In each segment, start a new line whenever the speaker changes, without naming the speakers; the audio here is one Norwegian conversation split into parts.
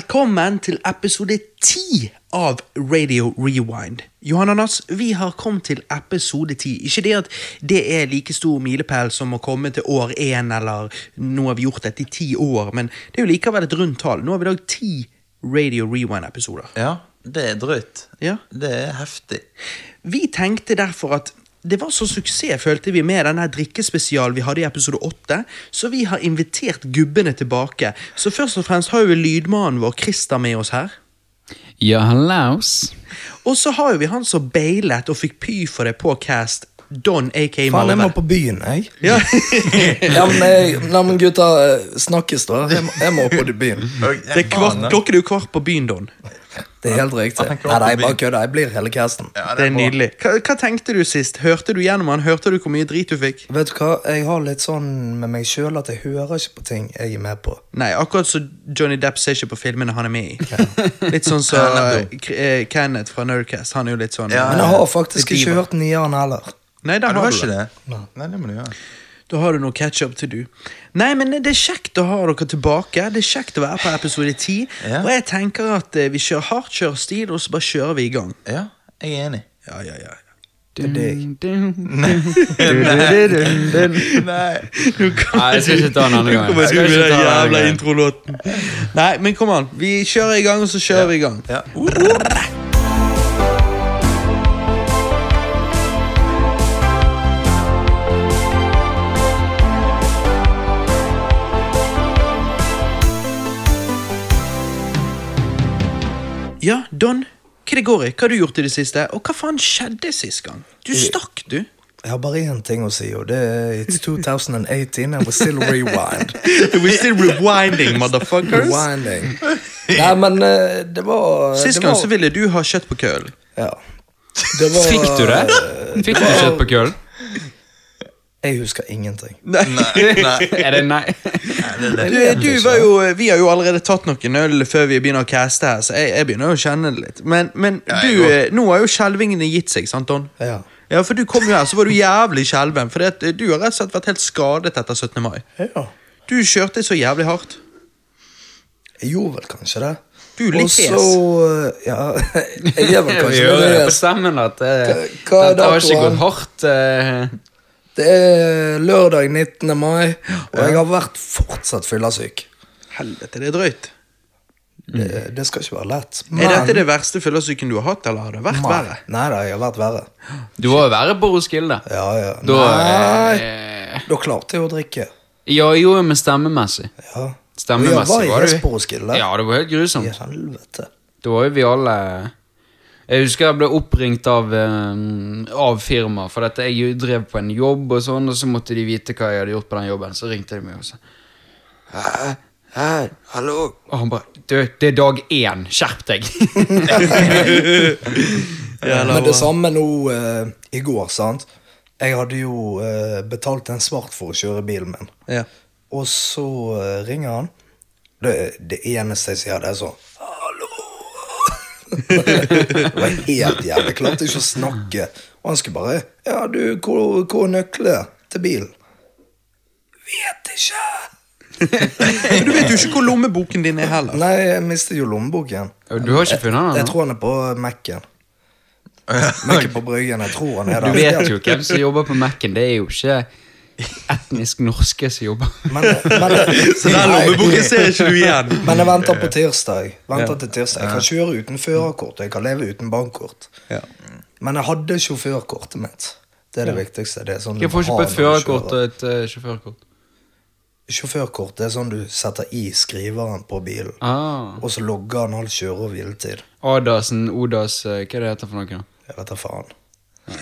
Velkommen til episode 10 av Radio Rewind. Johan Anders, vi har kommet til episode 10. Ikke det at det er like stor milepæl som å komme til år 1, eller nå har vi gjort dette i ti år, men det er jo likevel et rundt tall. Nå har vi lagd ti Radio Rewind-episoder.
Ja, det er drøyt.
Ja.
Det er heftig.
Vi tenkte derfor at det var så suksess, følte vi, med denne drikkespesialen vi hadde i episode 8, så vi har invitert gubbene tilbake. Så først og fremst har jo vi lydmannen vår, Christer, med oss her.
Ja, hallaus.
Og så har jo vi han som bailet og fikk py for det på cast, Don A.K.
Faen, jeg må
Malve.
på byen, jeg.
Ja.
Ja, men, jeg, nei, men gutta, eh, snakkes, da. Jeg må, jeg må på byen.
Det er kvart, klokken er jo kvart på byen, Don.
Det er helt riktig.
Jeg kan
Nei, nei,
på
jeg bare kødder. Jeg blir hele casten.
Det er nydelig. Hva, hva tenkte du sist? Hørte du gjennom han? Hørte du hvor mye drit du fikk?
Vet du hva, jeg har litt sånn med meg sjøl at jeg hører ikke på ting jeg er med på.
Nei, akkurat som Johnny Depp ser ikke på filmene han er med i. Litt sånn som
Han er
eh, K- eh, Kenneth fra Nerdcast. Han er jo litt sånn
Ja.
Men jeg har faktisk
Litt diva.
ikke hørt nieren heller.
Nei, da
Ja, du
har
har
du
ikke
det.
det? Nei, det må du gjøre.
Da har du noe catch up to do. Nei, men det er kjekt å ha dere tilbake. Det er kjekt å være på episode 10.
Ja.
Og jeg tenker at eh, vi kjører hardt, kjører stil, og så bare kjører vi i gang.
Ja, jeg er enig.
Ja, ja, ja.
Det er deg.
Nei.
Nå kommer
Nei, jeg skal ikke ta den andre
Nå
gangen.
kommer
Jeg skal
du med
ikke
den
ta den andre
jævla
gangen.
introlåten. Nei, men kom an. Vi kjører i gang, og så kjører vi i gang. Uh,
Ja.
Ja, Don. Hva det går i? Hva har du gjort i det siste? Og hva faen skjedde sist gang? Du stakk, du.
Jeg har bare én ting å si, og det er It's 2018 and we still rewind.
We're still rewinding, motherfuckers.
Rewinding. Nei, men eh, det var
Sist
det
gang
var-
så ville du ha kjøtt på køl.
Ja. Det var
Fikk du det? Fikk du kjøtt på køl?
Jeg husker ingenting.
Nei. Nei.
Er det nei?
Du, du var jo, vi har jo allerede tatt noen øl før vi begynner å caste her, så jeg, jeg begynner jo å kjenne det litt. Men, men
Ja, jeg
du,
går.
eh, nå har jo skjelvingene gitt seg, sant, Don?
Ja.
Ja, for du kom jo her, så var du jævlig skjelven. For det, at du har rett og slett vært helt skadet etter 17. mai.
ja.
Du kjørte så jævlig hardt.
Jeg gjorde vel kanskje det.
Du er litt
Og så, eh, Ja, jeg er vel
Jeg
kanskje
hører det på
nervøs.
stemmen at eh,
Hva er
dette har ikke
datoen?
gått hardt. eh.
Det er lørdag 19. mai, og jeg har vært fortsatt fyllesyk.
Helvete, det er drøyt.
Det,
Mm.
det skal ikke være lett.
Er dette det verste fyllesyken du har hatt, eller har det vært verre?
Nei da, jeg har vært verre.
Du må jo være på Roskilde.
Ja, ja.
Da
Nei,
eh,
da klarte jeg å drikke.
Ja, jo, men stemmemessig.
Ja.
Stemmemessig
Og jeg
var
var i
du-
Jesperudskilde.
Ja, det var helt
I
grusomt.
helvete.
Da var jo vi alle Jeg husker jeg ble oppringt av, eh, av firma, for dette, jeg drev på en jobb, og sånn, og så måtte de vite hva jeg hadde gjort på den jobben. Så ringte de meg og sa
Hei, hallo.
Og han bare Du, det er dag én. Skjerp deg.
Men det samme nå eh, i går, sant. Jeg hadde jo eh, betalt en svart for å kjøre bilen min.
Ja.
Og så eh, ringer han. Det, det eneste jeg sier, det er sånn Hallo! det var helt jævlig. Klarte ikke å snakke. Og han skulle bare Ja, du, hvor, hvor er nøklene til bilen? Vet ikke.
Men du vet jo ikke hvor lommeboken din er heller.
Nei, jeg mistet jo lommeboken.
Du har ikke funnet den?
Jeg
ennå?
tror han er på Mac-en. Mac-en på Bryggen. Jeg tror han er
Du
der.
vet jo hvem som jobber på Mac-en. Det er jo ikke etnisk norske som jobber.
Men, men,
Så den lommeboken ser ikke du igjen.
Men jeg venter på tirsdag. Venter til tirsdag. Jeg kan kjøre uten førerkort, og jeg kan leve uten bankkort.
Ja.
Men jeg hadde ikke førerkortet mitt. Det er det viktigste. Det er sånn du
Jeg får ikke
har
på et
når du
førerkort eh. og
kjører.
et eh, sjåførkort.
Sjåførkort det er sånn du setter i skriveren på bilen,
Ah.
og så logger han all kjøre- og hviletid.
Adasen, Odas, eh, hva er det heter for noe?
Jeg vet da faen.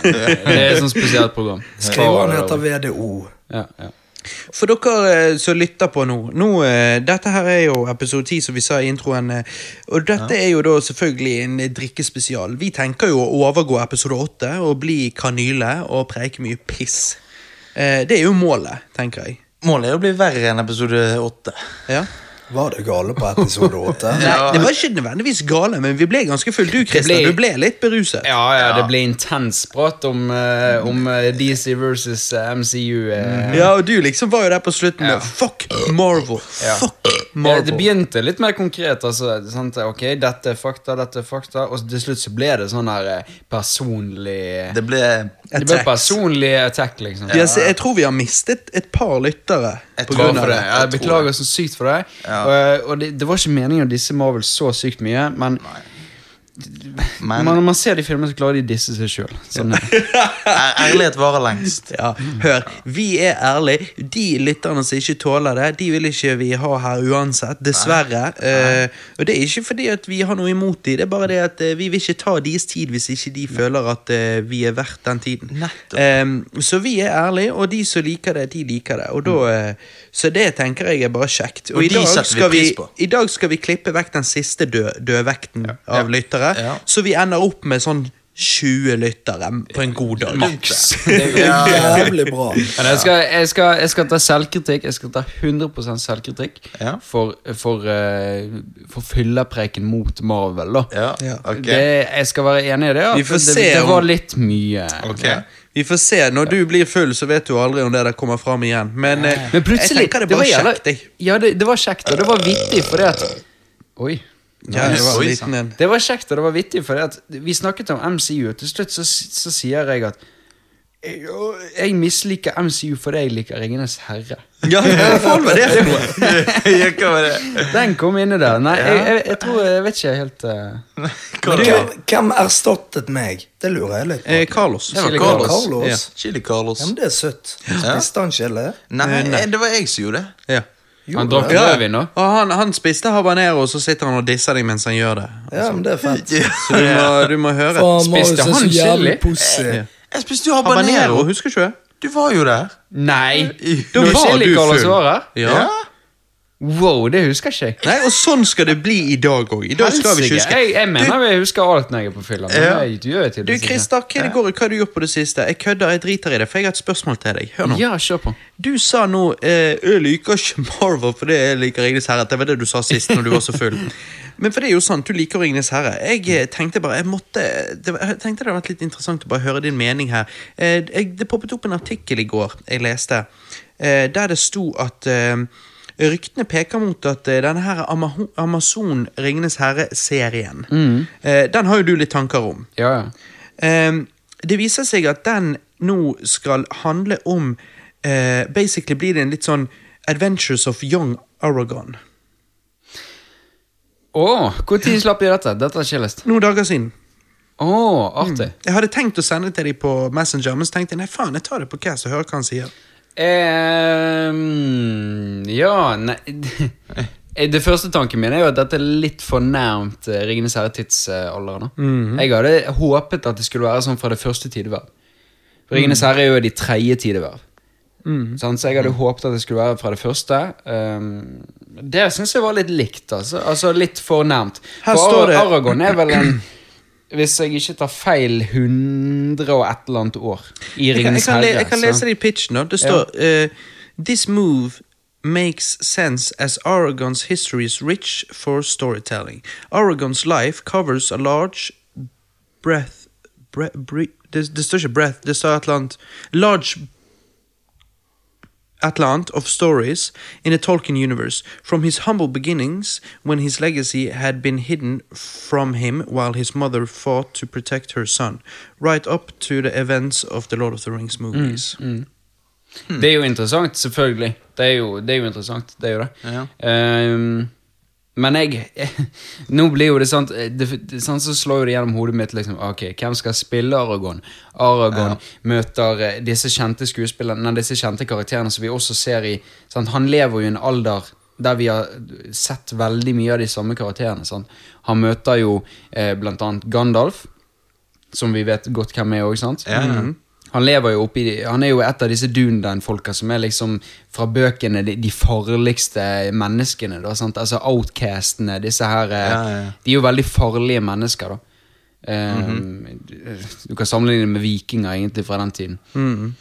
Det er et sånt spesielt program.
Skriveren heter VDO.
ja, ja.
For dere eh, som lytter på nå, nå eh, Dette her er jo episode 10, som vi sa i introen. eh, Og dette er jo da selvfølgelig en drikkespesial. Vi tenker jo å overgå episode 8 og bli kanyle og preike mye piss. Eh, Det er jo målet, tenker jeg.
Målet er å bli verre enn episode åtte.
Ja.
Var det gale på episode åtte?
Nei, det var ikke nødvendigvis gale, men vi ble ganske fulle. Du, Christer,
ble-
du ble litt beruset.
ja, ja, det ble intens prat om, eh, om eh, DC versus eh, MCU. eh.
Mm. Ja, og du liksom var jo der på slutten med
Ja.
Fuck Marvel! Fuck
Ja,
Marvel.
det begynte litt mer konkret. Altså, sant? Ok, dette er fakta, dette er fakta. Og til slutt så ble det sånn her eh, personlig
Det ble
Det ble
Attacks.
personlig attack, liksom.
Ja, så jeg tror vi har mistet et par lyttere
Jeg
på
tror
grunn
for
av
det.
det.
Jeg, beklager så sykt for deg. Og, og det, det var ikke meningen å disse Marvel så sykt mye, men
Men
når man ser de filmene, så klarer de disse seg sjøl. Sånn,
ær- ærlighet varer lengst.
Ja, hør, vi er ærlige. De lytterne som ikke tåler det, de vil ikke vi ha her uansett. Dessverre. Eh, og det er ikke fordi at vi har noe imot de, det er bare det at eh, vi vil ikke ta deres tid hvis ikke de føler at eh, vi er verdt den tiden. Eh, så vi er ærlige, og de som liker det, de liker det. Og da, eh, så det tenker jeg er bare kjekt. Og,
Mm. Og
i,
de
dag
setter vi
skal vi,
pris på.
i dag skal vi klippe vekk den siste dø dødvekten av lyttere,
Ja.
så vi ender opp med sånn 20 lyttere på en god dag.
Maks.
Jævlig bra.
Men jeg skal, jeg, skal, jeg skal ta selvkritikk. Jeg skal ta 100 selvkritikk
Ja.
for, for, eh, for fyllepreken mot Marvel. da
Ja,
Ja.
ok.
det, Jeg skal være enig i det. at
Vi får
det,
se
det,
om-
var litt mye.
Ok.
Vi får se. Når du blir full, så vet du aldri om det der kommer fram igjen. Men, eh,
Men plutselig
jeg tenker det er bare
jævla-
kjekt, jeg.
Ja, det, det var kjekt, og det var vittig fordi at Oi.
Ja, det var en
Oi,
liten en.
Det var kjekt, og det var vittig fordi at vi snakket om MCU, og til slutt så, så sier jeg at jeg, jeg misliker MCU fordi jeg liker Ringenes herre.
Ja, hva faen var det for noe?
Ja, hva var det?
Den kom inni der. Nei, jeg, jeg, jeg tror Jeg vet ikke helt eh,
Hva
Men
det?
hvem, hvem erstattet meg? Det lurer jeg litt på.
Eh, Carlos.
Det var
Chili
Carlos.
Carlos?
Ja.
Chili Carlos.
Ja, men det er søtt.
Ja.
Spiste han gelé?
Nei, det var jeg som gjorde det.
Ja.
Han drakk
Ja.
rødvin, da.
Og han, han spiste habanero, og så sitter han og disser deg mens han gjør det.
Ja, men det er fett.
Så du må, du må høre.
Spiste han chili?
chili?
Jeg spiste jo
Habanero,
habanero.
husker ikke du det?
Du var jo der.
Nei!
Da
Når
var
Chili
du
Carlos
full.
var her?
Ja.
Wow, det husker ikke jeg.
Nei, og sånn skal det bli i dag òg. I dag skal vi ikke huske.
Jeg, jeg mener jeg husker alt når jeg er på fylla. Men
Ja.
jeg, du gjør jeg
Du,
tydeligvis ikke.
Christer, hva er det går i? Hva har du gjort på det siste? Jeg kødder, jeg driter i det, for jeg har et spørsmål til deg. Hør nå.
Ja, kjør på.
Du sa nå eh, 'Jeg liker ikke Marvel fordi jeg liker Ringenes herre'. Det var det du sa sist når du var så full. Men for det er jo sant, du liker Ringenes herre. Jeg eh, tenkte bare jeg måtte, det, var- jeg tenkte det hadde vært litt interessant å bare høre din mening her. Eh, jeg, det poppet opp en artikkel i går jeg leste, eh, der det sto at eh, Ryktene peker mot at eh, denne her Amaho- Amazon Ringenes herre-serien eh, Den har jo du litt tanker om.
Ja, ja.
Ehm, det viser seg at den nå skal handle om eh, Basically blir det en litt sånn Adventures of Young Aragon.
Å, når slapp de dette? Dette er chillest.
Noen dager siden.
Å, artig.
Jeg hadde tenkt å sende det til dem på Messenger, men så tenkte jeg nei faen, jeg tar det på Cass og hører hva han sier.
Ehm, ja, nei Eh, Det første tanken min er jo at dette er litt for nærmt eh, Ringenes herre-tidsalderen.
Mhm.
Mm Jeg hadde håpet at det skulle være sånn fra det første tideverv. For Ringenes
Mhm.
herre er jo de tredje tideverv. Sant, så jeg hadde håpet at det skulle være fra det første. Ehm, det syns jeg var litt likt, altså. altså litt for nærmt.
Her
for
står det-
Aragon er vel en Hvis jeg ikke tar feil, 100 og et eller annet år i
Jeg kan, jeg
Ringenes
kan,
herre.
le, jeg kan
så-
lese det i pitchen. da. Det står eh, This move makes sense as Aragons history is rich for storytelling. Aragons life covers a large breath, bre- bre- det, det står ikke breath, det står et eller annet Large Atlant of stories in the Tolkien universe, from his humble beginnings when his legacy had been hidden from him while his mother fought to protect her son, right up to the events of the Lord of the Rings movies.
Mm. Det er jo interessant, selvfølgelig. Det er jo, det er jo interessant, det er jo det. Ehm, men jeg, Nå blir jo det sant eh, det, det, sant, Så slår jo det gjennom hodet mitt. liksom Ok, Hvem skal spille Aragon? Aragon møter eh, disse kjente skuespillerne Nei, disse kjente karakterene som vi også ser i sant? Han lever jo i en alder der vi har sett veldig mye av de samme karakterene. Sant? Han møter jo eh, blant annet Gandalf som vi vet godt hvem er òg, sant? Mhm. Han lever jo oppi Han er jo et av disse Dundan-folka som er liksom fra bøkene de, de farligste menneskene, da, sant? Altså outcastene, disse her eh,
Ja, ja, ja.
De er jo veldig farlige mennesker, da. Eh,
Mhm.
Du kan sammenligne det med vikinger, egentlig, fra den tiden.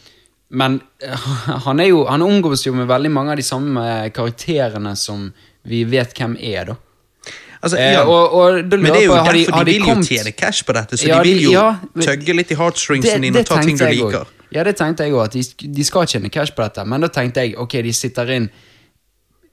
Men eh, han er jo Han omgås jo med veldig mange av de samme karakterene som vi vet hvem er, da.
Altså,
Eh,
ja,
og, og da
men det er jo
lurer jeg på, har
derfor de,
har
vil jo
kommet-
tjene cash på dette, så
Ja,
de vil jo
ja, men-
tøgge litt i heartstringsen din og ta ting du
tenkte jeg
liker.
også. Ja, det tenkte jeg òg, at de, de skal tjene cash på dette. Men da tenkte jeg ok, de sitter inn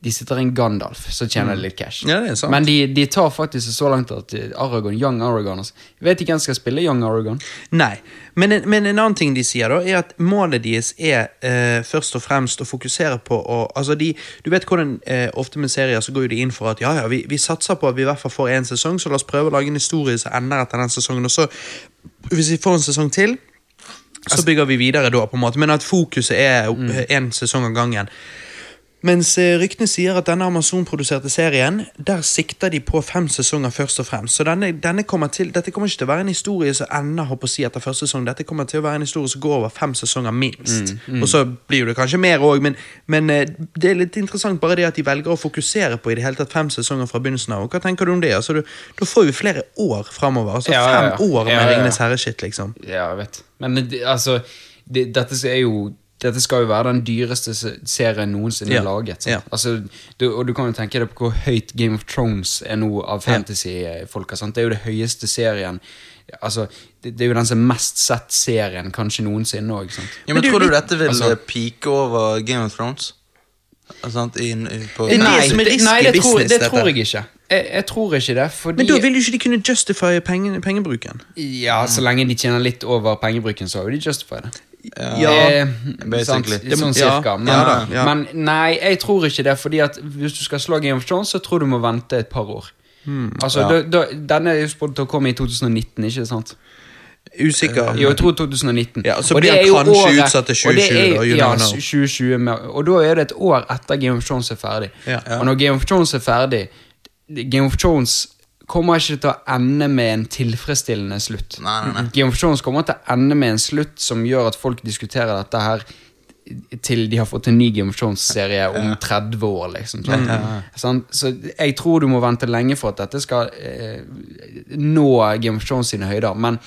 de sitter i en Gandalf, så tjener de litt cash.
Mm. Ja, det er sant.
Men de, de tar faktisk det så langt at eh, Aragon, Young Aragon altså. Jeg vet ikke hvem som skal spille Young Aragon.
Nei. Men, en- men en annen ting de sier, da, er at målet deres er eh, først og fremst å fokusere på å Altså, de Du vet hvordan eh, ofte med serier så går jo de inn for at ja, ja, vi, vi satser på at vi i hvert fall får én sesong, så la oss prøve å lage en historie som ender etter den sesongen, og så Hvis vi får en sesong til,
Altså-
så bygger vi videre da, på en måte. Men at fokuset er
Mm.
én sesong av gangen. Mens eh, ryktene sier at denne Amazon-produserte serien, der sikter de på fem sesonger først og fremst. Så denne, denne kommer til, dette kommer ikke til å være en historie som ender håper å si etter første sesong. Dette kommer til å være en historie som går over fem sesonger
Mm,
minst. Og så blir jo det kanskje mer òg, men, men eh, det er litt interessant bare det at de velger å fokusere på i det hele tatt fem sesonger fra begynnelsen av. Og hva tenker du om det? Altså, du, da får vi flere år framover. Altså
Ja, ja, ja.
fem år med
Ja, ja, ja.
Ringenes herre-shit, liksom.
Ja, jeg vet. Men det- altså, det, dette er jo dette skal jo være den dyreste se- serien noensinne
Ja,
laget.
ja.
Sant? Altså, du, og du kan jo tenke deg på hvor høyt Game of Thrones er nå av fantasy-folka. sant? Det er jo det høyeste serien Altså, det, det er jo den som er mest sett serien kanskje noensinne òg.
Ja, men
Men du,
tror du
litt-
dette vil
altså-
eh, peake over Game of Thrones? Eh, Sant? In, i- på,
Det er det som er risky
nei, det, tror,
business,
det
dette.
tror jeg ikke. Jeg, jeg tror ikke det, fordi
Men da vil jo ikke de kunne justify penge, pengebruken.
Ja,
Mm.
så lenge de tjener litt over pengebruken, så har jo de justify det.
ja.
Eh,
basically.
Sant, sånn
Ja,
cirka. Men,
ja da, ja.
men nei, jeg tror ikke det. Fordi at hvis du skal slå Game of Thrones, så tror du må vente et par år.
Hmm,
altså, da, da, Denne er jo spådd til å komme i 2019, ikke sant?
Usikker.
Eh, Jo, jeg tror 2019.
Ja, så
Og
blir
det
han
er jo
kanskje utsatt til
og det
2020 da,
er,
you
ja,
don't know.
2020 med, og da er det et år etter Game of Thrones er ferdig.
Ja.
Og når Game of Thrones er ferdig Game of Thrones kommer ikke til å ende med en tilfredsstillende slutt.
Nei, nei, nei.
Game of Thrones kommer til å ende med en slutt som gjør at folk diskuterer dette her til de har fått en ny Game of Thrones-serie om 30 år, liksom. sant? Sant? Så jeg tror du må vente lenge for at dette skal eh, nå Game of Thrones sine høyder. Men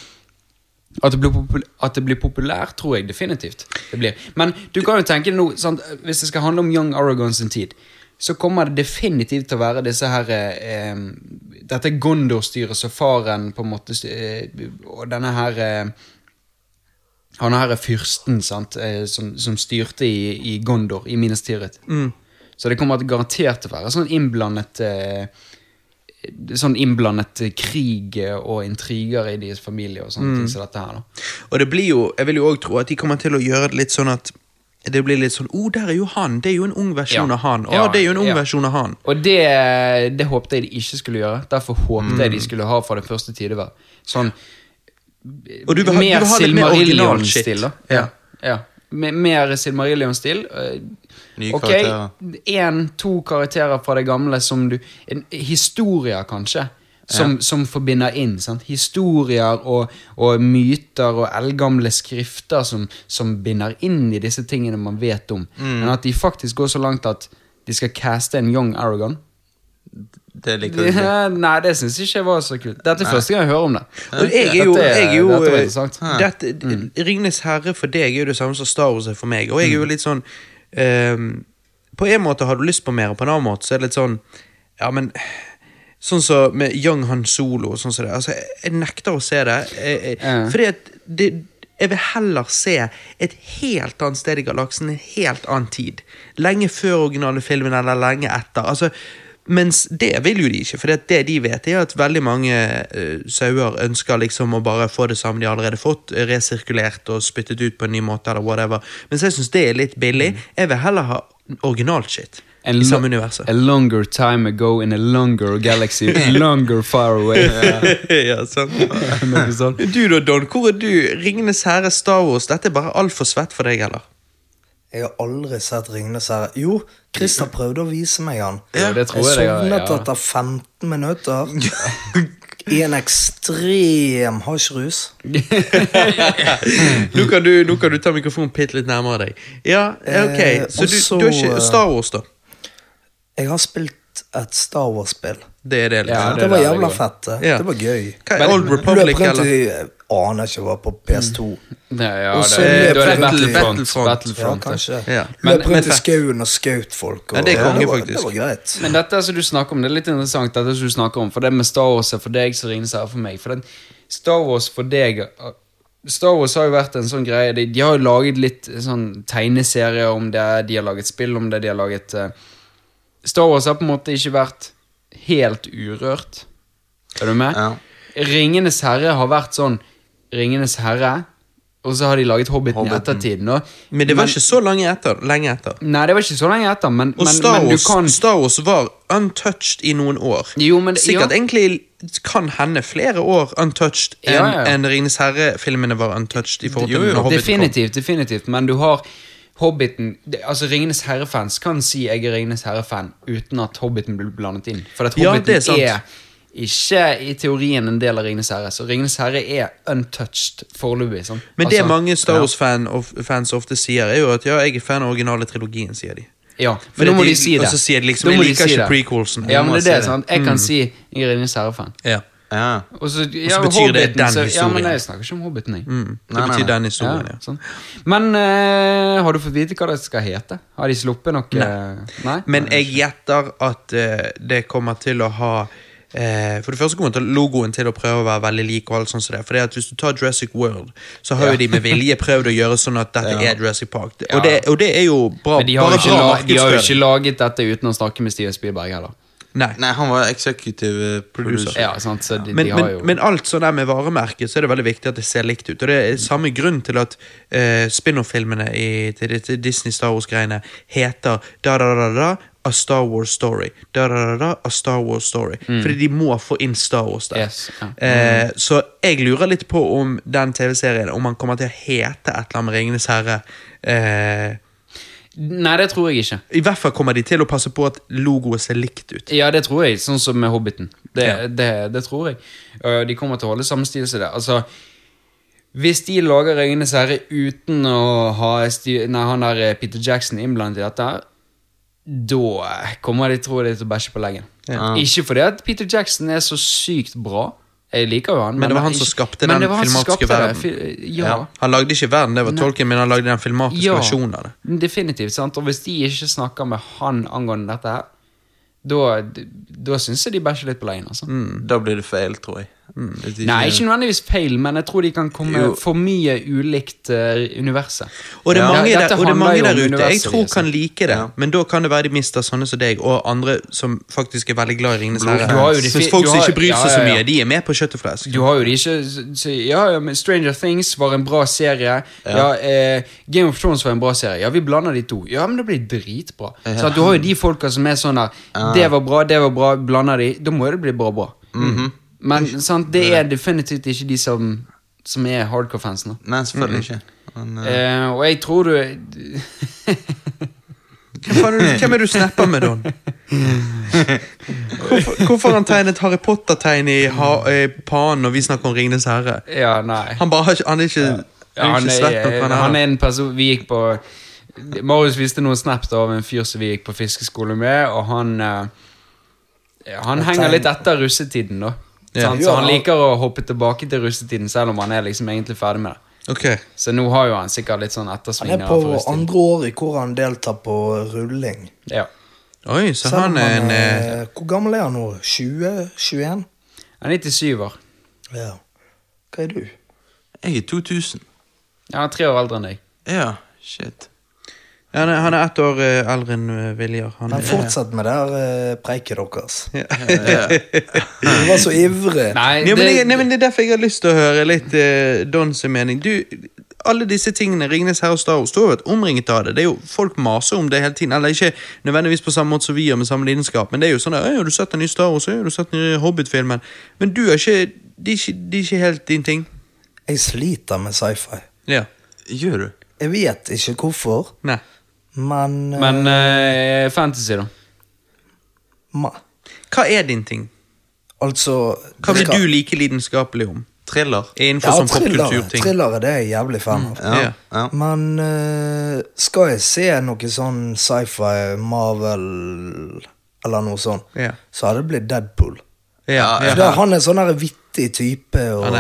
at det, blir popul- at det blir populært, tror jeg definitivt det blir. Men du kan jo tenke deg nå, sant, hvis det skal handle om Young Aragon sin tid, så kommer det definitivt til å være disse her eh, eh, Dette Gondor-styret som faren på en måte st- eh, Og denne her eh, Han her er fyrsten, sant, eh, som, som styrte i, i Gondor, i Minas Tirith. Så det kommer til garantert til å være sånn innblandet eh, Sånn innblandet eh, krig eh, og intriger i deres familie og sånne ting som dette her, da.
Og det blir jo, jeg vil jo òg tro at de kommer til å gjøre det litt sånn at det blir litt sånn 'Å, oh, der er jo han! Det er jo en ung versjon
Ja.
av han!' Å,
Ja,
det er jo en ung
ja.
versjon av han.
Og det, det håpte jeg de ikke skulle gjøre. Derfor håpte jeg de
Mm.
skulle ha fra det første tidevær. Sånn
Og du vil ha, du vil ha litt mer original shit.
Silmarillion-stil, da. Ja. ja. Me- Mer Silmarillion-stil. eh,
Nye
Ok,
karakterer.
én, to karakterer fra det gamle som du en, Historier, kanskje. Som, som forbinder inn. sant? Historier og, og myter og eldgamle skrifter som, som binder inn i disse tingene man vet om. Men at de faktisk går så langt at de skal caste en young Aragon
Det liker du ikke.
ja, Nei, det syns ikke jeg var så kult. Dette er første gang jeg hører om det.
Og jeg er jo,
Dette
jeg er jo
dette var interessant.
eh, dette, Ringenes herre for deg er jo det samme som Star Wars er for meg. Og jeg er
Mm.
jo litt sånn ehm, På en måte har du lyst på mer, og på en annen måte så er det litt sånn Ja, men Sånn som med Young Han Solo og sånn som det. Altså, jeg, jeg nekter å se det. Jeg, jeg,
Ja.
Fordi at det, jeg vil heller se et helt annet sted i galaksen, en helt annen tid. Lenge før originale filmen, eller lenge etter. Altså, mens det vil jo de ikke, for det de vet, er at veldig mange eh, sauer ønsker liksom å bare få det samme de har allerede fått, eh, resirkulert og spyttet ut på en ny måte, eller whatever. Mens jeg syns det er litt billig.
Mm.
Jeg vil heller ha originalt shit
En
i samme
lo-
universet.
A longer time ago in a longer galaxy, longer far away.
ja, sant.
Noe sånt.
Du da, Don. Hvor er du? Ringenes herre, Star Wars. Dette er bare altfor svett for deg, eller?
Jeg har aldri sett Ringenes herre. Jo, Christer prøvde å vise meg han.
Ja, det tror jeg det
jeg
gjør,
sovnet
ja.
etter 15 minutter. I en ekstrem hasjrus.
Nå kan du, nå kan du ta mikrofonen bitte litt nærmere deg. Ja, ok.
Eh,
Så
og
du,
så,
du er ikke
eh,
Star Wars, da?
Jeg har spilt et Star Wars-spill.
Det er det,
Ja,
liksom?
Det,
det er der
var
det
jævla
går.
fett. det.
Ja.
Det var gøy.
Hva er Old Republic,
Løp rundt
eller?
i Jeg aner ikke hva på PS2.
Nei, ja,
Og
det,
så
da er det
Battlefront.
Battlefront.
Battlefront.
Ja,
Battlefront, Mm. ja.
kanskje.
Ja.
Men-
Løp
men
rundt i
fett.
skauen og skaut folk. Og,
Ja, det er konge,
var,
faktisk.
Det var greit.
Men dette som du snakker om, det er litt interessant, dette som du snakker om, for det med Star Wars er for deg, så Rines er for meg. For den Star Wars for deg uh, Star Wars har jo vært en sånn greie De, de har jo laget litt sånn tegneserier om det, de har laget spill om det, de har laget eh, Star Wars har på en måte ikke vært helt urørt. Er du med?
Ja.
Ringenes herre har vært sånn Ringenes herre, og så har de laget Hobbiten, i ettertid. nå.
Men det var ikke så lenge etter. Lenge etter.
Nei, det var ikke så lenge etter, men,
Og
men,
Star,
men du
Wars,
kan
Star Wars var untouched i noen år.
Jo, men-
Sikkert
ja.
egentlig kan hende flere år untouched enn
Ja, ja, ja.
enn Ringenes herre-filmene var untouched. i forhold til
Jo, jo,
når Hobbit kom.
Definitivt, definitivt. Men du har Hobbiten det- Altså Ringenes herre-fans kan si jeg er Ringenes herre-fan uten at Hobbiten blir blandet inn. For at
Ja,
Hobbiten
det er sant.
er, ikke i teorien en del av Ringenes herre. Så Ringenes herre er untouched foreløpig. Sånn.
Men det
Altså,
mange Star
ja.
Wars-fans ofte sier, er jo at ja, jeg er fan av originale trilogien, sier de.
Ja,
For
men nå må
de-
de si det.
og så sier de liksom,
Nå må
jeg liker ikke
det.
prequelsen.
Ja,
Nå
men
må Mm.
det er
jeg
det,
si
sant. Jeg kan si jeg er Ringenes herre-fan.
Ja.
ja.
Og så, ja,
betyr det
Hobbiten,
den
så- Ja,
historien.
men
Mm.
jeg snakker ikke om Hobbiten, jeg.
Det
Nei, nei,
betyr
nei.
den historien, ja.
Ja, sånn. Men eh, har du fått vite hva det skal hete? Har de sluppet noe? Nei. Nei?
Men jeg gjetter at eh, det kommer til å ha eh, For det første kommer til logoen til å prøve å være veldig lik. og alt sånt som det Fordi at Hvis du tar Jurassic World, så har jo de med vilje prøvd å gjøre sånn at dette er Jurassic Park. Og, det, og det er jo bra.
Men de har, jo
bare
ikke,
bra
la, de har jo
markedsføring.
ikke laget dette uten å snakke med Steven Spielberg heller.
Nei.
Nei, han var executive eh, producer.
Ja, sant, så de,
Men,
de har
men,
jo
men alt sånn der med varemerket, så er det veldig viktig at det ser likt ut. Og det er samme grunn til at eh, spin-off-filmene i- til de- til Disney Star Wars-greiene heter da-da-da-da A Star Wars Story. Da-da-da-da A Star Wars Story. Fordi de må få inn Star Wars der.
Mm. Yes, ja. Mm.
Eh, så jeg lurer litt på om den TV-serien Om han kommer til å hete et eller annet med Ringenes herre. Eh,
Nei, det tror jeg ikke.
I hvert fall kommer de til å passe på at logoet ser likt ut.
Ja, det tror jeg. Sånn som med Hobbiten. Det,
Ja.
det, det tror jeg. Øh, De kommer til å holde samme stil som det. Altså, hvis de lager Ringenes herre uten å ha sti, nei, han der eh, Peter Jackson innblandet i dette, her, da kommer de, tror jeg, til å bæsje på leggen. Ikke fordi at Peter Jackson er så sykt bra. Jeg liker jo han.
Men det var han
ikke-
som skapte
men
den
det var han som
filmatiske
skapte det.
verden.
Fi- Ja.
Han lagde ikke verden, det var tolken, men han lagde den filmatiske
Ja,
versjonen av det.
definitivt. sant? Og hvis de ikke snakker med han angående dette her, da, da syns jeg de bæsjer litt på leien. Altså.
Mm.
Da blir det feil, tror jeg. Hvis de
Nei, ikke nødvendigvis feil, men jeg tror de kan komme
Jo.
for mye ulikt eh, universet.
Og det er
Ja.
mange,
Ja,
der,
dette
og det er
handler
mange
jo om
der ute jeg
universet,
tror
liksom.
kan like det,
Ja.
men da kan det være de mister sånne som deg, og andre som faktisk er veldig glad i Ringenes herre.
Du har jo de fi-
Mens folk
du
som
har-
ikke bryr seg
ja,
så
ja, ja.
mye, de er med på kjøtteflesk.
Du har jo de ikke s- s- Ja, ja, men Stranger Things var en bra serie. Ja, eh, Game of Thrones var en bra serie. Ja, vi blander de to. Ja, men det blir dritbra. Så at du har jo de folka som er sånn der Det var bra, det var bra, blander de. Da må det bli bra, bra. Men sant, Mhm. det er definitivt ikke de som, som er hardcore-fansen. da.
Nei, selvfølgelig ikke. Men, eh,
Eh, og jeg tror du
Hvem, faen er du, hvem er du snapper med, Don? Hvorfor, hvorfor har han tegnet Harry Potter-tegn i ha, eh, panen når vi snakker om Ringenes herre?
Ja, nei.
Han bare har ikke Han er ikke, han
Ja,
er
han,
ikke svett nok,
er,
han er.
han er en person Vi gikk på Marius viste noen snaps av en fyr som vi gikk på fiskeskole med, og han eh, Han henger litt etter russetiden, da.
Ja.
Sant?
Ja,
Så han
han-
liker å hoppe tilbake til russetiden, selv om han er liksom egentlig ferdig med det.
Ok.
Så nå har jo han sikkert litt sånn
Han er
ettersvingninger.
på
fra russetiden.
andre året hvor han deltar på rulling.
Ja.
Oi, så
Selv om
han er en eh,
eh, Hvor gammel er han nå? 20? 21?
Han er 97-år.
Ja. Hva er du?
jeg er 2000.
Ja, han er tre år eldre enn deg.
Ja, shit.
Ja, Han er, han er ett år eh, eldre enn eh, Viljar. Han,
Men fortsett med det her eh, preiket deres.
Ja.
Du var så ivrig.
Nei,
Ja, men
det-
jeg, nei, men Det er derfor jeg har lyst til å høre litt eh, Dons mening. Du, alle disse tingene, Ringenes herre og Star Wars, du har vært omringet av det. Det er jo, Folk maser om det hele tiden. Eller ikke nødvendigvis på samme måte som vi gjør med samme lidenskap, men det er jo sånn der, «Øy, har du sett den nye Star Wars? Øy, har du sett den nye Hobbit-filmen? Men du er ikke Det er ikke, det er ikke helt din ting.
Jeg sliter med sci-fi.
Ja.
Gjør du?
Jeg vet ikke hvorfor,
Nei.
men, eh,
men eh, fantasy, da.
ma,
Hva er din ting?
Altså
Hva
det
blir
skal-
du like lidenskapelig om?
Thriller?
Innenfor
Ja,
sånn
thrillere.
popkulturting. Mm,
Thrillere, det er jeg jævlig fan av.
Ja.
Ja.
Men eh, skal jeg se noe sånn sci-fi, Marvel eller noe sånt,
Ja.
så hadde det blitt Deadpool.
Ja,
For
ja.
der, han er sånn der vittig type og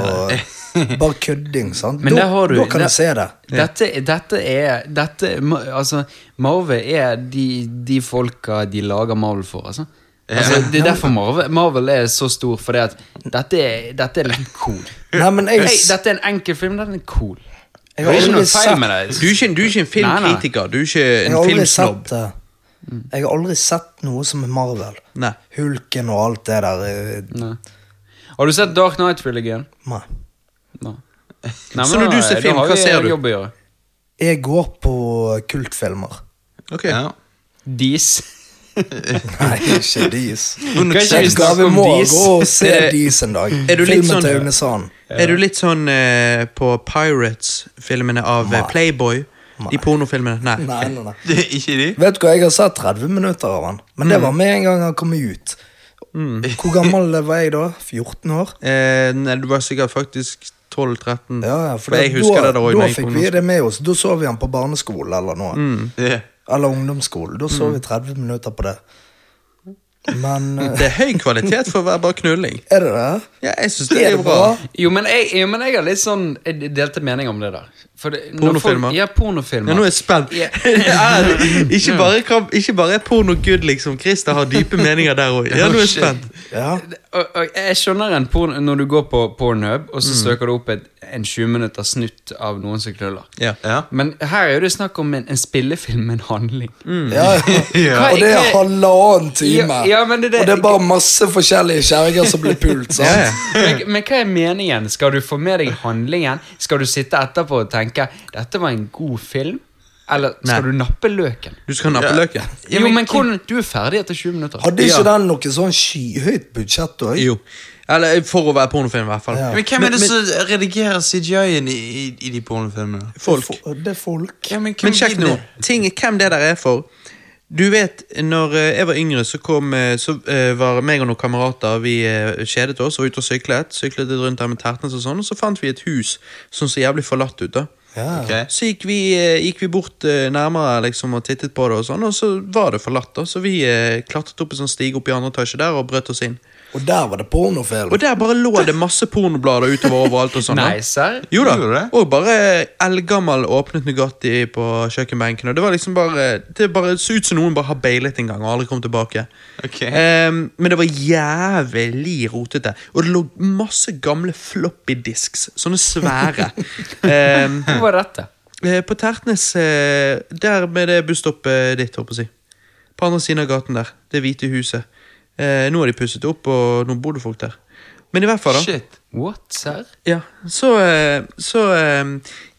Han
bare kødding, sant.
Men
da,
der har du-
da kan
der-
jeg se det.
Dette, dette er dette, ma- Altså, Marvel er de, de folka de lager Marvel for, altså. altså det er derfor Marvel, Marvel er så stor, fordi at dette er, dette er litt cool.
Nei, men jeg,
Hei, dette er en enkel film, den er cool.
jeg
Det
har
er ikke
aldri
noe feil
sett,
med det.
Du er ikke, du er ikke en
Nei, nei.
filmkritiker, du er ikke
jeg
en
har aldri
filmsnobb.
sett det. Jeg har aldri sett noe som er Marvel.
Nei.
Hulken og alt det der. eh,
Nei. Har du sett Dark Knight-trilogien?
Nei.
Nei. Nei,
Så når du ser film, hva ser du?
Jobb å gjøre.
Jeg går på kultfilmer.
Ok.
Ja.
Dis.
Nei, ikke dis.
Under
Kanskje
Jeg
vi
skal
snakker
vi
om
må
dis.
gå og se
Eh,
dis en dag.
er du litt
Filmen til
sånn-
Aune Sand.
Er du litt sånn eh, på Pirates-filmene av eh,
Nei.
Playboy? De
Nei.
pornofilmene? Nei.
Nei, nei, nei.
Det er ikke de?
Vet du hva, jeg har sett 30 minutter av han. Men
Mm.
det var med en gang han kom ut. Hvor gammel var jeg da? 14 år?
Eh, nei, du var sikkert faktisk 12-13.
Ja, ja,
for jeg husker
da,
det der også,
da
når jeg
fikk
kom
vi
nå.
det med oss. Da så vi han på barneskole eller noe.
Mm.
Ja.
Eller ungdomsskole. Da så vi 30 minutter på det. Men eh,
Det er høy kvalitet for å være bare knulling.
er det det?
Ja, jeg synes det er bra.
Jo, men jeg, jo, men jeg har litt sånn jeg delte mening om det der. For det, når
Pornofilmer?
folk- Ja, pornofilmer.
Ja, nå er jeg spent.
Ja.
Ja, ikke, bare, kram- ikke bare er porno good, liksom. Christer har dype meninger der òg. Ja, nå er jeg spent.
Ja.
Og- og Jeg skjønner en porn når du går på Pornhub, og så søker du opp et, en 20 minutters snutt av noen som knuller.
Ja.
Ja.
Men her er det snakk om en, en spillefilm med en handling.
Mm.
Ja, ja.
Hva-
Og det er
hva-
halvannen time.
Ja, ja, men det er det-
Og det er bare masse forskjellige kjerringer som blir pult. Sant?
Ja, ja.
Men, men hva er meningen? Skal du få med deg handlingen? Skal du sitte etterpå og tenke 'dette var en god film'? Eller skal
Nei.
du nappe løken?
Du skal nappe
Ja.
løken.
Ja,
jo,
men
men hvordan, Du er ferdig etter 20 minutter.
Hadde ikke
Ja.
den noe sånn skyhøyt budsjett òg?
Jo. Eller for å være pornofilm, i hvert fall.
Ja.
Men hvem er det som redigerer CGI-en i, i, i de pornofilmene?
Folk.
Det er folk.
Ja, men, hvem
Men sjekk
gidder?
nå. Ting, hvem det der er for. Du vet, når eh, jeg var yngre, så, kom, eh, så eh, var meg og noen kamerater Vi eh, kjedet oss og var ute og syklet. Syklet litt rundt der med tertnes og sånn, og så fant vi et hus som så jævlig forlatt ut. da
Ja.
Ok.
Så gikk vi, eh, gikk vi bort eh, nærmere liksom, og tittet på det, og sånn Og så var det forlatt. da Så vi eh, klatret opp en sånn stige opp i andre etasje der og brøt oss inn.
Og der var det pornofilm.
Og der bare lå det masse pornoblader utover overalt. og sånn da.
Nei, serr?
Jo da.
Gjorde det?
Og bare eldgammel åpnet Nugatti på kjøkkenbenken. Og Det var liksom bare Det bare så ut som noen bare har beilet en gang og aldri kom tilbake.
Ok.
Ehm, men det var jævlig rotete. Og det lå masse gamle floppy disks. Sånne svære. Ehm,
Hvor var dette?
eh, på Tertnes, eh, der med det busstoppet ditt, holdt på å si. På andre siden av gaten der. Det hvite huset. Eh, nå har de pusset opp, og nå bor det folk der. Men i hvert fall, da.
Shit.
What, serr?
Ja, så, eh, så eh,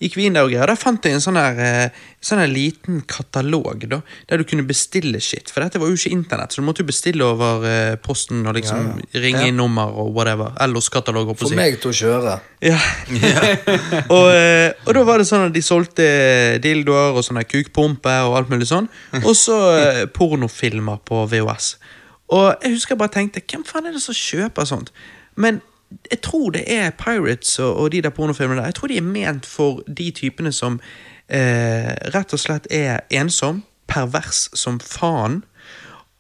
gikk vi inn der og greier. Der fant jeg en sånn her, eh, sånn her liten katalog, da, der du kunne bestille shit. For dette var jo ikke internett, så du måtte jo bestille over eh, posten og liksom ringe inn nummer og whatever. Ellos-katalog, holdt på å
For
si.
meg til å kjøre.
Ja. og, eh, og da var det sånn at de solgte dildoer og sånne kukpumper og alt mulig sånn. Og så eh, pornofilmer på VHS. Og jeg husker jeg bare tenkte, hvem faen er det som kjøper sånt? Men jeg tror det er Pirates og, og de der pornofilmene der. Jeg tror de er ment for de typene som eh, rett og slett er ensom, pervers som faen.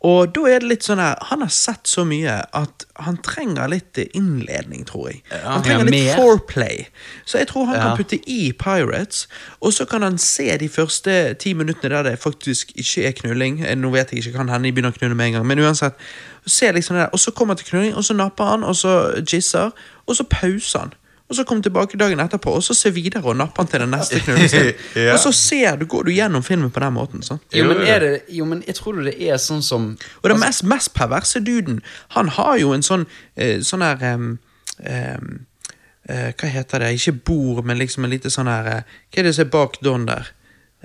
Og da er det litt sånn her, Han har sett så mye at han trenger litt innledning, tror jeg. han trenger
ja,
litt
mer.
foreplay. Så jeg tror han
Ja.
kan putte i Pirates, og så kan han se de første ti minuttene der det faktisk ikke er knulling. Eh, Nå vet jeg ikke, kan hende de begynner å knulle med en gang, men uansett. Se liksom det der, Og så kommer han til knulling, og så napper han, og så jizzer, og så pauser han. Og så kommer han tilbake dagen etterpå, og så ser videre og napper han til den neste knullingen.
Ja.
Og så ser du, går du gjennom filmen på den måten. sant?
Jo, men
Jo,
er det Jo, men jeg tror det er sånn som
Og den
Altså-
mest, mest perverse duden, han har jo en sånn eh, sånn her em, em, eh, Hva heter det? Ikke bord, men liksom en lite sånn her eh, Hva er det som er bak don der?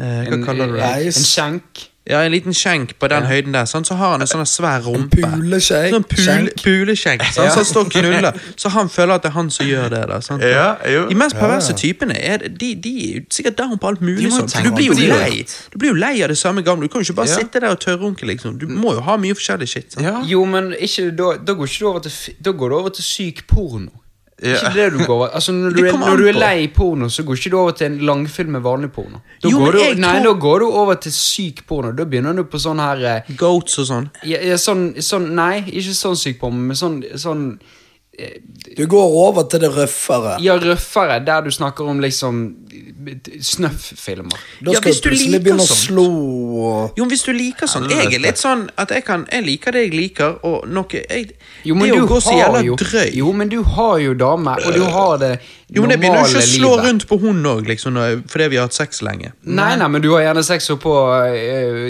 Eh, hva
en,
kaller du det?
Nei.
en skjenk.
Ja, En liten skjenk på den høyden der. Sant? Så har han en sånn her svær rumpe.
puleskjenk.
Sånn pule,
Skjenk.
puleskjenk. sant? Så han står og knuller, så han føler at det er han som gjør det. Da, sant?
Ja, jo.
De mest perverse typene er de, de er jo sikkert down på alt
De
mulig
må jo
sånt. for
tenke
Du blir jo
på det.
lei Du blir jo lei av det samme gamle. Du kan jo ikke bare
Ja.
sitte der og tørrunke. Liksom. Du må jo ha mye forskjellig shit. Sant?
Ja.
Jo, men ikke, da, da går ikke du over til fi- Da går du over til syk porno.
Ja.
Ikke det du går over Altså Når du,
Det
er,
kommer
når
an
du er
på.
lei porno, så går ikke du over til en langfilm med vanlig porno. Da,
Jo,
går
men
du,
jeg
nei,
tror-
da går du over til syk porno. Da begynner du på sånn her eh,
Goats og sånn.
ja, ja, sånn, sånn Nei, ikke sånn syk porno, men sånn, sånn
Du går over til det røffere.
Ja, røffere, der du snakker om liksom snøff-filmer.
Da
Ja,
skal
hvis
du
du
plutselig
liker
begynne å
sånt.
slå og
Jo, men hvis du liker sånn Jeg er litt sånn at jeg kan Jeg liker det jeg liker, og noe jeg,
Jo, men
Det å
du
gå så
har
jævla
jo,
drøy Øh.
Jo, men du har jo dame, og du har det
Jo, men jeg begynner jo
normale
ikke å slå
livet.
rundt på hun òg, liksom, når- fordi vi har hatt sex lenge.
Nei, nei, men du har gjerne sex oppå øh,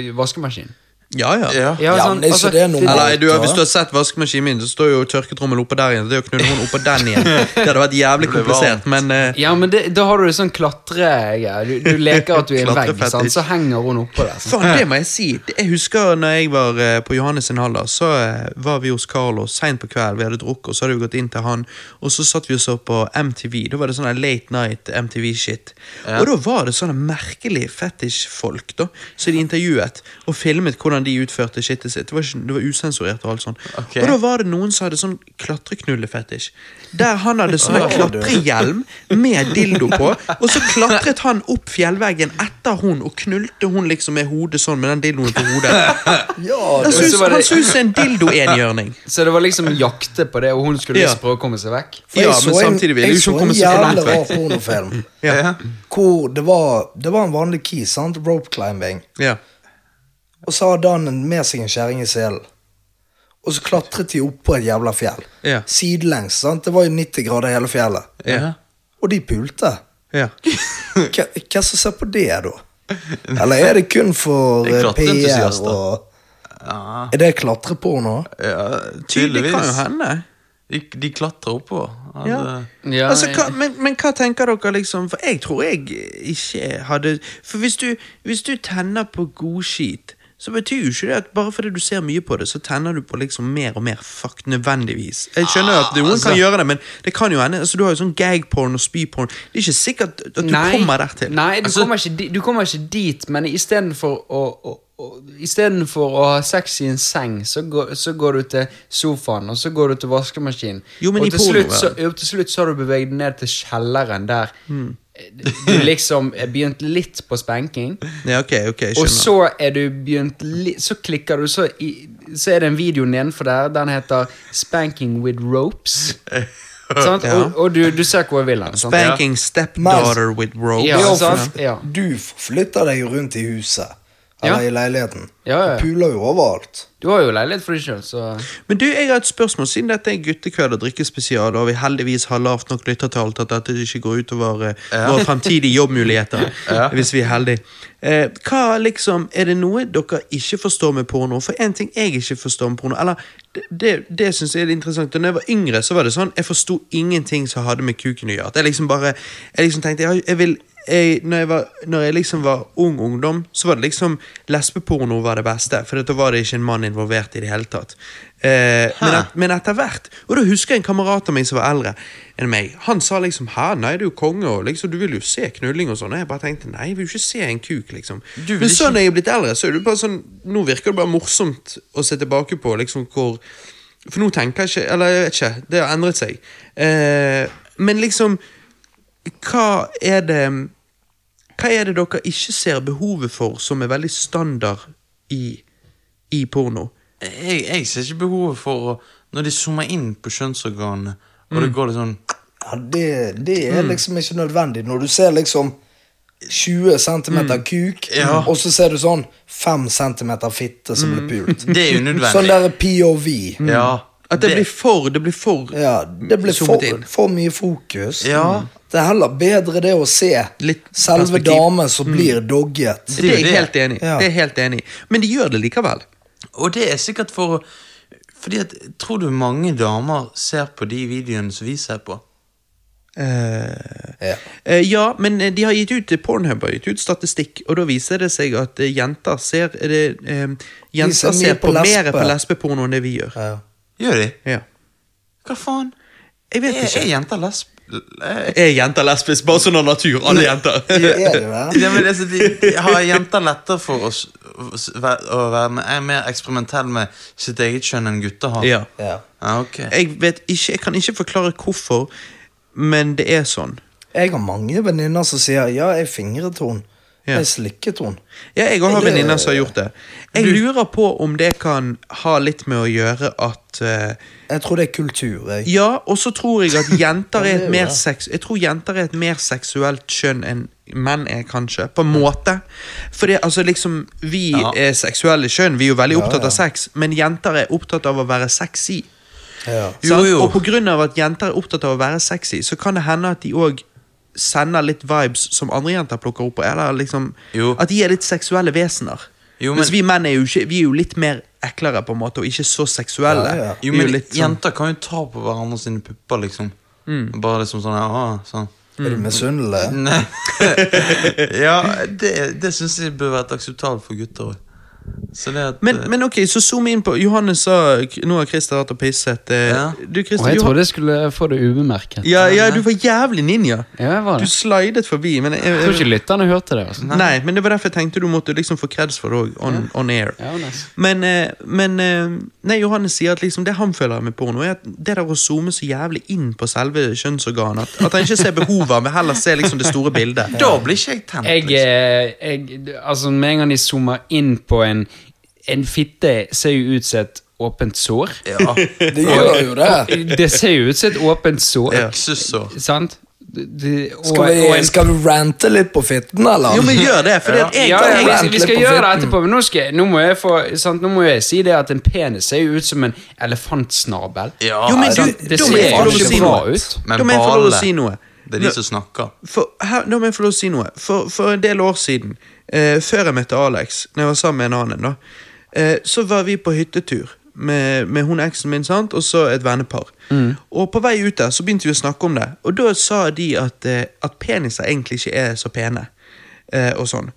eh, vaskemaskinen.
Ja, ja.
Ja.
Ja,
Ja,
sånn,
men det er ikke
altså,
det normalt,
Eller, du, hvis
da?
du har sett vaskemaskinen min, så står jo tørketrommelen oppå der igjen. Det er å knulle hun oppå den igjen. Det hadde vært jævlig
Det blir
komplisert, men eh,
Ja, men det, da har du det sånn klatre-greie. Du, du leker at du er en vegg,
Klatrefetisj.
sant? så henger hun oppå der. sant?
Faen, det må jeg si. Det- Jeg husker når jeg var eh, på Johannes sin alder, så eh, var vi hos Carlo seint på kvelden. Vi hadde drukket, og så hadde vi gått inn til han, og så satt vi og så på MTV. Da var det sånn der late night MTV-shit. Og da var det sånne merkelige fetisj-folk, da, som de intervjuet og filmet hvordan de utførte shitet sitt. Det var, ikke, det var usensurert og alt sånt.
Ok.
Og da var det noen som hadde sånn klatreknullefetisj. Der han hadde sånn
Å, du.
klatrehjelm med dildo på, og så klatret han opp fjellveggen etter hun og knulte hun liksom med hodet sånn med den dildoen på hodet.
Ja,
Han
du,
synes,
så var det-
han synes en dildoenhjørning.
Så det var liksom jakte på det, og hun skulle
Ja.
liksom prøve å komme seg vekk.
for jeg
Ja,
så
men
en-
samtidig vil
jeg
du ikke
så
komme
en
så langt
jævlig rar
vekk.
pornofilm.
Ja.
Hvor det var, det var en vanlig key, sant? Rope climbing.
Ja.
Og så hadde han en- med seg en kjerring i selen. Og så klatret de opp på et jævla fjell.
Ja.
Sidelengs. sant? Det var jo 90 grader hele fjellet.
Ja.
Og de pulte.
Ja.
Hva hva som ser på det, da? Eller er det kun for
Det er
eh, PR
klatreentusiaster.
og
Ja,
Er det klatreporno?
ja
Det kan jo
tydeligvis.
hende.
De, de klatrer oppover. Ja,
Ja.
det-
Ja,
altså, hva,
jeg-
men, men hva tenker dere, liksom? For jeg tror jeg ikke hadde For hvis du, hvis du tenner på god skit, så betyr jo ikke det at bare fordi du ser mye på det, så tenner du på liksom mer og mer fuck nødvendigvis. Jeg skjønner at noen
altså.
kan gjøre det, men det kan jo hende. Altså, du har jo sånn gagporn og spyporn. Det er ikke sikkert at du kommer dertil.
Nei, du,
Altså-
kommer ikke, di- du kommer ikke dit, men istedenfor å, å å- Istedenfor å ha sex i en seng, så går, så går du til sofaen, og så går du til vaskemaskinen.
Jo, men
og
i
til
porno,
slutt, så, jo, til slutt så har du beveget deg ned til kjelleren, der
Hmm.
du liksom er begynt litt på spenking.
Ja, ok, ok, jeg
Og
skjønner.
så er du begynt li Så klikker du, så, i, så er det en video nedenfor der. Den heter 'Spanking with ropes'. sant?
Ja.
Og, og du, du ser hvor jeg vil hen. sant?
Banking stepdaughter with ropes.
Ja, altså-
Ja,
sant? Ja.
Du flytter deg jo rundt i huset. Eller
Ja.
i leiligheten.
Ja, ja, ja.
Du puler jo overalt.
Du har jo leilighet for deg sjøl, så
Men du, jeg har et spørsmål. Siden dette er en guttekveld og drikkespesial, og vi heldigvis har lavt nok lyttertall til at dette ikke går utover eh, våre fremtidige jobbmuligheter, hvis vi er heldige. Eh, hva liksom, Er det noe dere ikke forstår med porno? For én ting jeg ikke forstår med porno Eller det, det, det syns jeg er litt interessant. Da jeg var yngre, så var det sånn jeg forsto ingenting som hadde med kuken å gjøre. At Jeg liksom bare, jeg liksom tenkte jeg, jeg vil jeg, når, jeg var, når jeg liksom var ung ungdom, så var det liksom lesbeporno var det beste. For da var det ikke en mann involvert i det hele tatt. Eh, men, at, men etter hvert Og da husker jeg en kamerat av meg som var eldre enn meg. Han sa liksom 'Hæ, nei, du er jo konge, og liksom, du vil jo se knulling' og sånn. Og jeg bare tenkte 'Nei, jeg vil jo ikke se en kuk', liksom.
Du vil
Men så
ikke-
når jeg er blitt eldre, så er det bare sånn Nå virker det bare morsomt å se tilbake på liksom hvor For nå tenker jeg ikke Eller jeg vet ikke. Det har endret seg. Eh, men liksom hva er det Hva er det dere ikke ser behovet for som er veldig standard i, i porno?
jeg, jeg ser ikke behovet for å Når de zoomer inn på kjønnsorganene, og
Mm.
det går litt sånn
Ja, det, det er liksom ikke nødvendig. Når du ser liksom 20 cm kuk,
Ja.
og så ser du sånn 5 cm fitte som blir pult.
Det er unødvendig.
Sånn der POV.
Ja.
mm. At det, blir for Det blir for
Ja, det blir for,
Zoomet inn.
for mye fokus.
Ja.
Det er heller bedre det å se
Litt
selve
perspektiv.
damen som blir dogget.
Det er
det.
jeg helt enig i.
Ja.
Det er jeg helt enig i. Men de gjør det likevel.
Og det er sikkert for å Fordi at Tror du mange damer ser på de videoene som vi ser på?
Eh,
Ja.
eh, ja, men eh, de har gitt ut Pornhub har gitt ut statistikk, og da viser det seg at eh, jenter ser er det, eh, Jenter
ser
ser,
mye på
på, mer
lesbe.
på lesbeporno enn det vi gjør.
Ja.
Gjør de?
Ja.
Hva faen?
Jeg vet
Er,
ikke.
er jenter lesb... Eh,
Er jenter lesbiske? Bare sånn av natur. Alle jenter.
Er det det?
Ja, men altså, de, de har jenter lettere for å, s- å s- væ- å være med, er mer eksperimentell med sitt eget kjønn enn gutter har?
Ja.
Ja.
ja ok.
Jeg vet ikke, jeg kan ikke forklare hvorfor, men det er sånn.
Jeg har mange venninner som sier 'ja, jeg fingret henne'.
Ja.
Jeg slikket henne.
Ja, jeg har
Det-
venninner som har gjort det. Jeg lurer på om det kan ha litt med å gjøre at eh,
Jeg tror det er kultur. Jeg.
Ja, og så tror jeg at jenter er
det er
et
jo
mer
det.
seks... Jeg tror jenter er et mer seksuelt kjønn enn menn er, kanskje. På en måte. For det, altså, liksom, vi
Ja.
er seksuelle kjønn, vi er jo veldig opptatt
ja.
av sex, men jenter er opptatt av å være sexy.
Ja.
Jo,
Sant?
jo.
Og på grunn av at jenter er opptatt av å være sexy, så kan det hende at de òg sender litt vibes som andre jenter plukker opp på. Eller liksom
Jo.
At de er litt seksuelle vesener.
Jo,
Mens
men-
vi menn er jo, ikke, vi er jo litt mer eklere, på en måte, og ikke så seksuelle.
Ja, ja.
Jo,
Vi er
men
litt sånn-
jenter kan jo ta på hverandre sine pupper, liksom.
Mm.
Bare liksom sånn ja, sånn.
Er du misunnelig?
Nei. ja, det, det syns jeg bør være akseptabelt for gutter òg. Så det at
Men,
eh,
men ok, så zoom inn på Johannes sa k- Nå har Christer vært og pisset. eh,
Ja.
Du, Christer,
Og jeg
Johan-
trodde jeg skulle få det ubemerket.
ja, ja, du var jævlig ninja.
Ja, jeg var
Du
det.
slidet forbi. Men jeg,
Jeg
jeg,
tror ikke lytterne hørte det. Altså.
nei, men det var derfor jeg tenkte du måtte liksom få kreds for det òg, on, on air.
Ja, altså. nice.
Men, eh, men eh, Nei, Johannes sier at liksom det han føler med porno, er at det der å zoome så jævlig inn på selve kjønnsorganet, at, at han ikke ser behovet, men heller ser liksom det store bildet.
Da blir ikke jeg tent.
Jeg, eh, jeg Altså, med en gang de zoomer inn på en En fitte, ser jo ut som et åpent sår.
liksom.
Det gjør jo det.
Det ser jo ut som et åpent sår.
Ja. Øksesår.
Sant? Det- det- og-
Skal
og
vi,
en-
skal vi rante litt på fitten, eller?
Jo, men gjør det, for
Ja,
jeg,
ja,
kan
vi-
vente
vi
litt
skal
på
gjøre det
fitten.
etterpå, men nå, skal, jeg- nå, må jeg få, sant, nå må jeg si det at en penis ser jo ut som en elefantsnabel.
eh, Ja, altså,
Jo, men
Nei,
du,
sant.
Det
da
ser
må jeg få lov
jo
å si
ikke bra
noe.
ut.
Da må jeg få lov å si
balene,
noe.
Det er de som snakker.
For, her, nå må jeg få lov å si noe. For, for en del år siden, eh, før jeg møtte Alex, når jeg var sammen med en annen, da, eh, så var vi på hyttetur med, med hun eksen min sant? og så et vennepar. Og på vei ut der så begynte vi å snakke om det, og da sa de at, eh, at peniser egentlig ikke er så pene. Eh, og sånn.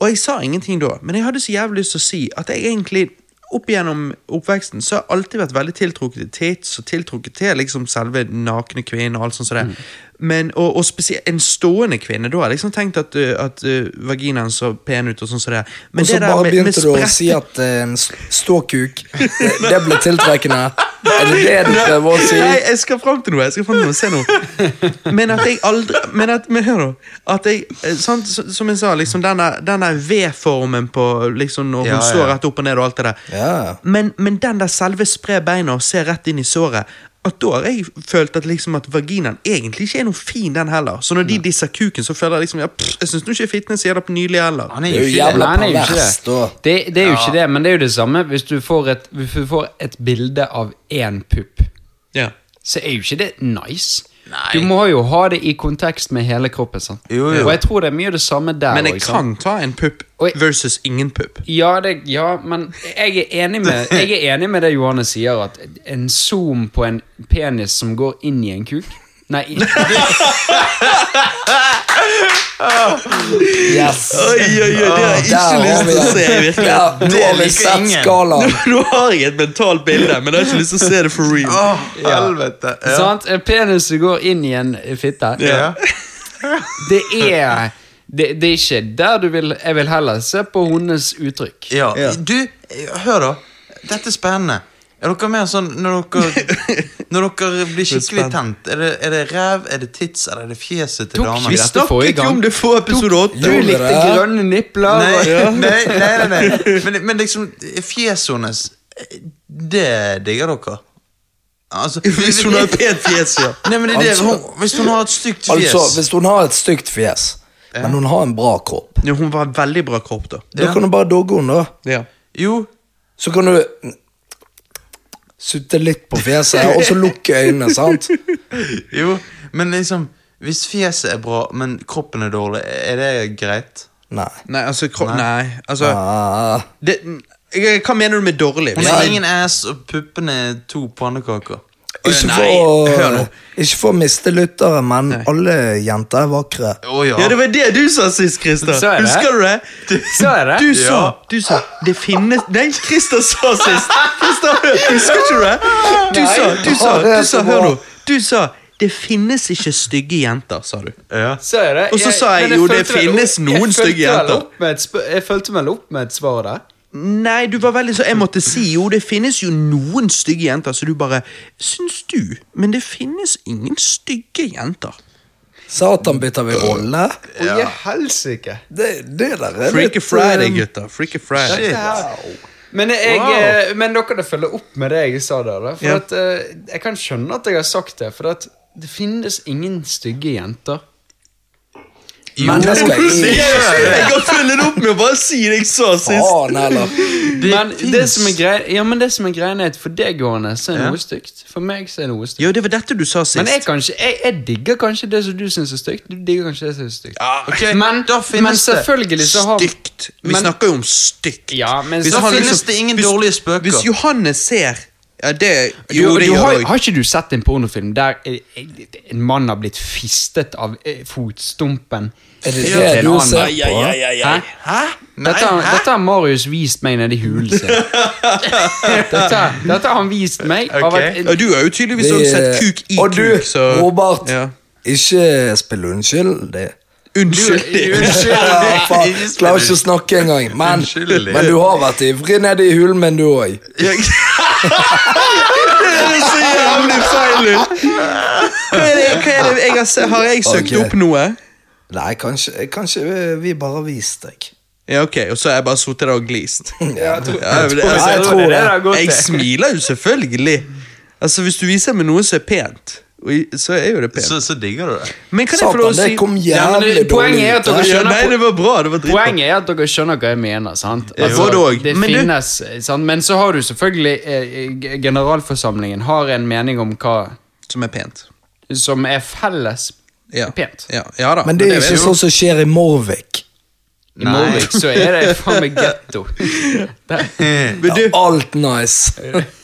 Og jeg sa ingenting da, men jeg hadde så jævlig lyst til å si at jeg egentlig opp gjennom oppveksten så har jeg alltid vært veldig tiltrukket til tits og tiltrukket til liksom selve nakne kvinner. Og alt sånt som det.
Mm.
Men, og, og spesielt en stående kvinne. Da har jeg liksom tenkt at, uh, at uh, vaginaen så pen ut. og sånn som det. Men
Og så
det der
bare
med- med
begynte du å
sprette-
si at eh, en s- ståkuk Det det ble tiltrekkende. Er det det du prøver å si?
Nei, jeg skal fram til noe. jeg skal fram til noe, se nå Men at jeg aldri Men, at, men hør nå. At jeg, eh, sant, så- Som jeg sa, liksom denne, denne V-formen på liksom, når hun
Ja, ja.
står rett opp og ned og alt det der.
Ja.
Men, men den der selve spre beina og se rett inn i såret at Da har jeg følt at, liksom, at vaginaen egentlig ikke er noe fin, den heller. Så når de disser kuken, så føler jeg liksom ja, pff, Jeg syns ikke fitten sier det på nydelig heller.
Han er
Det
jo
er jo
ikke
jævla
Nei, han er jo ikke
pervers,
det.
da.
Det, det er jo ikke det, men det er jo det samme hvis du får et, hvis du får et bilde av én pupp.
Ja.
Så er jo ikke det nice.
Nei.
Du må jo ha det i kontekst med hele kroppen. Sant?
Jo, jo.
Og jeg tror det er mye det samme der.
Men jeg
også, sant?
kan ta en pupp
Oi.
versus ingen pupp.
Ja, det, ja, men jeg er, enig med, jeg er enig med det Johanne sier, at en zoom på en penis som går inn i en kuk Nei, i-
Yes.
oi, det har jeg
Der har vi det. Ja, nå
Det
liksom
har vi
liker
sett
ingen.
skalaen.
Nå har jeg et mentalt bilde, men jeg har ikke lyst til å se det for real.
Å, helvete. Ja.
sant? En penis som går inn i en fitte.
Ja.
Det er det, det er ikke der du vil Jeg vil heller se på hundenes uttrykk.
Ja. Du, hør da. Dette er spennende. Er dere mer sånn når dere, når dere blir skikkelig tent? Er det, er det ræv, er det tits, eller er det fjeset til
Tok
damer?
vi
Vi
Dette forrige
snakket jo
gang.
om det få episode åtte.
Du
Gjorde
likte
det?
grønne nipler.
Nei,
og-
nei, nei, nei, nei. Men, men liksom, fjeset hennes Det digger dere. Altså
Hvis hun har et pent fjes, ja.
Nei, men det er det,
Altså-
hun, Hvis hun har et stygt fjes
Altså, hvis hun har et stygt fjes, men hun har en bra kropp,
Ja, Hun var veldig bra kropp, da.
da
Ja.
kan du bare dogge henne, da.
Ja.
Jo,
Så kan du sutte litt på fjeset, og så lukke øynene, sant?
jo. Men liksom Hvis fjeset er bra, men kroppen er dårlig, er det greit?
Nei.
Nei, altså kro Nei, altså
Ah.
det, jeg- Hva mener du med dårlig?
Hun har ingen ass, og puppene er to pannekaker.
Ikke
Nei,
for,
hør nå.
å, ikke for å miste lyttere, men alle jenter er vakre.
Å ja.
Ja, det var det du sa sist, Christer.
Så er det.
Husker du det? Du,
Så er det.
du sa Du sa Det finnes Nei, Christer sa sist. Christer, hør, husker ikke du det? Du sa, du sa,
Ja, det er
du sa
så
Hør
bra.
nå. Du sa Det finnes ikke stygge jenter, sa du.
Ja.
Så er det.
Og så sa jeg
men
jo, det
fulgte vel
finnes
opp-
noen
jeg fulgte
stygge
vel
jenter.
opp med et sp- Jeg fulgte vel opp med et svar der.
Nei, du var veldig så Jeg måtte si jo, det finnes jo noen stygge jenter, så du bare Syns du? Men det finnes ingen stygge jenter.
Satan, bytter vi rolle?
Å, i helsike!
Det, det der er
Freaky
litt,
Friday,
eh,
gutter. Freaky Friday.
Shit.
Men, jeg,
Wow.
eh, men dere det følger opp med det jeg sa der. da, For
Ja.
at, eh, jeg kan skjønne at jeg har sagt det, for at det finnes ingen stygge jenter.
Mennesker er
Jeg kan følge det opp med å bare si det jeg sa sist.
Faen heller.
Men det som er greia Ja, men det som er greia er at for deg, Gående, så er
Ja.
noe stygt. For meg så er noe stygt.
Ja, det var dette du sa sist.
Men jeg, kanskje, jeg, jeg digger kanskje det som du syns er stygt. Du digger kanskje det som er stygt.
ok,
men,
da
men
finnes det.
selvfølgelig så har
Stygt. Vi
Men-
snakker jo om stygt.
Ja, men
Hvis
så
han
finnes
liksom-
det ingen
hvis-
dårlige spøker.
Hvis Johannes ser Ja, det
Du,
jo, det
du
gjør
har,
jeg.
har ikke du sett en pornofilm der eh, eh, en mann har blitt fistet av eh, fotstumpen
Er det
til
det
en
du
annen?
ser på?
Hæ?
Hæ? Nei,
Dette, har-
hæ?
dette har Marius vist meg nede i hulen sin. dette, dette har han vist meg. Av
Ok.
at,
Ja, du har jo tydeligvis
Det-
også sett kuk i
Og du,
kuk, så
Robert,
ja.
ikke spill unnskyld.
Unnskyld.
Ja, faen,
Ikke spill
klarer ikke å snakke engang. Men,
Unnskyld.
men du har vært ivrig nede i hulen, men du òg.
Det ser jævlig feil ut! Hva er det, hva er det jeg har, se- har jeg søkt
Ok.
opp noe?
Nei, kanskje, kanskje vi- vi bare har vist deg.
Ja, ok, Og så har jeg bare sittet der og glist. Ja,
Ja,
men det-
jeg
altså,
tror det.
Jeg smiler jo selvfølgelig. Altså, Hvis du viser meg noe som er pent, og i- så er jo det pent.
Så, så digger du det.
Men kan jeg få lov å
Satan,
si
det kom
Ja, men det-
jævlig dårlig
poenget er at dere
ut. der.
ja,
skjønner
Nei, det var bra. det var dritbra.
Poenget er at dere skjønner hva jeg mener. sant? Altså,
Ja, både og.
det
Men du-
finnes, eh, sant? Men så har du selvfølgelig eh, g- Generalforsamlingen har en mening om hva
Som er pent.
som er felles
Ja.
pent.
Ja, ja da.
Men det er
vet
ikke
jeg.
sånn som skjer i Morvik.
I Morvik så er det faen meg getto. Det,
Men du,
Alt nice.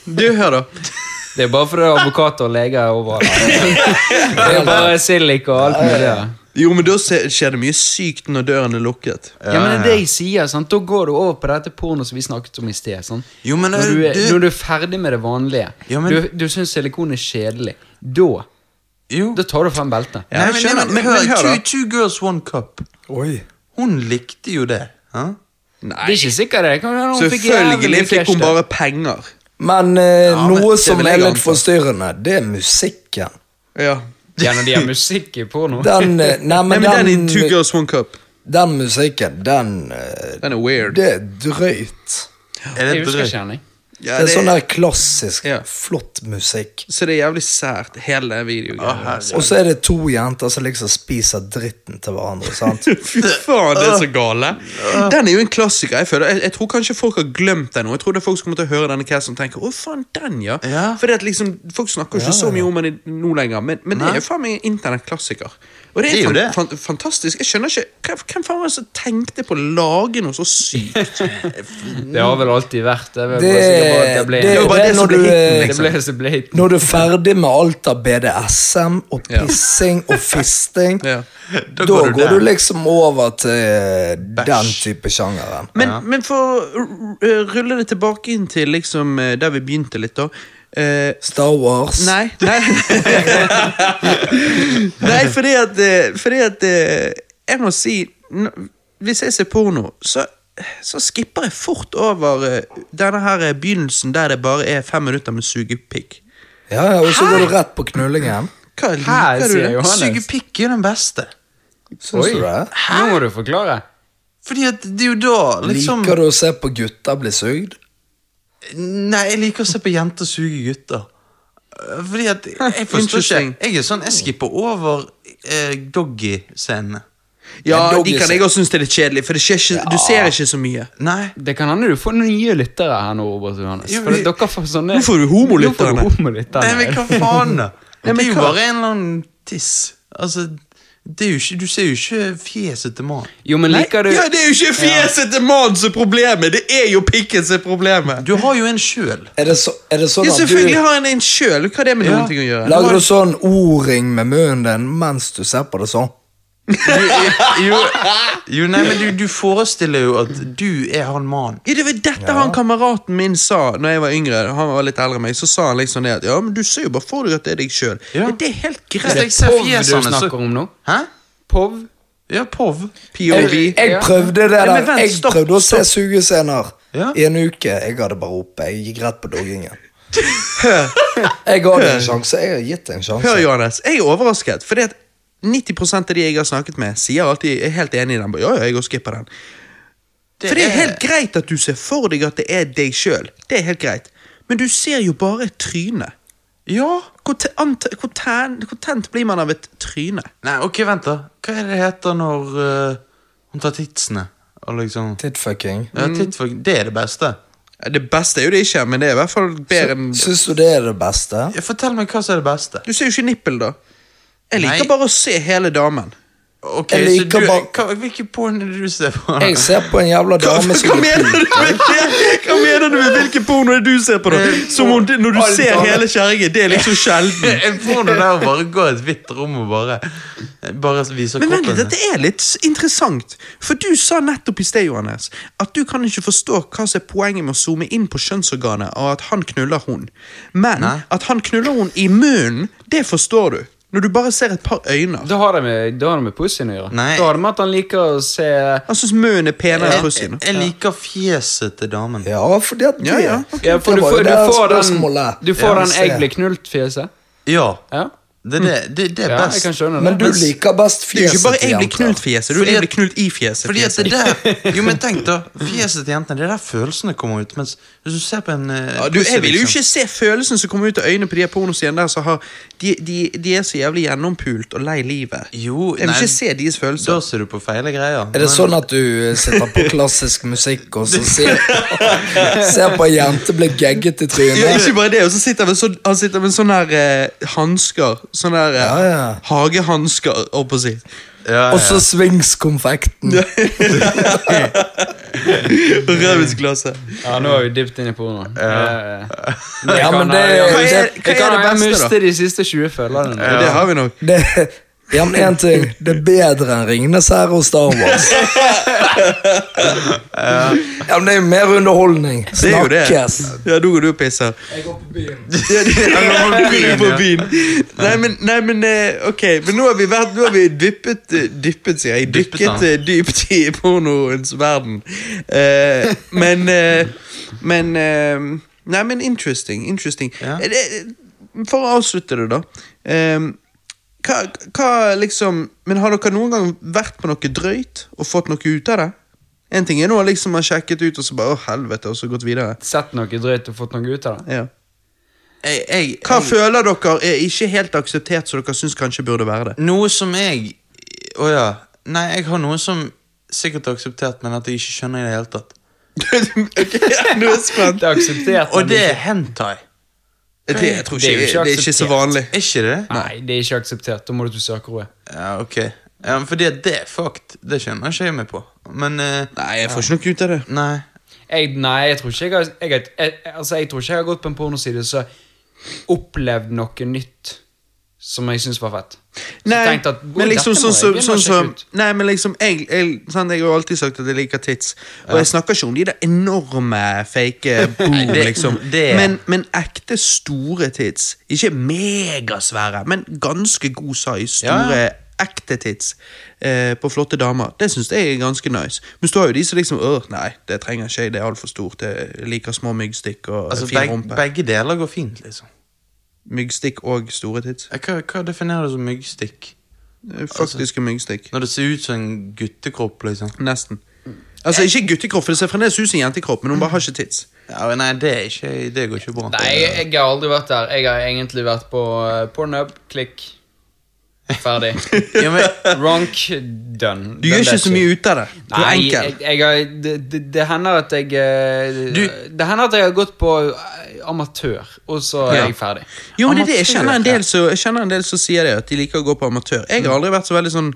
du, hør, da.
det er bare fordi det er advokater og leger er overalt. Det er bare sillik og alt mulig. Ja.
Jo, men da se- skjer det mye sykt når døren er lukket.
Ja, men det er det jeg sier, sant? Da går du over på dette porno som vi snakket om i sted. sant?
Jo, men
når, du er,
du-
når du er ferdig med det vanlige,
Ja, men-
du, du syns silikon er kjedelig, da
Jo.
Da tar du frem beltet.
Ja,
Nei,
jeg
men,
skjønner,
nei, men,
men-
hør,
men hør da.
two, two girls, one cup.
Oi.
Hun likte jo det. hæ?
Det er ikke sikkert det. Kan hende hun fikk
Selvfølgelig
jævlig
fikk hun
cash, da.
bare penger.
Men eh,
Ja, men
noe
det
som
vil
er
jeg
litt
anta.
forstyrrende, det er musikken.
Ja.
Ja, når de har musikk i porno.
Den, eh, nei,
Nei,
men
men den i Two
den,
Girls One Cup,
den musikken, den eh,
den er weird.
Det er drøyt.
Er
Jeg
det
husker
drøyt?
ikke henne.
Ja,
Det er
det-
sånn der klassisk,
Ja.
flott musikk.
Så det er jævlig sært, hele
Å,
videoen.
herregud.
Og så er det to jenter som liksom spiser dritten til hverandre. sant?
Fy faen, det er så gale. Den er jo en klassiker. Jeg føler, jeg, jeg tror kanskje folk har glemt den. nå. Jeg tror det er folk som kommer til å høre denne casten og tenker 'Å, faen, den, ja'.
Ja.
Fordi at liksom, Folk snakker ikke så mye om den i- nå lenger, men, men det er jo faen meg en internettklassiker. Og det
Det er
er,
jo
fan,
det.
Fan, fantastisk. Jeg skjønner ikke hvem- Hvem faen var det som tenkte på å lage noe så sykt?
Det har vel alltid vært det. vel,
Det,
bare sikkert bare at det ble-
det,
var bare
det
det
er
som
når
ble
du,
hiten,
eh,
det ble så ble hit.
når du er ferdig med alt av BDSM og
Ja.
pissing og fisting,
Ja.
da
går
går
du
du,
der.
liksom over til eh, den type sjangeren.
Men, men for å r- r- rulle det tilbake inn til liksom, eh, der vi begynte litt, da. Eh,
Star Wars.
Nei. Nei, nei fordi at, eh, fordi at eh, Jeg må si n- Hvis jeg ser porno, så, så skipper jeg fort over eh, denne her eh, begynnelsen der det bare er fem minutter med sugepikk.
Ja, ja, Og så går du rett på knullingen.
Hva
Her
liker du
sier
det?
Johannes.
Sugepikk er jo den beste.
Syns du det?
Nå må du forklare.
Fordi at det er jo da liksom
Liker du å se på gutter bli sugd?
Nei, jeg liker å se på jenter suge gutter. Eh, Fordi at Jeg forstår ikke.
Interesting.
Jeg er sånn, jeg skipper over eh, doggy-scenene.
Ja,
Men
de kan jeg også synes det er litt kjedelig, for det skjer ikke, du ser ikke så mye.
Nei.
Det kan hende du får noen nye lyttere her nå, Robert og Johannes.
Jo,
For
vi-
dere får sånne...
Nå får du homolytterne.
Nå får du homolytterne.
Nei, men hva faen, da? Det
men
er jo
hva-
bare en eller annen tiss. Altså, det er jo ikke, du ser jo ikke fjeset til mannen.
Jo, men liker du...
Ja, Det er jo ikke fjeset til mannen som er problemet, det er jo pikken som er problemet.
Du har jo en sjøl.
Er det, så, er det sånn
Ja,
at
selvfølgelig
du
har han en sjøl, hva har det med
Ja.
noen ting å gjøre?
lager du sånn O-ring med munnen din mens du ser på det sånn?
Jo, jo, nei, men du, du forestiller jo at du er han mannen.
Ja, det var dette han kameraten min sa Når jeg var yngre. Han var litt eldre enn meg. Så sa han liksom det at Ja, men du ser jo bare for deg at det er deg sjøl.
Ja.
Det er helt
Hvis
greit.
jeg ser
POV
fjesene,
du
så-
snakker om nå?
Hæ?
POV?
Ja, POV.
POV.
Jeg, jeg
Ja.
prøvde det
men
der.
vent,
Jeg
stopp,
prøvde å se sugescener
Ja.
i en uke. Jeg ga det bare opp. Jeg gikk rett på doggingen. Jeg ga det en sjanse. Jeg har gitt det en
Hør,
sjanse.
Johannes. Jeg er overrasket. Fordi at 90 av de jeg har snakket med, sier alltid er helt enig i den. Ja, ja, jeg går skipper den. For det er helt greit at du ser for deg at det er deg sjøl. Det er helt greit. Men du ser jo bare trynet. Ja, hvor, te- ant- hvor, ten, hvor tent blir man av et tryne?
Nei, ok, vent, da. Hva er det det heter når eh, hun tar titsene? Og liksom
Tittfucking.
Ja, tittfolk. Det er det beste.
Ja, Det beste er jo det ikke, men det er i hvert fall bedre enn
Syns du det er det beste?
Ja, fortell meg hva som er det beste.
Du ser jo ikke nippel, da. Jeg liker
Nei.
bare å se hele damen.
Ok,
Jeg
så
liker
du,
bare-
hva, Hvilken porn er det du ser på?
Jeg ser på en jævla
Hva,
dame som
hva, mener du med, det? hva mener du med hvilken porno er det du ser på, da? Som om det, når du
Alle
ser
damer.
hele kjerringen. Det er liksom sjelden.
En porno der å bare gå i et hvitt rom og bare Bare viser
Men vent
kroppen
litt, dette er litt s- interessant. For du sa nettopp i sted, Johannes, at du kan ikke forstå hva som er poenget med å zoome inn på kjønnsorganet av at han knuller hun. Men
Nei.
at han knuller hun i munnen, det forstår du. Når du bare ser et par øyne.
Da har det med, da har det med pussyen å gjøre.
Nei.
Da har det med at han liker å se
Han syns munnen er penere enn
Jeg,
pussyen.
jeg liker fjeset til damen.
Ja, fordi at det
Ja, ja.
ja, for du,
det var jo
får- du
det
får
spørsmålet.
den Du får
Ja,
den
se.
'jeg blir knult'-fjeset.
Ja.
Ja.
Det, er det, det, det er
ja, jeg
best.
kan skjønne det.
Men du liker best
Det er jo ikke
fjeset
bare
til
'jeg blir
jenter.
knult-fjeset', du er
Fordi
'jeg
at-
blir knult i fjeset'.
Fordi at det der Jo, men tenk, da. Fjeset til jentene. Det er der følelsene kommer ut. Mens hvis du ser på en eh,
Ja, du,
pussy,
jeg vil jo
liksom.
ikke se følelsen som kommer ut av øynene på de her pornostjernene der som har de, de, de er så jævlig gjennompult og lei livet.
Jo,
jeg vil
nei,
ikke se deres følelser.
Da ser du på feile greier.
Er det sånn at du eh, sitter på klassisk musikk og så ser, ser på ei jente bli gegget i
Ja,
trynet?
ikke bare det, og så sitter han med sånn, han sitter med sånn der eh, hansker. Sånn der eh,
Ja, ja.
hagehansker, holdt på å si.
ja,
Og så svings konfekten.
Rødvinsglasset.
Ja, nå er vi dypt inn i pornoen. Ja.
Ja, men det-
Hva er- hva er
det
det
Jeg
beste, da?
mister de siste 20 følgerne.
Ja. Det har vi nok.
Det, ja, men én ting. Det er bedre enn Ringenes herre og Star Wars. Ja, men det er jo mer underholdning.
Det er jo det.
Snakkes.
Ja, nå går du og pisser.
Jeg går på byen.
Ja, det-
Ja, nå går vi på
På byen. Nei, men, nei, men eh, ok, men nå har vi vært Nå har vi dyppet eh, Dyppet, sier jeg.
Dyppet,
Dykket eh, dypt i pornoens verden. Eh, men eh, Men eh, Nei, men interesting. Interesting.
Ja.
Eh, det- For å avslutte det, da. eh, hva, hva liksom Men har dere noen gang vært på noe drøyt og fått noe ut av det? En ting er nå liksom man sjekket ut og så bare Å, helvete, og så gått videre.
Sett noe drøyt og fått noe ut av det.
Ja.
jeg, jeg,
Hva
jeg,
føler dere er ikke helt akseptert, som dere syns kanskje burde være det?
Noe som jeg Å ja. Nei, jeg har noe som sikkert er akseptert, men at jeg ikke skjønner i det hele tatt.
Ok, Nå er jeg spent.
Det er akseptert.
Og
men
det
ikke-
er hentai.
Det, jeg tror ikke,
Det er jo ikke
det er ikke så
akseptert.
vanlig.
Er ikke det?
Nei, det er ikke akseptert. Da må du til søkerordet.
Ja, ok. Ja, men fordi at det er fucked. Det skjønner ikke jeg meg på. Men eh,
Nei, jeg får ikke noe ut av det.
Nei.
Jeg, nei, jeg tror ikke jeg har jeg, har- jeg, Altså, jeg tror ikke jeg har gått på en pornoside og så opplevd noe nytt som jeg syns var fett. Så
Nei,
tenkte at, «Oi,
men liksom
dette må
sånn som
jeg begynne å
sånn
sjekke
som-
ut».
Nei, men liksom Jeg, jeg, sant, jeg har jo alltid sagt at jeg liker tits. Og jeg snakker ikke om de der enorme fake boom,
det-
liksom.
det-
Men, men ekte store tits. Ikke megasvære, men ganske god size. Store,
Ja, ja.
ekte tits eh, på flotte damer. Det syns jeg er ganske nice. Men så har jo de som liksom Øh, nei, det trenger ikke jeg, det er altfor stort. Jeg liker små myggstikk og
Altså,
fin
beg,
rumpe.
begge deler går fint, liksom.
Myggstikk og store tits.
Eh, Hva, hva definerer du som myggstikk?
Altså-
Faktiske myggstikk.
Når det ser ut som en guttekropp, liksom.
Nesten. Altså Ikke guttekropp, for det ser fremdeles ut som jentekropp, men hun bare har ikke tits.
Ja, nei, det, er ikke, det går ikke bra.
Nei, jeg, jeg har aldri vært der. Jeg har egentlig vært på eh, Pornhub. Klikk. Ferdig.
Ja, men,
Ronk. Done.
Du gjør ikke så mye ut av det. Du er
Nei, jeg,
enkel.
jeg, har- det, det, det hender at jeg eh,
Du-
Det hender at jeg har gått på eh, amatør, og så er
Ja.
jeg ferdig.
Jo, men det er det. Jeg
Amatør,
kjenner en del som- jeg kjenner en del som sier det, at de liker å gå på amatør. Jeg har aldri vært så veldig sånn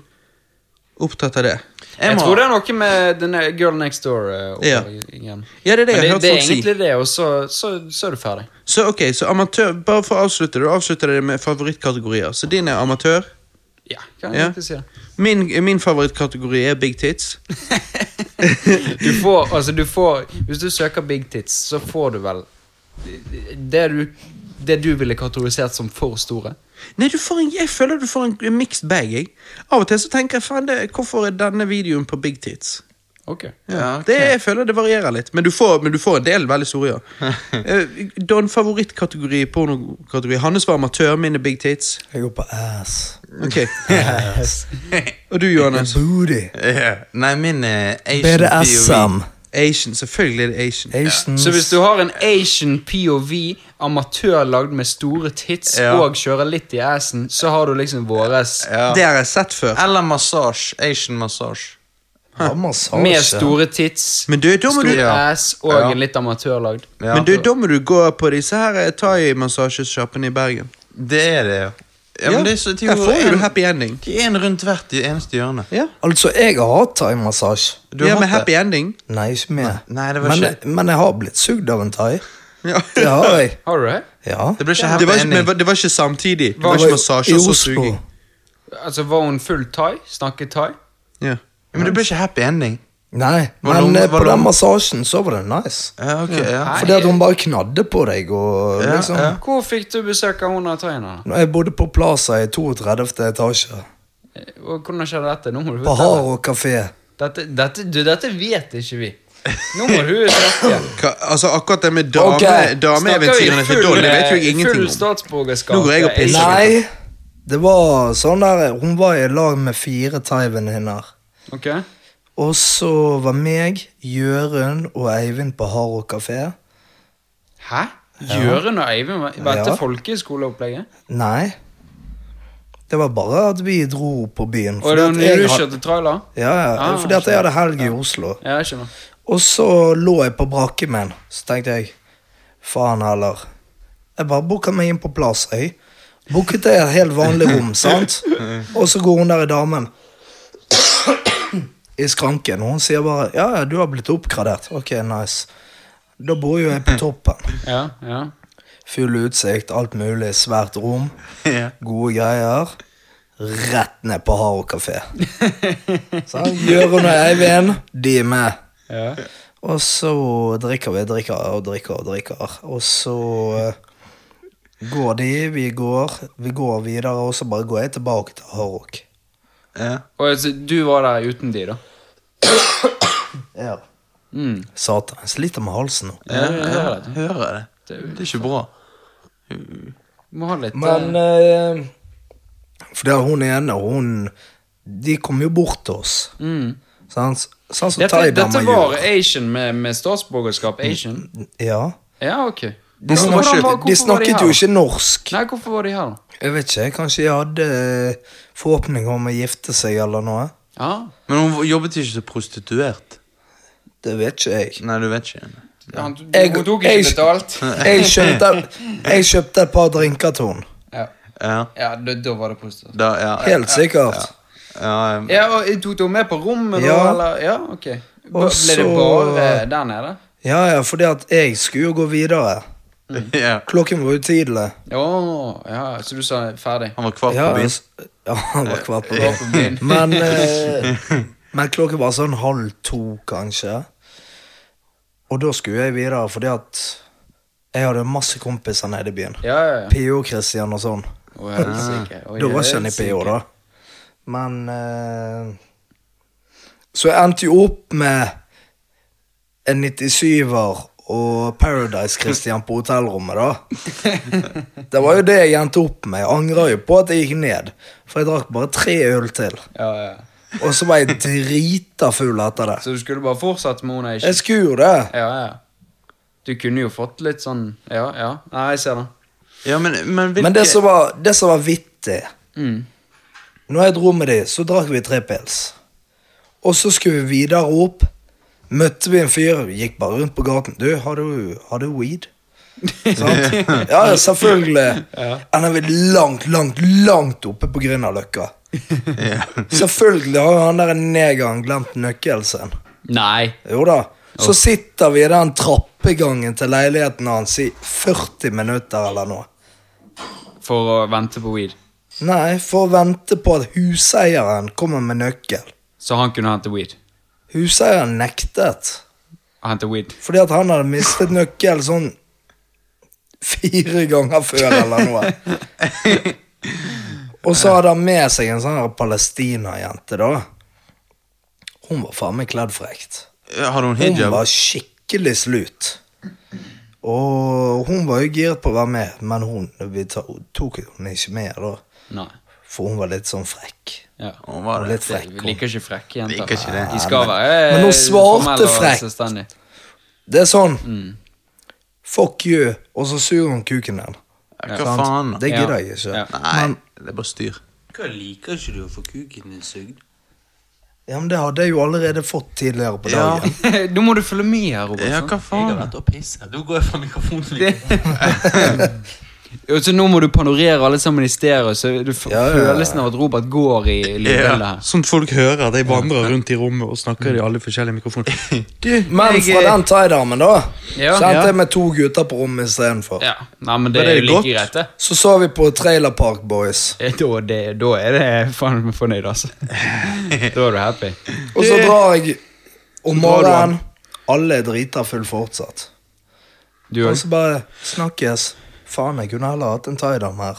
opptatt av det.
Jeg,
jeg må,
tror det er noe med den der Girl Next Door. eh,
Ja.
oppfølgingen.
Ja, det er det jeg har
Men det,
hørt
det er
folk si.
egentlig det, og så, så, så er du ferdig.
Så ok, så amatør Bare for å avslutte det, du avslutter det med favorittkategorier. Så din er amatør.
Ja, kan jeg
Ja.
egentlig si det.
Min, min favorittkategori er big tits.
Du får, altså, du får Hvis du søker Big Tits, så får du vel det du, det du ville kategorisert som for store.
Nei, du får en, jeg føler du får en mixed bag. Jeg. Av og til så tenker jeg faen, det- hvorfor er denne videoen på big tits?
Ok.
Ja, ok.
Det, jeg føler det varierer litt, men du får, men du får en del veldig store, ja. Eh, Don favorittkategori pornokategori. Hannes var amatør, mine big tits.
Jeg går på ass.
Ok,
Ass.
Og du, Johannes?
Booty.
Ja. Nei, min er eh, Asian POV.
BDSM.
Asian, selvfølgelig er det Asian.
Asians.
Så hvis du har en Asian POV, amatør lagd med store tits
Ja.
og kjører litt i assen, så har du liksom våres
Ja.
Det har jeg sett før.
Eller massasje. Asian massasje.
har massasje
med store tits,
Men du, da må du,
stor
Ja.
ass og
Ja.
en litt amatørlagd.
Ja.
men du, da må du gå på disse her eh, thai-massasjesjappene i Bergen.
Det er det, ja. ja, men det er så, de
der får
gjorde
jo
en-
du happy ending.
De er en rundt hvert i eneste hjørne.
Ja,
Altså, jeg har hatt thaimassasje.
Du har
ja
hatt
med
det?
happy ending.
Nei, ikke med.
Nei, det var
men,
ikke-
men jeg har blitt sugd av en thai.
Ja.
Det har jeg.
Har du det?
Ja.
Det blir ikke
Det
happy
var ikke,
ending.
men det var ikke samtidig. Det var
var
ikke massasje
I
og så
Oslo.
suging.
Altså, Var hun full thai? Snakket thai?
Ja.
Men det blir ikke happy ending.
Nei,
Var
men
det-
eh,
var
på
det-
den massasjen så var det nice.
Ja, ok, ja.
Nei.
Fordi at hun bare knadde på deg og
Ja,
liksom
ja.
Hvor fikk du besøk av hun av thaiene?
Når jeg bodde på Plaza i 32. etasje,
Og Hvordan skjedde dette? Nå må du
på
fortelle.
Haro kafé
Dette, dette, du, dette vet ikke vi. Nå må du snakke.
Hva, altså, akkurat det med dame,
Ok,
dameeventyrene til Dolly vet
eh,
jo jeg ingenting
full
om.
statsborgerskap?
Nå går jeg og pisser.
Nei, det var sånn der Hun var i lag med fire thaivenninner.
Ok.
Og så var meg, Jørund og Eivind på Haro kafé.
Hæ? Jørund og Eivind, var- var dette
Ja.
folkeskoleopplegget?
Nei. Det var bare at vi dro på byen.
Og det var
at
når du
had-
kjørte trailer?
ja, ja,
Ah,
fordi at jeg hadde helg i Oslo.
Ja, jeg skjønner.
Og så lå jeg på brakken min. Så tenkte jeg faen heller. Jeg bare booka meg inn på plass. Jeg. Booket jeg et helt vanlig rom, sant? Og så går hun der i damen i skranken, og hun sier bare 'Ja, ja, du har blitt oppgradert'. Ok, nice. Da bor jo jeg på toppen.
Ja, ja.
Full utsikt, alt mulig, svært rom,
Ja.
gode greier. Rett ned på Haro kafé. Sånn, Jørund og Eivind, de er med.
ja.
Og så drikker vi, drikker og drikker og drikker. Og så eh, går de, vi går, vi går videre, og så bare går jeg tilbake til Harok.
Ja.
Og altså, du var der uten de, da?
Ja.
Mm.
Satan, jeg sliter med halsen nå.
Ja,
jeg hører det.
hører det.
Det er
Det er ikke bra.
Må ha litt
Men
eh,
eh, For det er hun ene, hun De kom jo bort til oss.
mm.
Sånn sånn som
Dette, dette
thaidamer
var
gjør.
Asian med, med statsborgerskap. Asian?
Ja.
Ja, ok.
De
Hvordan var-
snakket,
hvorfor var
de snakket
her?
jo ikke norsk.
Nei, hvorfor var de her, da?
Jeg vet ikke, kanskje de hadde eh, forhåpninger om å gifte seg eller noe.
Ja.
Men hun jobbet ikke som prostituert.
Det vet ikke jeg.
Nei, du vet ikke.
Han, du,
Jeg-
hun tok
jeg-
ikke betalt.
Jeg kjøpte, jeg kjøpte et par drinker til henne.
Ja,
Ja,
ja da, da var det positivt.
da, ja.
Helt sikkert.
Ja, ja.
Ja, og Tok du henne med på rommet,
Ja.
da? Eller? Ja, ok. Ba-
Og
Ble det
så-
bare eh, der nede?
Ja, ja, fordi at jeg skulle jo gå videre.
ja.
Klokken var jo tidlig.
Å, ja, så du sa ferdig?
Han var kvart
Ja,
på byen.
s- ja, han var kvart på
Var på
byen.
byen.
Men, eh, men klokken var sånn halv to, kanskje. Og da skulle jeg videre, fordi at jeg hadde masse kompiser nede i byen.
Ja, ja, ja.
PO-Kristian og sånn.
Å, helsike. Å,
Da var ikke han i
helsike.
PO, da. Men eh, Så jeg endte jo opp med en 97-er og Paradise-Christian på hotellrommet, da. Det var jo det jeg endte opp med. Jeg angrer jo på at jeg gikk ned, for jeg drakk bare tre øl til.
Ja, ja.
Og så var jeg drita full etter det.
Så du skulle bare fortsatt med henne?
Jeg skulle jo det.
Ja, ja. Du kunne jo fått litt sånn Ja, ja. Nei, jeg ser det.
Ja, men, men hvilke
Men det som var, det som var vittig
Mm.
Når jeg dro med de, så drakk vi tre pils. Og så skulle vi videre opp. Møtte vi en fyr, gikk bare rundt på gaten. Du, har du, har du weed? Sant? Ja, ja, selvfølgelig. Han er vel langt, langt, langt oppe på Grünerløkka. Selvfølgelig har jo han der negeren glemt nøkkelen sin.
Nei.
Jo da. Så sitter vi i den trappegangen til leiligheten hans i 40 minutter eller noe.
For å vente på weed.
Nei, for å vente på at huseieren kommer med nøkkel.
Så han kunne hente weed.
Huseieren nektet.
Hente weed.
Fordi at han hadde mistet nøkkel sånn fire ganger før eller noe. Og så hadde han med seg en sånn her palestinajente, da. Hun var faen meg kledd frekt.
Har hun
Hun
hijab?
var skikkelig slut. Og hun var jo giret på å være med, men hun, vi to- tok henne ikke med, da.
Nei.
For hun var litt sånn frekk.
Ja.
Hun var
Og
det.
litt frekk.
Vi liker ikke frekke jenter.
Liker ikke det.
De skal være eh,
Men hun svarte
formelle og
frekt.
selvstendige.
Det er sånn. Fuck you. Og så suger hun kuken din.
Ja, Hva
Sant?
faen?
Det
Ja.
gidder jeg ikke.
Ja.
Nei,
Men,
det er bare styr.
Hva liker ikke du å få kuken din sugd?
ja, men det hadde jeg jo allerede fått tidligere på dagen.
Nå må du følge med her, Robert.
Ja,
sant?
hva faen?
og pisset. Nå går jeg fra mikrofonen. Det.
Og så nå må du panorere alle sammen i stereo, så du får
Ja, ja, ja.
følelsen av at Robert går i lydbildet
Ja.
her.
Sånn at folk hører. De vandrer rundt i rommet og snakker i alle forskjellige mikrofoner. Du,
Men
jeg,
fra den tie-damen, da,
Ja.
sendte
Ja.
jeg med to gutter på rommet istedenfor.
Ja, Nei,
Men
men det
det
er
er
jo like
godt.
greit, det.
Så så vi på Trailer Park Boys,
Eh, Da, det, da er det faen meg fornøyd, altså. Da er du happy.
og så drar jeg om
drar du
morgenen. Alle er drita full fortsatt.
Du
Og
òg.
så bare snakkes. Faen, jeg kunne heller hatt en tie-dam her.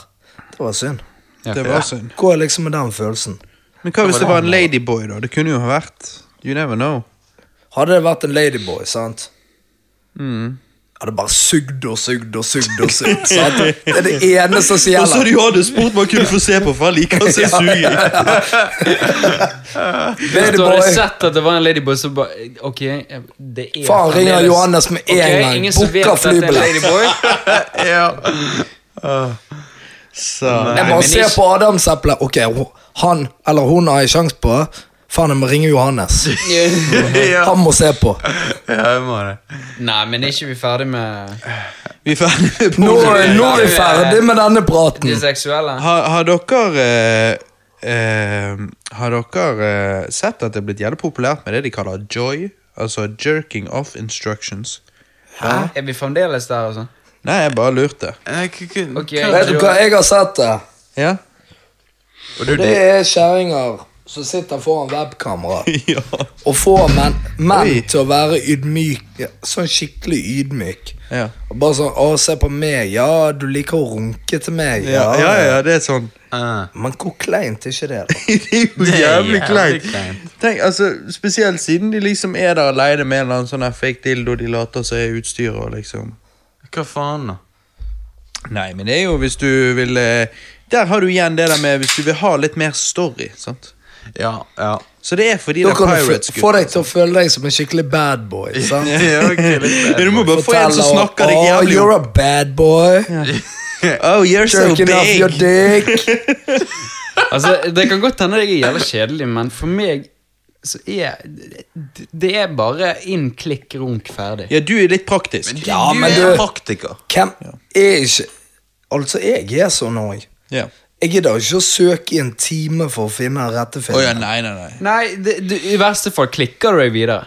Det var synd.
Ja.
Det var synd.
Går jeg liksom med den følelsen.
Men hva hvis det var en ladyboy, da? Det kunne jo ha vært. You never know.
Hadde det vært en ladyboy, sant?
Mm.
Hadde bare sugd og sugd og sugd og sugd. sant? Det er det eneste
Og
som
så
gjelder.
hadde Johannes spurt om han kunne få se på, for han liker å se suging.
Hvis du hadde
Ladyboy.
sett at det var en ladyboy, så bare Ok, det er
Faen, ringer
fremdeles-
Johannes med en
Ok,
gang.
Ingen som vet
Booker
at det er en
flybillett.
ladyboy.
Ja.
Ah. Så
Jeg
Nei, men
bare ser
ikke-
på adamseplet. Ok, ho- han eller hun har jeg sjans på. Faen, jeg må ringe Johannes.
ja.
Han må se på.
ja, jeg må det.
Nei, men er ikke vi ferdig med
vi er ferdig med
Nå,
porno.
nå er vi ferdig med denne praten.
det seksuelle?
Har, har dere eh, eh, Har dere eh, sett at det er blitt jævlig populært med det de kaller joy? Altså jerking off instructions.
Hæ? Er vi fremdeles der, altså?
Nei, jeg bare lurte.
Nei, k- k-
Ok,
hva-
Vet du hva, jeg har sett det.
Ja?
Og det er kjerringer som sitter foran webkamera
ja.
og får menn
Oi.
menn til å være ydmyke. Sånn skikkelig ydmyk.
Ja.
Og bare sånn 'Å, se på meg. Ja, du liker å runke til meg.'
Ja, ja, ja, det er sånn
Ah.
Men hvor kleint er ikke det? da?
Det er jo
Det er
jævlig
jævlig
kleint.
kleint.
Tenk, altså, Spesielt siden de liksom er der aleine med en eller annen sånn her fake dildo de later som er utstyret. og liksom
Hva faen, da?
Nei, men det er jo hvis du vil eh, Der har du igjen det der med hvis du vil ha litt mer story. sant?
Ja, ja.
Så det er fordi
Da
det er altså.
kan du
pirates liksom.
få- få deg til å føle deg som en skikkelig bad boy. sant?
Ja, ok, litt
Men du må bare få en som
Forteller,
snakker deg
«Å,
jævlig
You're
opp.
a bad boy.
Oh, you're so
Jerking off your
big.
dick.
Altså, Det kan godt hende jeg er jævla kjedelig, men for meg så er det- Det er bare inn, klikk, runk, ferdig.
Ja, du er litt praktisk.
Ja,
du
men
er
du-
praktiker.
Hvem er ikke Altså, jeg er sånn òg.
Ja.
Jeg gidder ikke å søke i en time for å finne den rette
Å ja,
filmen.
nei, nei, nei.
Nei, det, du, i verste fall klikker du deg videre.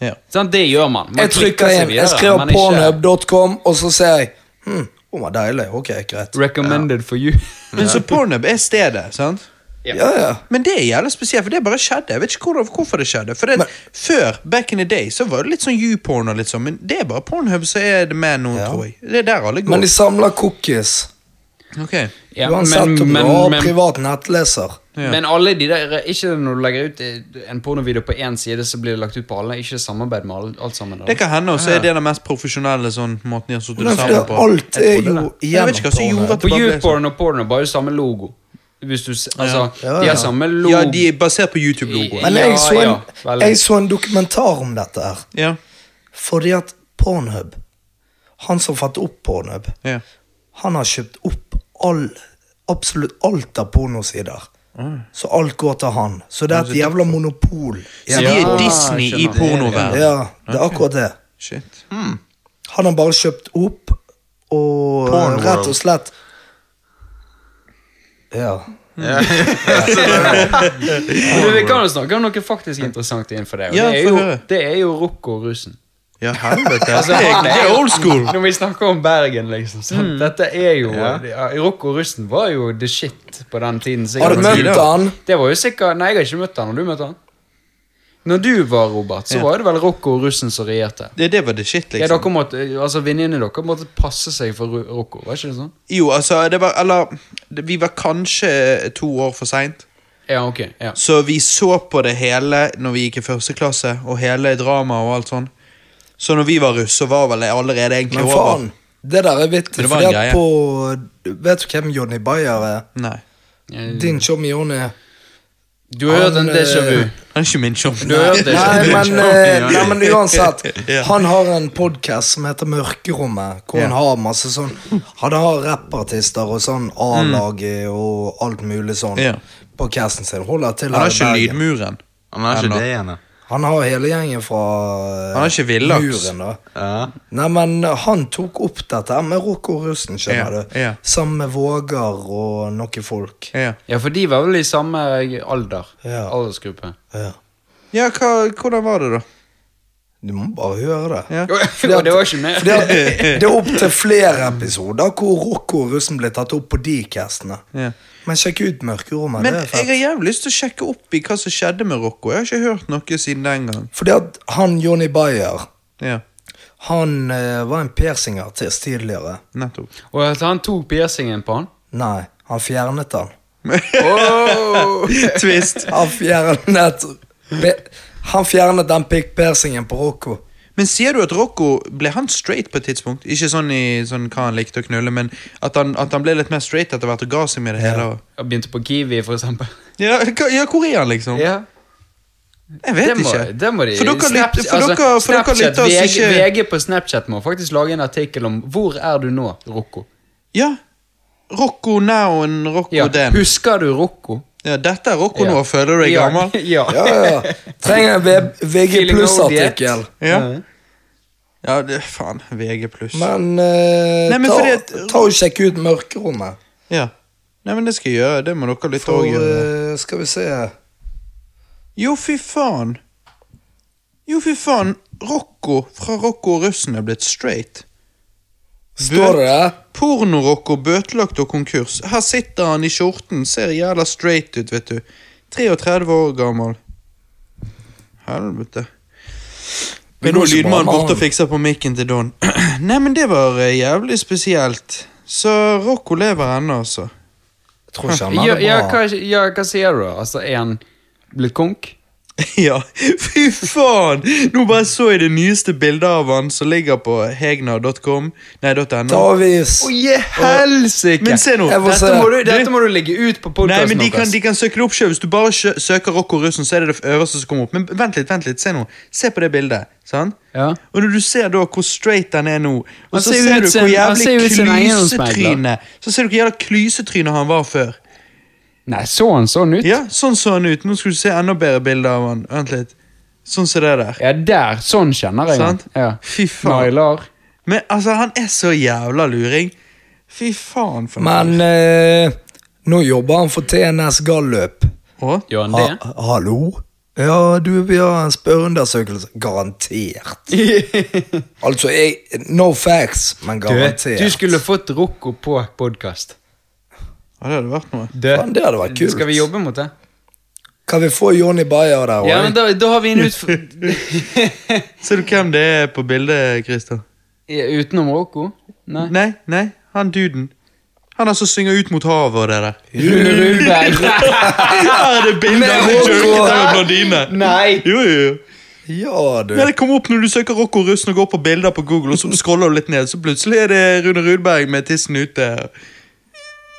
Ja.
Sant, det gjør man. man
jeg trykker
seg
inn. Jeg skriver
men ikke
pornhub.com, og så ser jeg Hm, hun var deilig. Ok, greit.
Recommended for you.
Men så pornhub er stedet, sant?
Ja, ja.
Men det er jævlig spesielt, for det bare skjedde. Jeg vet ikke hvor, hvorfor det skjedde. For det, Før, back in the day, så var det litt sånn YouPorn og litt sånn, men det er bare Pornhub som er det med noen,
Ja.
tror jeg. Det er der alle går.
Men de samler cookies.
Ok.
Ja,
Uansett om du har
men,
privat nettleser.
Ja.
men alle de der Ikke når du legger ut eh, en pornovideo på én side, så blir det lagt ut på alle. Ikke samarbeid med alle, alt sammen.
Det kan hende, og så er det den mest profesjonelle sånn måten de har sittet
Men
sammen
for
på.
alt er jo
Jeg vet ikke hva som
gjennom
gjorde
pornhub.
at
På
det bare ble sånn.
YouPorn og porno bare samme logo. Hvis du, s- altså,
Ja, ja,
De
ja.
har samme logo.
Ja, de er basert på YouTube-logoen.
Men jeg så,
Ja,
en,
ja, veldig.
jeg så en dokumentar om dette her.
Ja.
Fordi at Pornhub Han som fant opp Pornhub,
ja.
han har kjøpt opp all, absolutt alt av pornosider.
Mm.
Så alt går til han. Så det er et jævla monopol.
Så de er
Ja,
Disney i
skjønner.
pornoverdenen.
Ja, det er akkurat det.
Shit.
Han har bare kjøpt opp og
Pornworld.
rett og slett Ja.
Men du, vi kan jo snakke om noe faktisk interessant innenfor det. Og
Ja, få
det, er jo,
høre.
det er jo Rocco-russen.
Ja, helvete.
Altså,
det, er-
han er
det er
jo-
old school.
Når vi snakker om Bergen, liksom. sant?
Mm.
Dette er jo ja. Rocco-russen var jo the shit på den tiden.
Har
sikkert.
du møtt han?
Det var jo sikkert Nei, jeg har ikke møtt han. Har du møtt han? Når du var Robert, så
Ja.
var det vel Rocco-russen som regjerte.
Det, det var det shit,
Ja,
liksom.
dere måtte, altså Venninnene deres måtte passe seg for Ru- Rocco, var ikke det sånn?
Jo, altså, det var Eller, det- vi var kanskje to år for seint.
Ja, ok. Ja.
Så vi så på det hele når vi gikk i første klasse, og hele dramaet og alt sånn. Så når vi var russ, så var vel det allerede egentlig
Men
over.
faen, det der er vittig.
Men det var
Fordi
en
at på Vet du hvem Johnny Bayer er?
Nei.
Jeg-
Din champignone
Du har hørt en
Han,
déjà vu.
Han er ikke min sjamp.
Du har hørt déjà vu.
Nei, men, eh, nei, men uansett.
Ja.
Han har en podkast som heter Mørkerommet, hvor han
Ja.
har masse sånn Han har rappartister og sånn A-laget og alt mulig sånn
Mm. Ja.
på casten sin. Holder til
Han
her
har
i
ikke
Bergen.
lydmuren.
Han har ikke
Ennå.
det igjen, da.
Han har hele gjengen fra eh,
Han har ikke villaks.
muren, da.
Ja.
Nei, men eh, han tok opp dette her med Rocco Russen, skjønner
Ja,
du.
ja.
Sammen med Vågar og noen folk.
Ja.
Ja, for de var vel i samme alder.
Ja.
Aldersgruppe.
Ja.
Ja, hva, hvordan var det, da?
Du må bare høre det.
Ja.
Fordi at-
det var ikke mer.
Fordi at det er opp til flere episoder hvor Rocco og russen ble tatt opp på de castene.
Ja.
Men sjekk ut Mørkerommet.
Men
det er
jeg
fett.
har jævlig lyst til å sjekke opp i hva som skjedde med Rocco. Jeg har ikke hørt noe siden den gang.
Fordi at han Johnny Bayer,
Ja,
han eh, var en piercingartist tidligere.
nettopp.
Og at han tok piercingen på han.
Nei, han fjernet den.
Oh!
Twist.
Han fjernet be- Han fjernet den pikkpersingen på Rocco.
Men sier du at Rocco ble han straight på et tidspunkt? Ikke sånn i sånn hva han likte å knulle, men at han, at han ble litt mer straight etter hvert og ga seg med det hele? og-
Jeg begynte på Kiwi, for eksempel.
Ja, hva, ja hvor er han, liksom?
Ja.
Jeg vet
det må,
ikke.
Det må de
for dere,
Snap-
lytter- for
altså,
dere, for dere
Snapchat,
lytter oss
VG,
ikke
VG på Snapchat må faktisk lage en artikkel om 'Hvor er du nå, Rocco?'
Ja. Rocco now and Rocco
Ja.
then.
Husker du Rocco?
Ja, dette er Rocco
Ja.
nå, føler du deg
ja.
gammel?
Ja.
Ja, ja. Trenger en V- VG
Feeling
pluss-artikkel.
Ja, ja det, faen. VG pluss.
Men, eh,
Nei, men
ta,
fordi at-
ta og sjekk ut Mørkerommet.
Ja. Nei, men det skal jeg gjøre. Det må dere lytte
For
òg gjøre.
eh, skal vi se
Jo, fy faen. Jo, fy faen. Rocco fra Rocco og russen er blitt straight.
Står det der?
Porno-Rocco bøtelagt og konkurs. Her sitter han i skjorten, ser jævla straight ut, vet du. 33 år gammel. Helvete.
Det
Men
går
nå er
ikke bra
lydmannen
med
borte og
han.
fikser på mikken til Don. Nei, men det var eh, jævlig spesielt. Så Rocco lever ennå, altså.
Jeg tror ikke han
Ja,
hadde
ja,
bra.
hva, ja, hva sier du? da? Altså, Er han blitt konk?
Ja, fy faen! Nå bare så jeg det nyeste bildet av han som ligger på hegna.com. Nei,
Ta
.no.
og vis.
Å, je helsike!
Men se nå.
Jeg må
Dette
se.
må, du, dette må du legge ut på
Nei, men
podkasten
de kan, de kan søke det opp selv. Hvis du bare sjø- søker Rocco Russen, så er det det øverste som kommer opp. Men vent litt, vent litt, se nå. Se på det bildet. sant?
Ja.
Og når du ser da hvor straight han er nå, og
Han
så
ser jo
ser
ut
du
som-
hvor
han ser jo
jævlig
ut som en eiendomsmegler.
klysetryne Så ser du hvor jævla klysetryne han var før.
Nei, så han sånn ut?
Ja, Sånn så han ut. Nå skal du se enda bedre bilder av han. Vent litt. Sånn som det der.
Ja, der. Sånn kjenner jeg
Sant?
Ja.
Fy faen.
Nailar.
Men altså, han er så jævla luring. Fy faen for noe.
Men eh, nå jobber han for TNS Gallup.
Å?
Gjør han
Ha,
det?
hallo? Ja, du, vi har en spørreundersøkelse. Garantert.
Ah.
Altså, jeg No facts, men garantert.
Du skulle fått Rocco på podkast.
Ja, det hadde vært noe.
Faen, det hadde vært kult.
Skal vi jobbe mot det?
Kan vi få Johnny Bayer der òg?
Ja, men da, da har vi en utfordring
Ser du hvem det er på bildet, Christer?
Utenom Rocco? Nei.
Nei, nei, han duden. Han altså synger ut mot havet og det der.
Rune Rudberg.
Her er det bilde av en jerket av en blondine!
Nei!
Jo, jo, jo.
ja du.
Ja, det kom opp når du søker Rocco Russen og går på bilder på Google, og så scroller du litt ned, så plutselig er det Rune Rudberg med tissen ute.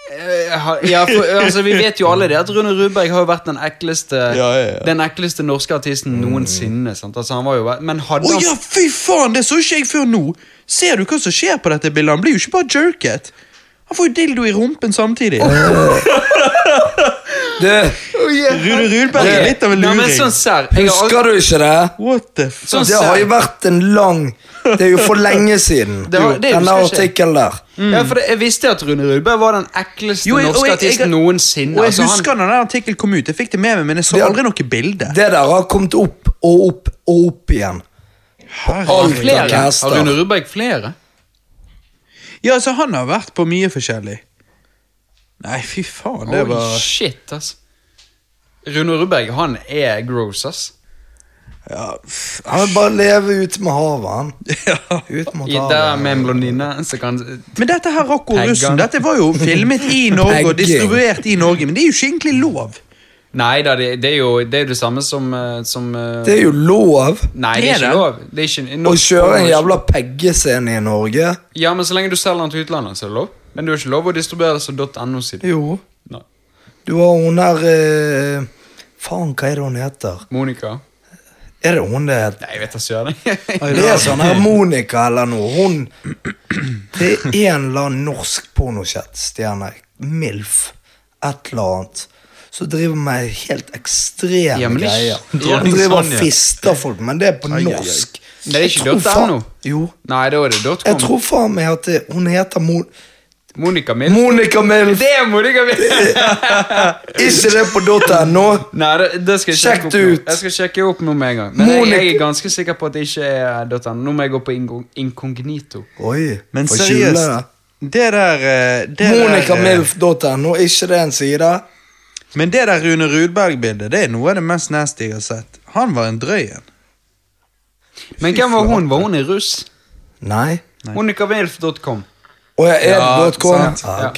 Eh, ha- Ja, for, altså, vi vet jo alle det at Rune Rudberg har jo vært den ekleste
Ja, ja, ja.
Den ekleste norske artisten noensinne. Sant? Altså, han var jo, vært- men hadde
Å
han
ja, fy faen, det så ikke jeg før nå! Ser du hva som skjer på dette bildet? Han blir jo ikke bare jerket. Han får jo dildo i rumpen samtidig.
du
Rune Rudberg er litt av en
Nei,
luring.
men sånn serr jeg har aldri-
husker du ikke det?
What the fuck?
Sånn
Det har jo vært en lang Det er jo for lenge siden.
Det har- det
Denne
husker ikke jeg.
artikkelen der.
Ja, for det, Jeg visste at Rune Rudberg var den
Mm.
ekleste
Jo, jeg- og jeg-
norske
jeg-
artisten noensinne.
Og jeg
Altså, han-
husker når den artikkelen kom ut. Jeg fikk det med meg, men jeg så
Det-
aldri noe bilde.
Det der har kommet opp og opp og opp igjen.
Har han
Alt
flere?
av caster.
Har Rune Rudberg flere?
Ja, altså, han har vært på mye forskjellig. Nei, fy faen, det
Oi,
var
shit, ass. Rune Rudberg, han er gross, ass.
Ja, f-
Han vil bare leve ute med havet, han.
ja.
Ut mot
I der
havet.
med en blondine så kan
Men dette her, Rocco
Pegging.
Russen, dette var jo filmet i Norge og
Pegging.
distribuert i Norge, men det er jo ikke egentlig lov.
Nei da, det, det er jo det, er jo det samme som, eh, som eh,
Det er jo lov
Nei, det
Det er
er ikke
det.
lov. Det er ikke,
å
norsk
kjøre en
porno-
jævla peggescene i Norge.
Ja, men Så lenge du selger den til utlandet, så er det lov. Men det er jo ikke lov å distribuere det som .no-side.
Jo.
Nei.
Du har hun her eh, Faen, hva er det hun heter?
Monica?
Er det hun det heter?
Nei, jeg vet da søren.
Det er sånn her Monica eller noe. Hun Det er en eller annen norsk pornochat-stjerne. Milf. Et eller annet. Som driver med helt ekstreme
Ja, men det er sånn,
greier.
ikke-
Hun
Dronning
driver og
Sonja.
fister folk, men det er på norsk.
Det er ikke
Jeg tror
dot
faen-
no?
Jo.
Nei, da er det dot
Jeg
com.
tror faen meg at det, hun heter Mon
Monica Milf.
Monica Milf!
det er Monica Milf!
Ikke det på .no.
Nei, det, det skal jeg
Sjekk
sjekke opp
det
nå.
ut.
Jeg skal sjekke opp nå med en gang. Men jeg, jeg
Monica-
er ganske sikker på at det ikke er dot no. Nå må jeg gå på ingo- inkognito.
Oi,
Men
for
seriøst,
kjole.
det der, eh, det der eh,
MonicaMilf.no, ikke det en side?
Men det der Rune Rudberg-bildet, det er noe av det mest nasty jeg har sett. Han var en drøy en.
Men hvem var hun? Var hun i russ?
Nei.
Monicamilf.com.
Og jeg er
Ja,
det .com?
sant,
Ah,
ja.
ok.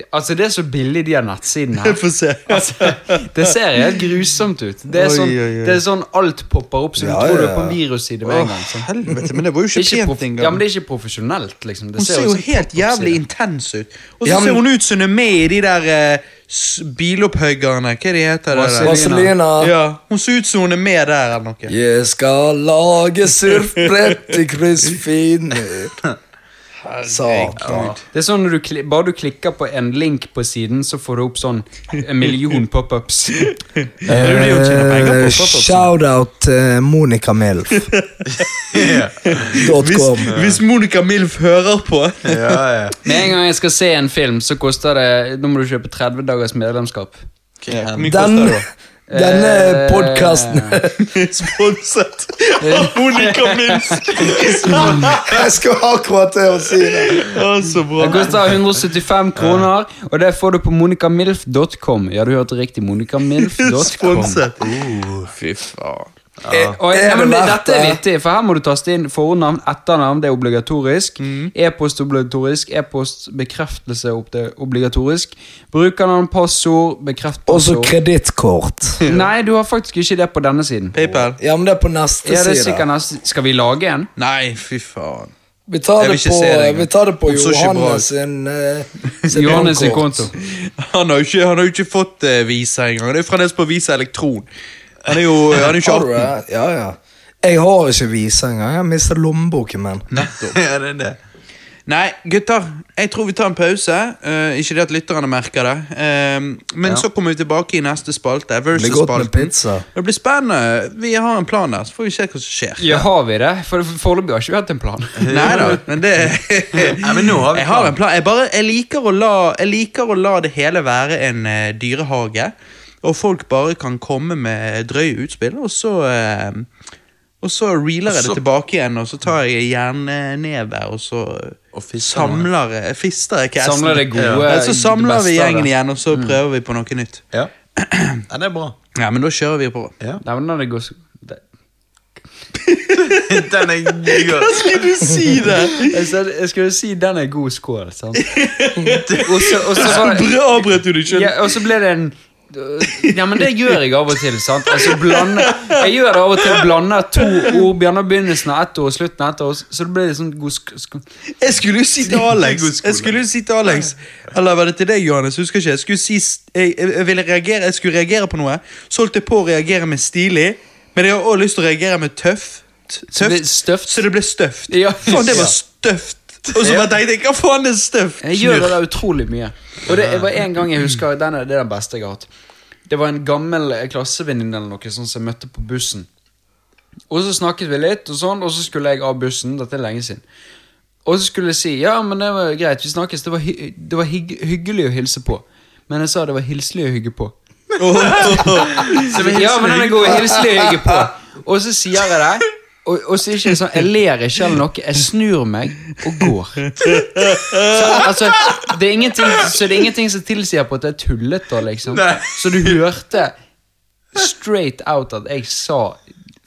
Det- Altså, det er så billig de har nettsidene her.
Få se.
Altså, det ser helt grusomt ut. Det er
Oi,
sånn,
oi, oi.
Det er sånn alt popper opp, så du
Ja,
tror du
ja,
er på en
ja.
virusside med
Å,
en gang. Sånn.
helvete, men det var jo
Det er
ikke
ikke
pent
prof- ja, men
engang.
det er ikke profesjonelt, liksom. Det
Hun ser jo
ut som
helt
pop-up-side.
jævlig intens ut. Og så
Ja, men-
ser hun ut som hun er med i de der eh, s- bilopphuggerne. Hva de heter det der?
Vaselina.
Ja, hun ser ut som hun er med der eller noe.
Jeg skal lage surfbrett til Kristfine. Satan.
Det er sånn når du kli Bare du klikker på en link på siden, så får du opp sånn en million pop-ups. Det er jo det hun tjener penger på,
Eh,
altså.
pop-ups.
Shout-out til Monica Milf. Dot
Hvis,
com.
hvis Monica Milf hører på
Ja, ja.
Med en gang jeg skal se en film, så koster det Nå må du kjøpe 30 dagers medlemskap.
King Henry.
mye
Den,
koster det da?
denne
Eh,
podkasten
Sponset av Monica Milf!
Jeg skulle akkurat til å si det.
Å, så bra.
Det koster 175 kroner, og det får du på monicamilf.com. Ja, du hørte riktig. monicamilf.com.
Sponset. Oh,
Fy faen.
Eh, og-
Er
ja, men
det
det,
verdt
dette er
det?
viktig, for her må du taste inn fornavn, etternavn, det er obligatorisk.
Mm.
E-post obligatorisk, e-postbekreftelse ob- det er obligatorisk. Brukernavn, passord, bekreft
Og så
passord.
kredittkort.
Nei, du har faktisk ikke det på denne siden.
PayPal.
Ja, men det er på neste
Ja, det er sikkert
side.
neste Skal vi lage en?
Nei, fy faen.
Vi tar
Jeg vil
det
ikke
på,
se det engang.
vi tar det på
Det så ikke bra ut.
Johannes sin, eh, sin
Johannes sin
bankkort.
konto.
Han har jo ikke, han har jo ikke fått eh, visa engang. Han er jo fremdeles på Visa elektron. Han er jo han er jo ikke
Har
18.
du det? Ja, ja. Jeg har ikke visa engang. Jeg mistet lommeboken min.
Nettopp.
Ja, det er det.
Nei, gutter. Jeg tror vi tar en pause. Eh, ikke det at lytterne merker det. Eh, men så kommer vi tilbake i neste spalte.
Blir godt med
Versus-spalten.
pizza.
Det blir spennende. Vi har en plan der, så får vi se hva som skjer.
Ja, har vi det? For for- foreløpig har ikke vi hatt en plan.
Nei da, men det
Nei, men nå har vi
Jeg har en plan. Jeg, bare, jeg, liker å la, jeg liker å la det hele være en eh, dyrehage. Og folk bare kan komme med drøye utspill, og så eh, Og så reeler jeg
Og så-
det tilbake igjen, og så tar jeg jernneve, og så
Og fister noe.
samler jeg Fister jeg casten.
Sånn, Samler det gode,
Ja, Så
det
samler vi
beste av det. Mm.
gjengen igjen, og så prøver vi på noe nytt.
Ja. ja, det er bra.
Ja, men da kjører vi på.
Ja.
Nei, men det går så... det-
Den er god.
Skal du si det?!
Jeg sa- jeg skulle si den er god skål, sant? Og så, og så var det...
Bra avbrøt du deg sjøl.
Ja, og så ble det en ja, men det gjør jeg av og til. sant? Altså, blande, jeg gjør det av og til. Blander to ord. Begynner begynnelsen av ett ord og slutten av ett ord. Så det blir litt sånn god sk sk
Jeg skulle jo si til Alex.
God skole.
Jeg skulle jo si til Alex Eller var det til deg, Johannes? Husker ikke. Jeg skulle, si, jeg, jeg, jeg ville reagere, jeg skulle reagere på noe. Så holdt jeg på å reagere med stilig, men jeg har også lyst til å reagere med tøff. t-
Så det ble støft.
Så det ble støft.
Ja.
Faen, det var støft. Og så bare tenkte jeg hva faen er støft?
Jeg gjør det der utrolig mye. Og det var en gang jeg husker den er, Det er den beste jeg har hatt. Det var en gammel eh, klassevenninne eller noe sånn som jeg møtte på bussen. Og så snakket vi litt, og sånn Og så skulle jeg av bussen. Dette er lenge siden. Og så skulle jeg si ja, men det var greit, vi snakkes. Det var, hy det var hygg hyggelig å hilse på. Men jeg sa det var hilselig å hygge på. Så vi- Ja, men den er god. Hilselig å hygge på. Og så sier jeg det. Og, og så er ikke det sånn, Jeg ler ikke eller noe. Jeg snur meg og går. Så, altså, det er ingenting, så det er ingenting som tilsier på at jeg tullet da, liksom.
Nei.
Så du hørte straight out at jeg sa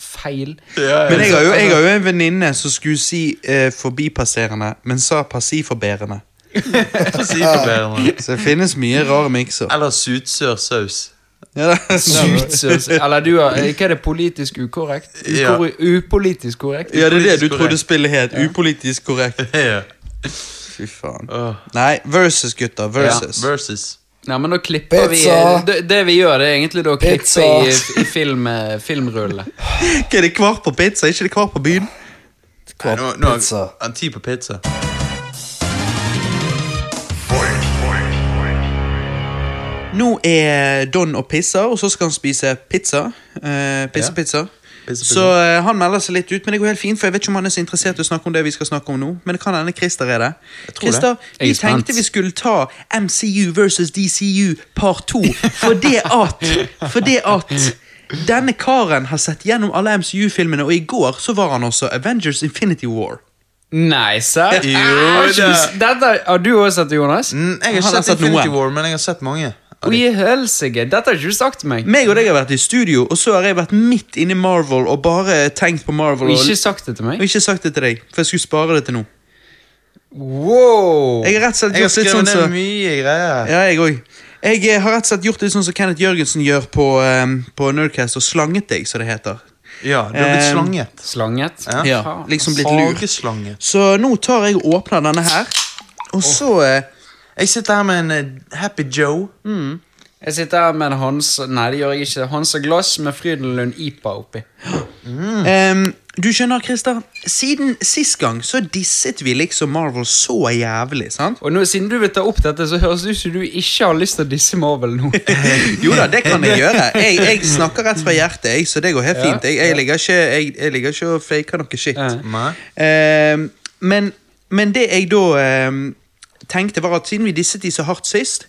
feil.
Ja, ja.
Men jeg har jo, jeg har
Altså,
jo en venninne som skulle si eh, forbipasserende, men sa passiforberende.
Siforbærende.
Så det finnes mye rare mikser.
Eller sutsør saus.
Ja, da.
Suitsøs. Eller du har Hva er det? Politisk ukorrekt? Ukor Upolitisk korrekt?
ja, det er det du
Upolitisk
trodde
korrekt.
spillet het. Upolitisk korrekt.
Ja.
Fy faen.
Åh.
Nei, versus, gutter.
Ja,
Versus.
Versus.
Nei, men da klipper
Pizza.
vi det, det vi gjør, det er egentlig da å
Pizza.
klippe i, i film, eh, filmrulle.
Hva er det hver på pizza? Er ikke det hver på byen?
Nei,
Kvapp
nå, nå,
pizza.
Han ti på pizza.
Nå er Don og pisser, og så skal han spise pizza. Eh, Pissepizza.
Pizza-pizza.
Så eh, han melder seg litt ut, men det går helt fint, for jeg vet ikke om han er så interessert i å snakke om det vi skal snakke om nå. Men det kan hende Christer er det.
tror det.
Christer,
Jeg er
vi
spent.
tenkte vi skulle ta MCU versus DCU part 2, for det at For det at denne karen har sett gjennom alle MCU-filmene, og i går så var han også Avengers Infinity War.
Nei, serr?
Jo
Har ikke du
da.
s- Dette har du også sett, Jonas?
Mm, jeg har
Han har
ikke sett
sett
Infinity
noen.
War, men jeg har sett mange. av de.
Oi, helsike. Dette har ikke du sagt til meg.
Meg og deg har vært i studio, og så har jeg vært midt inne i Marvel og bare tenkt på Marvel.
Og
Og
ikke sagt det til
Jeg har
meg?
ikke sagt det til deg, for jeg skulle spare det til nå.
Wow!
Jeg har rett og slett
Jeg har
gjort litt sånn
skrevet
som
ned mye greier.
Ja, jeg òg. Jeg eh, har rett og slett gjort litt sånn som Kenneth Jørgensen gjør på, eh, på Nerdcast, og slanget deg, som det heter.
Ja, du har blitt
Eh,
slanget.
Slanget?
Ja.
Ja, liksom blitt lur.
Hageslange.
Så nå tar jeg og åpner denne her, og så eh,
Jeg sitter her med en eh, Happy Joe.
Jeg sitter her med en Hans Nei, det gjør jeg ikke. Hans og glass med Frydenlund IPA oppi.
Mm.
em, ehm, Du skjønner, Christer, siden sist gang så disset vi liksom Marvel så jævlig, sant?
Og nå, siden du vil ta opp dette, så høres det ut som du ikke har lyst til å disse Marvel nå.
Jo da, det kan jeg gjøre. Jeg, jeg snakker rett fra hjertet, jeg, så det går helt
Ja,
fint. Jeg, jeg, ligger, ikke, jeg, jeg ligger ikke og faker noe shit.
Ja.
Nei.
Ehm, men, men det jeg da ehm, tenkte, var at siden vi disset de så hardt sist,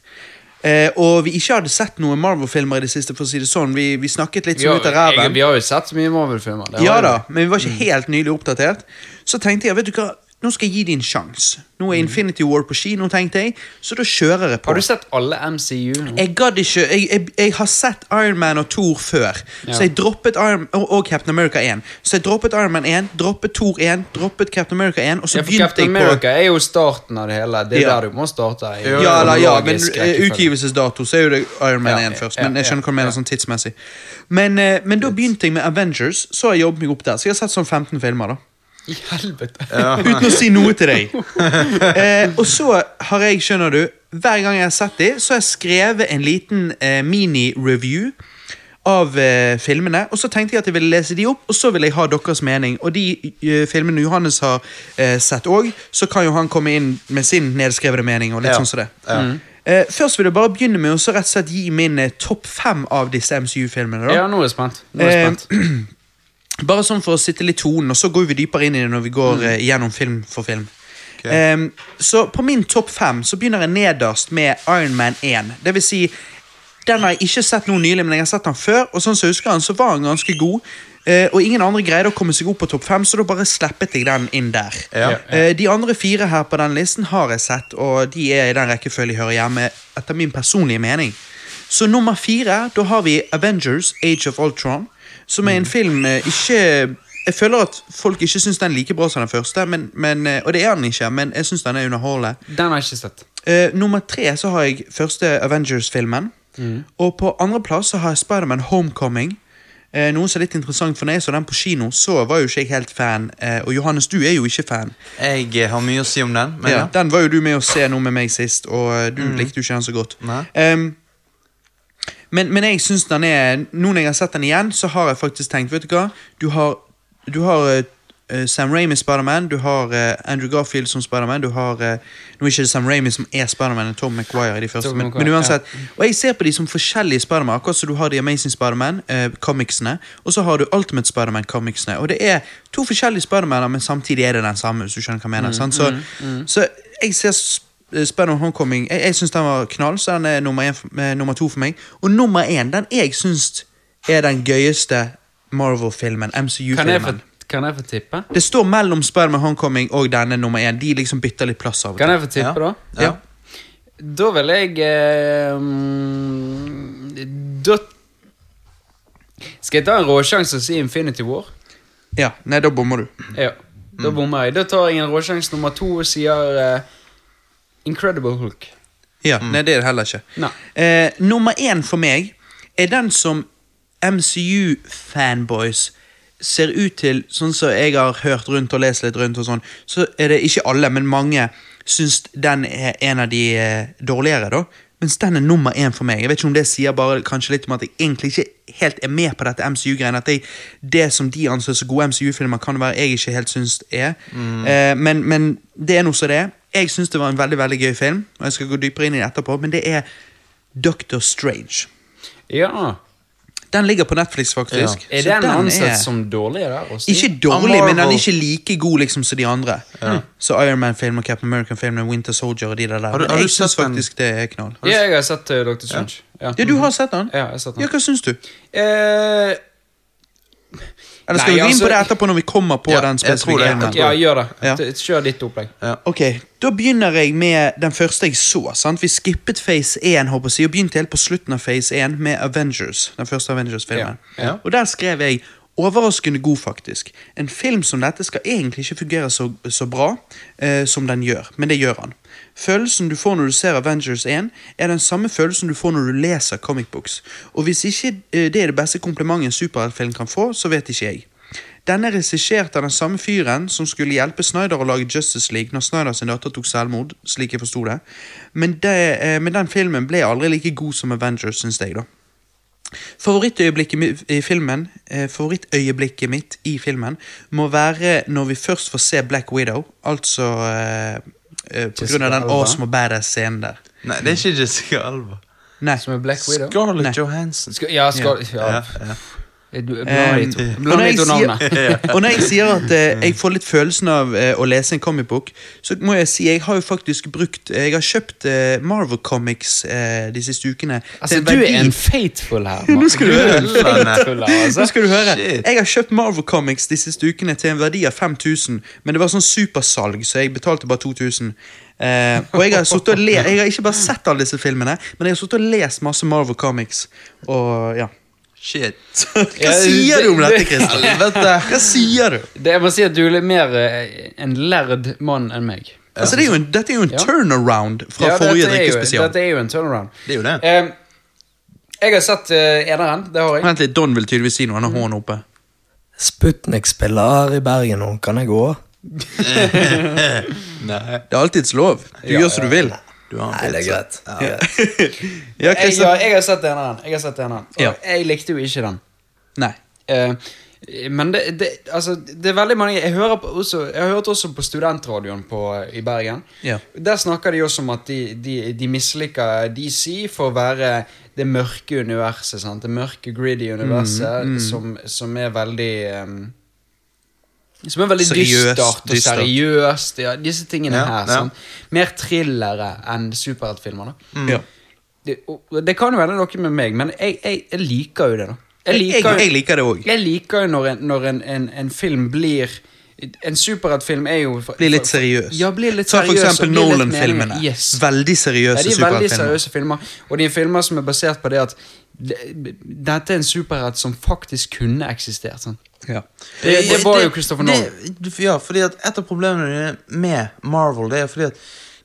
eh, og vi ikke hadde sett noen Marvel-filmer i det siste, for å si det sånn, vi, vi snakket litt
Vi
sånn
har,
ut av
jeg,
ræven.
vi har jo sett mye Marvel-filmer. det har Mm.
Ja
jeg.
da, men vi var ikke helt nylig oppdatert. Så tenkte jeg, vet du hva, nå skal jeg gi dem en sjanse. Nå er Infinity War på kino, tenkte jeg, så da kjører jeg på.
Mm. Har du sett alle MCU? nå?
Jeg gadd ikke jeg, jeg, jeg har sett Iron Man og Thor før,
Ja.
så jeg droppet Iron, og, og Captain America 1. Så jeg droppet Iron Man 1, droppet Thor 1, droppet Captain America 1, og så
Ja, for
begynte
Captain
jeg på
America er jo starten av det hele. Det er
Ja.
der du må starte. i
Ja, eller, ja, men
kronologisk
eh,
rekkefølge.
utgivelsesdato så er jo det Iron Man
Ja,
1 først.
ja,
Men jeg
ja,
skjønner hva du mener
ja.
sånn tidsmessig. Men, eh, men da begynte jeg med Avengers, så har jeg jobbet meg opp der. Så jeg har sett sånn 15 filmer, da.
I helvete.
Uten å si noe til deg. Eh, og så har jeg, skjønner du, hver gang jeg har sett dem, så har jeg skrevet en liten eh, mini-review av eh, filmene. Og så tenkte jeg at jeg ville lese de opp, og så vil jeg ha deres mening. Og de eh, filmene Johannes har eh, sett òg, så kan jo han komme inn med sin nedskrevne mening. og litt
Ja.
sånn som det.
Ja.
Eh, først vil jeg bare begynne med å så rett og slett gi min eh, topp fem av disse MCU-filmene. da.
Ja, nå er jeg spent. Nå er jeg
Eh,
spent.
Bare sånn for å sitte litt tonen, og så går vi dypere inn i det når vi går eh, gjennom film for film. Ehm, så på min topp fem så begynner jeg nederst med Iron Man 1. Det vil si, den har jeg ikke sett noe nylig, men jeg har sett den før, og sånn som jeg husker han, så var han ganske god. eh, og ingen andre greide å komme seg opp på topp fem, så da bare slappet jeg den inn der.
Ja. Ja,
Eh, de andre fire her på den listen har jeg sett, og de er i den rekkefølge jeg hører hjemme, etter min personlige mening. Så nummer fire, da har vi Avengers Age of Ultron, som er en film eh, ikke Jeg føler at folk ikke syns den er like bra som den første, men, men, eh, og det er den ikke, men jeg syns den er underholdende.
Den har jeg ikke sett.
Eh, nummer tre så har jeg første Avengers-filmen. Og på andreplass så har jeg Spiderman Homecoming. Eh, noe som er litt interessant, for når jeg så den på kino, så var jo ikke jeg helt fan. Eh, og Johannes, du er jo ikke fan.
Jeg eh, har mye å si om den, men ja.
Ja, den var jo du med å se nå med meg sist, og eh, du likte jo ikke den så godt.
Nei.
Ehm, men, men jeg synes den er Nå når jeg har sett den igjen, så har jeg faktisk tenkt Vet du hva? Du har, du har eh, eh, Sam Raimi Spiderman, du har eh, Andrew Garfield som Spiderman, du har eh, Nå er ikke det Sam Raimi som er Spiderman, det er Tom McGuire i de første,
Tom
men, men
Maguire,
uansett. Og jeg ser på de som forskjellige Spiderman, akkurat som du har The Amazing Spiderman, eh, comicsene, og så har du Ultimate Spiderman, comicsene. Og det er to forskjellige Spidermaner, men samtidig er det den samme, hvis du skjønner hva jeg mener.
Mm,
sant? Så, så jeg ser Sp- Spiderman Homecoming Jeg, jeg syns den var knall, så den er nummer, en, for- eh, nummer to for meg. Og nummer én, den jeg syns er den gøyeste Marvel-filmen,
Kan jeg, få,
MCU-filmen.
kan jeg få tippe?
Det står mellom Spiderman Homecoming og denne nummer én. De liksom bytter litt plass av og til.
Kan jeg få tippe,
Ja.
da?
Ja.
Da vil jeg eh, mm, Da Skal jeg ta en råsjanse og si Infinity War?
Ja, Nei, da bommer du.
Ja. Da bommer jeg. Da tar jeg en råsjanse nummer to og sier eh, Incredible Hulk.
Ja, Nei, det er det heller ikke.
Mm. Nei.
Eh, nummer én for meg er den som MCU-fanboys ser ut til, sånn som jeg har hørt rundt og lest litt rundt, og sånn, så er det ikke alle, men mange syns den er en av de eh, dårligere, da. Mens den er nummer én for meg. Jeg vet ikke om det sier bare kanskje litt om at jeg egentlig ikke helt er med på dette MCU-greiene. At jeg, det som de anser som gode MCU-filmer, kan være jeg ikke helt syns er. Eh, men, men det er noe som det er. Jeg syns det var en veldig veldig gøy film, og jeg skal gå dypere inn i det etterpå, men det er Doctor Strange.
Ja.
Den ligger på Netflix, faktisk.
Er
Så
den ansett
er-
som dårlig der? Også?
ikke dårlig, men den er
Marvel.
ikke like god liksom som de andre. Så Iron Man-film og Captain American-film og Winter Soldier og de der. der.
du-
Men
har du
jeg syns
sett den?
faktisk det er knall.
Ja, jeg har sett uh, Dr. Strange. Ja.
Ja, du har sett den?
Ja, jeg har sett den.
Ja, Hva syns du?
Eh,
Eller skal
Nei,
vi gå inn
altså-
på det etterpå når vi kommer på
Ja,
den
jeg tror
spesifikke
det.
filmen?
ja, gjør det.
Ja.
T- Kjør ditt opplegg.
Eh, Ok, Da begynner jeg med den første jeg så. sant? Vi skippet Phase 1 håper jeg, å si, og begynte helt på slutten av Phase 1 med Avengers. Den første Avengers-filmen.
Ja, ja.
Og der skrev jeg Overraskende god, faktisk. En film som dette skal egentlig ikke fungere så, så bra eh, som den gjør, men det gjør han. Følelsen du får når du ser Avengers 1, er den samme følelsen du får når du leser comic books. Og hvis ikke eh, det er det beste komplimentet en superheltfilm kan få, så vet ikke jeg. Denne er regissert av den samme fyren som skulle hjelpe Snyder å lage Justice League når Snyder sin datter tok selvmord, slik jeg forsto det. Men, det eh, men den filmen ble aldri like god som Avengers, syns jeg, da. Favorittøyeblikket mi- i filmen eh, Favorittøyeblikket mitt i filmen må være når vi først får se Black Widow, altså eh, eh, På grunn
Jessica
av den
Alba.
awesome og badass scenen der.
Nei, det er ikke Jessica Alba.
Nei.
Som er Black Widow.
Scarlett
Nei.
Johansson.
Skal, ja, skal, ja.
Ja, ja.
Du-
Eh,
Bland de to-
og
bland
når
de
jeg
to
sier-
navnene.
og når jeg sier at eh, jeg får litt følelsen av eh, å lese en comicbok, så må jeg si jeg har jo faktisk brukt eh, Jeg har kjøpt eh, Marvel Comics eh, de siste ukene.
Altså,
til
du er
verdi-
en fateful her.
Nå skal du høre.
er en faithful her,
Nå
altså.
skal du høre.
Shit.
Jeg har kjøpt Marvel Comics de siste ukene til en verdi av 5000, men det var sånn supersalg, så jeg betalte bare 2000. Eh, og jeg har, suttet og le jeg har ikke bare sett alle disse filmene, men jeg har suttet og lest masse Marvel Comics. Og ja
Shit.
Hva
Ja,
sier
det-
du om dette,
det-
Christer?
Helvete.
Hva sier du?
Det, jeg må si at du er litt mer eh, en lærd mann enn meg.
Altså, det er jo en, dette er jo en
Ja.
turnaround fra
Ja,
forrige
dette er jo-
drikkespesial.
Dette er jo en turnaround.
Det er jo det.
Eh, jeg har sett eh, eneren. Det har jeg.
Vent litt, Don vil tydeligvis si noe. Han har hånden oppe.
Sputnik spiller her i Bergen nå. Kan jeg gå?
Nei.
Det er alltids lov. Du
Ja,
gjør som du vil.
Du har en
Nei, det er
pizza.
greit. Ja.
Ja,
Jeg,
Christer.
har- jeg har sett eneren. Jeg har sett eneren. Og
Ja.
jeg likte jo ikke den.
Nei.
Eh, men det, det, altså, det er veldig mange Jeg hører på også, jeg hørte også på studentradioen på, eh, i Bergen.
Ja.
Der snakker de også om at de, de, de misliker DC for å være det mørke universet. Sant? Det mørke, gritty universet
Mm,
Som, som er veldig eh, som er veldig
Seriøst,
dystert og
dystert.
seriøst. Ja, disse tingene
Ja,
her.
ja.
sant? Mer thrillere enn superheltfilmer. da.
Ja.
Det, og det kan jo være noe med meg, men jeg, jeg, jeg liker jo det, da.
Jeg,
liker jo-
jeg, jeg liker det òg.
jeg liker jo når en, når en, en, en film blir En superheltfilm er jo
Blir litt seriøs.
Ja, blir litt
Ta
seriøs.
for eksempel
og blir litt
Nolan-filmene.
meningen. Yes.
Veldig seriøse
Ja, de er veldig
superheltfilmer.
seriøse filmer. Og de er filmer som er basert på det at det- dette er en superhelt som faktisk kunne eksistert. Sånn.
Ja.
Det, det var jo
det-
Christopher Nolan.
det- Ja, fordi at et av problemene med Marvel Det er fordi at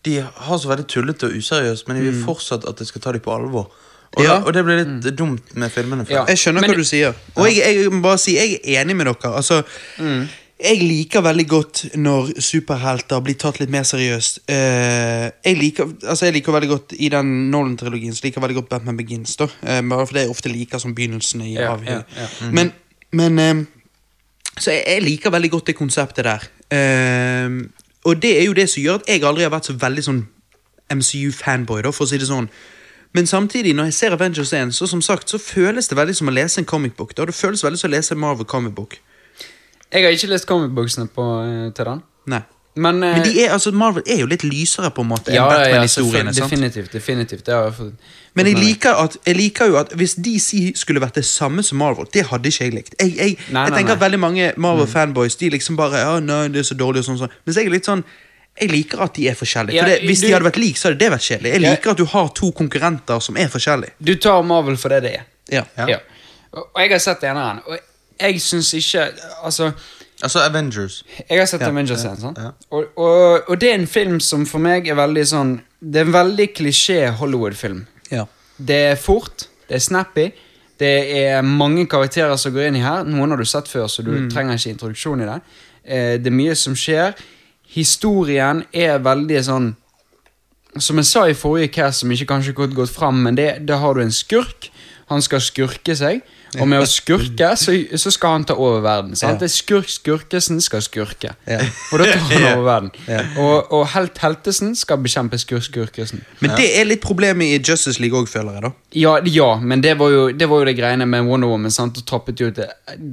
de har så veldig tullete og useriøst, men de
Mm.
vil fortsatt at jeg skal ta dem på alvor. Og,
Ja.
da, og det blir litt dumt med filmene. føler
Ja.
Jeg
jeg.
skjønner
Men-
hva du sier. Og jeg, jeg må bare si, jeg er enig med dere. Altså,
Mm.
Jeg liker veldig godt når superhelter blir tatt litt mer seriøst. Eh, jeg, liker, altså jeg liker veldig godt I den Nolan-trilogien Så liker jeg veldig godt Batman Begins. da Eh, Bare fordi jeg ofte liker som begynnelsen. I,
Ja,
av,
ja, Mhm. ja.
Men, men eh, Så jeg, jeg liker veldig godt det konseptet der. Eh, og det er jo det som gjør at jeg aldri har vært så veldig sånn MCU-fanboy, da, for å si det sånn. Men samtidig, når jeg ser Avengers 1, så som sagt, så føles det veldig som å lese en comic book. Da. Det føles veldig som å lese en Marvel comic book.
Jeg har ikke lest comicboxene til den.
Nei.
Men, eh,
Men de er, altså, Marvel er jo litt lysere på en måte enn
ja, ja, ja,
Batman-historiene.
selvfølgelig.
sant?
definitivt. definitivt det har jeg fått,
Men jeg
fått med meg.
liker, at, jeg liker jo at hvis DC skulle vært det samme som Marvel, det hadde ikke jeg likt. Jeg, jeg,
Nei,
jeg
nei,
tenker
nei. Mm.
veldig mange Marvel-fanboys de liksom bare ja, nei, det er så dårlig og sånn, sånn. Mens jeg er litt sånn jeg liker at de er forskjellige.
Ja,
For det, hvis
du-
de hadde vært like, så hadde det vært kjedelig. Jeg
Ja.
liker at du har to konkurrenter som er forskjellige.
Du tar Marvel for det det er.
Ja.
Ja.
Ja. Og og jeg har sett eneren, og jeg syns ikke Altså,
Altså Avengers.
jeg har sett Avengers 1, sant?
ja.
Og, og, og det er en film som for meg er veldig sånn Det er en veldig klisjé Hollywood-film.
Ja.
Det er fort, det er snappy, det er mange karakterer som går inn i her. Noen har du sett før, så du
Mm.
trenger ikke introduksjon i det. Eh, det er mye som skjer. Historien er veldig sånn som jeg sa i forrige cast, som ikke kanskje har gått fram, men det, da har du en skurk. Han skal skurke seg, og med å skurke så, så skal han ta over verden. Sant?
Ja.
Det er skurk Skurkesen skal skurke,
Ja.
og da tar han
Ja.
over verden.
Ja.
Og, og helt Heltesen skal bekjempe skurk Skurkesen.
Men det er litt problemet i Justice League òg, føler jeg, da.
Ja, ja men det var, jo, det var jo det greiene med Wonder Woman. sant? Og trappet jo, til,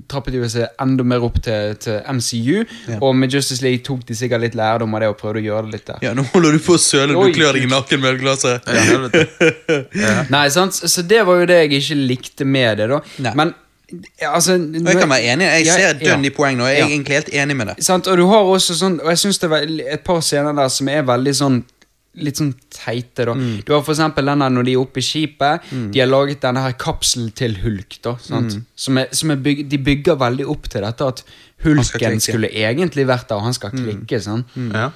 trappet jo seg enda mer opp til, til MCU. Og med Justice League tok de sikkert litt lærdom av det og prøvde å gjøre det litt der.
Ja, Nå holder du på å søle, du
Oi.
klør deg i nakken med ølglasset.
Ja, helvete.
Nei, sant? Så det var jo det jeg ikke likte med det, da.
Nei.
Men altså
Og jeg kan være enig, jeg
Ja,
ser dønn i poeng nå. Jeg
Ja.
er egentlig helt enig med det.
Sant, og du har også sånn Og jeg syns det er et par scener der som er veldig sånn Litt sånn teite, da. Du har for eksempel den der når de er oppe i skipet. De har laget denne her kapselen til Hulk, da. Sant? Som er, som er byg, de bygger veldig opp til dette at
skal klikke.
Hulken skulle egentlig vært der, og han skal klikke. Sant?
Mm. Ja.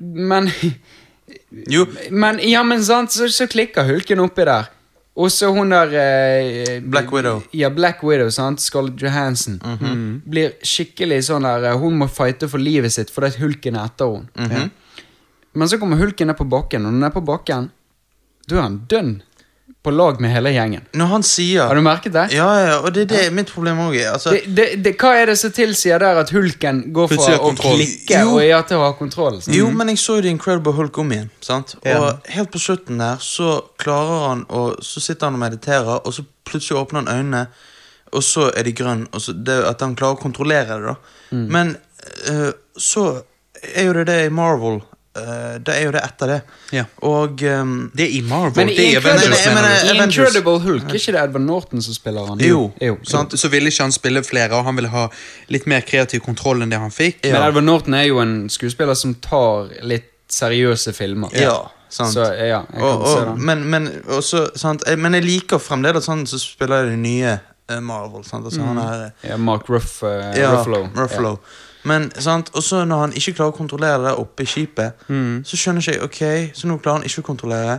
Men
Jo,
Men, ja, men sant, så, så klikker hulken oppi der. Og så hun der eh,
Black Widow. Mhm.
Ja, Black Widow, sant? Scarlett Johansson. Mm. Blir skikkelig sånn der eh, Hun må fighte for livet sitt fordi at hulken er etter henne.
Mhm.
Men så kommer hulken ned på bakken, og når han er på bakken, da er han dønn på lag med hele gjengen.
når han sier
Har du merket det?
Ja, ja, og det er det mitt problem òg er. Altså,
Det, det, det, hva er det som tilsier der at hulken går
Plutselig
fra
har
å
kontroll.
klikke
Jo.
og ja, til å ha kontroll? sant?
Mhm.
Jo, men jeg så jo The Incredible Hulk om igjen. sant? Og helt på slutten der så klarer han å Så sitter han og mediterer, og så plutselig åpner han øynene, og så er de grønne. Og så det, at han klarer å kontrollere det, da.
Mm.
Men eh, så er jo det det i Marvel. eh, det er jo det etter det.
Ja.
Og ehm,
Det er i Marvel.
Men i
det er i Avengers,
Incredible,
Nei,
mener
men,
du?
eh,
I
Avengers.
Incredible Hulk, er ikke det Edvard Norton som spiller han?
Jo.
jo.
Sant? Så ville ikke han spille flere, og han ville ha litt mer kreativ kontroll enn det han fikk.
Men Edvard Norton er jo en skuespiller som tar litt seriøse filmer.
Ja, sant.
Så ja, jeg kan
og,
se
og,
den.
men, men, også, sant? eh, men jeg liker fremdeles han som spiller i det nye eh, Marvel. sant? Altså, han
Mm.
er... eh,
ja, Mark Ruff, uh,
Eh,
Ruffalo.
Ruffalo. Men, sant, og så når han ikke klarer å kontrollere det oppe i skipet,
Mm.
så skjønner ikke jeg ok, så nå klarer han ikke å kontrollere.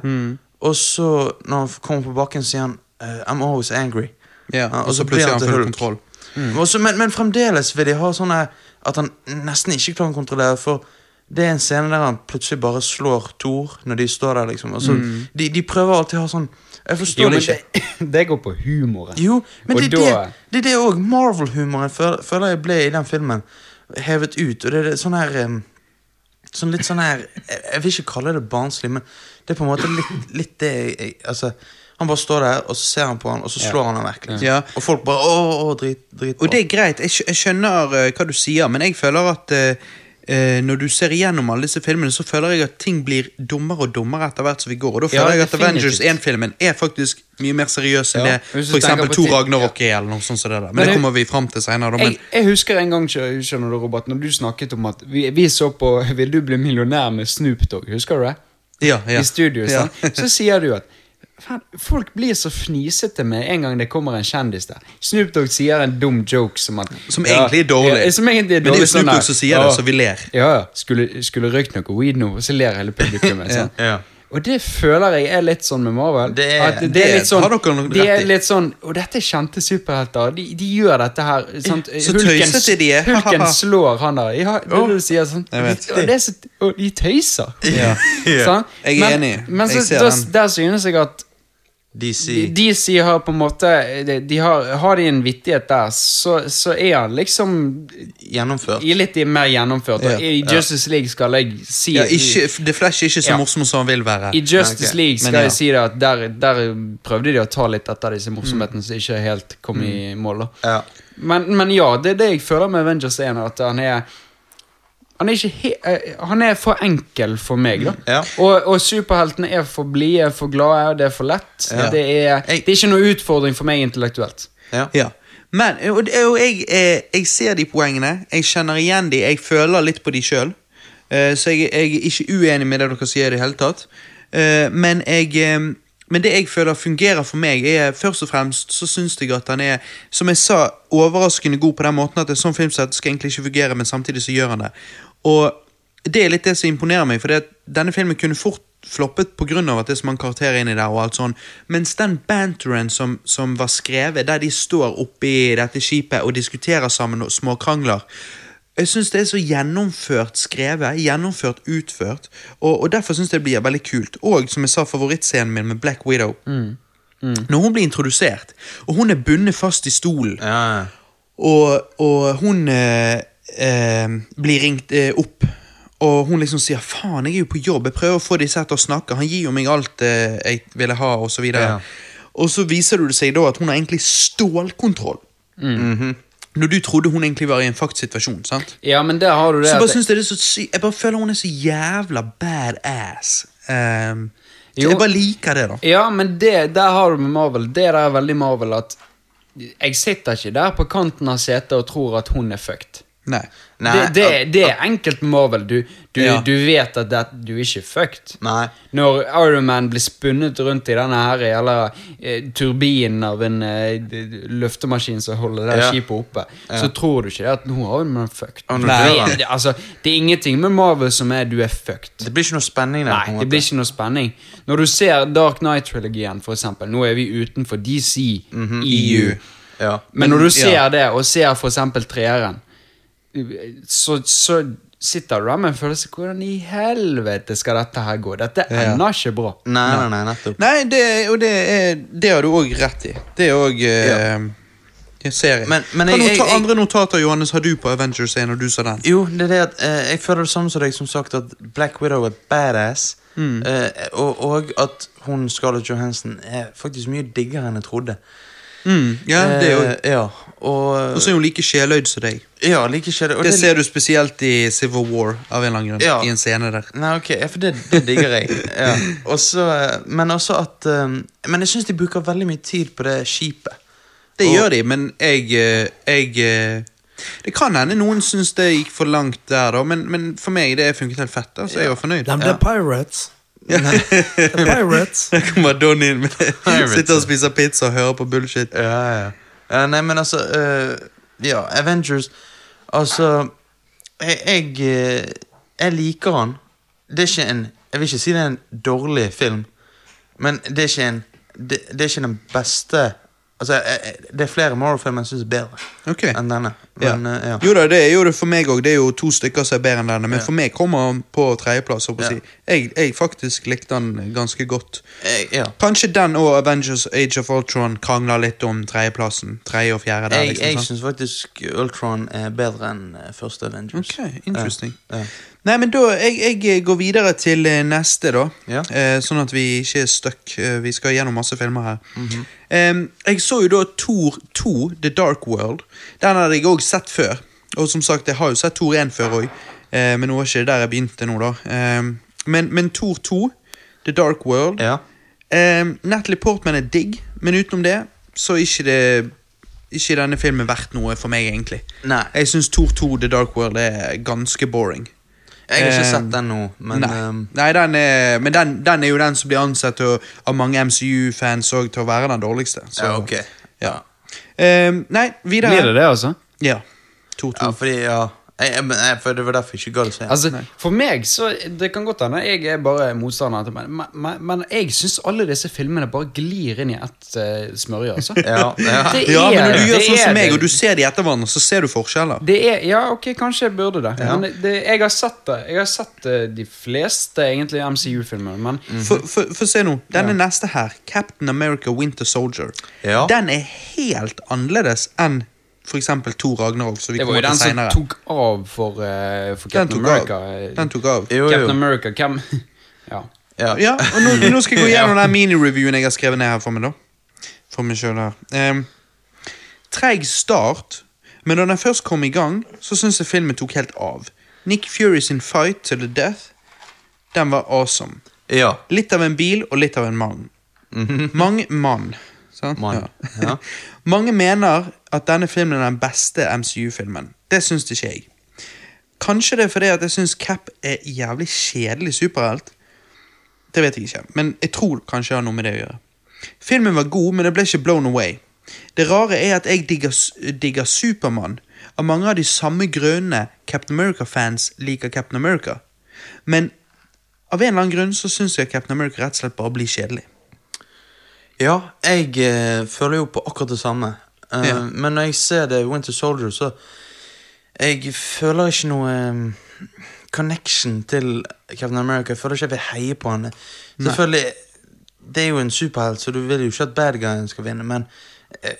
Og så, når han kommer på bakken, sier han eh, I'm always angry.
Ja,
Ja,
og så
blir
plutselig har han
til
full
Hulk. Mm.
kontroll. Mm.
Og så- men, men fremdeles vil de ha sånn her at han nesten ikke klarer å kontrollere, for det er en scene der han plutselig bare slår Thor når de står der, liksom. Og så,
Mm.
de, de prøver alltid å ha sånn Jeg forstår
Jo,
det
men
ikke.
det, det går på humoren.
Jo, men
Og
det, er
da-
det, det er det òg. Marvel-humoren føl- føler jeg ble i den filmen hevet ut. Og det er det- sånn her em, Sånn litt sånn her Jeg jeg vil ikke kalle det barnslig, men det er på en måte litt, litt det jeg, jeg Altså, han bare står der, og så ser han på han, og så slår han han vekk. Liksom.
Ja.
Og folk bare Å, å, drit, drit
Og det er greit, jeg, skj- jeg skjønner eh, hva du sier, men jeg føler at eh, eh, når du ser igjennom alle disse filmene, så føler jeg at ting blir dummere og dummere etter hvert som vi går. Og da
Ja,
føler jeg at Avengers
definitivt.
1-filmen er faktisk mye mer seriøs enn
Ja.
det
Hvis du
for
tenker
eksempel
på
Thor
ti-
Ragnarok er, eller noe sånt som det der. Men,
Men
det
jeg-
kommer vi fram til senere, da. Men
Jeg, jeg husker en gang skjø- skjønner du, Robert, når du snakket om at vi, vi så på 'Vil du bli millionær' med Snoop Dogg. Husker du det?
Ja, ja.
I studio.
Ja.
sant? Så sier du at "Fan, folk blir så fnisete med en gang det kommer en kjendis der. Snoop Dogg sier en dum joke som at
Som egentlig er dårlig.
Ja, som egentlig er
Men det er
dårlig
jo Snoop
sånn der,
Dogg som sier det,
"Ja,
så vi ler."
Ja, ja. skulle, skulle røykt noe weed nå, og så ler hele publikummet. sant?
Ja.
Og det føler jeg er litt sånn med Marvel.
Det er-
at det,
det
er litt sånn,
har dere nok
de
rett
er
i.
litt sånn Og dette er kjente superhelter. De, de gjør dette her. Sant?
Eh, så tøysete de er.
Hulken slår han der. Ja, det er det du sier sånn.
Jeg vet.
Og, det er så, og de tøyser.
Ja.
Sant?
Jeg er enig.
Men
Jeg
så,
ser
da,
den.
der synes jeg at
DC.
DC har på en måte de, de har, har de en vittighet der, så, så er han liksom
Gjennomført.
i litt i mer gjennomført.
Ja.
Og I Justice League skal jeg si
ja, ikke, The Flash er ikke så
Ja.
morsom som han vil være.
I
Nei,
Justice
ok.
League skal
Men ja.
jeg si det at der, der prøvde de å ta litt etter disse morsomhetene som ikke helt kom i mål. da
Mm. Ja.
men, men ja, det er det jeg føler med Avengers 1, at han er han er, ikke he eh, han er for enkel for meg, da.
Ja.
Og, og superheltene er for blide, for glade, det er for lett.
Ja.
Det, er,
Jeg-
det er ikke noe utfordring for meg intellektuelt.
Ja.
Ja. Men og, det er jo jeg, eh, jeg ser de poengene, jeg kjenner igjen de, jeg føler litt på de sjøl. Så jeg, jeg er ikke uenig med det dere sier i det hele tatt. Eh, Men, jeg, eh, men det jeg føler fungerer for meg, er først og fremst så syns jeg at han er, som jeg sa, overraskende god på den måten at det er sånn filmsett skal egentlig ikke fungere, men samtidig så gjør han det. Og det er litt det som imponerer meg, for denne filmen kunne fort floppet pga. at det er så mange karakterer inni der. og alt sånn Mens den banteren som, som var skrevet, der de står oppi dette skipet og diskuterer sammen og småkrangler Jeg syns det er så gjennomført skrevet, gjennomført utført, og, og derfor syns jeg det blir veldig kult. Og som jeg sa, favorittscenen min med Black Widow. Når hun blir introdusert, og hun er bundet fast i stolen,
Ja, ja.
og, og hun eh, eh, blir ringt eh, opp. Og hun liksom sier 'faen, jeg er jo på jobb', jeg prøver å få disse her til å snakke. Han gir jo meg alt eh, jeg ville ha, og så videre.
Ja.
Og så viser det seg da at hun har egentlig stålkontroll.
Mhm.
Når du trodde hun egentlig var i en faktsituasjon. sant?
Ja, men der har du det
Så
at
bare
det-
synes jeg det er så sy Jeg bare føler hun er så jævla badass. Um, så
Jo.
jeg bare liker det, da.
Ja, men det, der har du med Marvel. Det der er veldig Marvel at Jeg sitter ikke der på kanten av setet og tror at hun er fucked.
Nei.
Nei,
det, det,
at-
det er enkelt med Marvel. Du, du,
Ja.
du vet at det, du er ikke fucked.
Nei.
Når Iron Man blir spunnet rundt i denne her jævla eh, turbinen av en eh, d- d- løftemaskin som holder det
Ja.
skipet oppe, så tror du ikke det at nå har hun man fucked.
Ja, nå dør han.
det, det- altså, det er ingenting med Marvel som er du er fucked.
Det blir ikke noe spenning der. på en
Nei, det
måte.
blir ikke noe spenning. Når du ser Dark Knight-trilogien, for eksempel, nå er vi utenfor DC,
Mhm, E
EU,
Ja.
men når du ser
ja.
det, og ser for eksempel treeren, så, så sitter du der med en følelse Hvordan i helvete skal dette her gå? Dette ender ikke bra.
Nei, nei, nei, nettopp.
Nei, det, og det, er, det har du òg rett i. Det er òg uh, Jeg ser det.
Men- men
kan
jeg-
du ta
jeg- jeg-
andre notater, Johannes, har du på Avengers 1, og du sa den?
Jo, det er det at eh, jeg føler det samme som deg, som sagt, at Black Widow er badass.
Mm.
eh, og, og at hun Scarlett Johansen er faktisk mye diggere enn jeg trodde.
Mm, ja, det er jo
Eh, ja, og
Og så er hun like sjeløyd som deg.
Ja, like skjer det. og
Det
det-
ser du spesielt i Civil War, av en eller annen grunn.
Ja.
I en scene der.
Nei, ok, ja, for det, det digger jeg. Ja. Og så, eh, men også at eh, Men jeg syns de bruker veldig mye tid på det skipet.
Det
Og-
gjør de, men jeg, eh, jeg eh, Det kan hende noen syns det gikk for langt der, da, men, men for meg det funket helt fett. da, Så jeg var fornøyd.
Nei, men det er pirates. Det er pirates.
Der kommer Don inn med
Pirates,
Sitter og spiser pizza og hører på bullshit.
Ja, ja. ja nei, men altså eh, Ja, Avengers Altså Jeg, jeg, eh, jeg liker han. Det er ikke en Jeg vil ikke si det er en dårlig film, men det er ikke en Det, det er ikke den beste Altså, jeg, jeg, det er flere Marvel-filmer jeg syns er bedre
Ok.
enn denne.
Ja.
Men, eh, ja.
Jo da, det er jo det for meg òg. Det er jo to stykker som er bedre enn denne, men for meg kommer han på tredjeplass. håper Jeg, å si. jeg, jeg faktisk likte han ganske godt.
Jeg, ja.
Kanskje den og Avengers Age of Ultron krangler litt om tredjeplassen. Tredje og fjerde der,
Jeg,
liksom.
jeg
sant?
syns faktisk Ultron er bedre enn eh, første Avengers.
Ok, interesting.
Ja, ja.
Nei, men da, jeg, jeg går videre til eh, neste, da.
Ja.
Eh, sånn at vi ikke er stuck. Eh, vi skal gjennom masse filmer her.
Mhm.
Em, jeg så jo da Thor 2, The Dark World. Den hadde jeg òg sett før. Og som sagt, jeg har jo sett Thor 1 før òg, eh, men nå var ikke det der jeg begynte nå, da. Em, men, men Thor 2, The Dark World
Ja.
Em, Natalie Portman er digg, men utenom det så er ikke det ikke denne filmen verdt noe for meg, egentlig.
Nei.
Jeg syns Thor 2, The Dark World er ganske boring.
Jeg har ikke
Eh,
sett den nå, men
Nei,
um,
ehm,
Nei den er, men den, den er jo den som blir ansett til å, av mange MCU-fans også til å være den dårligste. Så.
ja, ok.
Ja. Ehm, nei, videre.
Blir det det, altså?
Ja. 2-2.
Ja, fordi ja jeg, jeg, men- jeg, for Det var derfor jeg ikke gadd å se den.
Altså, For meg så Det kan godt hende jeg er bare motstander, til- men, men, men jeg syns alle disse filmene bare glir inn i ett eh, smørje, altså.
Ja, ja.
Det
ja, men
er-
når du gjør
det
sånn
er
som meg,
det.
og du ser de etter hverandre, så ser du forskjeller.
Det er, ja, ok, kanskje jeg burde det. Men det, det jeg har sett det. Jeg har sett eh, de fleste egentlig MCU-filmer, men
For, for, for se nå, denne neste her, Captain America Winter Soldier,
Ja.
den er helt annerledes enn for eksempel Thor Ragnarok, som vi
det
kommer
var jo
til
den som
senere.
tok av for, eh, for
Den
Captain
tok
America.
av.
eh,
Den tok av.
Jo, jo.
Captain America, hvem Ja.
Ja.
Ja, og nå, nå skal jeg gå gjennom den mini-reviewen jeg har skrevet ned her for meg, da. For meg selv her. Ehm, Treg start, men da den først kom i gang, så syns jeg filmen tok helt av. Nick Fury sin fight to the death, den var awesome.
ja.
Litt av en bil og litt av en mann. Mange mann. Sant?
Mhm. Mann, ja.
Mange mener at denne filmen er den beste MCU-filmen. Det syns ikke jeg. Kanskje det er fordi at jeg syns Cap er jævlig kjedelig superhelt. Det vet jeg ikke, men jeg tror kanskje det har noe med det å gjøre. Filmen var god, men det ble ikke blown away. Det rare er at jeg digger, s- digger Supermann. Av mange av de samme grønne Captain America-fans liker Captain America. Men av en eller annen grunn så syns jeg Captain America rett og slett bare blir kjedelig.
ja jeg eh, føler jo på akkurat det samme. Eh,
Ja.
Men når jeg ser det i Winter Soldier, så Jeg føler ikke noe um, connection til Captain America. Jeg føler ikke jeg vil heie på han. Selvfølgelig, Det er jo en superhelt, så du vil jo ikke at bad guyen skal vinne, men eh,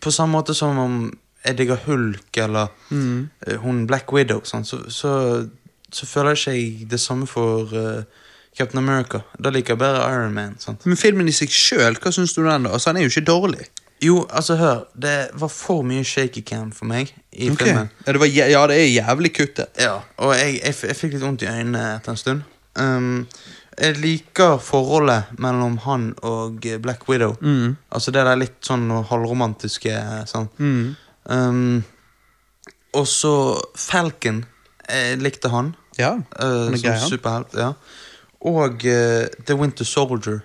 på samme måte som om jeg digger Hulk eller eh, hun Black Widow, sant, så, så, så føler jeg ikke jeg det samme for eh, Captain America. Da liker jeg bedre Iron Man. sant?
Men filmen i seg sjøl, hva syns du om den? da? Altså, Han er jo ikke dårlig.
Jo, altså hør Det var for mye shaky cam for meg i
Ok.
filmen.
Ja, det, var, jæ- ja, det er jævlig kuttet.
Ja, Og jeg, jeg, f- jeg fikk litt vondt i øynene etter en stund. Um, jeg liker forholdet mellom han og eh, Black Widow.
Mm.
Altså det der litt sånn halvromantiske sånn.
Mm.
Um, og så Falcon. Jeg likte han.
Ja,
Eh,
han er grei,
som
han.
superhelt. Ja. Og eh, The Winter Soldier.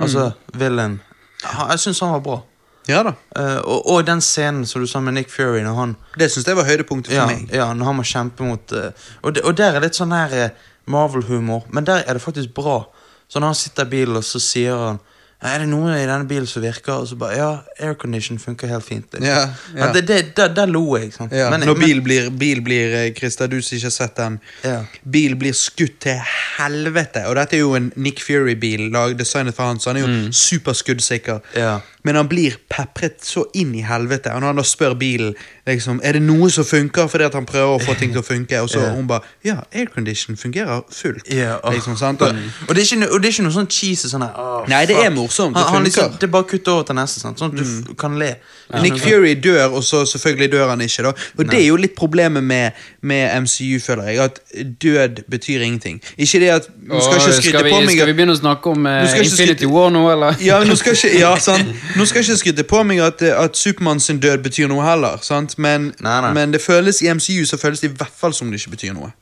Altså
Mm.
villain. Han, jeg syns han var bra.
Ja da.
Eh, og, og den scenen som du sa med Nick Fury når han,
Det syns jeg var høydepunktet for
ja,
meg.
ja, når han må kjempe mot eh, og, de, og der er litt sånn her eh, Marvel-humor, men der er det faktisk bra. Så når han sitter i bilen, og så sier han Er det noe i denne bilen som virker? Og så bare Ja, aircondition funker helt fint. liksom.
Ja, ja.
det, det, der, der lo jeg. sant?
Ja,
Men-
når
men-
bil blir, bil blir eh, Christer, du som ikke har sett den.
Ja.
Bil blir skutt til helvete. Og dette er jo en Nick Fury-bil, lag- designet for han, så han er jo superskuddsikker.
Mm. Ja.
Men han blir pepret så inn i helvete. Og når han da spør bilen liksom, Er det noe som funker, fordi at han prøver å få ting til å funke, og så hun bare Ja, aircondition fungerer fullt.
Ja, og,
liksom, sant?
og,
Og,
og, det er ikke, no- og det er ikke noe sånn cheesy sånn her «Åh,
Nei, det er
fuck».
morsomt, det
Han, han liksom,
funker. Mm.
det er bare å kutte over til neste, sant? sånn at du f kan le.
Ja. Nick Fury dør, og så selvfølgelig dør han ikke. da Og Det er jo litt problemet med, med MCU, føler jeg. At død betyr ingenting. Ikke det at Nå skal
Åh,
ikke skryte
vi,
på
skal vi
meg at-
begynne å snakke om eh,
Du skal ikke
Infinity
skryte-
War nå, eller?
ja, men nå skal ikke, ja, sant? Nå skal ikke skryte på meg at, at Supermann sin død betyr noe heller. Sant? Men,
Nei, nei.
men det føles i MCU så føles det i hvert fall som det ikke betyr noe.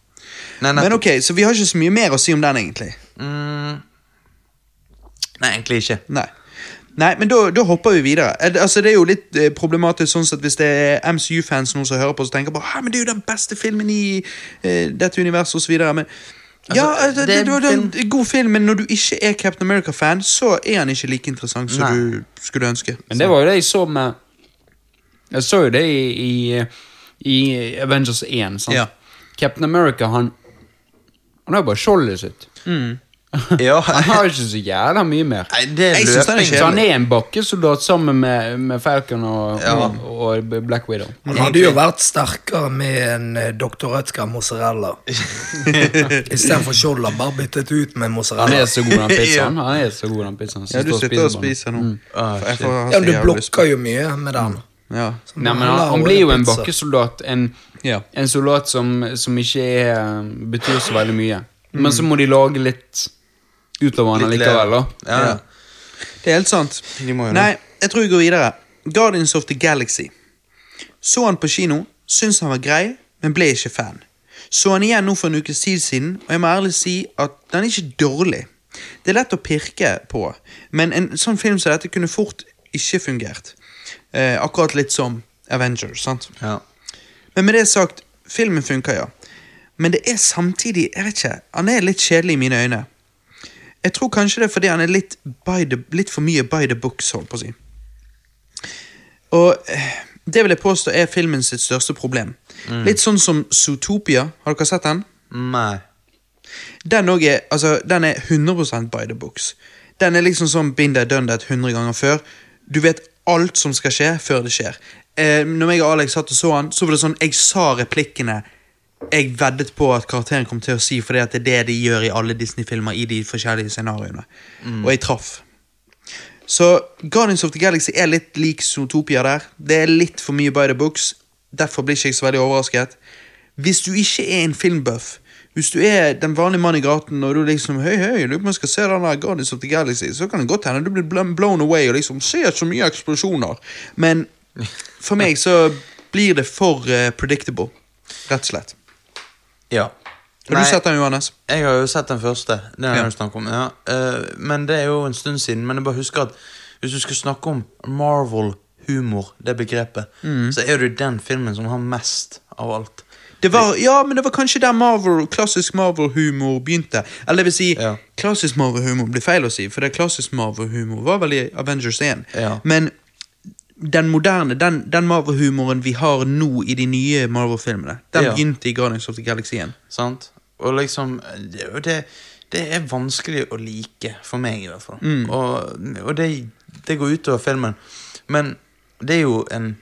Nei, nettopp.
Men ok, Så vi har ikke så mye mer å si om den, egentlig.
Mm. Nei, egentlig ikke.
Nei. Nei, men da, da hopper vi videre. Eh, Altså, det er jo litt eh, problematisk sånn at hvis det er MCU-fans nå som hører på, så tenker bare, «Hæ, men det er jo den beste filmen i eh, dette universet, og så videre. Men ja,
Altså,
det,
det
det,
er
det, var en god film, men når du ikke er Captain America-fan, så er han ikke like interessant som
Nei.
du skulle ønske.
Men det var jo det jeg så med Jeg så jo det i, i, i Avengers 1. Sant?
Ja.
Captain America, han Han har jo bare skjoldet sitt.
Mm.
Ja,
Han har ikke så jævla mye mer.
nei, det er
Jeg synes den er
løping.
kjedelig.
Så han er en bakkesoldat sammen med, med Falcon og,
Ja.
og, og Black Widow.
Han hadde jo vært sterkere med en eh, Dr. Rødtger mozzarella. Istedenfor skjold. Han bare byttet ut med
Han
mozzarella.
er så god, den pizzaen. Han er så god, den pizzaen. som
Ja, du
står
sitter og
på den.
spiser nå.
Ah,
For jeg
shit.
får ha så
Ja, men Du
jævlig lyst på-
blokker jo mye med den.
Ja.
Så
Nei, men
la
han, han
holde
blir jo en
pizza.
bakkesoldat. En,
Ja.
en soldat som, som ikke er, eh, betyr så veldig mye. Men så må de lage litt utover han
Litt
likevel, da.
Ja, ja.
Det er helt sant.
De må jo det.
Nei, jeg tror vi går videre. Guardians of the Galaxy. Så han på kino, syntes han var grei, men ble ikke fan. Så han igjen nå for en ukes tid siden, og jeg må ærlig si at den er ikke dårlig. Det er lett å pirke på, men en sånn film som dette kunne fort ikke fungert. Eh, akkurat litt som Avengers, sant?
Ja.
Men med det sagt, filmen funker, ja. Men det er samtidig Jeg vet ikke, han er litt kjedelig i mine øyne. Jeg tror kanskje det er fordi han er litt, by the, litt for mye by the books, holdt på å si. Og eh, det vil jeg påstå er filmen sitt største problem. Litt sånn som Zootopia. Har dere sett den?
Nei.
Den, også er, altså, den er 100 by the books. Den er liksom sånn been there, done that 100 ganger før. Du vet alt som skal skje, før det skjer. Eh, når jeg og Alex satt og så han, så var det sånn Jeg sa replikkene jeg veddet på at karakteren kom til å si, fordi at det er det de gjør i alle Disney-filmer i de forskjellige scenarioene. Og jeg traff. Så Guardians of the Galaxy er litt lik Zootopia der. Det er litt for mye by the books. Derfor blir ikke jeg så veldig overrasket. Hvis du ikke er en filmbuff, hvis du er den vanlige mannen i gaten og du liksom Høy, høy, lurer på om jeg skal se den der Guardians of the Galaxy, så kan det godt hende du blir bl- blown away og liksom ser så mye eksplosjoner. Men for meg så blir det for eh, predictable, rett og slett.
Ja.
Har
Nei,
du sett den, Johannes?
Jeg har jo sett den første. Den er
Ja.
det du snakker om ja. Eh, Men det er jo en stund siden. Men jeg bare husker at hvis du skal snakke om Marvel-humor, det begrepet, så er det jo den filmen som har mest av alt.
Det var, ja, men det var kanskje der Marvel, klassisk Marvel-humor begynte. Eller det vil si,
Ja.
klassisk Marvel-humor blir feil å si, for det klassisk Marvel-humor var vel i Avengers 1.
Ja.
Men den moderne, den, den Marvel-humoren vi har nå i de nye Marvel-filmene, den
Ja.
begynte i Guardians of the Galaxy 1.
Sant? Og liksom det, og det, det er vanskelig å like, for meg i hvert fall.
Mm.
Og, og det, det går utover filmen. Men det er jo en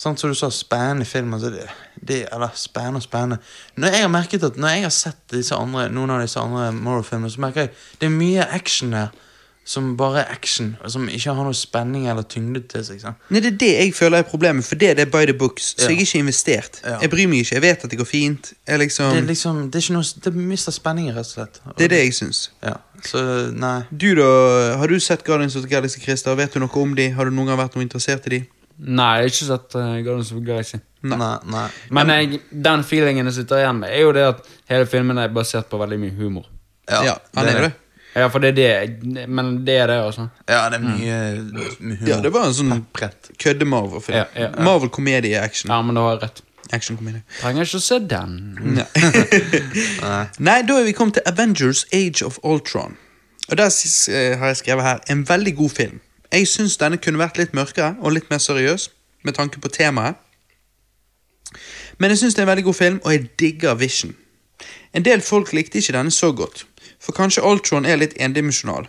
Sant som du sa, spennende film. Altså det, det, eller spennende og spennende. Når jeg har merket at når jeg har sett disse andre, noen av disse andre Morrow-filmene, så merker jeg det er mye action her som bare er action. Og som ikke har noe spenning eller tyngde til seg. Sant?
Nei, Det er det jeg føler er problemet, for det, det er by the books. Så jeg er ikke investert.
Ja.
Jeg bryr meg ikke. Jeg vet at det går fint. Jeg liksom,
Det er
det,
liksom, det er ikke noe, det mister spenningen, rett og slett. Og,
er det jeg syns.
Ja, så nei.
Du, da? Har du sett Guardians of the Galaxy, Christer? Vet du noe om de? Har du noen gang vært noe interessert i de?
Nei, jeg har ikke sett uh, Guardians of the Galaxy.
Nei, nei.
Men jeg, den feelingen jeg sitter igjen med, er jo det at hele filmen er basert på veldig mye humor.
Ja, han er det.
Ja, for det er det jeg- Men det er det, altså.
Ja, det er
Mm.
mye mye humor.
Ja, det var en sånn
Pepret.
kødde-Marvel-film.
Ja, ja, ja.
Marvel-komedie-action.
Ja, men du har rett.
Action-komedie.
Trenger ikke å se den.
Nei. Nei, da er vi kommet til Avengers Age of Ultron. Og der s- eh, har jeg skrevet her en veldig god film. Jeg syns denne kunne vært litt mørkere og litt mer seriøs med tanke på temaet. Men jeg syns det er en veldig god film, og jeg digger Vision. En del folk likte ikke denne så godt, for kanskje Ultron er litt endimensjonal.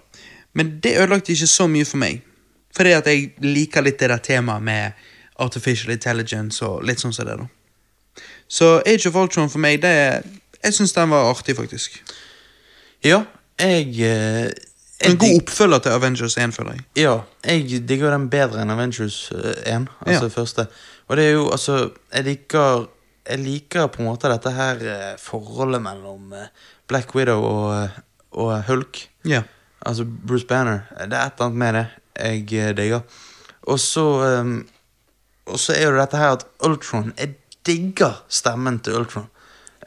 Men det ødelagte ikke så mye for meg, fordi at jeg liker litt det der temaet med artificial intelligence og litt sånn som det, da. Så Age of Ultron for meg, det er Jeg syns den var artig, faktisk.
Ja, jeg eh, jeg
En god
dig-
oppfølger til Avengers 1, føler jeg.
Ja, jeg digger jo den bedre enn Avengers eh, 1, altså
Ja.
første. Og det er jo, altså Jeg liker Jeg liker på en måte dette her eh, forholdet mellom eh, Black Widow og, eh, og Hulk.
Ja.
Altså Bruce Banner. Det er et eller annet med det jeg eh, digger. Og så ehm, Og så er jo dette her at Ultron Jeg digger stemmen til Ultron.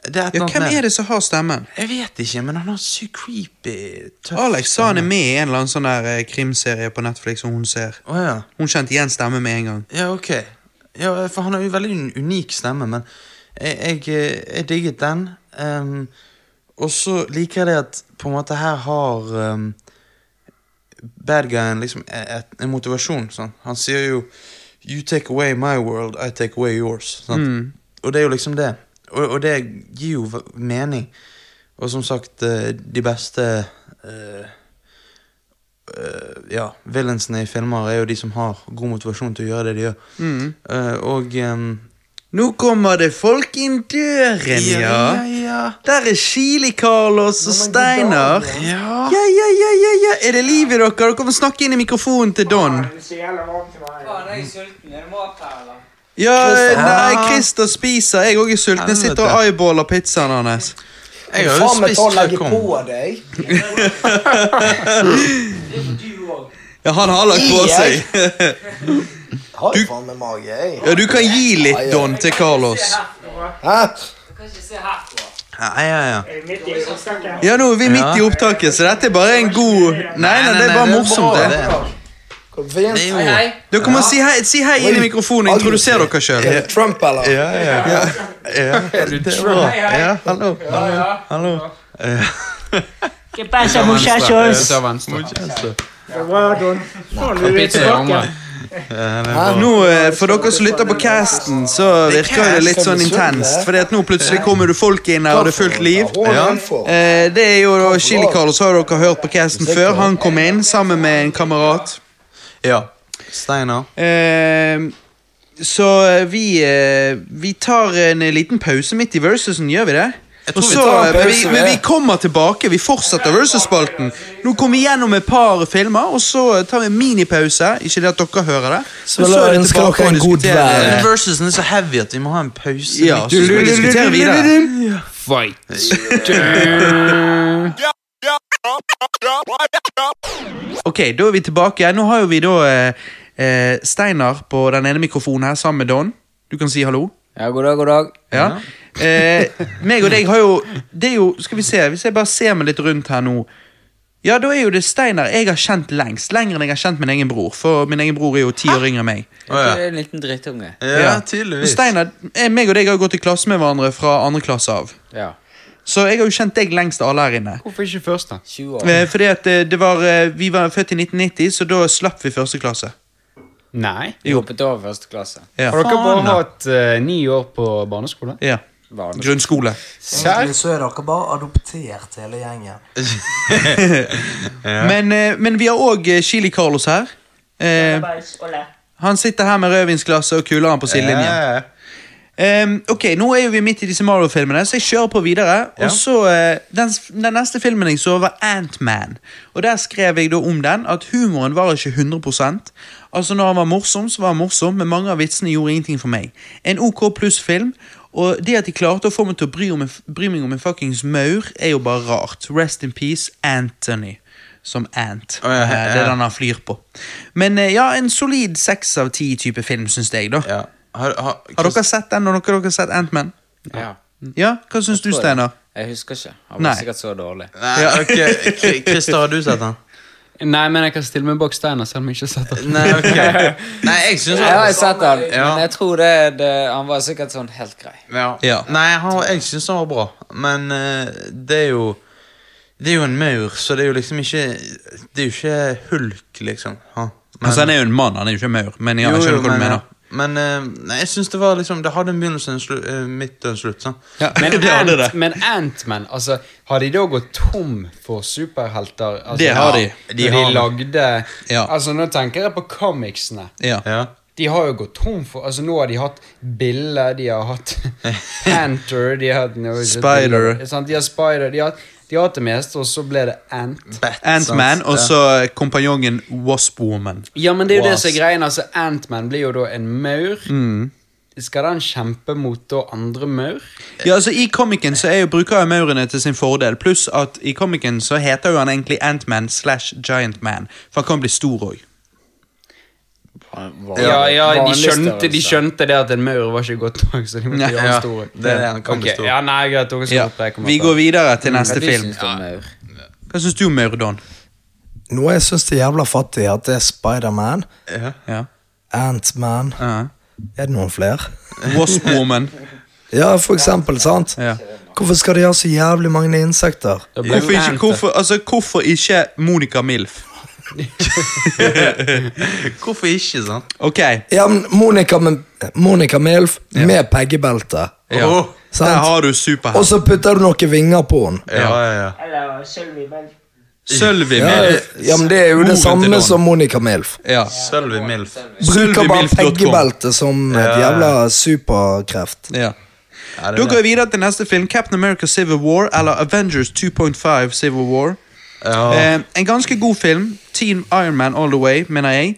Det er et
ja
eller annet
hvem
med
er det som har stemmen?
Jeg vet ikke, men han har sykt creepy tøff
Alex sa han er
stemme.
med i en eller annen sånn der eh, krimserie på Netflix, og hun ser
Å ja.
Hun kjente igjen stemmen med en gang.
ja, ok. Ja, for han har jo veldig en unik stemme, men jeg, jeg, eh, jeg digget den. ehm, og så liker jeg det at på en måte her har ehm, bad guyen liksom et, et, en motivasjon. Sånn. Han sier jo You take away my world, I take away yours. Sant? Og det er jo liksom det. Og, og det gir jo v- mening. Og som sagt, eh, de beste eh, eh, Ja, villainsene i filmer er jo de som har god motivasjon til å gjøre det de gjør. Eh, og ehm,
Nå kommer det folk inn døren, ja.
ja,
Der er Chili-Carlos og Steinar.
ja. ja.
Ja, ja, ja, ja, ja. Er det liv i dere? Dere må snakke inn i mikrofonen til Don.
Faen, jeg er sulten. Er det mat her, eller?
Ja,
Christer.
nei, Christer Ah. spiser. Jeg òg er sulten. Jeg sitter og eyeballer pizzaen hans.
Jeg har jo
Faen meg
spist
ta og legge
kalkun.
på deg.
Det er for du òg.
Ja, han har lagt på
Gi jeg.
seg.
Har jo faen meg mage, jeg.
Ja, Du kan gi litt, Don, til Carlos.
Hæ?
Du kan ikke se herfra.
Ja, ja, ja.
Ja, nå er vi midt i opptaket, så dette er bare en god Nei, nei, det er bare morsomt,
bra,
det.
Går det fint?
Det er jo-
Hei, hei.
Dere må si hei, si hei inn i mikrofonen og introdusere dere sjøl.
Er det Trump, eller?
Ja, ja. ja. ja. Det er bra.
Hei, hei.
Ja, hallo. Hallo. hallo.
¿Qué pasa,
Du tar venstre. Pizza i armene.
Nå, eh, For dere som lytter på casten, så virker jo det litt sånn intenst. Fordi at nå plutselig kommer det folk inn her, og det er fullt liv.
Ja.
Eh, Det er jo da Chili Carlos, har dere hørt på casten før. Han kom inn sammen med en kamerat.
Ja. Steinar.
Eh, Så eh, vi, eh, vi tar en liten pause midt i versusen, gjør vi det?
tror
Og
vi
så- eh,
tar en
men, vi,
pause,
men
vi.
vi kommer tilbake, vi fortsetter versus-spalten. Nå kommer vi gjennom et par filmer, og så tar vi en minipause. Ikke det at dere hører det. men så
vil jeg
er det
ønske
tilbake
dere en
og
god
diskutere.
verden.
Den versusen er så heavy at vi må ha en pause.
Ja, så
midt i.
skal vi diskutere videre.
Fight.
Ok, da er vi tilbake. Nå har jo vi da eh, eh, Steinar på den ene mikrofonen her sammen med Don. Du kan si hallo.
Ja, god dag, god dag.
Ja. Eh, meg og deg har jo Det er jo, skal vi se Hvis jeg bare ser meg litt rundt her nå Ja, da er jo det Steinar jeg har kjent lengst Lenger enn jeg har kjent min egen bror For min egen bror er jo ti år yngre enn meg
Å, ja.
Du er en liten drittunge.
ja,
Og
tydeligvis.
Steinar, eh, meg og deg har jo gått i klasse med hverandre Fra andre klasse av
Ja.
Så jeg har jo kjent deg lengst av alle her inne
Hvorfor ikke først, da?
20 år.
eh, Fordi at eh, det var eh, Vi var født i 1990 Så da slapp vi første klasse
Nei.
Jo.
Hoppet over første klasse.
Ja.
Har dere bare
Faen, da.
hatt eh, ni år på barneskole?
Ja.
Vanlig.
Grunnskole.
Serr?
Egentlig så er dere bare adoptert, hele gjengen.
Men, eh, men vi har òg Chili Carlos her. Eh, han sitter her med rødvinsglasset og kuler han på sidelinjen.
Ja, ja, ja.
Ehm, ok, nå er jo vi midt i disse Marvel-filmene, så jeg kjører på videre. Og så eh, den, s- den neste filmen jeg så, var Ant-Man. Og der skrev jeg da om den at humoren var ikke 100 Altså Når han var morsom, så var han morsom, men mange av vitsene gjorde ingenting for meg. En OK pluss-film. Og det at de klarte å få meg til å bry, om en, f- bry meg om en fuckings maur, er jo bare rart. Rest in peace, Anthony. Som Ant.
Å, ja,
Eh, Det
ja.
er den han flyr på. Men eh, ja, en solid seks av ti type film, syns jeg, da.
Ja. Har, har,
Har dere sett den? Har dere, dere sett Ant-Man?
Ja.
Ja, hva syns du,
Tror jeg.
Steinar?
Jeg husker ikke. Han
Nei.
var sikkert så dårlig.
Nei, ok, Kri- Christer, har du sett den?
Nei, men jeg kan stille meg bak Steinar, selv om jeg ikke har sett den.
Nei, ok Nei, jeg syns
Jeg har jo sett han,
Ja.
men jeg tror det, det Han var sikkert sånn helt grei.
Ja.
Ja.
Nei, han, jeg syns han var bra, men eh, det er jo Det er jo en maur, så det er jo liksom ikke Det er jo ikke hulk, liksom. Ha. Men-
Altså, Han er jo en mann, han er jo ikke maur. Men ja,
Jo,
jeg
jo,
skjønner hva du
men-
mener.
Men eh, nei, jeg syns det var liksom Det hadde en begynnelse, en slu, eh, midt og en slutt. sant?
Ja,
Men
det hadde det.
Ant- Men Ant-Man, altså, har de da gått tom for superhelter? Altså,
Det har de.
når
De
De,
har det.
lagde
Ja.
Altså, nå tenker jeg på comicsene.
Ja.
Ja.
De har jo gått tom for Altså, nå har de hatt Bille, de har hatt Hunter, de har hatt nå,
Spider.
Sant? De har Spider, de har, de har hatt det meste, og så ble det Ant.
Bat,
Ant-Man
sant?
og
Ja.
så kompanjongen Wasp-Woman.
Ja, men det er jo det
Wasp. Mm.
som er greien. Altså, Ant-Man blir jo da en maur. Skal den kjempe mot da andre maur?
Ja, altså I komikken så er jo bruker jo maurene til sin fordel. Pluss at i komikken så heter jo han egentlig Ant-Man slash Giant-Man. For han kan bli stor òg.
Ja, ja de,
Vanlig
skjønte, de
størrelse.
skjønte
skjønte det at en maur var ikke godt nok, så de måtte
Ja,
gjøre
ja.
den stor.
Det er det, han kan bli
Ok,
stor.
Ja, nei, greit, dere skal
Ja.
opp, jeg kommer
Vi
opp.
går videre til neste
Mm. Hva du
film.
syns du om maur?
Hva syns du om maur, Don?
Noe jeg syns er jævla fattig, at det er Spiderman,
Ja.
Antman
Ja.
Er det noen flere?
Wasp-Woman.
Ja, for eksempel, sant?
Ja.
Hvorfor skal de ha så jævlig mange insekter?
Da blir
Hvorfor
det
ikke,
Ant.
hvorfor, altså, hvorfor ikke Monica Milf?
Hvorfor ikke, sant?
Ok,
Ja, men Monica, med, Monica Milf med peggebelte.
ja.
Åh,
der
Sant?
har du superhelt.
Og så putter du noen vinger på den.
ja, ja, ja.
Eller Sølvi Berg.
Sølvi
Ja,
Milf.
ja, men det er jo
Moren
det
til Don.
samme som Monica Milf.
Ja.
Sølvi Milf.
Bruker bare
Sølvimilf.com.
peggebelte som et jævla superkreft.
ja.
Ja, det
Da
er
går
det.
vi videre til neste film, Captain America Civil War, eller Avengers 2.5 Civil War.
Ja.
Eh, en ganske god film. Team Iron Man all the way, mener jeg.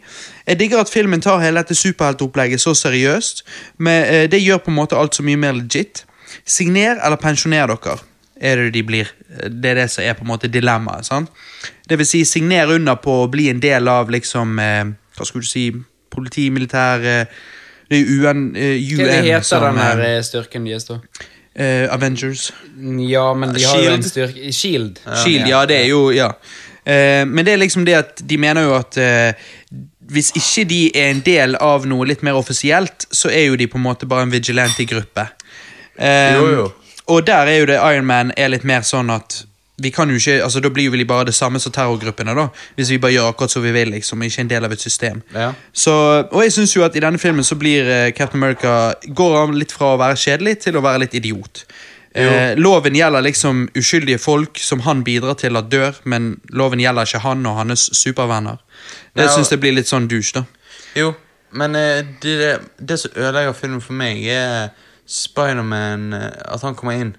Jeg digger at filmen tar hele dette superheltopplegget så seriøst, men eh, det gjør på en måte alt så mye mer legit. Signer eller pensjoner dere, er det de blir. eh, Det er det som er på en måte dilemmaet. sant? Det vil si, signer under på å bli en del av liksom eh, Hva skulle du si Politi, militær eh, Det er UN, eh, UN
Hva er det heter den her
eh,
eh, styrken de står?
eh, Avengers.
Ja, men de har jo
Shield.
en styrke Shield.
Shield, ja, det er jo Ja. Eh, men det er liksom det at de mener jo at eh, hvis ikke de er en del av noe litt mer offisielt, så er jo de på en måte bare en vigilante gruppe. Eh,
Jo, jo.
Og der er jo det Iron Man er litt mer sånn at vi kan jo ikke, altså Da blir jo vi bare det samme som terrorgruppene, da. Hvis vi bare gjør akkurat som vi vil, liksom. Ikke en del av et system.
Ja.
Så, og jeg synes jo at i denne filmen så blir eh, Captain America Går han litt fra å være kjedelig til å være litt idiot. Eh, loven gjelder liksom uskyldige folk som han bidrar til at dør, men loven gjelder ikke han og hans supervenner. Det
Nei, og-
synes jeg blir litt sånn douche, da.
Jo, men eh, det, det, det som ødelegger filmen for meg, er Spiderman eh, At han kommer inn.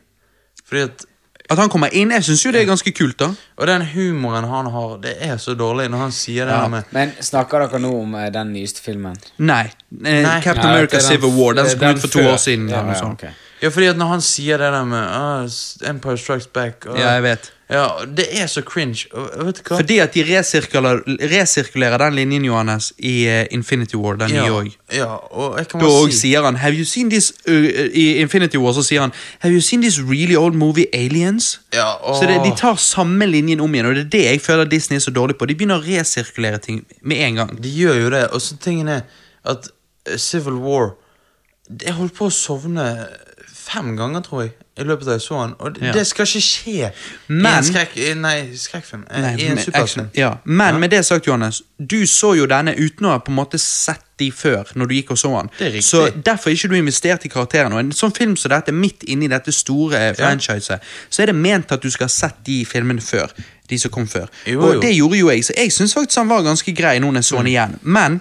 Fordi at
At han kommer inn, jeg synes jo det er ganske kult, da.
Og den humoren han har, det er så dårlig når han sier det der med
Men snakker dere nå om eh, den nyeste filmen?
Nei. Eh,
Nei.
Captain
Nei,
America
det er den-
Civil War, den som
den
kom ut for to
før.
år siden.
Ja,
eller noe
ja,
sånt.
ok.
Ja, fordi at når han sier det der med ah, s- Empire Strikes Back og,
Ja, jeg vet.
Ja, og Det er så cringe. Og, og vet du hva?
Fordi at de resirkuler, resirkulerer den linjen, Johannes, i eh, Infinity War, den
ja,
nye òg.
ja, og jeg kan
Da
bare
òg
si
sier han Have you seen this uh, uh, I Infinity War så sier han Have you seen this really old movie Aliens?
Ja, og,
Så det, De tar samme linjen om igjen, og det er det jeg føler Disney er så dårlig på. De begynner å resirkulere ting med en gang.
de gjør jo det. Og så tingen er at eh, Civil War Jeg holdt på å sovne fem ganger, tror jeg, i løpet av jeg så den. Og det,
Ja.
det skal ikke skje i
Men-
en skrekk... i- Nei, skrekkfilm. eh,
Nei,
I en
men-
superheltfilm.
Ja, men med det sagt, Johannes, du så jo denne uten å ha på en måte sett de før, når du gikk og så den.
Det er riktig.
Så derfor er ikke du investert i karakteren. Og en sånn film som dette, midt inni dette store franchiset, så er det ment at du skal ha sett de filmene før. De som kom før.
Jo, Mm.
og
jo.
det gjorde jo jeg, så jeg syns faktisk han var ganske grei nå når jeg så den igjen. Men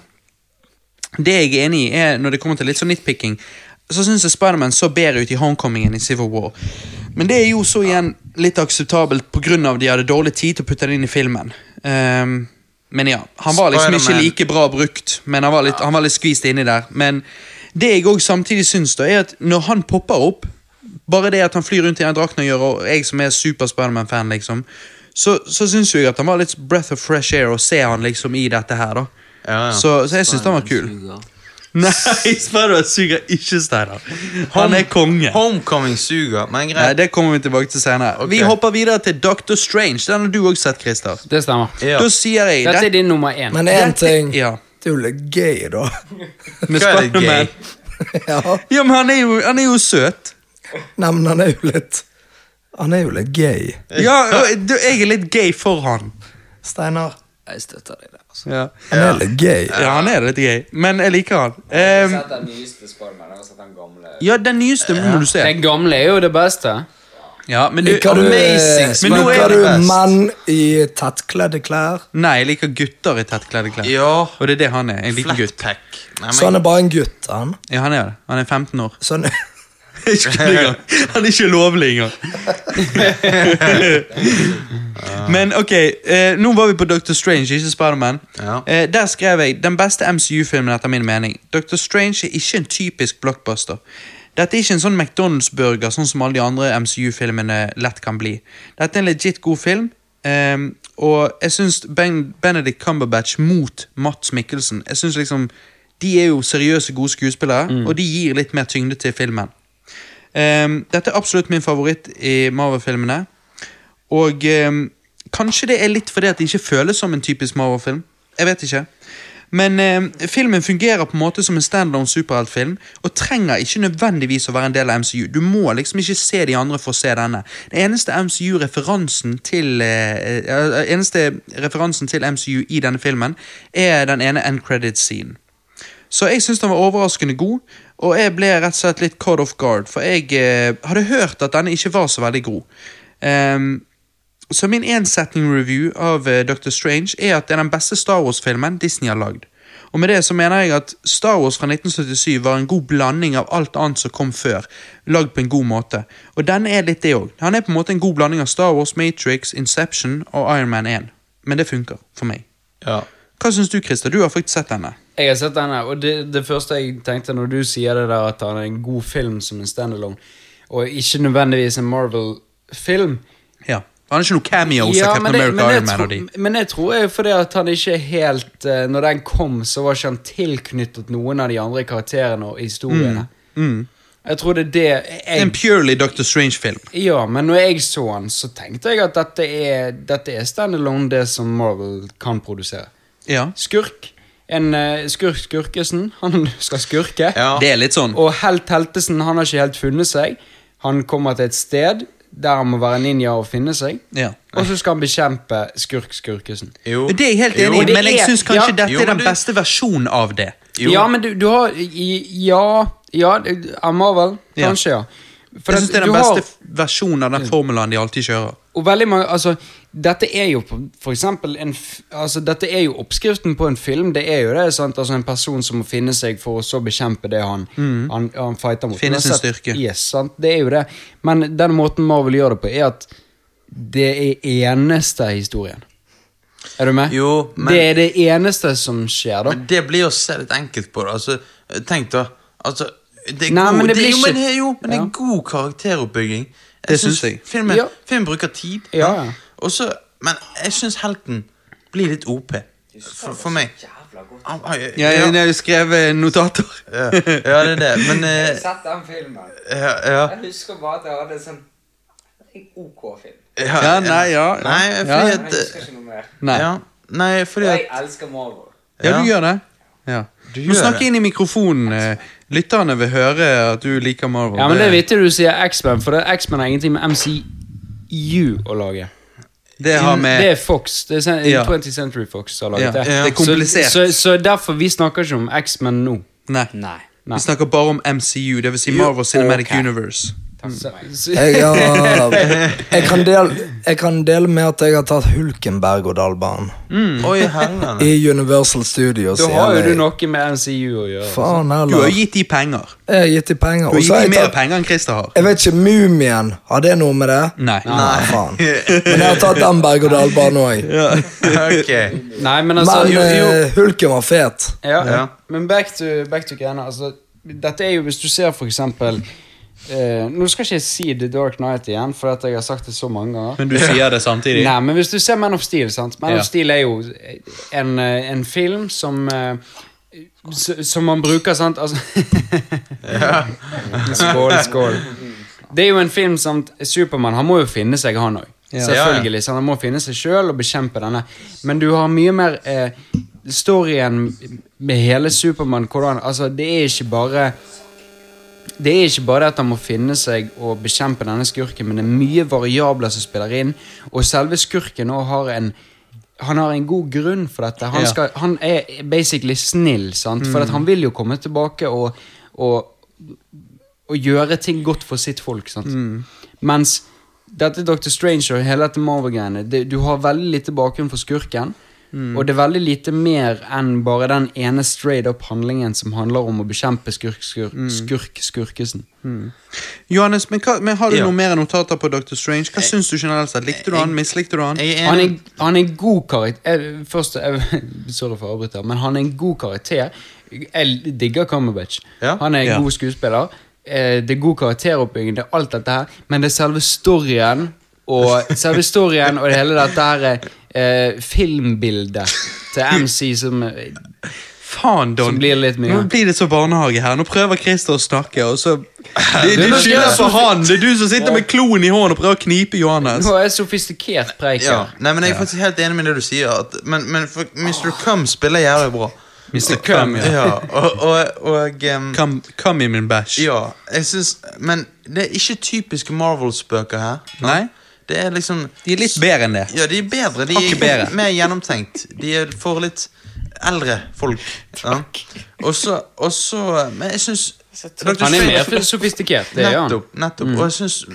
det jeg er enig i, er når det kommer til litt sånn nitpicking, så syns jeg Spiderman så bedre ut i Homecoming enn i Civil War. Men det er jo så igjen litt akseptabelt pga. at de hadde dårlig tid til å putte det inn i filmen. Ehm, men ja, han var liksom ikke
Spider-Man.
like bra brukt, men han var litt, han var litt skvist inni der. Men det jeg òg samtidig syns, da, er at når han popper opp Bare det at han flyr rundt i den drakten og gjør, og jeg som er super Spiderman-fan, liksom, så, så syns jo jeg at han var litt breath of fresh air å se han liksom i dette her, da.
Ja, ja.
Så, så jeg syns han var kul. Nei, Spiderman suger ikke, Steinar. Han er konge.
Homecoming suger, men
Nei,
greit.
Det kommer vi tilbake til senere.
Ok.
Vi hopper videre til Dr. Strange. Den har du også sett, Christer.
Det stemmer.
Ja.
Da sier jeg
Dette er
det.
din nummer én.
Men én
Dette-
ting
ja.
Det er jo litt gøy, da.
Med
Hva er det,
Spiderman.
gay?
ja.
Ja, men han er, jo, han er jo søt.
Nei, men han er jo litt Han er jo litt gay.
Ja, og du, Jeg er litt gay for han.
Steinar.
Jeg støtter deg der. altså.
Ja,
Han er litt gay.
han er litt gay, men jeg liker han.
Jeg har
Ehm,
sett den nyeste Spiderman. Jeg har sett den gamle.
ja, den nyeste må du se.
Den gamle er jo det beste.
Ja, men du,
Liker du, eh,
Amazing
Uh, men nå er
liker
det
du
best.
menn i tettkledde klær?
Nei, jeg liker gutter i tettkledde klær.
Ja.
Og det er det han er. En liten gutt.
Flatpack. Nei,
Så han er bare en gutt, han.
Ja, han er det. Han er 15 år.
Så han,
Ikke kødd engang. Han er ikke lovlig engang. Men ok, eh, nå var vi på Dr. Strange, ikke Spiderman.
Ja.
Eh, der skrev jeg den beste MCU-filmen etter min mening. Dr. Strange er ikke en typisk blockbuster. Dette er ikke en sånn McDonald's-burger sånn som alle de andre MCU-filmene lett kan bli. Dette er en legit god film, ehm, og jeg syns ben Benedict Cumberbatch mot Mats Mikkelsen Jeg synes liksom De er jo seriøse, gode skuespillere, og de gir litt mer tyngde til filmen. Ehm, dette er absolutt min favoritt i Marvel-filmene. Og ehm, kanskje det er litt fordi at det ikke føles som en typisk Marvel-film. Jeg vet ikke. Men ehm, filmen fungerer på en måte som en standalone superheltfilm og trenger ikke nødvendigvis å være en del av MCU. Du må liksom ikke se de andre for å se denne. Den eneste MCU-referansen til eh, eh, eneste referansen til MCU i denne filmen er den ene end credit-scenen. Så jeg syns den var overraskende god, og jeg ble rett og slett litt caught off guard, for jeg eh, hadde hørt at denne ikke var så veldig god. Ehm, så min ensetning-review av eh, Dr. Strange er at det er den beste Star Wars-filmen Disney har lagd. Og med det så mener jeg at Star Wars fra 1977 var en god blanding av alt annet som kom før, lagd på en god måte. Og den er litt det òg. Han er på en måte en god blanding av Star Wars, Matrix, Inception og Iron Man 1. Men det funker for meg.
Ja.
Hva syns du, Christer? Du har faktisk sett denne.
Jeg har sett denne, og det, det første jeg tenkte når du sier det der at han er en god film som en standalone, og ikke nødvendigvis en Marvel-film
Ja. Han er ikke noe cameo som Captain
det-
America,
det
Iron Man
tro-
og de.
men det tror jeg fordi at han ikke er helt eh, Når den kom, så var ikke han tilknyttet noen av de andre karakterene og historiene.
Mm,
Jeg tror det er det jeg,
En purely Dr. Strange-film.
Ja, men når jeg så den, så tenkte jeg at dette er, dette er standalone, det som Marvel kan produsere.
Ja.
Skurk. En eh, skurk Skurkesen. Han skal skurke.
Ja.
Det er litt sånn.
Og Helt Heltesen han har ikke helt funnet seg. Han kommer til et sted der han må være ninja og finne seg.
Ja.
Og så skal han bekjempe Skurk Skurkesen.
Jo.
Det er jeg helt
Jo.
enig i,
det
men jeg
er-
syns kanskje
ja.
dette
Jo,
er
men
den
du-
beste versjonen av det.
Jo.
Ja, men du, du har i- Ja, ja det- av Marvel.
Ja.
Kanskje, ja. For
Jeg
at
syns det er
du
den
har-
beste f- versjonen av den formelen de alltid kjører.
Og veldig mange, altså Dette er jo på- for eksempel en, f- altså, Dette er jo oppskriften på en film Det er jo det, sant? Altså en person som må finne seg For å så bekjempe det han Han, han fighter mot
Finne sin
Uansett-
styrke.
yes, sant? Det er jo det Men den måten Marvel gjør det på er at Det er eneste historien Er du med?
Jo, men-
Det er det eneste som skjer da
Men det blir å se litt enkelt på det. Altså, tenk da. Altså, det er
Nei,
god,
men det blir
jo,
ikke-
men, det er jo, men det
Ja.
er god karakteroppbygging. Jeg
Det syns jeg.
Filmen,
Ja.
filmen bruker tid.
Ja.
Og så, men jeg syns helten blir litt OP. For, for meg. Han- han- Ja, ja, ja,
har jo skrevet notater.
det er det. Men
Jeg har
eh,
sett den filmen.
ja, ja,
Jeg husker bare at jeg hadde en sånn en OK film.
ja,
Ja, nei, ja, ja.
Nei,
Ja.
fordi
Men
at
jeg husker ikke noe mer.
Nei.
ja, Nei, fordi
Og
at
jeg elsker Marvel.
Ja,
Ja.
du gjør det. Ja.
Du
Må
gjør
snakke
det.
inn i mikrofonen. eh, Lytterne vil høre at du liker Marvel.
Ja, men det er vittig du sier X-Man, for det- X-Man har ingenting med MCU å lage.
det har med
Det er Fox. Det er sen-
Ja.
20th Century Fox har
ja,
laget
Det
det.
er komplisert.
Så, så, så derfor vi snakker ikke om X-Men nå.
nei.
Nei.
Vi snakker bare om MCU, dvs. Si Marvel Cinematic Universe.
Så, så,
Jeg, har, jeg, kan dele, jeg kan dele med at jeg har tatt Hulken berg-og-dal-banen.
Oi, helvene.
I Universal Studios.
da
i
har jo
LA.
du noe med MCU å gjøre.
Faen
Du har
heller.
jo gitt de penger.
Jeg har gitt de penger.
Du har
Og så
gitt
har
de
jeg
mer
tatt
penger enn Christer har.
Jeg vet ikke, Mumien, har det noe med det?
Nei.
Nei, faen. Men jeg har tatt den berg-og-dal-banen òg.
Ok.
Nei, men altså
Men
jo, jo.
eh, Hulken var fet.
Ja,
Ja.
Men back to, back to greiene. Altså, dette er jo Hvis du ser for eksempel eh, Nå skal ikke jeg si The Dark Knight igjen, for at jeg har sagt det så mange ganger.
Men du sier det samtidig.
Nei, men hvis du ser Man of Steel sant? Man
Ja.
of Steel er jo en, eh, en film som eh, s- Som man bruker, sant altså, Skål, skål. Det er jo en film som Supermann han må jo finne seg, han òg. Selvfølgelig. Så han må finne seg sjøl og bekjempe denne. Men du har mye mer eh, storyen med hele Supermann. hvordan- Altså, det er ikke bare det er ikke bare det at han må finne seg og bekjempe denne skurken, men det er mye variabler som spiller inn, og selve skurken nå har en han har en god grunn for dette. Han,
Ja.
skal, han er basically snill, sant? for at han vil jo komme tilbake og, og, og gjøre ting godt for sitt folk. Sant? Mens dette Dr. Strange og hele dette Marvel-greiene det- Du har veldig lite bakgrunn for skurken. Og det er veldig lite mer enn bare den ene straight up handlingen som handler om å bekjempe skurk-skurkesen.
Johannes, men, hva, men har du
Ja.
noe mer notater på Dr. Strange? Hva syns du generelt sett? Likte du han? Mislikte du han?
Jeg er
Han
enig.
er, han er en god karakter eh, Først, jeg, Sorry for å avbryte, men han er en god karakter. Jeg digger Cumberbatch.
Ja.
Han er en
Ja.
god skuespiller. Eh, Det er god karakteroppbygging, det er alt dette her, men det er selve storyen og selve storyen og det hele dette her eh, filmbildet til MC som eh,
Faen, Don.
Som blir litt mye.
Nå blir det så barnehage her. Nå prøver Christer å snakke, og så Du, du
men-
skylder på han! Det er du som sitter med kloen i hånden og prøver å knipe Johannes.
Nå er jeg sofistikert preik
Ja.
her.
Nei, men Jeg er faktisk helt enig med det du sier. At, men men for, Mr. Cum spiller jævlig bra.
Mr. Cum, ja.
Ja, og, og, og em,
Come, come in min bæsj.
Ja, jeg synes, Men det er ikke typiske Marvel-spøker her. sant?
Nei?
Det er liksom
De er litt bedre enn det.
Ja, de er bedre. De
Hakket
er
bedre.
mer gjennomtenkt. De er for litt eldre folk. Ja. Og så og så- Men jeg syns
Han er mer sofistikert, det er han.
Nettopp. nettopp.
Mm.
Og jeg syns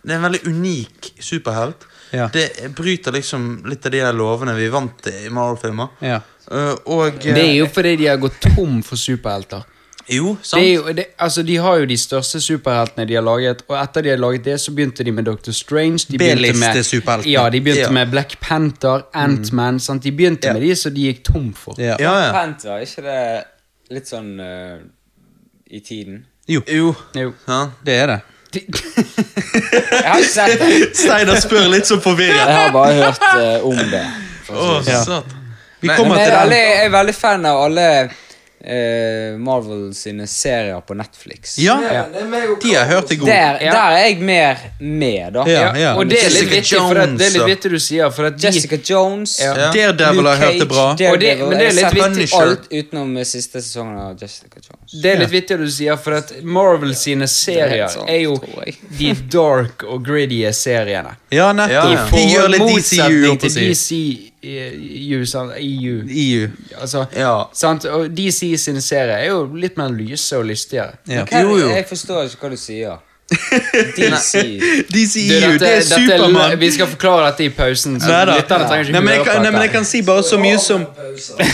det er en veldig unik superhelt.
Ja.
Det bryter liksom litt av de der lovene vi er vant til i Marvel-filmer.
Ja.
Eh, og eh,
Det er jo fordi de har gått tom for superhelter.
Jo, sant?
Det er jo, det, altså, de har jo de største superheltene de har laget, og etter de har laget det, så begynte de med Dr. Strange. De begynte med-
B-liste-superheltene.
Ja, de begynte
Ja.
med Black Panther, Ant-Man sant? De begynte med de, så de gikk tom for.
Ja.
ja, ja.
Pent, var ikke det litt sånn eh, i tiden?
Jo,
Jo.
Jo.
Ja.
det er det.
De,
Jeg har ikke sett det.
Steinar spør litt så forvirret.
Jeg har bare hørt eh, om det.
Å,
Ja.
satan.
Vi
Nei,
kommer
Men jeg
til
er veldig,
den.
jeg er veldig fan av alle eh, Marvel sine serier på Netflix.
Ja, de har hørt det gode.
Der,
Ja.
der er jeg mer med, da.
Ja, ja.
Og det er litt
Jessica
vittig, for at, det er litt
Jones,
vittig du sier, for at de,
Jessica Jones.
Ja.
Daredevil har hørt det bra.
Og det- men det er litt
jeg har
vittig-
sett alt utenom eh, siste sesongen av Jessica Jones.
det er litt vittig du sier, for at Marvel sine serier
sant,
er jo
tror jeg.
de dark og gritty seriene.
Ja, nettopp.
Ja.
De gjør litt DCU,
motsetning
holdt på å
til E
si.
DCU, sant? EU.
EU.
Altså,
Ja.
sant? Og DC sin serie er jo litt mer lyse og lystigere.
Ja.
Hva-
Jo, jo.
Jeg forstår ikke hva du sier. DC.
DCU,
Du, dette-
E det er
dette er
Supermann.
lø- vi skal forklare dette i pausen. Så
Nei da.
lytterne trenger ikke
Nei, men jeg,
høre på
kan- nei, men jeg
dette.
kan si bare så mye som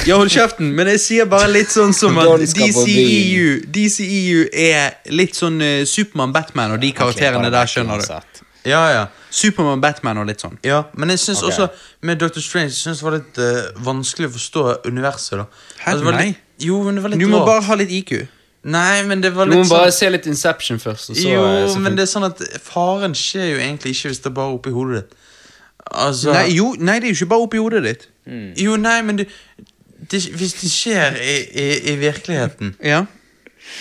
Ja, hold kjeften, men jeg sier bare litt sånn som at
Don skal på
E
DCEU DCEU er litt sånn
eh,
uh, Supermann, Batman og de karakterene der, skjønner du.
Ja, ja.
Supermann, Batman og litt sånn.
Ja, men jeg syns også med Dr. Strange synes det var litt eh, vanskelig å forstå universet. da Altså,
Hæ,
det var
nei?
Litt, jo, men det var litt
Du må
rart.
bare ha litt IQ.
Nei, men det var
Du må
litt
bare
sånn
se litt Inception først. Og så,
Jo,
eh, så
men
fint.
det er sånn at faren skjer jo egentlig ikke hvis det er bare er oppi hodet ditt. Altså Mm.
Nei, jo, nei, det er jo ikke bare oppi hodet ditt.
Jo, nei, men du det, Hvis det skjer i, i, i virkeligheten
Ja.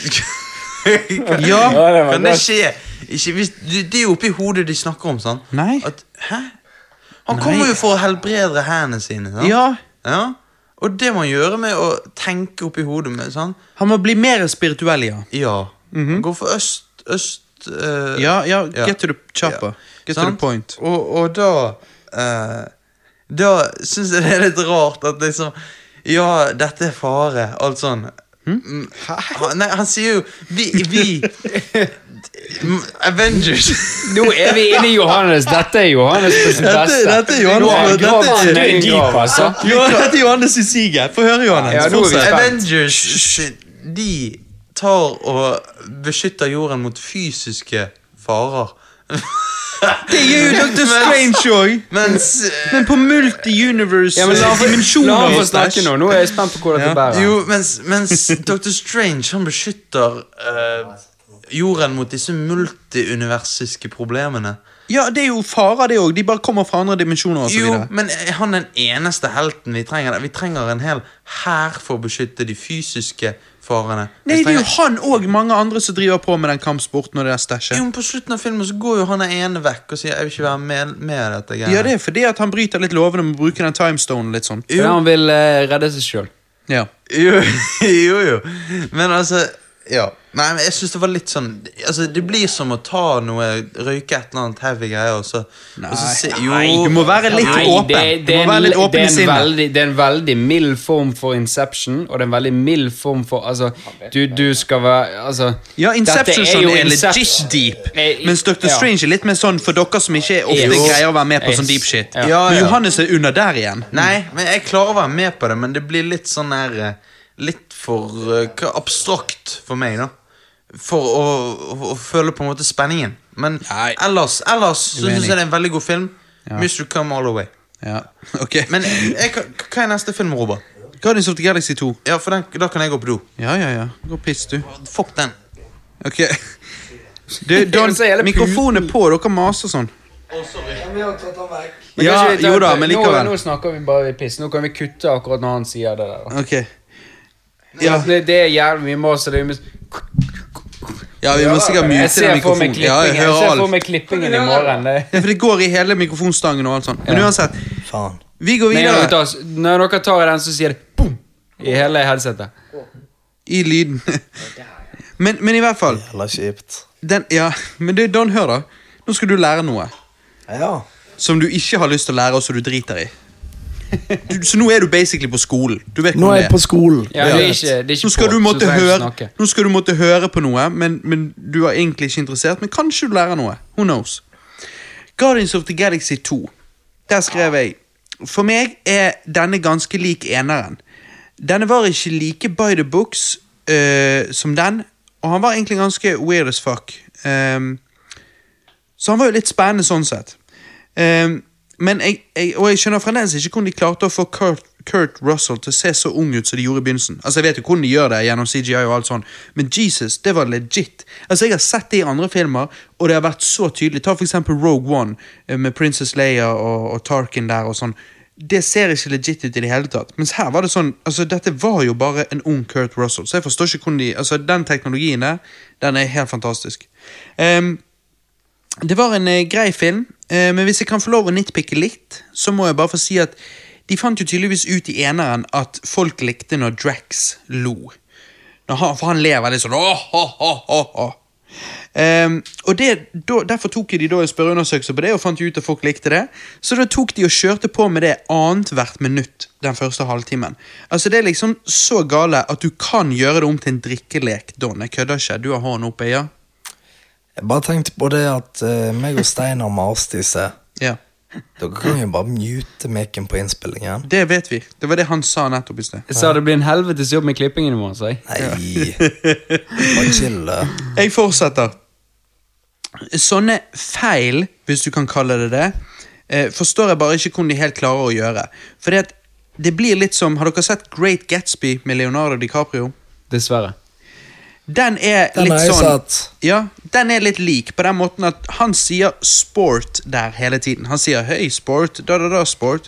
Ja,
det var
kan det skje? Ikke hvis, du, det er jo oppi hodet de snakker om, sant?
Nei.
At, hæ? Han kommer jo for å helbrede hendene sine. Sant?
Ja.
Ja. Og Og det må han gjøre med å tenke oppi hodet med sånn
Han må bli mer spirituell, ja.
Ja. Gå for øst, øst eh,
Mhm. Ja, ja,
Ja.
get to the chopper.
Ja.
Get to the
Sant?
point.
Og, og da eh, Da syns jeg det er litt rart at liksom Ja, dette er fare. Alt sånn.
Hm?
Mm, Han, nei, han sier jo Vi, vi Mm, Avengers.
Nå er vi inne i Johannes. Dette er Johannes på sitt
Dette-
beste.
dette er Johannes-
Nå
dette er-
graven er en grav, altså.
Jo, dette er Johannes i siget. Få høre, Johannes.
Ja, nå er vi
Fortsett.
spent.
Avengers sin- De tar og beskytter jorden mot fysiske farer.
Det gjør jo Dr. Strange òg.
Mens eh,
Men på multi-universe
Ja, men la, han-
dimensjoner
la han få
og
snakke
stæsj.
nå. Nå er jeg spent på hvor dette
Ja.
bærer.
Jo, mens, mens Dr. Strange han beskytter eh, jorden mot disse multiuniversiske problemene.
Ja, det er jo farer, det òg. De bare kommer fra andre dimensjoner og så
Jo,
videre.
men er han den eneste helten vi trenger? Vi trenger en hel hær for å beskytte de fysiske farene. Vi
Nei, det er jo
trenger-
han og mange andre som driver på med den kampsporten og det der
Jo,
stæsjet.
men På slutten av filmen så går jo han der ene vekk og sier 'jeg vil ikke være med, med i dette'. greiene».
Ja, det er fordi at han bryter litt lovene med å bruke den timestonen litt sånn.
Fordi han vil eh, redde seg sjøl.
Ja.
Jo, jo, jo. Men altså ja. Nei, men jeg syns det var litt sånn altså, Det blir som å ta noe, røyke et eller annet heavy greier, og så, og så se, jo,
Nei, du må være litt
Nei,
åpen.
Det,
Du
det,
må
er
være
en,
litt
det,
åpen i
er en
sinnet.
veldig, det er en veldig mild form for Inception, og det er en veldig mild form for Altså, du, du skal være Altså
Ja, Inception
dette
sånn
jo
er
Incept-
legit deep.
Eh, i-
Mens Dr.
ja.
Strange er litt mer sånn for dere som ikke ofte
Yes.
greier å være med på
Yes.
sånn deep shit.
Ja.
Ja,
Men
ja.
Johannes er under der igjen.
Nei, men jeg klarer å være med på det, men det blir litt sånn der eh, Litt for eh, hva, abstrakt for meg, da. For å, å, å føle på en måte spenningen. Men
Nei.
ellers, ellers så
Uenig.
syns jeg det er en veldig god film. Must you come all the way.
Ja, ok.
Men jeg, kan- hva er neste film, Robert?
Guardians of the Galaxy 2.
Ja, for den, Da kan jeg gå på do.
Ja, ja, ja. Gå og piss, du.
Fuck den.
Ok. Du, Don,
Så hele puten.
mikrofonen er på. Dere maser sånn.
Men
Ja,
kanskje vi tar-
jo da, men
Nå,
likevel.
nå snakker vi bare piss. Nå kan vi kutte akkurat når han sier det der. da.
Ok. Ja,
Det, det er jævlig mye mas. og det er mye-
ja vi må sikkert
Jeg
mute den
ser for meg
mikrofonen. Ja, jeg
klippingen, jeg
hører
ser for
alt.
meg klippingen i morgen. det-
Ja, for det går i hele mikrofonstangen og alt sånt. Men
Ja.
uansett,
Faen.
vi går
Nei, når, dere
videre
tar, altså, når dere tar i den, så sier det boom i hele headsetet.
i lyden. Men, men i hvert fall
Jævla kjipt.
den, Ja, men du, Don, hør da. Nå skal du lære noe.
Ja.
som du ikke har lyst til å lære, og som du driter i. Du, så nå er du basically på skolen. Du vet
Nå
hvordan
er jeg på skolen.
Ja, det er ikke, det er ikke
nå skal,
på,
du
så
måtte
trenger jeg ikke
høre,
snakke.
nå skal du måtte høre på noe, men, men du er egentlig ikke interessert. Men kanskje du lærer noe. Who knows? Guardians of the Galaxy 2. Der skrev jeg For meg er denne ganske lik eneren. Denne var ikke like by the books øh, som den, og han var egentlig ganske weird as fuck. Ehm, så han var jo litt spennende sånn sett. Ehm, men jeg, jeg, og jeg skjønner fremdeles ikke hvordan de klarte å få Kurt, Kurt Russell til å se så ung ut som de gjorde i begynnelsen. Altså Jeg vet jo hvordan de gjør det gjennom CGI og alt sånn, men Jesus, det var legit. Altså Jeg har sett det i andre filmer, og det har vært så tydelig. Ta for eksempel Rogue One eh, med Princess Leia og, og Tarkin der og sånn. Det ser ikke legit ut i det hele tatt. Mens her var det sånn Altså Dette var jo bare en ung Kurt Russell, så jeg forstår ikke hvordan de Altså Den teknologien der, den er helt fantastisk. Ehm, det var en eh, grei film, eh, men hvis jeg kan få lov å nitpikke litt, så må jeg bare få si at de fant jo tydeligvis ut i eneren at folk likte når Drax lo. Når han, for han lever litt sånn åh, åh, åh, åh, åh. Ehm, og det, da, Derfor tok de da en spørreundersøkelse på det og fant ut at folk likte det. Så da tok de og kjørte på med det annethvert minutt den første halvtimen. Altså Det er liksom så gale at du kan gjøre det om til en drikkelek, Don. Jeg kødder ikke. Du har hånden oppe, ja?
Jeg bare tenkte på det at eh, meg og Steinar maste i seg.
Ja.
Dere kan jo bare mute mikken på innspillingen.
Det vet vi. Det var det han sa nettopp i sted.
Jeg sa det blir en helvetes jobb med klippingen i morgen. sa jeg.
Nei, bare chill. da.
Jeg fortsetter. Sånne feil, hvis du kan kalle det det, eh, forstår jeg bare ikke hvordan de helt klarer å gjøre. Fordi at det blir litt som Har dere sett Great Gatsby med Leonardo DiCaprio?
Dessverre.
Den er
Den
litt
har jeg
sånn
sett.
Ja, den er litt lik på den måten at han sier sport der hele tiden. Han sier høy sport, da da da sport.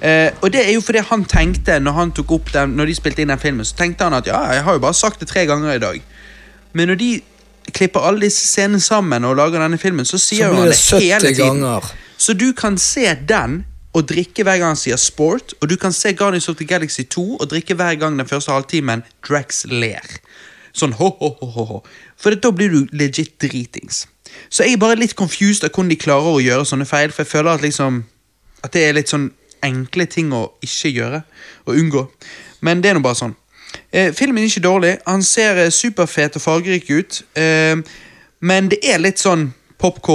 Eh, og det er jo fordi han tenkte når han tok opp den, når de spilte inn den filmen, så tenkte han at ja, jeg har jo bare sagt det tre ganger i dag. Men når de klipper alle disse scenene sammen og lager denne filmen, så
Så
sier jo
blir
han
det
det hele
70
tiden.
ganger.
Så du kan se den og drikke hver gang han sier sport, og du kan se Guardians of the Galaxy 2 og drikke hver gang den første halvtimen Drax ler. Sånn ho-ho-ho-ho. For da blir du legit dritings. Så jeg er bare litt confused av hvordan de klarer å gjøre sånne feil, for jeg føler at liksom At det er litt sånn enkle ting å ikke gjøre, og unngå. Men det er nå bare sånn. Eh, filmen er ikke dårlig. Han ser eh, superfet og fargerik ut. Eh, men det er litt sånn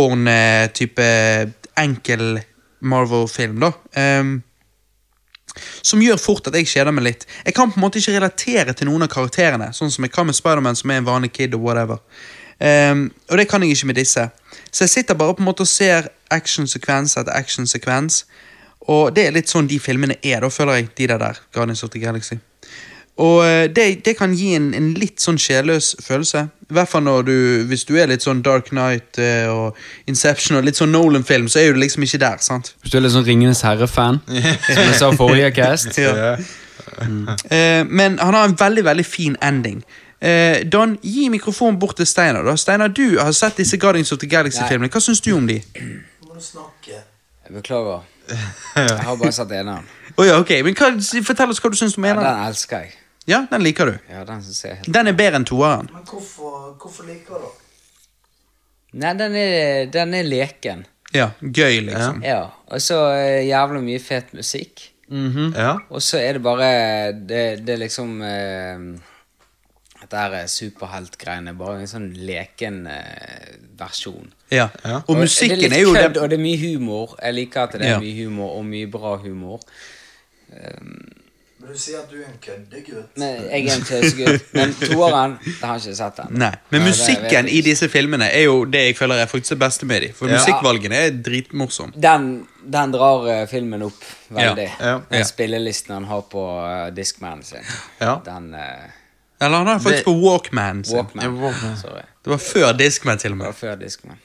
popkorn-type enkel Marvel-film, da. Eh, som gjør fort at jeg kjeder meg litt. Jeg kan på en måte ikke relatere til noen av karakterene, sånn som jeg kan med Spiderman, som er en vanlig kid og whatever. Ehm, og det kan jeg ikke med disse. Så jeg sitter bare på en måte og ser actionsekvens etter actionsekvens. Og det er litt sånn de filmene er, da føler jeg, de der der. Guardians of the Galaxy. Og eh, det, det kan gi en, en litt sånn sjelløs følelse. I hvert fall når du, hvis du er litt sånn Dark Knight eh, og Inception og litt sånn Nolan-film, så er du liksom ikke der, sant?
Hvis du er litt sånn Ringenes herre-fan, som jeg sa forrige cast
Ja. Eh, men han har en veldig veldig fin ending. Eh, Don, gi mikrofonen bort til Steinar. da Steinar, du har sett disse Guardians of the Galaxy-filmene. Hva syns du om de?
Må du snakke?
Jeg beklager. Jeg har bare sett eneren.
Oh, ja, ok, men hva, Fortell oss hva du syns om
Ja,
eneren.
den elsker jeg.
Ja, den liker du.
Ja, den synes jeg er helt...
Den er bedre enn toeren.
Men hvorfor, hvorfor liker du
Nei, den er, den er leken.
Ja, gøy, liksom.
Ja. Og så eh, jævlig mye fet musikk.
Ja.
Og så er det bare Det, det er liksom eh, Dette her er superheltgreiene. Bare en sånn leken eh, versjon.
Ja.
Ja.
Og musikken
det
er jo
kødd,
den
Og det er mye humor. Jeg liker at det er
Ja.
mye humor, og mye bra humor.
Men du sier at du er en køddegutt.
Men jeg er en tøsegutt. Men toeren det har jeg ikke sett ennå.
Nei, Men
Nei, det vet jeg
musikken i
ikke.
disse filmene er jo det jeg føler er faktisk det beste med dem. For musikkvalgene er dritmorsom.
den, den drar eh, filmen opp veldig.
Ja, ja,
Den
ja.
spillelisten han har på uh, Discmanen sin.
Ja.
Den eh,
Eller han har faktisk
Det-
på Walkman. sin.
Walkman.
Ja, Walkman.
Sorry.
Det var før Discman, til og
Det
med.
var før Discman.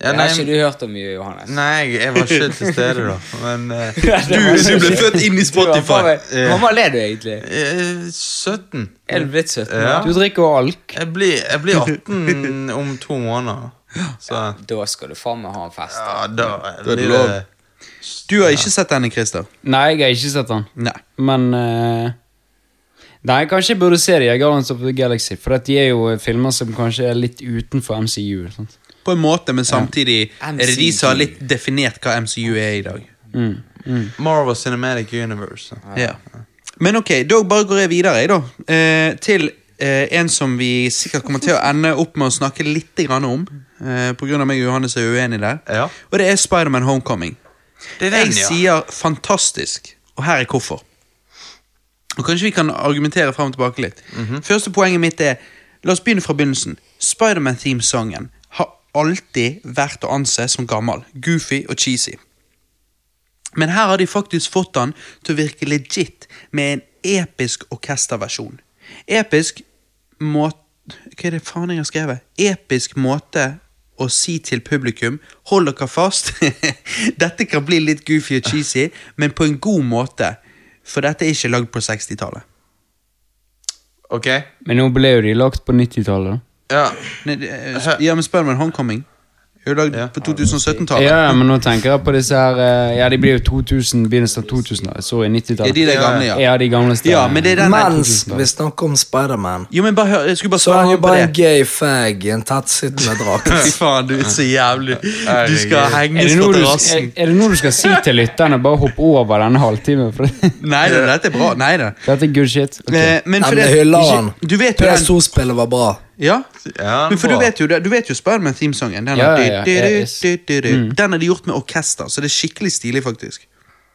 ja
det
nei,
har ikke du hørt om mye, Johannes.
nei, jeg var ikke til stede da, men eh,
Du, du ble født inn i Spotify.
Hvor gammel er du egentlig?
eh, 17.
Er du blitt
Eh,
17?
Ja.
Du drikker jo alk.
Jeg blir, jeg blir 18 om to måneder. Så
Da skal du faen meg ha en fest.
ja, da
det
blir
lov.
det eh,
Du har ikke sett denne, Christer?
Nei, jeg har ikke sett den.
Nei.
Men eh, Nei, kanskje jeg burde se de, Guardians of the Galaxy. For at de er jo eh, filmer som kanskje er litt utenfor MCU. Sant?
På en måte, men samtidig
Ja.
er det de som har litt definert hva MCU er i dag.
Marvel Cinematic Universe.
Ja. Men ok, da bare går jeg videre, jeg, da. Eh, til eh, en som vi sikkert kommer til å ende opp med å snakke litt grann om. Eh, på grunn av meg og Johannes er uenige der.
Ja.
Og det er Spiderman Homecoming.
Det er den,
Jeg
ja.
sier fantastisk, og her er hvorfor. Og Kanskje vi kan argumentere frem og tilbake litt.
Mhm.
Første poenget mitt er La oss begynne fra begynnelsen. Spiderman-teamsangen har alltid vært å anse som gammel, goofy og cheesy. Men her har de faktisk fått den til å virke legit med en episk orkesterversjon. Episk måte Hva er det faen jeg har skrevet? Episk måte å si til publikum Hold dere fast. dette kan bli litt goofy og cheesy, men på en god måte. For dette er ikke lagd på 60-tallet.
Ok?
Men nå ble jo de lagt på 90-tallet. da.
Ja.
Nei, det er- sp- Ja, men spør meg om Homecoming. Det er jo lagd
Ja.
på 2017-tallet.
Ja, ja, men nå tenker jeg på disse her eh, Ja, de blir jo 2000, begynnelsen av 2000. Sorry,
Er
90-tallet.
de der gamle,
ja.
ja?
de gamleste.
Ja, men det er den der-
Mens vi snakker om Spiderman,
Jo, men bare hør, jeg skulle bare
så er han
svare
jo
på
bare en
det.
gay fag i en tettsittende drakt.
Fy faen, du er så jævlig. Du skal
Herregud.
er
henges
det,
på
noe du,
terrassen.
er, er det noe du skal si til lytterne? Bare hopp over denne halvtimen. For
Nei da, dette er bra. Nei da.
dette er good shit. Ok.
Eh, men
Nei,
for
men jeg
det-
hyller
ikke-
han.
Du vet jo den
PS2-spillet var bra.
Ja,
ja
men for du
bra.
vet jo, det- du vet jo Spiderman teamsangen. Den,
Ja,
er-
ja, Mm. ja. Yes.
du- du- du- du- den er de gjort med orkester, så det er skikkelig stilig, faktisk.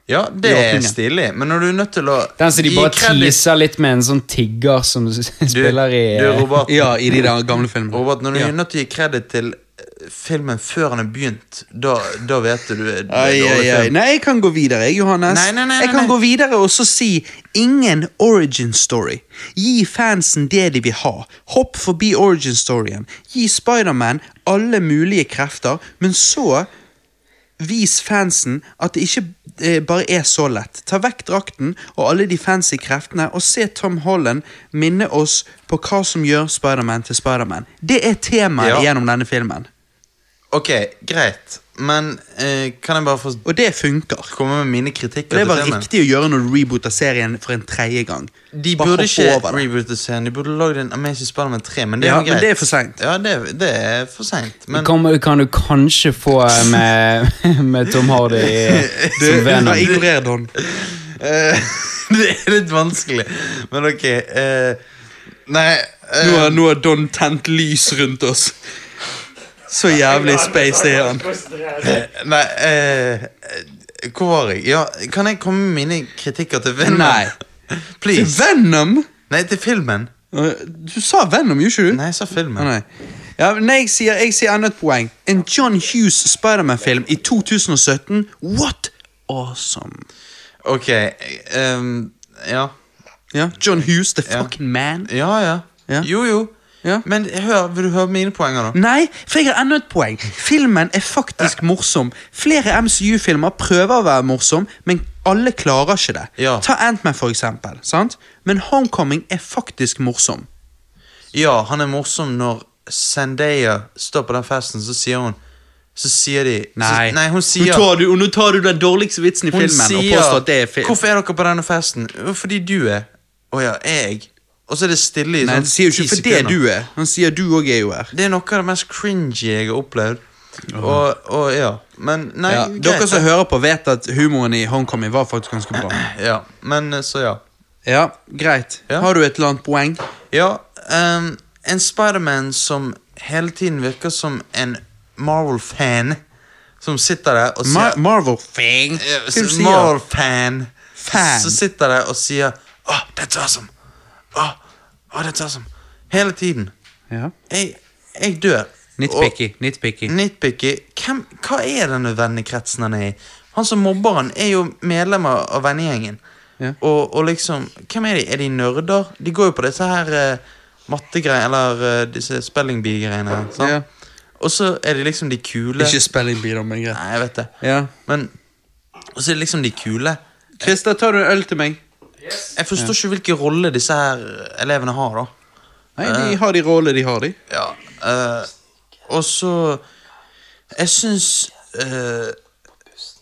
Ja, det er
åpningen.
stilig, men når du er nødt til å
Den som de
gi
bare
credit-
teaser litt med en sånn tigger som s-
Du,
spiller i eh,
du, Robert,
Ja, i de der gamle filmene.
Robert, når du
ja.
er nødt til å gi kreditt til eh, filmen før den er begynt, da, da vet du du er, du er
Ai, ai,
dårlig
ai.
film.
Nei, jeg kan gå videre, jeg, Johannes.
Nei, nei, nei,
jeg kan
nei.
gå videre og så si ingen origin story. Gi fansen det de vil ha. Hopp forbi origin storyen. Gi Spiderman alle mulige krefter, men så Vis fansen at det ikke eh, bare er så lett. Ta vekk drakten og alle de fancy kreftene, og se Tom Holland minne oss på hva som gjør Spiderman til Spiderman. Det er temaet
Ja.
gjennom denne filmen.
Ok, greit. Men eh, kan jeg bare få
Og det funker.
komme med mine kritikker
Og det
til
var
filmen?
riktig å gjøre når du rebooter serien for en tredje gang.
De
Bare
burde
hoppe
ikke
over det.
reboote serien. De burde lagd en Amazing Spiderman 3, men det er
Ja,
jo greit.
men det er for sent.
Ja, det, er- det er for seint. Men
Kan, kan du kanskje få eh, med, med Tom Hardy eh,
Du, bare
som Venom?
ignorer Don.
eh, Det er litt vanskelig. Men ok eh, Nei eh,
Nå har, nå har Don tent lys rundt oss. Så jævlig space er han.
Nei eh, eh, Hvor var jeg? Ja, kan jeg komme med mine kritikker til Venom?
Nei. Til
Please.
Venom?
Nei, til filmen.
Eh, Du sa Venom, gjorde ikke du?
Nei, jeg sa filmen.
Å, nei. Ja, men jeg sier, jeg sier enda et poeng. En John Hughes Spiderman-film i 2017. What awesome!
Ok. eh, um, ja.
Ja, John Hughes, the
Ja.
fucking man.
Ja, ja.
Ja.
Jo, jo.
Ja. Mm.
Men hør, vil du høre mine poenger, da?
Nei, for jeg har enda et poeng. Filmen er faktisk morsom. Flere MCU-filmer prøver å være morsom, men alle klarer ikke det.
Ja.
Ta Antman, for eksempel. Sant? Men Homecoming er faktisk morsom.
Ja, han er morsom når Zendaya står på den festen, så sier hun Så sier de
Nei,
så, nei hun sier
nå, tar du, og nå tar du den dårligste vitsen i
hun
filmen og
sier,
påstår at det er film.
Hvorfor er dere på denne festen? Jo, Fordi du er Å ja, jeg? Og så er det stille i
Nei,
sånn
han sier jo
10
ikke for det
sekunder.
du er. Han sier du òg er jo her.
Det er noe av det mest cringy jeg har opplevd. Og, og ja. Men nei,
Ja,
greit.
dere som hører på, vet at humoren i Homecoming var faktisk ganske bra.
Ja, men så ja.
Ja, Greit.
Ja.
Har du et eller annet poeng?
Ja, ehm, en Spiderman som hele tiden virker som en Marvel-fan. Som sitter der og sier
Ma Marvel-thing?
Ja,
Hva
så-
du sier?
Marvel-fan.
Fan.
Så sitter der og sier Åh, that's awesome. Åh, åh, that's awesome. Hele tiden.
Ja.
Jeg, jeg dør.
Nitpicky. Nitpicky.
Og nitpicky. Hvem, hva er denne vennekretsen han er i? Han som mobber han, er jo medlem av av vennegjengen.
Ja.
Og, og liksom Hvem er de? Er de nerder? De går jo på disse her uh, mattegreiene, eller eh, disse spelling bee-greiene. sant?
Ja.
Og så er de liksom de kule
Ikke spelling bee, da, men greit.
Nei, jeg vet det.
Ja.
Men Og så er det liksom de kule.
Christer, tar du en øl til meg?
Jeg forstår ikke hvilke rolle disse her eh, elevene har, da.
Nei, de har de rollene de har, de.
Ja. eh, og så Jeg syns eh, jeg s-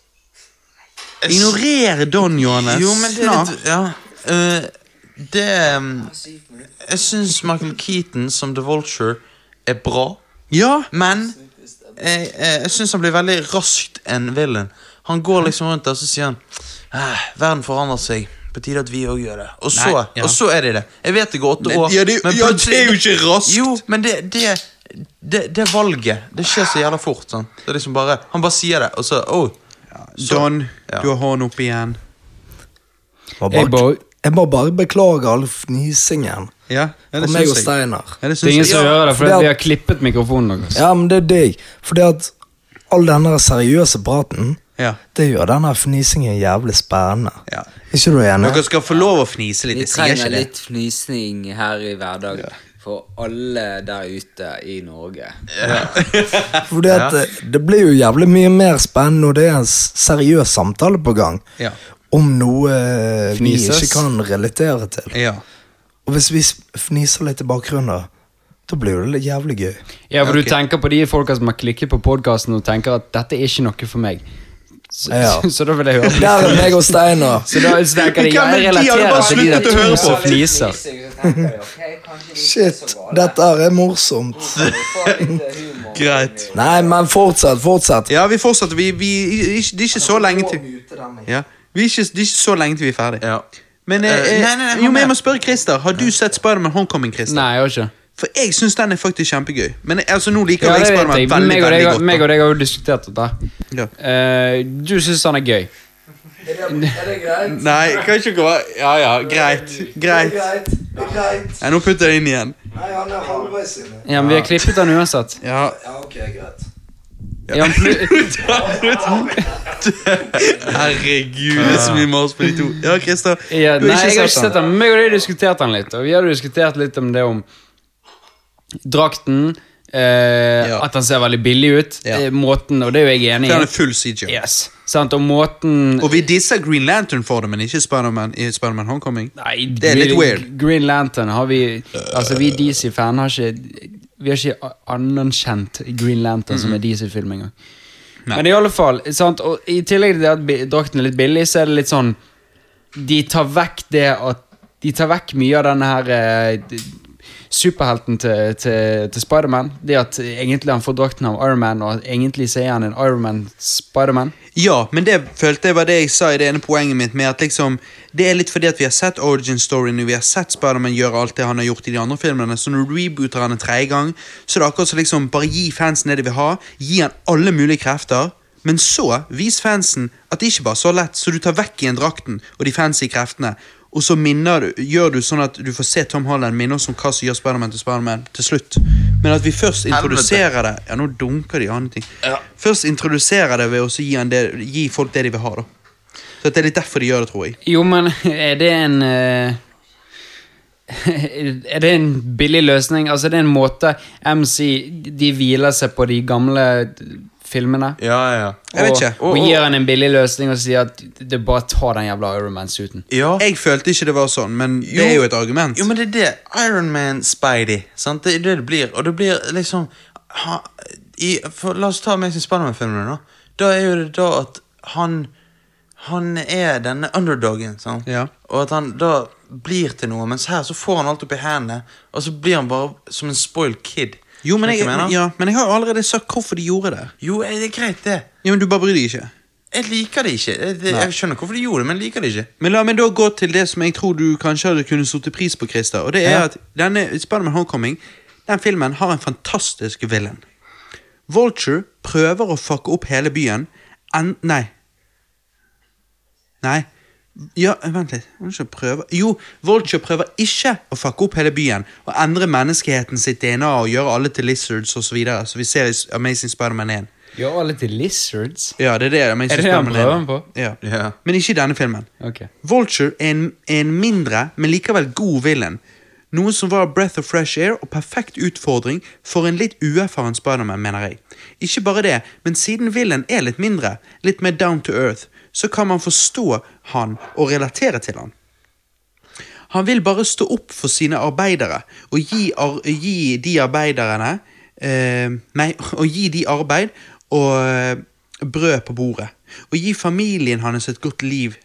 Ignorer Don, Johannes.
Jo, men det er
Snart.
litt Ja. eh, det um, Jeg syns Michael Keaton som The Vulture er bra,
Ja.
men jeg, eh, jeg, jeg syns han blir veldig raskt en villain. Han går liksom rundt der, så sier han «Ah, Verden forandrer seg. På tide at vi òg gjør det. Og så,
Nei, ja.
og så er de det. Jeg vet det går åtte år.
Ja, det,
men
ja, det
plutselig-
er jo ikke raskt.
jo, men det, det, det, det valget Det skjer så jævla fort. Sånn. Det er liksom bare, han bare sier det, og så oh. så-
Don,
Ja.
du har hånden opp igjen.
Jeg må
Jeg
bare,
bare-
jeg må bare beklage all fnisingen
Ja, ja
fra
det
meg
syns
og
jeg.
Steinar.
Ja, det
Det er ingen
syns jeg.
som hører det,
det
for
er-
vi har klippet mikrofonen deres.
Ja, men det er deg. Fordi at all denne seriøse praten,
Ja.
det gjør denne fnisingen jævlig spennende.
Ja.
Ikke du enig?
Dere skal få lov å fnise litt.
Vi
Jeg sier ikke
trenger
det.
litt fnysning her i hverdagen for alle der ute i Norge.
Fordi at eh, det blir jo jævlig mye mer spennende når det er en s- seriøs samtale på gang.
Ja.
Om noe eh, vi
Fnises.
ikke kan relatere til.
Ja.
Og hvis vi s- fniser litt i bakgrunnen, da, da blir det litt jævlig gøy.
Ja, for
Ok.
du tenker på de folka som har klikket på podkasten og tenker at 'dette er ikke noe for meg'. Så,
Ja.
så, så da vil jeg høre på.
Der er meg og Steinar.
Så da
Hvem
tenker de ja,
er de?
jeg
Har du
relaterer
bare
til
sluttet
Altså, de
å
der
høre
to
på?
som fniser.
Shit, dette her er morsomt.
eh,
Greit.
Nei, men fortsett, fortsett.
Ja, vi fortsetter. Vi, vi, ikke, det er ikke så lenge til ja. vi er ikke, Det er ikke så lenge til vi er ferdig.
Ja.
Men, eh,
Eh,
eh,
nei, nei, nei,
jo,
han
men jeg
er-
må spørre Christer. Har du sett Spiderman Homecoming? Christer?
Nei, jeg har ikke.
For jeg syns den er faktisk kjempegøy. Men jeg- altså, nå liker
Ja,
jeg
det vet
Spiderman
jeg.
veldig,
Meg og
veldig
deg, har-
godt.
meg
da.
og deg har jo diskutert dette.
Ja.
Eh, du syns han er gøy.
Nei, kan ikke gå Ja ja, greit. Greit.
Det er greit.
Ja, nå putter jeg inn igjen.
Nei, han er halvveis inne.
Ja, men vi har klippet han uansett.
Ja,
Ja, ok, greit.
Ja, men plu-
Herregud, det er så mye mas på de to. Ja, Christer.
ja,
du
nei, jeg har ikke
den.
sett han. Meg og deg har diskutert han litt, og vi har diskutert litt om det om drakten. eh,
Ja.
At han ser veldig billig ut.
Ja.
eh, Måten, og det er jo jeg enig
Den er
i.
full CJ.
Yes. Sant, og måten
Og vi disser Green Lantern for det, men ikke Spiderman i Spiderman Homecoming.
Nei,
Det er litt
Green-
weird.
Green Lantern har vi Altså, vi
Mhm.
DC-fan har ikke Vi har ikke a- anerkjent Green Lantern som er DC-film engang. Men i alle fall, sant? og i tillegg til det at bi- drakten er litt billig, så er det litt sånn De tar vekk det at De tar vekk mye av denne her eh, d- Superhelten til, til, til Spiderman. Det at egentlig han får drakten av Ironman, og at egentlig så er han en Ironman-Spiderman.
Ja, men det følte jeg var det jeg sa i det ene poenget mitt med at liksom Det er litt fordi at vi har sett origin storyen og vi har sett Spiderman gjøre alt det han har gjort i de andre filmene, så når du rebooter han en tredje gang, så er det akkurat som liksom Bare gi fansen det de vil ha, gi han alle mulige krefter, men så vis fansen at det ikke var så lett, så du tar vekk igjen drakten og de fancy kreftene, og så minner du, gjør du sånn at du får se Tom Holland minne oss om hva som gjør Spiderman til Spiderman til slutt, men at vi først introduserer det Ja, nå dunker de i andre ting. Først introdusere det ved å så gi, han det, gi folk det de vil ha. da Så at Det er litt derfor de gjør det, tror jeg.
Jo, men er det en eh, Er det en billig løsning? Altså, det er en måte MC De hviler seg på de gamle filmene.
Ja, ja.
Jeg vet
og,
ikke.
og gir han en billig løsning og sier at det er bare å ta den jævla Ironman-suiten.
ja.
Jeg følte ikke det var sånn, men det er jo et argument.
Jo, men det er det. Ironman Spidey. Sant? Det er det det blir. Og det blir liksom ha, i, for, La oss ta Amazing Spiderman-filmene, da. Da er jo det da at han Han er denne underdogen, sant?
Ja.
og at han da blir til noe. Mens her så får han alt opp i hendene, og så blir han bare som en spoiled kid.
Jo, men
Skjønner du
jeg,
hva mener?
ja, men jeg har jo allerede sagt hvorfor de gjorde det.
Jo, er det er greit, det.
Ja, men Du bare bryr deg ikke.
Jeg liker det ikke. Jeg, det, jeg skjønner hvorfor de gjorde det, men jeg liker det ikke.
Men la meg da gå til det som jeg tror du kanskje hadde kunnet satt pris på, Christer. Og det er at denne Spiderman Homecoming, den filmen har en fantastisk villain. Vulture prøver å fucke opp hele byen. En, nei. Nei. Ja, vent litt. Vulture prøver Jo, Vulture prøver ikke å fucke opp hele byen og endre menneskeheten sitt DNA og gjøre alle til lizards osv., som vi ser i Amazing Spiderman 1.
Gjør alle til lizards?
Ja, det er det Amazing
Er det det han
Spider-Man 1
prøver på?
Ja.
Ja.
Men ikke i denne filmen.
Ok.
Vulture er en, er en mindre, men likevel god villain. Noe som var breath of fresh air og perfekt utfordring for en litt uerfaren Spiderman, mener jeg. Ikke bare det, men siden villain er litt mindre, litt mer down to earth, så kan man forstå han og relatere til han. Han vil bare stå opp for sine arbeidere og gi, ar gi de arbeiderne eh, Nei, og gi de arbeid og eh, brød på bordet. Og gi familien hans et godt liv.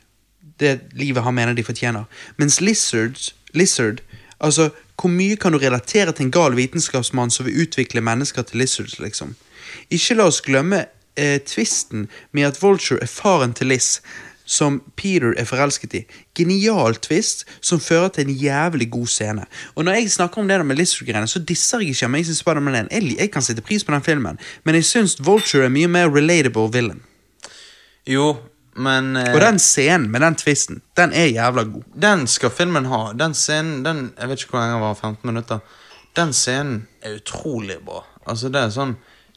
Det livet han mener de fortjener. Mens lizards, lizard Altså, hvor mye kan du relatere til en gal vitenskapsmann som vil utvikle mennesker til lizards, liksom? Ikke la oss glemme eh, tvisten med at Vulture er faren til Liz, som Peter er forelsket i. Genial twist som fører til en jævlig god scene. Og når jeg snakker om det der med Lizard-greiene, så disser jeg ikke Amazing Spider-Man 1. Jeg, jeg kan sette pris på den filmen, men jeg syns Vulture er mye mer relatable villain.
Jo, men eh,
Og den scenen med den twisten, den er jævla god.
Den skal filmen ha. Den scenen den, Jeg vet ikke hvor lenge den var. 15 minutter. Den scenen er utrolig bra. Altså Det er sånn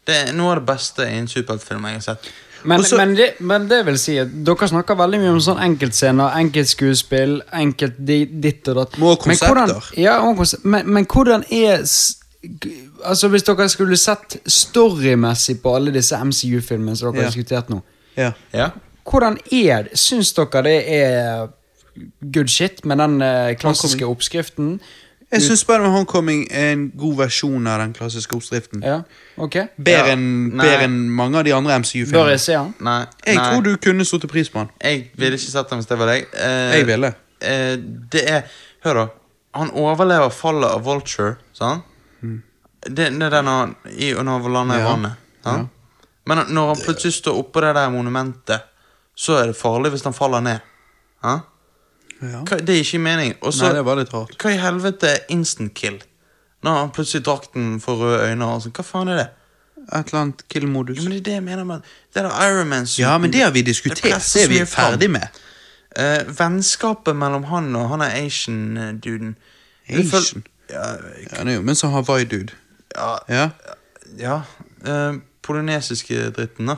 Det er noe av det beste i en superheltfilm jeg har sett.
Men,
Og så-
men, det, men det vil si at dere snakker veldig mye om sånn enkeltscener, enkeltskuespill, enkelt di- ditt og datt.
Og
Men hvordan-
konsepter.
ja, og konse- men, men hvordan er s- g- Altså Hvis dere skulle sett storymessig på alle disse MCU-filmene som
Ja.
dere har diskutert nå,
Ja.
Ja
hvordan er det? Syns dere det er good shit med den eh, klassiske oppskriften?
Jeg syns Spider-Man Homecoming er en god versjon av den klassiske oppskriften.
Ja, ok
Bedre
Ja.
enn
Nei.
bedre enn mange av de andre
Bør jeg
MCU-filmene.
se den?
Nei.
Jeg
nei.
tror du kunne satt pris på den.
Jeg ville ikke sett den hvis det var deg. Eh,
Jeg ville.
Eh, det er Hør, da. Han overlever fallet av Vulture, sant? Det, det er den han i, Når han lander i
Mm. Ja.
vannet. sant? Men når han plutselig står oppå det der monumentet, så er det farlig hvis han faller ned. Ja?
Ja.
Hva, det er ikke meningen. Og så
Nei, det var litt rart.
Hva i helvete er instant kill? Når han plutselig drakten får røde øyne og sånn. Hva faen er det?
Et eller annet kill-modus.
Jo, men det er det jeg mener med Det er da Iron Man
Ja, men det har vi diskutert.
Det
Det,
presser
er vi
så mye fram.
ferdig med.
Eh, vennskapet mellom han og han er Asian-duden Det føl-
Asian?
Ja,
Ja, det er jo, men så Hawaii, dude.
ja,
Ja.
ja. Eh, polynesiske dritten, da.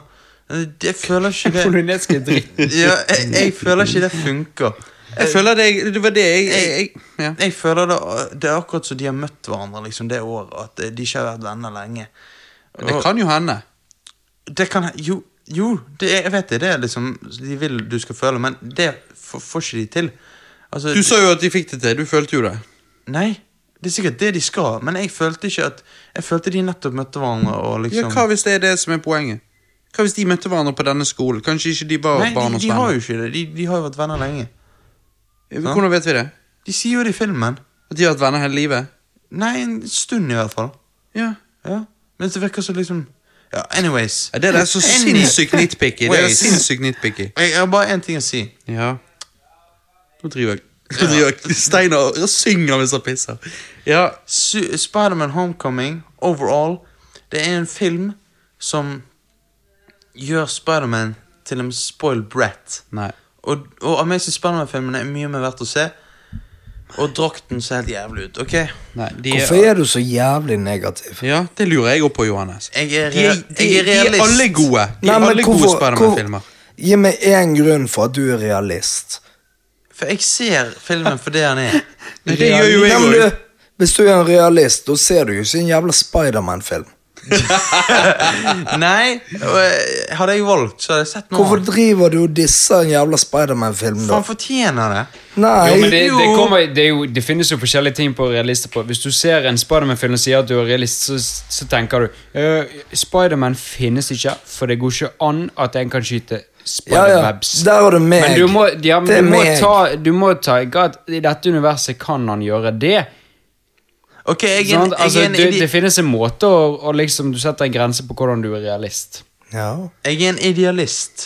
Eh, Jeg føler ikke det
Polynesiske dritt.
ja, jeg, jeg føler ikke det funker.
Jeg føler det, det var det jeg, jeg, jeg ja.
Jeg føler det, det er akkurat som de har møtt hverandre liksom, det året. At eh, de ikke har vært venner lenge.
Det kan jo hende.
Det kan Jo, jo det, er- jeg vet det. Det er liksom De vil du skal føle, men det får, får ikke de til. Altså,
Du sa jo at de fikk det til. Du følte jo det.
Nei, det er sikkert det de skal, men jeg følte ikke at Jeg følte de nettopp møtte hverandre og
Ja,
liksom
Hva hvis det er det som er poenget? Hva hvis de møtte hverandre på denne skolen? Kanskje ikke de var
Nei, de, de har
barndomsvenner?
jo ikke det. De, de har jo vært venner lenge.
Hvordan vet vi det?
De sier jo det i filmen.
At de har vært venner hele livet?
Nei, en stund i hvert fall.
Ja.
Ja. Men det virker så liksom Ja, anyways.
Ja, Det der er så sinnssykt nitpicky. Det er sinnssykt nitpicky.
Jeg jeg har bare én ting å si.
Ja. Nå driver jeg. Nå driver jeg. Steinar synger mens han pisser. Ja.
Su- Spiderman Homecoming overall Det er en film som gjør Spiderman til en spoiled brat.
Nei.
Og, og Amazing Spiderman-filmene er mye mer verdt å se. Og drakten ser helt jævlig ut. ok?
Nei de
Hvorfor er du så jævlig negativ?
Ja, det lurer jeg òg på, Johannes.
Jeg er,
De er,
rea-
de,
jeg er
de er
realist.
alle gode. De er
Nei, men
alle gode
hvorfor-
Spiderman-filmer.
hvor- Gi meg én grunn for at du er realist.
For jeg ser filmen for det han er.
Nei, Det gjør jo
Nei,
jeg
men
òg.
du, Hvis du er en realist, da ser du jo ikke en jævla Spiderman-film.
Nei, og, eh, hadde jeg valgt, så hadde jeg sett noe
Hvorfor
annet.
driver du og disser en jævla Spiderman-film,
For
da?
han fortjener det.
Jo, men det,
Nei,
det, kommer, det, er jo, det finnes jo forskjellige ting på realister på. Hvis du ser en Spiderman-film og sier at du er realist, så, så tenker du uh, Spiderman finnes ikke, for det går ikke an at en kan skyte
ja, ja.
spiderwebs.
Der var det meg.
Men du må, ja,
det
men du må
meg.
ta, du må ta ikke at i dette universet kan han gjøre det.
Ok, jeg er en,
Sånn,
Sant?
jeg
Altså,
er en,
det,
ide-
det finnes en måte å, å liksom, Du setter en grense på hvordan du er realist.
Ja.
jeg er en idealist.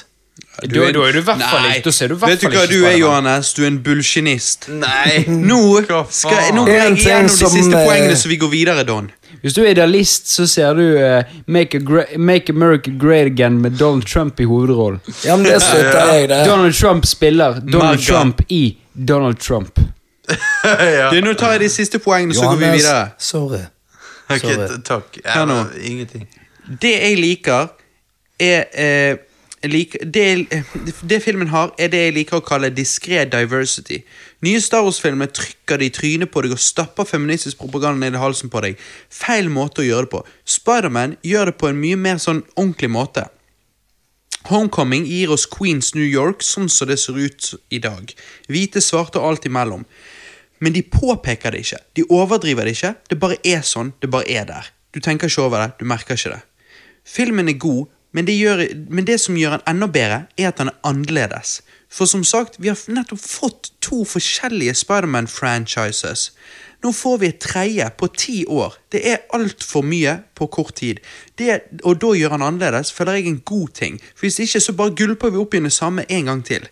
Da da er du i hvert fall
Nei.
ikke da ser du i hvert
Vet du
fall
hva
ikke
du er,
Spiderman.
Johannes? Du er en bullsjenist.
Nei.
Nå skal jeg, nå går
En
jeg
ting
igjennom de
som,
siste
eh,
poengene, så vi går videre, Don.
Hvis du er idealist, så ser du eh, Make, a Gre- Make America Great Again med Donald Trump i hovedrollen.
ja, men det støtter jeg, det.
Donald Trump spiller Donald
Magga.
Trump i Donald Trump.
ja.
Du, nå tar jeg de siste poengene, så går vi
Johannes,
videre.
sorry.
Ok,
Sorry.
t- takk.
Hør nå.
Ja, ingenting.
Det jeg liker, er eh, lik, det, det filmen har, er det jeg liker å kalle diskré diversity. Nye Star Wars-filmer trykker det i trynet på deg og stapper feministisk propaganda ned i halsen på deg. Feil måte å gjøre det på. Spiderman gjør det på en mye mer sånn ordentlig måte. Homecoming gir oss Queens New York sånn som det ser ut i dag. Hvite, svarte og alt imellom. Men de påpeker det ikke. De overdriver det ikke. Det bare er sånn. Det bare er der. Du tenker ikke over det. Du merker ikke det. Filmen er god, men det, gjør, men det som gjør den enda bedre, er at den er annerledes. For som sagt, vi har nettopp fått to forskjellige Spiderman-franchises. Nå får vi et tredje på ti år. Det er altfor mye på kort tid. Det, og da gjør han annerledes, føler jeg en god ting. For hvis ikke, så bare gulper vi opp igjen det samme en gang til.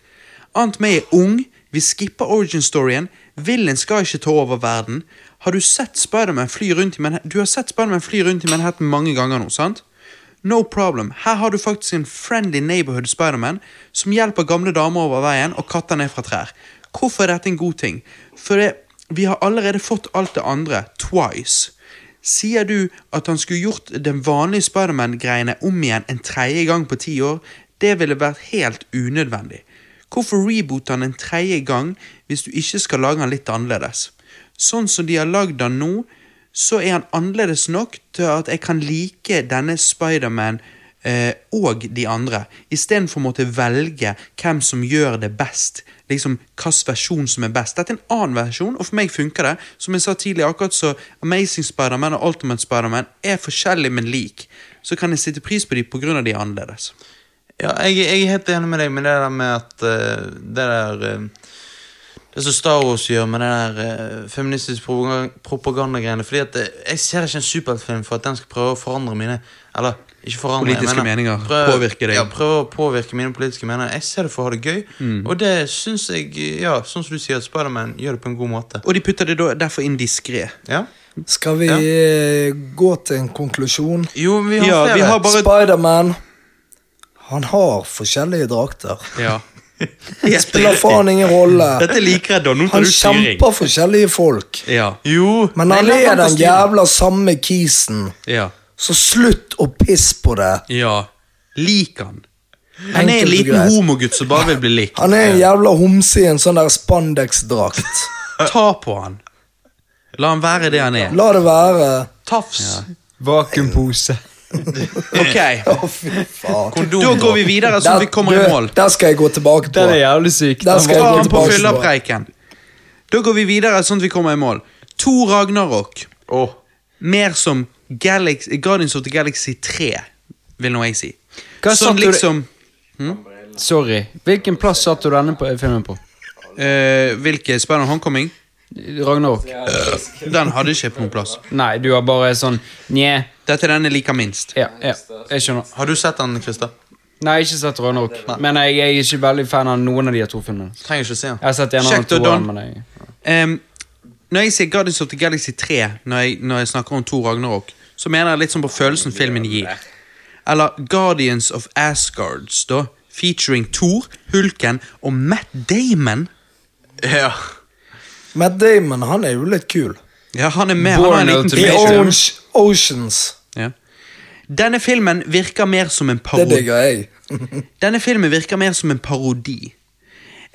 Ant May er ung, vi skipper origin-storyen, Villain skal ikke ta over verden. Har du sett Spiderman fly rundt i Manhattan? Du har sett Spiderman fly rundt i Manhattan mange ganger nå, sant? No problem. Her har du faktisk en friendly neighborhood Spiderman som hjelper gamle damer over veien og katter ned fra trær. Hvorfor er dette en god ting? For det, vi har allerede fått alt det andre twice. Sier du at han skulle gjort den vanlige Spiderman-greiene om igjen en tredje gang på ti år? Det ville vært helt unødvendig. Hvorfor reboote han en tredje gang hvis du ikke skal lage han litt annerledes? Sånn som de har lagd han nå, så er han annerledes nok til at jeg kan like denne Spiderman eh, og de andre, istedenfor å måtte velge hvem som gjør det best. Liksom hvilken versjon som er best. Dette er en annen versjon, og for meg funker det. Som jeg sa tidligere, akkurat så Amazing Spiderman og Ultimate Spiderman er forskjellig, men lik. Så kan jeg sette pris på dem pga. de er annerledes.
Ja, jeg, jeg er helt enig med deg med det der med at eh, det der eh, Det som Star Wars gjør med det der uh, feministiske propaga- propagandagreiene Fordi at eh, jeg ser ikke en superheltfilm for at den skal prøve å forandre mine Eller ikke forandre jeg
Politiske
mener,
meninger, påvirke deg.
Ja, prøve å påvirke mine politiske meninger. Jeg ser det for å ha det gøy,
Mm.
og det syns jeg Ja, sånn som du sier, at Spiderman gjør det på en god måte.
Og de putter det da derfor inn diskré.
Ja.
Skal vi eh, gå til en konklusjon?
Jo, vi har
Ja,
flere.
vi har bare
Spiderman Han har forskjellige drakter.
Ja.
Spiller faen ingen rolle.
Dette liker jeg, da. Nå tar
Han
du styring.
kjemper forskjellige folk.
Ja,
Jo.
Men han
Nei, la
er
ta
den
styret.
jævla samme kisen.
ja,
Så slutt å pisse på det.
ja. Lik han. Han er en
Enkelt og
liten
greit.
homogutt som bare vil bli likt.
Han er en jævla homse i en sånn der spandex-drakt.
Ta på han. La han være det han er.
La det være.
Tafs.
Vakuumpose.
Ok,
Å, fy faen.
Da går vi videre, så vi kommer i
du,
mål.
der skal jeg gå tilbake på.
Den er jævlig syk.
Den skal
Ta
jeg gå
han på
tilbake på.
fyllapreiken. Da går vi videre, sånn at vi kommer i mål. To Ragnarok.
Åh.
Mer som Galaxy, Guardians of the Galaxy 3. vil nå jeg si.
Hva satte
sånn
du-
liksom
Sorry. Hvilken plass satt du denne på, filmen på?
eh, Hvilke spør om håndkomming?
Ragnarok?
Den hadde ikke på noen plass.
Nei, du har bare sånn Nje.
Dette er den jeg liker minst.
Ja, ja, jeg skjønner.
Har du sett den, Christer?
Nei, jeg har ikke sett Ragnarok. Men jeg, jeg er ikke veldig fan av noen av de to filmene.
Trenger ikke se den.
Jeg har sett en
Sjekk det,
av
Don.
toeren, men jeg
Ehm, når jeg sier Guardians of the Galaxy 3, når jeg, når jeg snakker om Thor Ragnarok, så mener jeg litt sånn på følelsen filmen gir. Eller Guardians of Asgards, da. Featuring Thor, Hulken og Matt Damon.
Ja.
Matt Damon, han er jo litt kul.
Ja, han er med. Han har en
Born
liten
I
Ultimate.
feature.
Orange Oceans.
ja. Denne filmen virker mer som en
Det
parodi.
digger jeg.
Denne filmen virker mer som en parodi.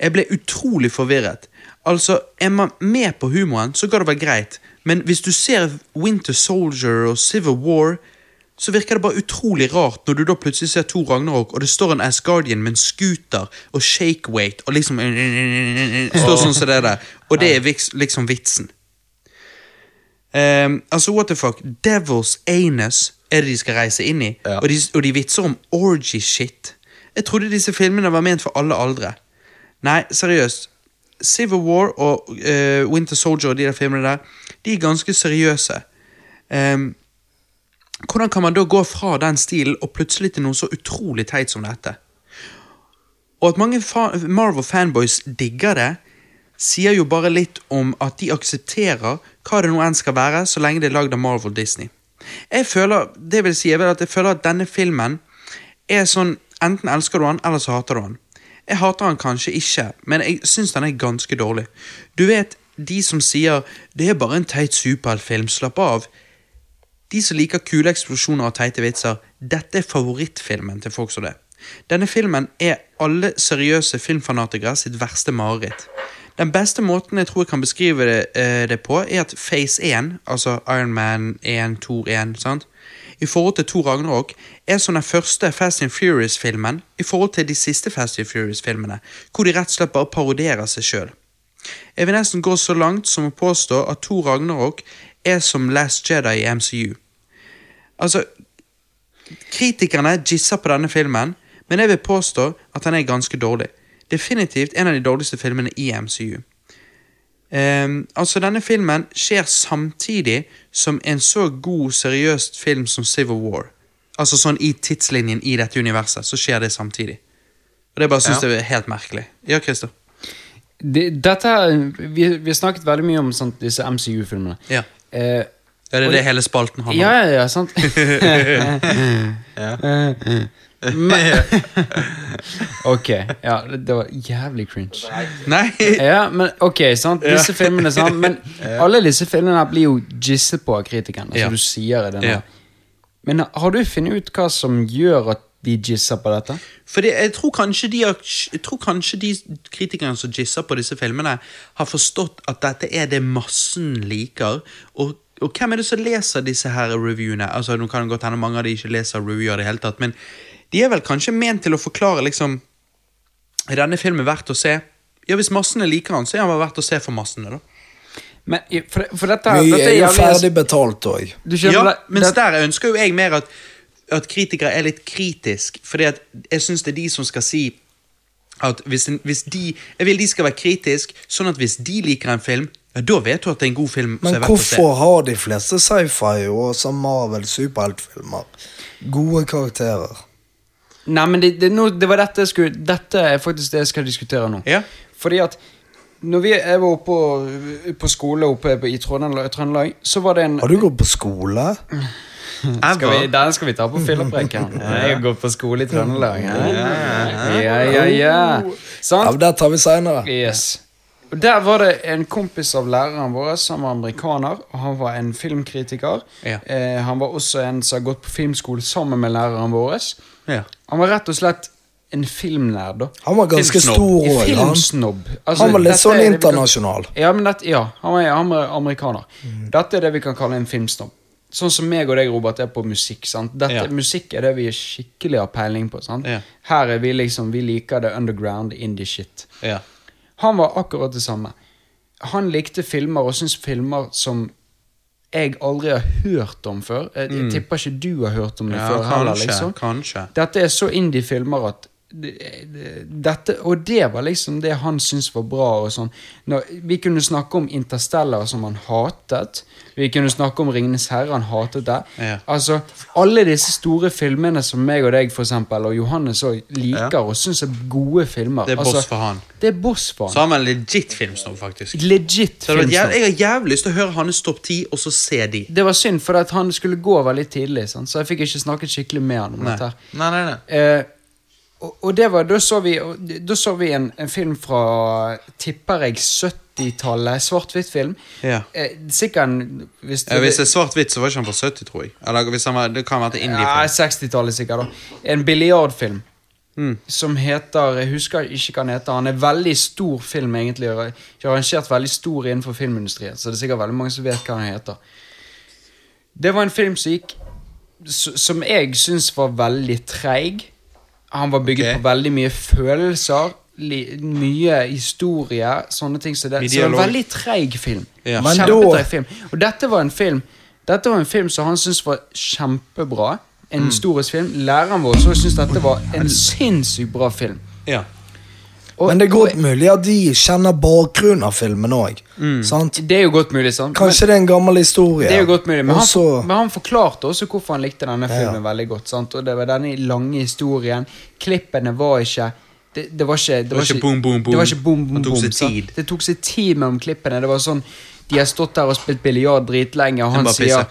Jeg ble utrolig forvirret. Altså, Er man med på humoren, så går det vel greit, men hvis du ser Winter Soldier og Civil War, så virker det bare utrolig rart når du da plutselig ser Thor Ragnarok, og det står en Asgardian med en scooter og shakeweight og liksom Står sånn som det der. Og det er viks- liksom vitsen. Ehm, altså, what the fuck? Devil's anus er det de skal reise inn i.
Ja.
Og, de, og de vitser om orgy shit. Jeg trodde disse filmene var ment for alle aldre. Nei, seriøst. Civil War og eh, Winter Soldier og de der filmene der, de er ganske seriøse. Ehm, hvordan kan man da gå fra den stilen og plutselig til noe så utrolig teit som dette? Og at mange fa- Marvel-fanboys digger det, sier jo bare litt om at de aksepterer hva det nå enn skal være, så lenge det er lagd av Marvel Disney. Jeg føler, det vil si, jeg vel at jeg føler at denne filmen er sånn Enten elsker du han, eller så hater du han. Jeg hater han kanskje ikke, men jeg syns den er ganske dårlig. Du vet, de som sier 'det er bare en teit superheltfilm, slapp av'. De som liker kule eksplosjoner og teite vitser, dette er favorittfilmen til folk som det. Denne filmen er alle seriøse filmfanatikere sitt verste mareritt. Den beste måten jeg tror jeg kan beskrive det, eh, det på, er at Phase 1, altså Iron Man 1, Thor 1, sant? i forhold til Thor Ragnarok, er som den første Fast and Furious-filmen i forhold til de siste Fast and Furious-filmene, hvor de rett og slett bare parodierer seg sjøl. Jeg vil nesten gå så langt som å påstå at Thor Ragnarok er som Last Jedi i MCU. Altså, kritikerne gisser på denne filmen, men jeg vil påstå at den er ganske dårlig. Definitivt en av de dårligste filmene i MCU. Ehm, altså, denne filmen skjer samtidig som en så god, seriøst film som Civil War. Altså sånn i tidslinjen i dette universet, så skjer det samtidig. Og det bare synes
Ja.
jeg er helt merkelig. Ja, Christer?
det, Dette her- vi, vi har snakket veldig mye om sant, disse MCU-filmene.
Ja.
Eh,
Ja, det er det hele spalten handler om.
ja, ja, ja, sant. Men- ok. Ja, det det var jævlig cringe.
Nei,
Ja, men ok, sant Disse filmene, sant Men alle disse filmene her blir jo gisset på av kritikerne
Ja.
Som du sier i denne
Ja.
Men har du funnet ut hva som gjør at de gisser på dette?
Fordi jeg tror kanskje de, har- jeg tror kanskje de kritikerne som gisser på disse filmene, har forstått at dette er det massen liker. Og, og hvem er det som leser disse her reviewene? Altså, nå kan det godt hende mange av de ikke leser reviewer i det hele tatt, men de er vel kanskje ment til å forklare liksom Er denne filmen verdt å se? Ja, hvis massene liker han, så er han vel verdt å se for massene, da.
Men, i- for, for dette,
Mye
dette
er jo
jævlig-
ferdig betalt òg.
Du skjønner
Ja,
det-
mens
det,
der ønsker jo jeg mer at, at kritikere er litt kritisk, fordi at jeg syns det er de som skal si at hvis, en, hvis de Jeg vil de skal være kritisk, sånn at hvis de liker en film, ja, da vet du at det er en god film. som
Men
er verdt å se.
hvorfor har de fleste sci-fi og sånn Marvel superheltfilmer gode karakterer?
Nei, men det, det, nå, det var dette jeg skulle Dette er faktisk det jeg skal diskutere nå
Ja.
Fordi at Når vi, jeg var oppe på, på skole oppe på, i Trøndelag, Trøndelag Så var det en
Har du gått på skole?
Skal vi, den skal vi ta på fillepreken. Jeg går på skole i Trøndelag. Ja, ja, ja. ja.
Ja,
Sant?
men Det tar vi seinere.
Yes. Og Der var det en kompis av læreren vår som var amerikaner. og Han var en filmkritiker.
Ja.
Eh, han var også en som har gått på filmskole sammen med læreren vår.
Ja.
Han var rett og slett en filmnerd. da.
Han var ganske
Filmsnobb.
stor òg. Han.
Filmsnobb. Altså,
han var litt
dette
sånn
er det vi kan-
internasjonal. Mm.
ja, men dette, ja, han er han er amerikaner. Dette er det vi kan kalle en filmsnobb. Sånn som meg og deg, Robert, er på musikk. sant? Dette,
Ja.
Musikk er det vi skikkelig har peiling på. sant?
Ja.
Her er vi liksom, vi liker det underground indie shit.
Ja.
Han var akkurat det samme. Han likte filmer og syntes filmer som jeg aldri har hørt om før. Jeg, jeg tipper ikke du har hørt om det
Mm. Ja,
før heller.
kanskje,
liksom.
kanskje.
Dette er så indie-filmer at det- det- dette, og det var liksom det han syntes var bra. Og sånn. Når, vi kunne snakke om Interstellar, som han hatet. Vi kunne snakke om Ringenes herre, han hatet det.
Ja.
Altså, Alle disse store filmene som meg og deg for eksempel, og Johannes også liker og syns er gode filmer.
Det er
altså,
boss for han.
Det er boss for
Så
han.
har man legit filmsnobb, faktisk.
Legit
Så det hadde vært
filmsnobb.
jæv- jeg har jævlig lyst til å høre hans topp ti, og så se de.
Det var synd, for at han skulle gå veldig tidlig, sant? så jeg fikk ikke snakket skikkelig med han om dette. her.
Nei, nei, nei.
Eh, og, og det var, da så vi, og da så vi en, en film fra, tipper jeg, 70-tallet, svart-hvitt film.
Ja.
Eh, sikkert en hvis
Ja, hvis det er svart-hvitt, så var ikke han fra 70, tror jeg. Eller hvis han var, det kan være til indie.
Ja,
Ja,
60-tallet sikkert da. En billiardfilm.
Mm.
Som heter Jeg husker ikke hva han heter. Han er veldig stor film, egentlig. og har Arrangert veldig stor innenfor filmindustrien. Så det er sikkert veldig mange som vet hva han heter. Det var en film som gikk s- Som jeg syns var veldig treig. Han var bygget
Ok.
på veldig mye følelser. Li, mye historie, sånne ting som det.
Mye
Så det var en
dialog.
veldig treig film.
Ja.
Men da-
Kjempetreig film. Og dette var en film Dette var en film som han syntes var kjempebra.
Mm.
En historisk film. Læreren vår så syntes dette var en sinnssykt bra film.
ja.
Og-
Men det er godt mulig at de kjenner bakgrunnen av filmen òg.
Mm.
og- Det er jo godt mulig, sant?
Kanskje det er en gammel
men,
historie.
det er jo godt mulig, men,
Og så-
han, men han forklarte også hvorfor han likte denne
ja.
filmen veldig godt. sant? Og det var denne lange historien. Klippene var ikke det, det var ikke
var ikke boom, boom, boom.
Det var ikke boom, boom,
Det tok
boom,
seg
sant?
tid.
Det tok seg tid mellom klippene. Det var sånn De har stått der og spilt biljard dritlenge, og han
bare
sier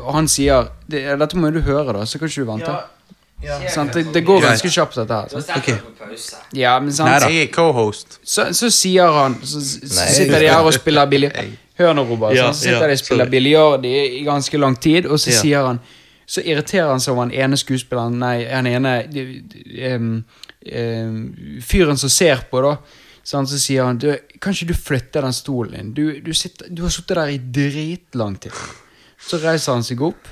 og han sier det, Dette må jo du høre, da, så kan ikke du vente. Sant? Det, det går ganske kjapt, dette her.
Da
sant?
setter du på pause.
Ja, men sant?
Neida.
Jeg er cohost.
Så, så sier han Så s-
Nei.
sitter de her og spiller biljard. Hør nå, Robert.
Ja,
så sitter
ja,
de og spiller
sorry.
biljard i, i ganske lang tid, og så
Ja.
sier han Så irriterer han seg over han ene skuespilleren Nei, han ene de- de- em, em, fyren som ser på, da. Så, han, så sier han du, Kan ikke du flytte den stolen din? Du, du, sitter, du har sittet der i dritlang tid. Så reiser han seg opp.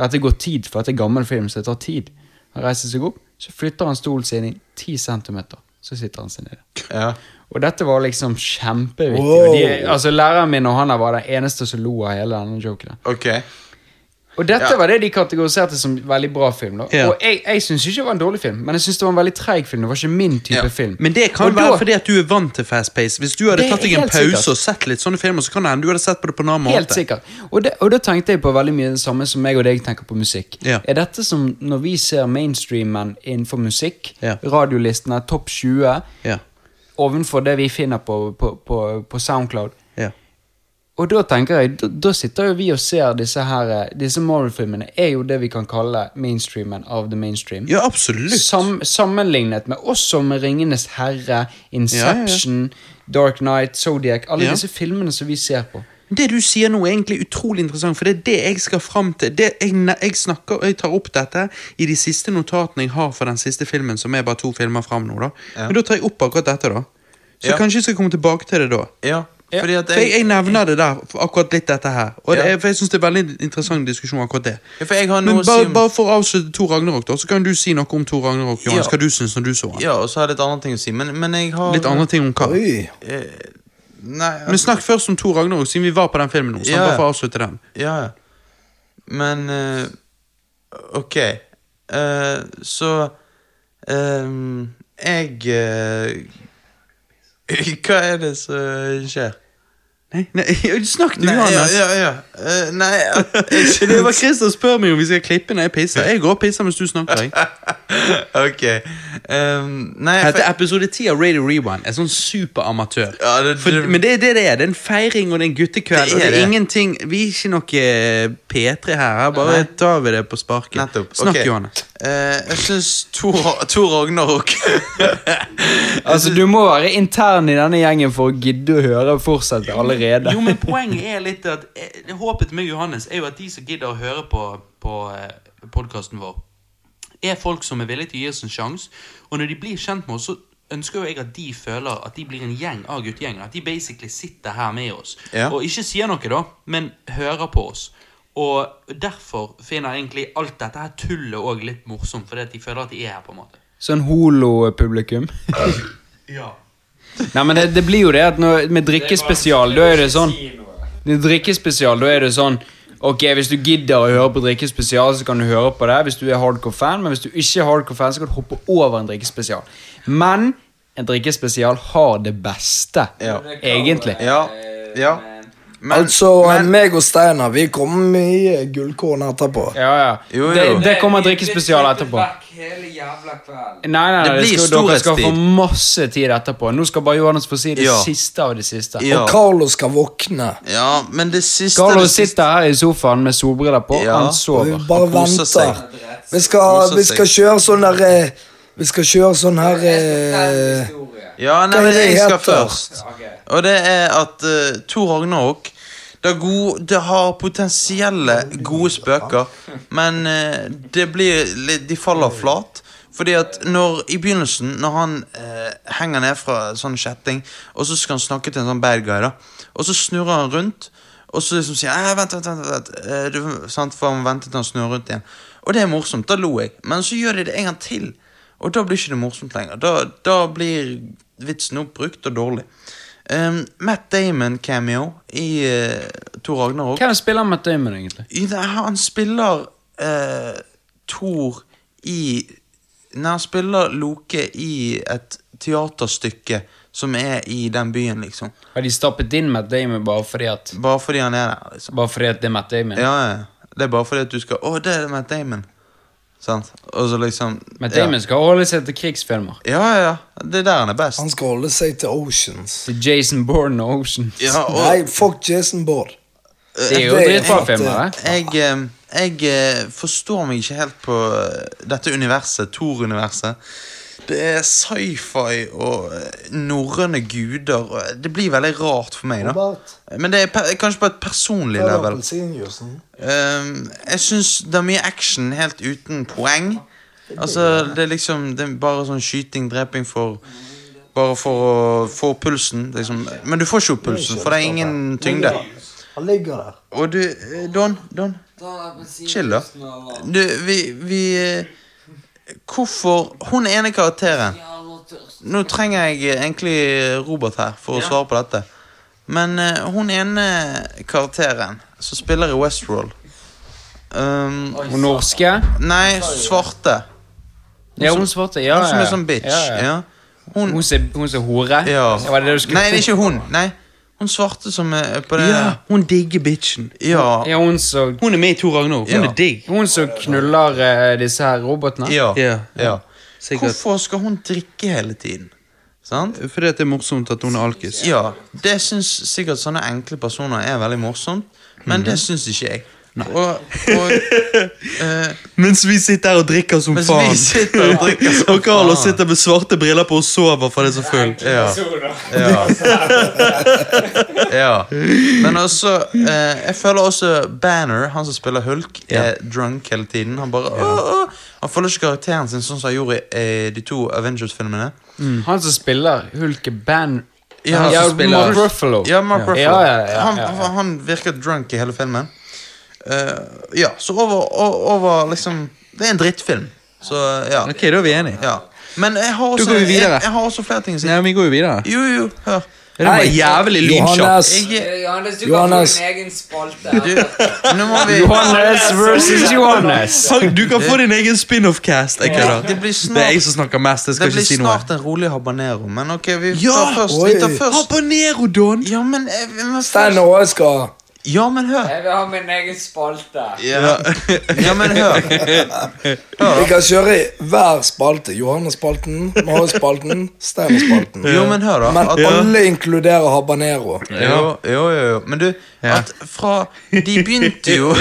Dette går tid, for dette er gammel film, så det tar tid. Han reiser seg opp, så flytter han stolen sin inn 10 cm. Så sitter han seg ned.
Ja.
Og dette var liksom kjempeviktig.
Wow.
Og de, altså Læreren min og han her var den eneste som lo av hele denne joken.
Ok.
Og dette var det de kategoriserte som veldig bra film. da
Ja.
Og jeg, jeg syns ikke det var en dårlig film, men jeg syns det var en veldig treig film. Det var ikke min type
Ja.
film.
Men det kan
Og da-
være fordi at du er vant til fast pace. Hvis du hadde
Det er
tatt deg en
helt
pause
sikkert.
og sett litt sånne filmer, så kan det hende du hadde sett på det på en annen måte.
Helt sikkert. Og, det, og da tenkte jeg på veldig mye det samme som meg og deg tenker på musikk.
Ja.
Er dette som når vi ser mainstreamen innenfor musikk,
Ja.
radiolistene, topp 20,
Ja.
ovenfor det vi finner på, på, på, på SoundCloud?
Ja.
Og da tenker jeg, da, da sitter jo vi og ser disse her eh, Disse Marvel-filmene er jo det vi kan kalle mainstreamen av the mainstream.
ja, absolutt.
Sam, sammenlignet med også med Ringenes herre, Inception, Dark Knight, Zodiac Alle
Ja.
disse filmene som vi ser på.
Det du sier nå er egentlig utrolig interessant, for det er det jeg skal fram til. Det jeg, ne- jeg snakker, jeg tar opp dette i de siste notatene jeg har for den siste filmen, som er bare to filmer fram nå. da. Men da tar jeg opp akkurat dette, da. Så
Ja.
kanskje jeg skal komme tilbake til det da.
Ja. Fordi at
For jeg, jeg nevner det der, for akkurat litt dette her. Og det
Ja.
er, for jeg synes det er veldig interessant diskusjon akkurat det.
Ja, for jeg har
Men
noe å si
bare,
om-
bare for å avslutte Tor Ragnarok, da, så kan du si noe om Tor Ragnarok. Johannes,
Ja.
hva du syns når du så han.
Ja, og så har jeg litt andre ting å si, men, men jeg har
Litt andre ting om hva.
Oi.
Nei,
Men snakk først om Tor Ragnarok, siden vi var på den filmen nå. Så
Ja.
bare for å avslutte den.
Ja, ja. Men eh, Ok. Eh, så ehm, Jeg eh, Hva er det som skjer?
Nei, nei snakk du,
Nei, ja,
Johannes.
ja, ja. Eh, nei at- jeg-
Det var Christer spør meg om vi skal klippe når jeg pisser. Jeg går og pisser mens du snakker. Jeg.
Ok. Ehm, nei,
Dette
for,
er episode 10 av Radio Rewind. En sånn superamatør.
ja, det,
For, men det er det det er. Det er en feiring og det er en guttekveld.
Det er
og det er
det.
ingenting Vi er ikke noe P3 her. her Bare
Nei.
tar vi det på sparket.
Nettopp.
Snakk,
Ok.
Johannes.
Eh, jeg syns Tor Tor Ragnarok
Altså, Du må være intern i denne gjengen for å gidde å høre fortsette allerede.
Jo, men Poenget er litt at eh, Håpet til meg og Johannes er jo at de som gidder å høre på, på podkasten vår, er folk som er villige til å gi oss en sjanse. Og når de blir kjent med oss, så ønsker jo jeg at de føler at de blir en gjeng av guttegjengen. At de basically sitter her med oss.
Ja.
Og ikke sier noe, da, men hører på oss. Og derfor finner egentlig alt dette her tullet òg litt morsomt, fordi at de føler at de er her, på en måte.
Sånn holopublikum.
Ja.
Nei, men det, det blir jo det at når, med drikkespesial, da er det sånn
Kino,
Det er drikkespesial, da er det sånn Ok, Hvis du gidder å høre på drikkespesial, så kan du høre på det. Hvis du er hardcore fan, Men hvis du ikke er hardcore fan, så kan du hoppe over en drikkespesial. Men en drikkespesial har det beste,
Ja.
egentlig.
Ja. ja. Men,
altså, meg og Steinar, vi kommer med i eh, gullkorn etterpå.
Ja, ja.
Jo, jo.
Det, det kommer en
Vi- vi
drikkespesial
sitter
etterpå.
back Hele jævla kvelden.
Nei, nei, nei
Det blir
det skal, dere skal få
storhetstid.
masse tid etterpå. Nå skal bare Johannes få si det
Ja.
siste av det siste.
ja.
Og Carlo skal våkne.
ja, men det siste
Carlo
det siste-
sitter her i sofaen med solbriller på.
Ja.
Han
Og vi
sover.
bare
Han koser seg.
venter. Vi skal,
Koser
vi skal kjøre sånn der eh, Vi skal kjøre sånn her
Jeg skal fortelle en
eh,
historie.
Ja, nei,
Hva er
men
det
jeg
det
skal
heter?
først.
Ok.
Og det er at eh, Thor Ragnarok det, er gode, det har potensielle gode spøker, men eh, det blir litt, de faller flat. Fordi at når, I begynnelsen, når han eh, henger ned fra sånn kjetting, og så skal han snakke til en sånn bad guy, da og så snurrer han rundt, og så liksom sier han vent, vent, vent, vent. eh, du, sant, For han venter til han snurrer rundt igjen. Og det er morsomt. Da lo jeg. Men så gjør de det en gang til, og da blir ikke det morsomt lenger. Da, da blir vitsen oppbrukt og dårlig. Um, Matt Damon-cameo i uh, Thor Ragnarok.
Hvem spiller Matt Damon, egentlig?
I det- Han spiller uh, Thor i Nei, han spiller Loke i et teaterstykke som er i den byen, liksom.
Har de stappet inn Matt Damon bare fordi at,
Bare fordi han er der, liksom.
bare fordi at det er Matt Damon?
Ja, ja. Det er bare fordi at du skal Å, det er Matt Damon. Sant? Og så liksom
Matt Damon skal holde seg til krigsfilmer.
Ja, ja, ja. Det er der han er best.
Han skal holde seg til Oceans.
Til Jason Bourne og Ocean.
Ja, og Eh,
Nei, fuck Jason Bård.
Det er jo
det er
dritbra
helt,
filmer, det.
Jeg, eh, jeg eh, forstår meg ikke helt på eh, dette universet, Thor-universet. Det er sci-fi og eh, norrøne guder. og eh, Det blir veldig rart for meg, da.
Robert,
Men det er pe kanskje på et personlig
ta den
level.
appelsinjuicen.
Um, jeg syns det er mye action helt uten poeng. Altså, det er liksom det er bare sånn skyting, dreping for Bare for å få pulsen, liksom. Men du får ikke opp pulsen, for det er ingen tyngde.
Han ligger der.
Og du, eh, Don, Don
Ta en appelsin-
Chill, da. Du, vi, vi eh, Hvorfor Hun ene karakteren
Jævla tørst.
Nå trenger jeg eh, egentlig Robert her for å svare på dette. Men eh, hun ene karakteren som spiller i Westworld um,
Hun norske.
Nei, svarte.
Ja, hun svarte. Ja,
Hun som
ja.
er sånn bitch.
Ja, ja.
Ja. Hun
Hun som hun som hore.
ja.
Ja, var det det du skulle
Nei, det er ikke hun. Nei, hun svarte som er på det
Ja, Ah, hun digger bitchen.
Ja.
Ja, hun som
Hun er med i Tor Ragnarok. Hun
Ja.
er digg.
Hun som knuller eh, disse her robotene?
Ja.
Ja.
ja.
Sikkert.
Hvorfor skal hun drikke hele tiden? Sant?
Fordi at det er morsomt at hun er alkis.
Ja, det syns sikkert sånne enkle personer er veldig morsomt, men
Mhm.
det syns ikke jeg. Og, og eh,
Mens vi sitter her og drikker som
Mens vi
faen.
sitter og drikker som
Og Carlo
faen.
sitter med svarte briller på og sover for det er så full.
ja, ja. ja. Men også eh, Jeg føler også Banner, han som spiller Hulk, er drunk hele tiden. Han bare «Åh, åh». Han følger ikke karakteren sin sånn som han gjorde i eh, de to Avengers-filmene.
Mm. Han som spiller Hulke Ban...
Ja, han som spiller-
Mark Ruffalo.
Ja, Mark Ruffalo.
Ja, ja, ja,
han,
ja, ja.
han virker drunk i hele filmen. Eh, ja, så over, o- over liksom Det er en drittfilm. Så ja.
Ok, da er vi enige.
ja. Men jeg har også,
går vi videre.
jeg, jeg har også flere ting å si.
Nei, vi går jo videre.
Jo, jo, hør.
Det var jævlig lydsjakk.
Johannes,
Jeg,
Eh, Johannes, du
Johannes.
kan få din egen spalte.
du, nå må vi
Johannes versus Johannes.
Fuck, Du kan få din egen spin-off-cast. Jeg kødder.
Det blir snart-
Det er jeg som snakker mest. Jeg skal
Det blir
ikke si noe.
snart en rolig habanero, men ok, vi tar
Ja!
først.
Oi.
Vi tar først.
Habanero, Don!
Ja, men, eh, men
Steinar
først.
og jeg skal
Ja, men hør.
Jeg vil ha min egen spalte.
Ja, ja men hør.
Vi kan kjøre i hver spalte. Johannes-spalten, Marius-spalten, Steinar-spalten.
Jo, men hør, da.
Men
At-
alle inkluderer habanero.
Jo, jo, jo, jo. Men du, at fra De begynte jo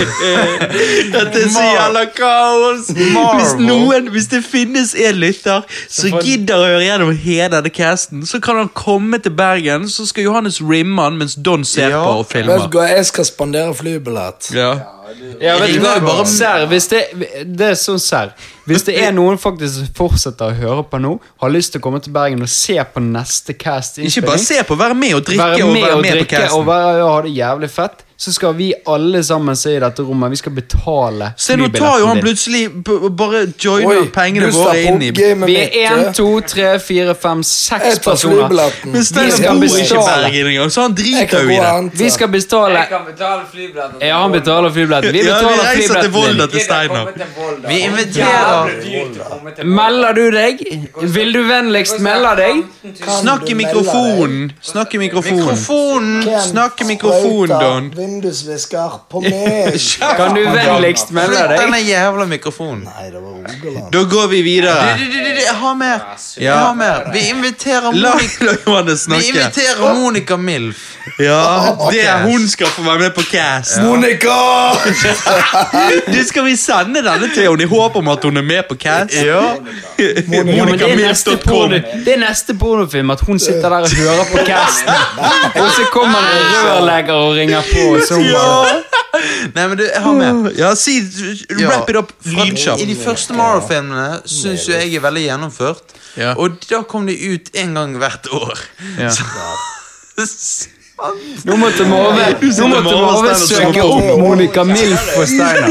Dette er så jævla kaos! Hvis
Marvel.
noen, hvis det finnes en lytter som
får-
gidder å høre gjennom hele denne casten, så kan han komme til Bergen, så skal Johannes rimme han mens Don ser
Ja.
på og
Vet
filmer.
du hva, jeg skal spandere flybillett.
Ja.
Ja, vet du
ringer
hva?
jo bare-
Serr, hvis det Det er sånn serr. Hvis det er noen faktisk som fortsetter å høre på nå, har lyst til å komme til Bergen og se på neste cast
Ikke bare se på, være med og drikke
være
og
med
være
og
med på
drikke og
casten.
være, og ha det jævlig fett, så skal vi alle sammen se i dette rommet. Vi skal betale
Se, nå tar jo han
din.
plutselig b- b- bare joiner pengene
Gustav
våre inn i
på gamet
Vi er
mitt,
én,
eh.
to, tre, fire, fem,
Jeg
seks
tar
personer.
flybilletten.
Men
Vi
Steinar
skal
bor
betale.
ikke i Bergen engang, så han
Jeg
driter
kan
jo
gå
i det.
og hente.
Vi skal betale
Jeg kan betale flybilletter.
Ja, han betaler flybilletten. Vi
Ja, vi
betaler
reiser til Volda.
flybilletten din.
til Steinar.
Vi
inviterer-
Melder du deg? Vil du vennligst melde deg?
Snakk i mikrofonen. Snakk i mikrofonen.
Ken,
Snakk i mikrofonen,
sprøyter,
Don.
Vindusvisker på meg.
Kan du vennligst melde
Flytt
deg?
denne jævla mikrofonen.
Nei, det var Rogaland.
Da går vi videre. Jeg har mer. Jeg har mer. Vi inviterer
La,
Monica
la Johannes
Vi
snakke.
inviterer Monica Milf.
Ja, det er Hun skal få være med på cast.
Monica!
Det skal vi sende denne til henne i håp om at hun er med på cast.
Jo, men det er neste
MonicaMilf.com.
porno Det er neste pornofilm at hun sitter der og hører på casten. Og så kommer det en rørlegger og ringer på. Og så bare,
Nei, men du, jeg har mer.
Ja, si
Ja.
Wrap it up.
Fra-
Lydkjapt.
I de første Marvel-filmene syns jo jeg er veldig gjennomført.
Ja.
Og da kom de ut en gang hvert år.
Ja.
Så-
nå måtte Marve Nå måtte Marve søke opp Monica Milf og Steinar.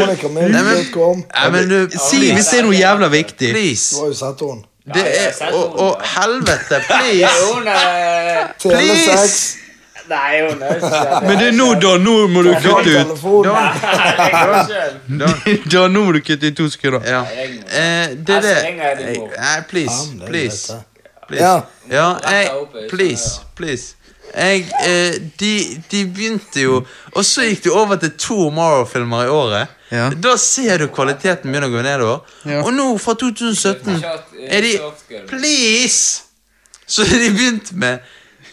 Monica Milk.com.
Nei, men du,
Si hvis det er noe jævla viktig.
Du
Please.
har jo sett henne.
Det er Og, og helvete, please!
Hun er
Telesex.
Please!
Nei, hun er ikke det.
Men det er nå, Don. Nå må du kutte ut.
Telefon.
Jeg går selv.
Don, nå må du kutte ut to sekunder.
Ja. Eh, det er
Jeg
det.
slenger det i bord.
Nei, please.
Ja, det
Please.
er greit,
please.
Ja.
Ja, jeg,
opp, jeg
please, please. Jeg, eh, de, de begynte jo Og så gikk de over til to Marvel-filmer i året.
Ja.
Da ser du kvaliteten begynner å gå nedover. Og nå, fra 2017,
eh,
er de Please! Så har de begynt med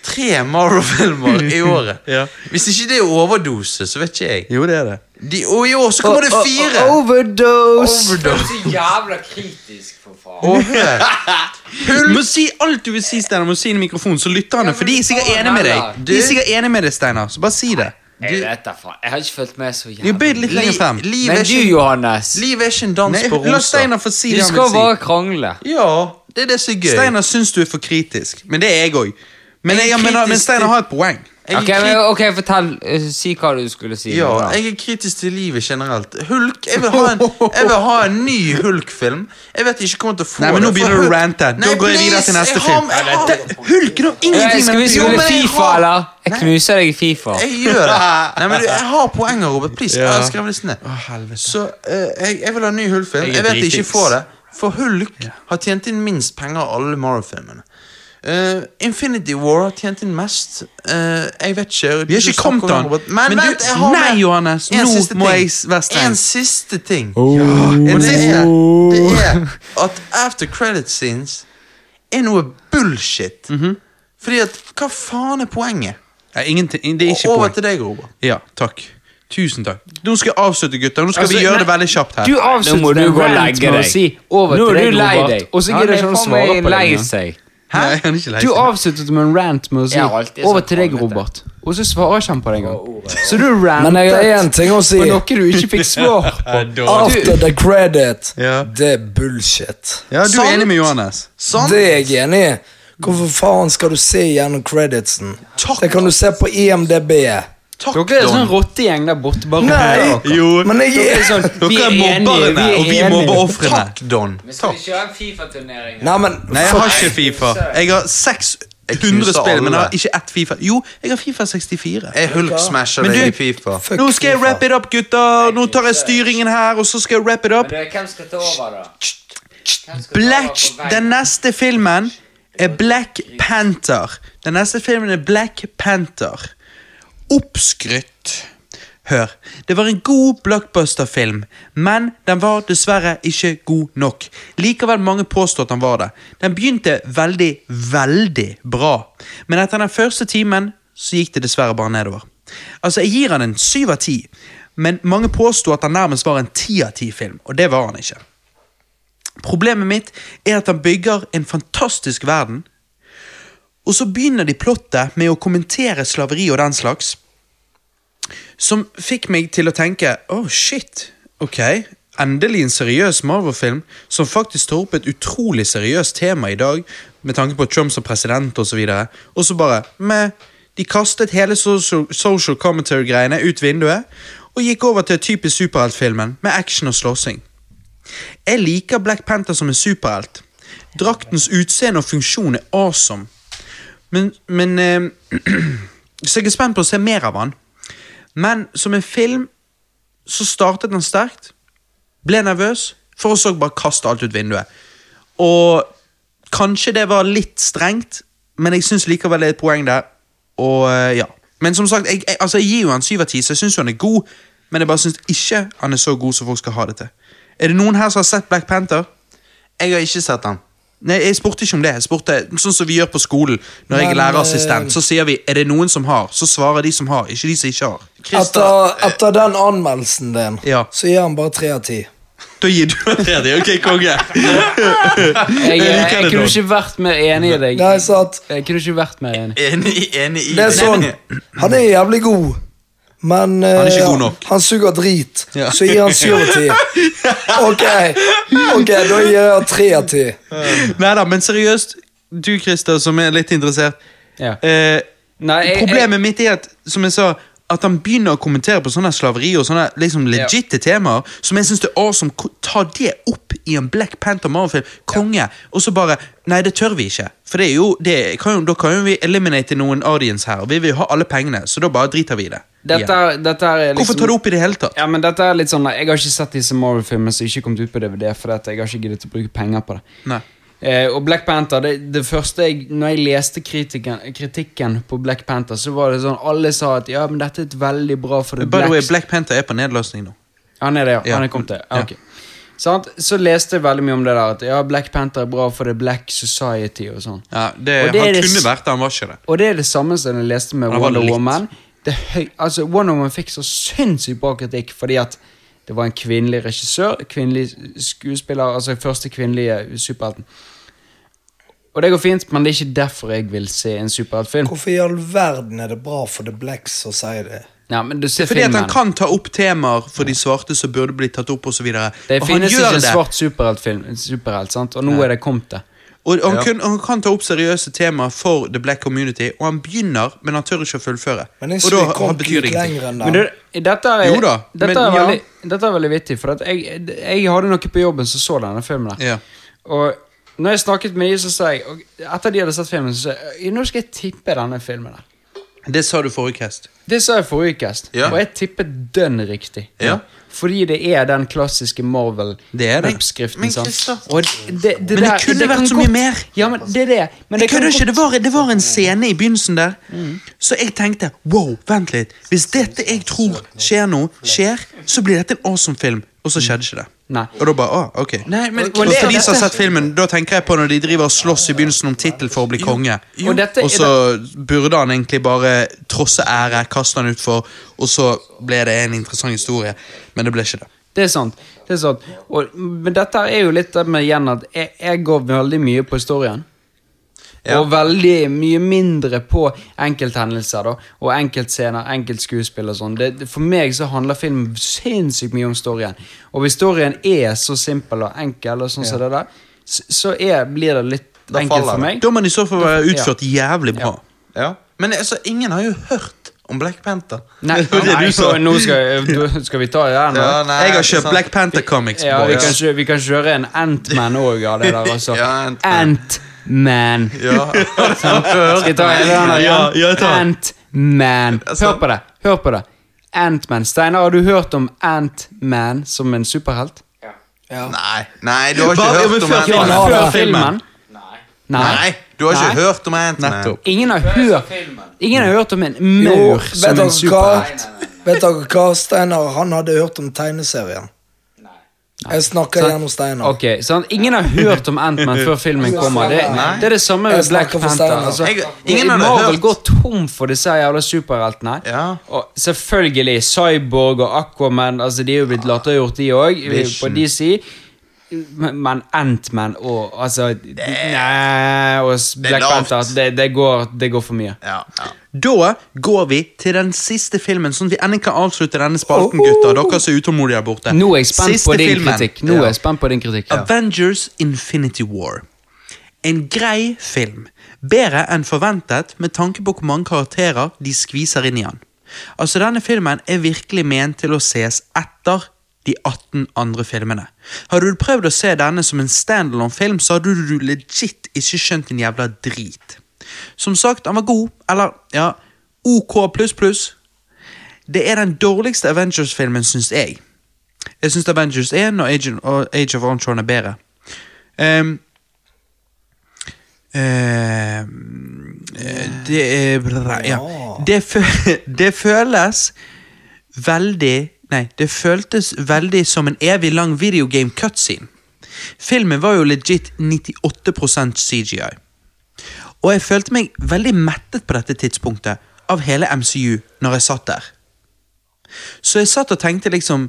tre Marvel-filmer i året.
Ja.
Hvis ikke det er overdose, så vet ikke jeg.
Jo, det er det.
De, og i år så kommer det fire!
Overdose.
Du er
Overdose.
så jævla kritisk, for faen.
Og hør.
Du må si alt du vil si, Steinar. Du må si det i mikrofonen, så lytter han. For de er sikkert enige med deg. De er sikkert enige med deg, Steinar. Så bare si det.
Jeg vet da faen. Jeg har ikke fulgt med så
Jo,
jævlig.
bøy litt lenger frem.
Li- Livet
Men du,
er ikke,
Johannes,
livet er ikke en dans
Nei,
på
la
roser.
Steinar få si
du
det han
skal
vil si.
bare krangle.
Ja, det er det som er gøy.
Steinar syns du er for kritisk, men det er jeg òg. Men,
Jeg er
jeg- men,
kritisk
men Steinar har et poeng.
Jeg er
Ok, men,
kri-
ok, fortell. eh, Si hva du skulle si.
ja,
nå, da.
jeg er kritisk til livet generelt. Hulk, Jeg vil ha en, jeg vil ha en ny Hulk-film. Jeg vet ikke kommer til å få
Nei, men nå
det, for
begynner du å
Hulk-
rante. Da
Nei,
går jeg videre til neste
please, jeg
film.
har- jeg har-
Hulken har
Eh,
ingenting
Skal vi
med
Jo,
spille
men jeg
Fifa,
har-
eller? Jeg knuser deg i Fifa.
Jeg gjør det. Nei, men du, jeg har poenger, Robert. Please. Jeg har
Ja.
skrevet disse ned.
helvete.
Så eh, jeg, jeg vil ha en ny Hulk-film.
Jeg er
Jeg vet jeg ikke
dritings.
får det. For Hulk har tjent inn minst penger av alle Marvel-filmene. Eh, Infinity War har tjent inn mest. Eh, jeg vet ikke
Vi har ikke kommet til han.
Men,
Men du-
vent, jeg har
nei,
med-
Johannes,
en
nå
siste
må
ting.
jeg s- være streng. Oh.
En siste ting. Og det er, det er at after credit scenes er noe bullshit.
Mhm.
Fordi at Hva faen er poenget?
Nei, ingenting. Det er ikke
Og over
poeng.
til deg, Robert.
Ja, takk. Tusen takk. Nå skal jeg avslutte, gutter. Nå skal
Altså,
vi gjøre det
nei,
veldig kjapt her.
Du
må
avslutter
du
en
gå og
rant
legge
med å
deg.
si over
Nå
til
er
deg,
du lei
Robert.
deg.
Og så
Han
gidder
er
ikke han å
faen
svare
meg
på det.
lei
engang.
seg.
Hæ? Nei, han er ikke lei
Du
seg.
avsluttet med en rant med å si
Jeg har alltid
over
sagt
til deg,
faen, vet jeg.
Robert. Og så svarer ikke han på det engang. Så du rantet
Men jeg har én ting å si.
på noe du ikke fikk svar på.
After the credit.
Ja.
Det er bullshit.
Ja, du er enig med Johannes.
Sant?
Det er jeg enig i. Hvorfor faen skal du se gjennom creditsen?
Takk.
Det kan du se på IMDb.
Takk,
Dere er
Don.
sånn rottegjeng der borte. Bare
Nei,
roterer dere.
men jeg
Dere er sånn, vi
Dere
er
er
enige,
mobberne, og
vi
vi
er
mobber
enige.
ofrene.
Takk, Don.
Men skal vi kjøre en Fifa-turnering?
Nei, men
Nei, jeg har
fuck.
ikke Fifa. Jeg har 600
knuser
spill, men jeg har
alle.
ikke ett Fifa. Jo, jeg har Fifa 64.
Jeg Hulk-smasher
Men
deg
du-
i Fifa.
Fuck
Nå skal jeg
FIFA.
wrap it up, gutter. Nå tar jeg styringen her, og så skal jeg wrap it
Men
up.
du, hvem skal ta over, da? Hvem skal ta over
Black,
på veien?
den neste filmen er Black Panther. Den neste filmen er Black Panther. Oppskrytt. Hør, det var en god blockbuster-film, men den var dessverre ikke god nok. Likevel mange påstår at den var det. Den begynte veldig, veldig bra, men etter den første timen så gikk det dessverre bare nedover. Altså, jeg gir han en syv av ti, men mange påsto at han nærmest var en ti av ti-film, og det var han ikke. Problemet mitt er at han bygger en fantastisk verden, og så begynner de plottet med å kommentere slaveri og den slags, som fikk meg til å tenke, oh shit, ok, Endelig en seriøs Marvel-film som faktisk tar opp et utrolig seriøst tema i dag, med tanke på Trump som president osv., og så bare meh. De kastet hele social, social commentary-greiene ut vinduet og gikk over til typisk superheltfilmen med action og slåssing. Jeg liker Black Panther som en superhelt. Draktens utseende og funksjon er awesome. Men, men eh, Så jeg er spent på å se mer av han. Men som en film så startet den sterkt, ble nervøs, for å så bare kaste alt ut vinduet. Og kanskje det var litt strengt, men jeg syns likevel det er et poeng der. Og eh, ja. Men som sagt, jeg, jeg, altså, jeg gir jo han syv av ti, så jeg syns jo han er god, men jeg bare syns ikke han er så god som folk skal ha det til. Er det noen her som har sett Black Panther?
Jeg har ikke sett den.
Nei, Jeg spurte ikke om det. Jeg spurte, Sånn som vi gjør på skolen. Når jeg
Men,
er lærerassistent, så sier vi 'er det noen som har'? Så svarer de som har, ikke de som ikke har.
Etter, etter den anmeldelsen din,
Ja.
så gir han bare tre av ti.
Da gir du en tredje. Ok, konge.
Jeg, jeg,
liker det,
kunne
Don.
ikke vært mer enig i deg.
Nei, så at
Jeg kunne ikke vært mer enig.
Enig, enig i
Det er sånn Han er jævlig god, men eh,
er ikke god nok.
han suger drit.
Ja.
Så gir han syv av ti. Ok, ok, da gir jeg han tre av ti.
Nei da, men seriøst, du Christer, som er litt interessert.
Ja.
Eh,
Nei, jeg-
problemet mitt er at, som jeg sa at han begynner å kommentere på sånne slaveri og sånne liksom legitte temaer. Som jeg synes det er awesome. Ko- Ta det opp i en Black Panther Marvel-film. Konge. Og så bare Nei, det tør vi ikke. For det er jo, det kan jo, da kan jo vi eliminate noen audience her. og Vi vil jo ha alle pengene, så da bare driter vi i det.
Dette,
Igjen.
er- dette er liksom
Hvorfor tar du opp i det hele tatt?
Ja, men dette er litt sånn Jeg har ikke sett disse Marvel-filmene som ikke kom ut på DVD, for at jeg har ikke giddet å bruke penger på det.
Nei.
Eh, og Black Panther, det, det første jeg Når jeg leste kritikken, kritikken på Black Panther, så var det sånn Alle sa at ja, men dette er et veldig bra for det
By the way,
blacks-
Black Panther er på nedlastning nå.
Han er det, ja.
Ja.
Han er kommet til. Ja,
Ja.
ok. Sant? Så leste jeg veldig mye om det der at ja, Black Panther er bra for the black society og sånn.
Ja, det,
Og det er
han
det
kunne
s-
vært det, han var ikke det.
Og det er det samme som jeg leste med
Ja, det var
Wonder
litt.
Woman. Det er høy, altså, Wonder Woman fikk så sinnssykt bra kritikk fordi at det var en kvinnelig regissør, kvinnelig skuespiller, altså første kvinnelige superhelten. Og det går fint, men det er ikke derfor jeg vil se en superheltfilm.
Hvorfor i all verden er det bra for The Blacks å si det?
Nei, men du ser
Fordi at
filmen.
han kan ta opp temaer for de svarte som burde bli tatt opp, osv. Og,
Det
og han
finnes ikke
gjør
en
det.
svart superheltfilm, superhelt, sant? og nå er det kommet det.
Og han, kun, han kan ta opp seriøse temaer for the black community, og han begynner, men han tør ikke å fullføre.
Men jeg
og da
synes vi kom
han betyr det
ikke
ingenting.
lenger enn
Men
det.
det, dette er,
Jo da,
dette,
men
er
ja.
veldig, dette er veldig vittig, for at jeg, jeg hadde noe på jobben som så denne filmen. der.
Ja.
Og når jeg snakket med de, så sa jeg og Etter de hadde sett filmen, så sa jeg nå skal jeg tippe denne filmen. der.
Det sa du forrige cast.
Det sa jeg forrige cast,
Ja.
og jeg tippet dønn riktig.
Ja.
Fordi det er den klassiske Marvel-oppskriften.
Det er det.
Men
sant?
Christer-
Og det, det, det
Men det
der-
kunne
kan
vært så mye
godt-
mer.
Ja, men det er det. Men
Jeg
kan
kødder ikke,
godt- Mm.
det var, det var en scene i begynnelsen der, så jeg tenkte wow, vent litt. Hvis dette jeg tror skjer nå, skjer, så blir dette en awesome film. Og så skjedde ikke det.
Nei.
Og da bare, ah, ok.
Nei, men-
og
og det-
for de som har
dette-
sett filmen, da tenker jeg på når de driver og slåss i begynnelsen om tittel for å bli konge.
Jo. Og dette er
Og så burde han egentlig bare trosse ære, kaste han utfor, og så ble det en interessant historie. Men det ble ikke det.
Det er sant. det er sant og, Men dette er jo litt det med igjen at jeg, jeg går veldig mye på historien.
Ja.
Og veldig mye mindre på enkelthendelser da og enkeltscener, enkeltskuespill og sånn. Det, det- for meg så handler filmen sinnssykt mye om storyen. Og hvis storyen er så simpel og enkel, og sånn som det der så, så er, blir det litt
Da
enkelt
faller
for
det.
meg.
Da må den i så fall være utført jævlig bra.
Ja. Men altså, ingen har jo hørt om Black Panther.
Nei,
Det var det
nei,
du sa.
nå- nå skal, du- skal vi ta det her nå?
Ja, nei,
Jeg har
ikke sant.
kjøpt Black Panther Comics.
Ja, vi
boys.
kan, kjø- vi kan kjøre en Ant-Man òg av det der også.
Ja, Ant-Man.
Ant-Man.
Ja.
Sant? Skal jeg ta hele den her
Ja, ja,
igjen?
ta den.
Ant-Man.
Ja, sånn. sant.
Hør på det. Hør på det. Ant-Man. Steinar, har du hørt om Ant-Man som en superhelt?
Nei, nei, du har ikke
Bare- ja, men
hørt om
før-
Ant-Man.
ja,
Før
ja.
filmen?
Nei.
Nei, du har ikke
Nei.
hørt om Ant-Man.
Nettopp.
Ingen har
Før
hørt
filmen.
Ingen har hørt om en
Jo,
maur
vet
som
dere
en superhelt.
hva? Vet dere hva, Steinar? Han hadde hørt om tegneserien.
Nei.
Jeg snakker
Sant.
gjennom Steinar.
Ok, sant? Ingen har hørt om Ant-Man før filmen kommer. Det,
Nei.
det er det samme
Altså, Jeg
med Black
snakker for
Panther.
Steinar.
Altså,
Jeg- ingen hadde
Marvel
hørt.
går tom for disse jævla superheltene.
Ja.
Og selvfølgelig Cyborg og Aquaman. Altså, de er jo blitt lattergjort, de òg, på
Vision.
DC. Men men Ant-Man og altså Nei, og s- Black
lavt.
Panther det, det, går, det går for mye.
Ja, ja.
Da går vi til den siste filmen, sånn at vi endelig kan avslutte denne spalten, gutter. Dere som er utålmodige der borte.
Nå er jeg spent
Siste
på din
filmen.
kritikk. Nå er
Ja.
jeg spent på din kritikk.
Avengers Infinity War. En grei film. Bedre enn forventet med tanke på hvor mange karakterer de skviser inn i den. Altså, denne filmen er virkelig ment til å ses etter de 18 andre filmene. Hadde du prøvd å se denne som en standalone-film, så hadde du legit ikke skjønt en jævla drit. Som sagt, han var god, eller ja, OK pluss pluss. Det er den dårligste Avengers-filmen, syns jeg. Jeg syns Avengers 1 og Age, og Age of Ultron er bedre. Ehm, ehm, det er bra, ja. det, fø, det føles veldig Nei, det føltes veldig som en evig lang videogame cutscene. Filmen var jo legit 98 CGI. Og jeg følte meg veldig mettet på dette tidspunktet av hele MCU når jeg satt der. Så jeg satt og tenkte liksom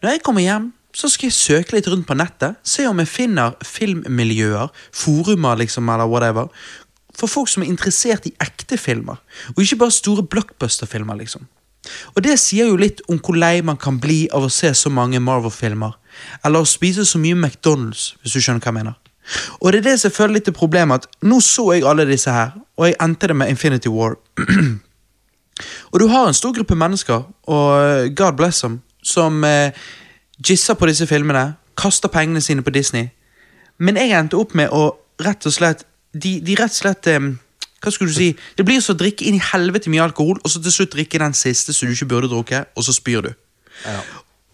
Når jeg kommer hjem, så skal jeg søke litt rundt på nettet. Se om jeg finner filmmiljøer, forumer liksom, eller whatever. For folk som er interessert i ekte filmer, og ikke bare store blockbuster-filmer. liksom. Og det sier jo litt om hvor lei man kan bli av å se så mange Marvel-filmer. Eller å spise så mye McDonald's, hvis du skjønner hva jeg mener. Og det er det som jeg føler litt er problemet, at nå så jeg alle disse her, og jeg endte det med Infinity War. Og du har en stor gruppe mennesker, og eh, God bless them, som eh, gisser på disse filmene, kaster pengene sine på Disney. Men jeg endte opp med å rett og slett De, de rett og slett eh, Hva skulle du si? Det blir som å drikke inn i helvete mye alkohol, og så til slutt drikke den siste som du ikke burde drukke, og så spyr du.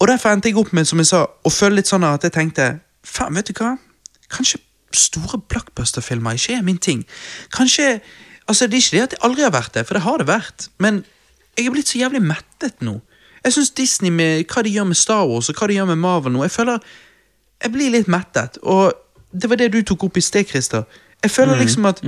Og derfor endte jeg opp med som jeg sa, å føle litt sånn at jeg tenkte Faen, vet du hva? Kanskje store blockbuster-filmer ikke er min ting. Kanskje Altså, det er ikke det at jeg aldri har vært det, for det har det vært. Men jeg er blitt så jævlig mettet nå. Jeg syns Disney med hva de gjør med Star Wars og hva de gjør med Marvel nå Jeg føler Jeg blir litt mettet, og det var det du tok opp i sted, Christer. Jeg føler liksom at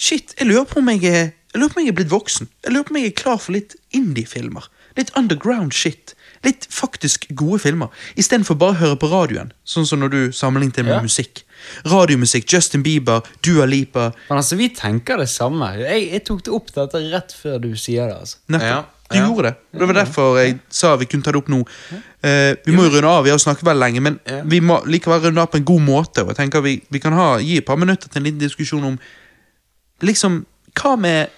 Shit, jeg lurer på om jeg er jeg lurer på om jeg er blitt voksen. Jeg lurer på om jeg er klar for litt indie-filmer. Litt underground shit. Litt faktisk gode filmer. Istedenfor bare å høre på radioen, sånn som når du sammenlignet det med musikk. Radiomusikk, Justin Bieber, Dua Lipa
Men altså, vi tenker det samme. Jeg, jeg tok det opp dette rett før du sier det. altså.
Nettopp.
Ja,
Du
ja. Mm.
gjorde det. Det var derfor jeg sa vi kunne ta det opp nå. Eh, vi må jo runde av, vi har jo snakket veldig lenge, men vi må likevel runde av på en god måte. Og jeg tenker vi, vi kan ha, gi et par minutter til en liten diskusjon om liksom, hva med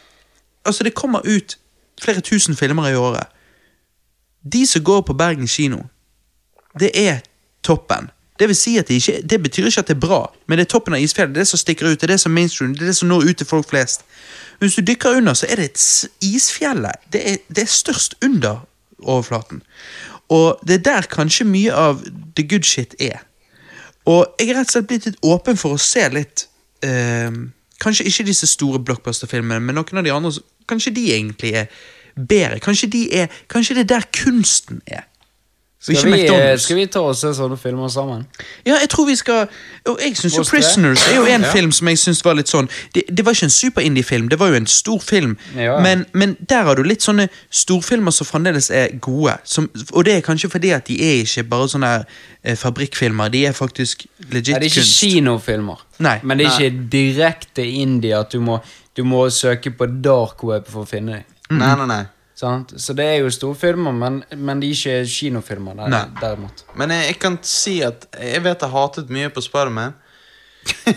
Altså, det kommer ut flere tusen filmer i året. De som går på Bergen kino, det er toppen. Det, vil si at det, ikke, det betyr ikke at det er bra, men det er toppen av isfjellet. Det er det som stikker ut, det er det som mainstream, det er det som når ut til folk flest. Men hvis du dykker under, så er det et s- isfjellet. Det er, det er størst under overflaten. Og det er der kanskje mye av the good shit er. Og jeg er rett og slett blitt litt åpen for å se litt ehm, Kanskje ikke disse store blockbuster-filmene, men noen av de andre Kanskje de egentlig er bedre. Kanskje, de er, kanskje det er der kunsten er. Og
Skal
ikke
vi, eh,
McDonald's.
skal vi ta og se sånne filmer sammen?
Ja, jeg tror vi skal Og jeg synes jo
Måste.
Prisoners er jo en film som jeg synes var litt sånn Det, det var ikke en super indie film, det var jo en stor film
Ja.
men, men der har du litt sånne storfilmer som fremdeles er gode som, Og det er kanskje fordi at de er ikke bare sånne eh, fabrikkfilmer De er faktisk legit
Nei, det er ikke
kunst
kinofilmer.
Nei.
Men det er ikke direkte indie at du må, du må søke på dark web for å finne dem.
Mm.
Nei, nei, nei.
Sant? Så det er jo storfilmer, men, men de er ikke kinofilmer der,
Nei.
derimot.
Men jeg, jeg kan si at jeg vet jeg hatet mye på Spiderman.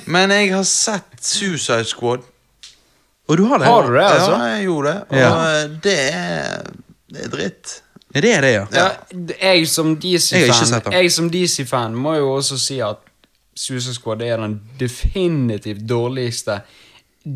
Men jeg har sett Suicide Squad.
Og du har det?
Har du det, altså?
Ja, jeg gjorde det. Og
Ja.
eh, det er Det er dritt.
Ja, det er det, ja
Ja. Jeg som
Jeg har ikke sett
DC-fan
den.
Jeg som DC-fan må jo også si at Suicide Squad er den definitivt dårligste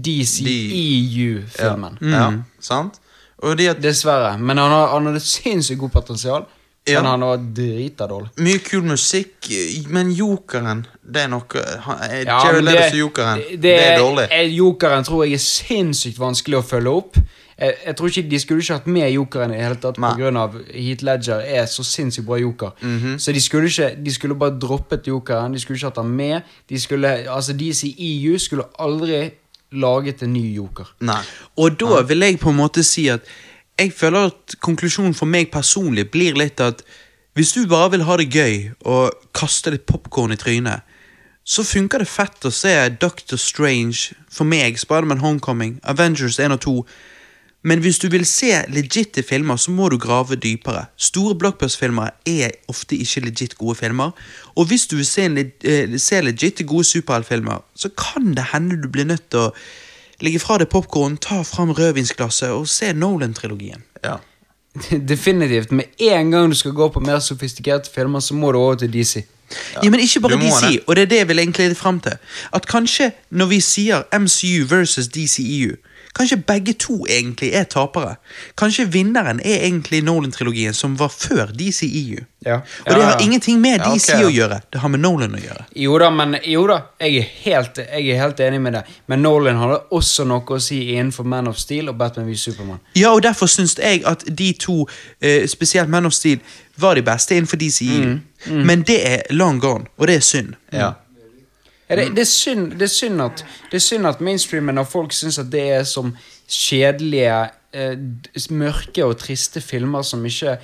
E DCEU-filmen.
Mm.
Ja, sant? Og de at
Dessverre. Men han har, han har et sinnssykt godt potensial.
Ja.
Men han har drita dårlig.
Mye kul musikk, men jokeren Det er noe han, eh,
Ja,
Jared
men
Leto som jokeren. Det, er dårlig.
eh, Jokeren tror jeg er sinnssykt vanskelig å følge opp. Jeg, jeg tror ikke De skulle ikke hatt med jokeren i det hele tatt
Nei. Mhm.
pga. Heat Ledger er så sinnssykt bra joker. Så de skulle ikke De skulle bare droppet jokeren. De skulle ikke hatt han med. De skulle Altså DCEU skulle aldri laget en ny joker.
Nei.
Og da vil jeg på en måte si at jeg føler at konklusjonen for meg personlig blir litt at hvis du bare vil ha det gøy og kaste litt popkorn i trynet, så funker det fett å se Doctor Strange, for meg, Spiderman Homecoming, Avengers 1 og 2, Men hvis du vil se legitte filmer, så må du grave dypere. Store blockbuster-filmer er ofte ikke legit gode filmer. Og hvis du vil se, en, leg- eh, se legitte gode superheltfilmer, så kan det hende du blir nødt til å legge fra deg popkorn, ta fram rødvinsglasset og se Nolan-trilogien.
Ja.
Definitivt. Med en gang du skal gå på mer sofistikerte filmer, så må du over til DC.
Ja. men ikke bare
Du må
DC,
det.
og det er det jeg vil egentlig lede frem til. At kanskje når vi sier MCU versus DCEU, kanskje begge to egentlig er tapere. Kanskje vinneren er egentlig Nolan-trilogien som var før DCEU.
Ja.
Og det
Ja,
har
ja.
ingenting med
Ja, ok,
DC å
ja.
gjøre, det har med Nolan å gjøre.
Jo da, men jo da, jeg er helt, jeg er helt enig med deg. Men Nolan hadde også noe å si innenfor Man of Steel og Batman v Superman
Ja, og derfor syns jeg at de to, eh, spesielt Man of Steel, var de beste innenfor DCEU. Men det er long gone, og det er synd.
Mm. ja.
Ja,
Mm.
det, det, er synd, det, er synd at, det er synd at mainstreamen og folk syns at det er som kjedelige, eh, d- mørke og triste filmer som ikke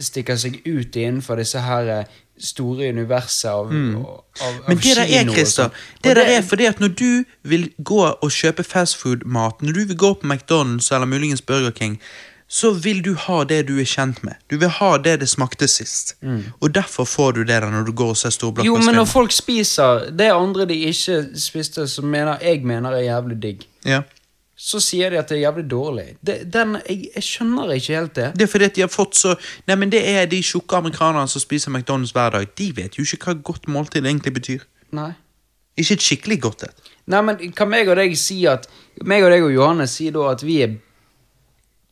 stikker seg ut innenfor disse her eh, store universet av, av, av
Mm. Men det der
kino
er,
og
Christer,
sånn. Og
det der er fordi at når du vil gå og kjøpe fastfood-mat, når du vil gå på McDonald's eller muligens Burger King, så vil du ha det du er kjent med. Du vil ha det det smakte sist. Og derfor får du det der når du går og ser store
Mm. Jo, men når
blockbuster.
folk spiser det andre de ikke spiste, som mener, jeg mener er jævlig digg,
Ja.
så sier de at det er jævlig dårlig. Det, den, jeg, jeg skjønner ikke helt det.
Det er fordi at de har fått så Nei, men det er de tjukke amerikanerne som spiser McDonald's hver dag. De vet jo ikke hva godt måltid egentlig betyr.
Nei.
Ikke et skikkelig godt et.
Nei, men kan meg og deg si at meg og deg og Johanne sier da at vi er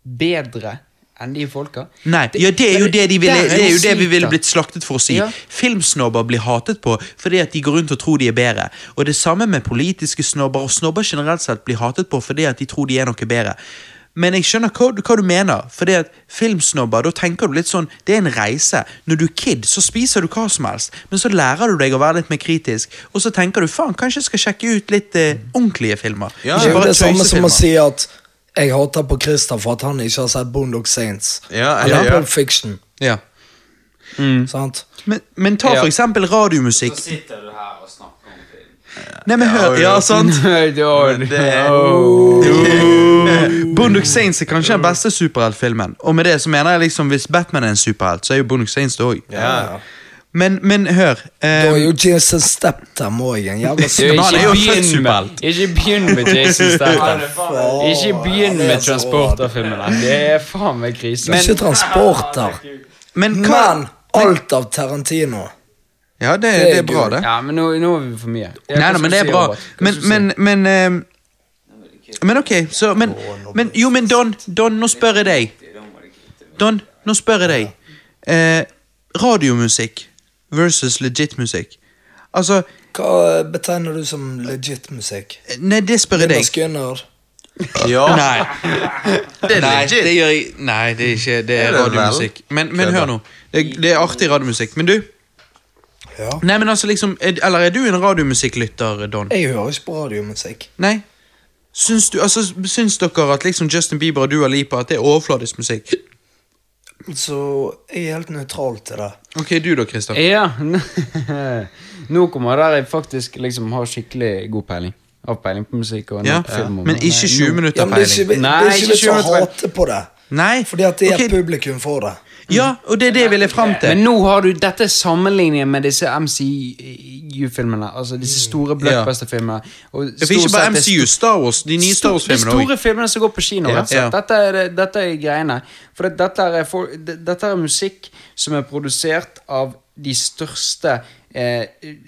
bedre enn de folka?
Nei, ja, det er jo
men
det, de ville,
der
det er jo det vi
svikt,
ville
da.
blitt slaktet for å si.
Ja.
Filmsnobber blir hatet på fordi at de går rundt og tror de er bedre. Og det samme med politiske snobber, og snobber generelt sett blir hatet på fordi at de tror de er noe bedre. Men jeg skjønner hva, hva du mener, fordi at filmsnobber, da tenker du litt sånn, det er en reise. Når du er kid, så spiser du hva som helst, men så lærer du deg å være litt mer kritisk, og så tenker du, faen, kanskje jeg skal sjekke ut litt eh, ordentlige filmer. Ikke
Ja, ja.
Det er jo
bare
det samme som å
tøysefilmer.
si at jeg hater på Christer for at han ikke har sett Bondock Saints.
Ja,
Eller
ja, ja.
Pulp Fiction.
Ja.
Mm.
Sant?
Men, men ta for eksempel radiomusikk.
Så sitter du her og snakker om film.
Nei, men hør,
jo,
ja,
jo.
sant?
Nei, det var-
Men det-
Åh.
Bondock Saints er kanskje den beste superheltfilmen. Og med det så mener jeg liksom hvis Batman er en superhelt, så er jo Bondock Saints det òg.
Ja.
Men, men hør
Det var
eh,
jo Jason Statham òg, en jævla
Du,
stor
han er jo
ikke,
født
begynn med,
superhelt.
ikke begynn med Jason Statham. Ikke begynn
det er
med
så
transporterfilmene. Det er faen meg krise.
Ikke transporter.
Men hva
Men alt av Tarantino.
Ja, det,
er
det er bra,
gul.
det.
ja, men nå, nå er vi for mye. Ja,
Nei
hva
da, men
skal du
det er
si,
bra.
Robert? Hva
Men,
skal du si?
men, men eh, Men ok, så men, men Jo, men Don, Don, nå spør jeg deg. Don, nå spør jeg deg. Eh, radiomusikk versus legit musikk. Altså
Hva betegner du som legit musikk?
Nei, det spør jeg deg.
Norsk Gunner?
ja.
Nei. Det er nei, det gjør jeg, nei, det er ikke det
Er
er
det vel?
radiomusikk. Men, men
Kødda.
hør nå. Det, det er artig radiomusikk. Men du?
Ja.
Mm.
Nei, men altså liksom er, Eller er du en radiomusikklytter, Don?
Jeg hører ikke på radiomusikk.
Nei? Syns, du, altså, syns dere at liksom Justin Bieber og Dua Lipa At det er overfladisk musikk?
Så jeg er helt nøytral til det.
Ok, du da, Christer.
Ja. Nå kommer der jeg faktisk liksom har skikkelig god peiling. Har peiling på musikk og
Ja,
på film. og-
men ikke 20
Ja,
minutter
men det er
peiling.
ikke, det
Nei,
er ikke
ikke
vits å
kjønnet, men-
hate på det.
Nei?
Fordi at det er
ok,
publikum for det.
Ja, og det er det jeg vil fram
Men
til.
nå har du dette sammenlignet med disse MCU-filmene. Altså disse
Mm.
store blockbuster-filmene. og
Det er ikke
stort
bare
sett det
MCU, Star Wars, de nye Star
De
Wars-filmene
store
òg.
filmene som går på kino.
Ja.
rett og slett.
Ja.
Dette, er, det- dette er greiene. For det, dette, er for, det, dette er musikk som er produsert av de største eh,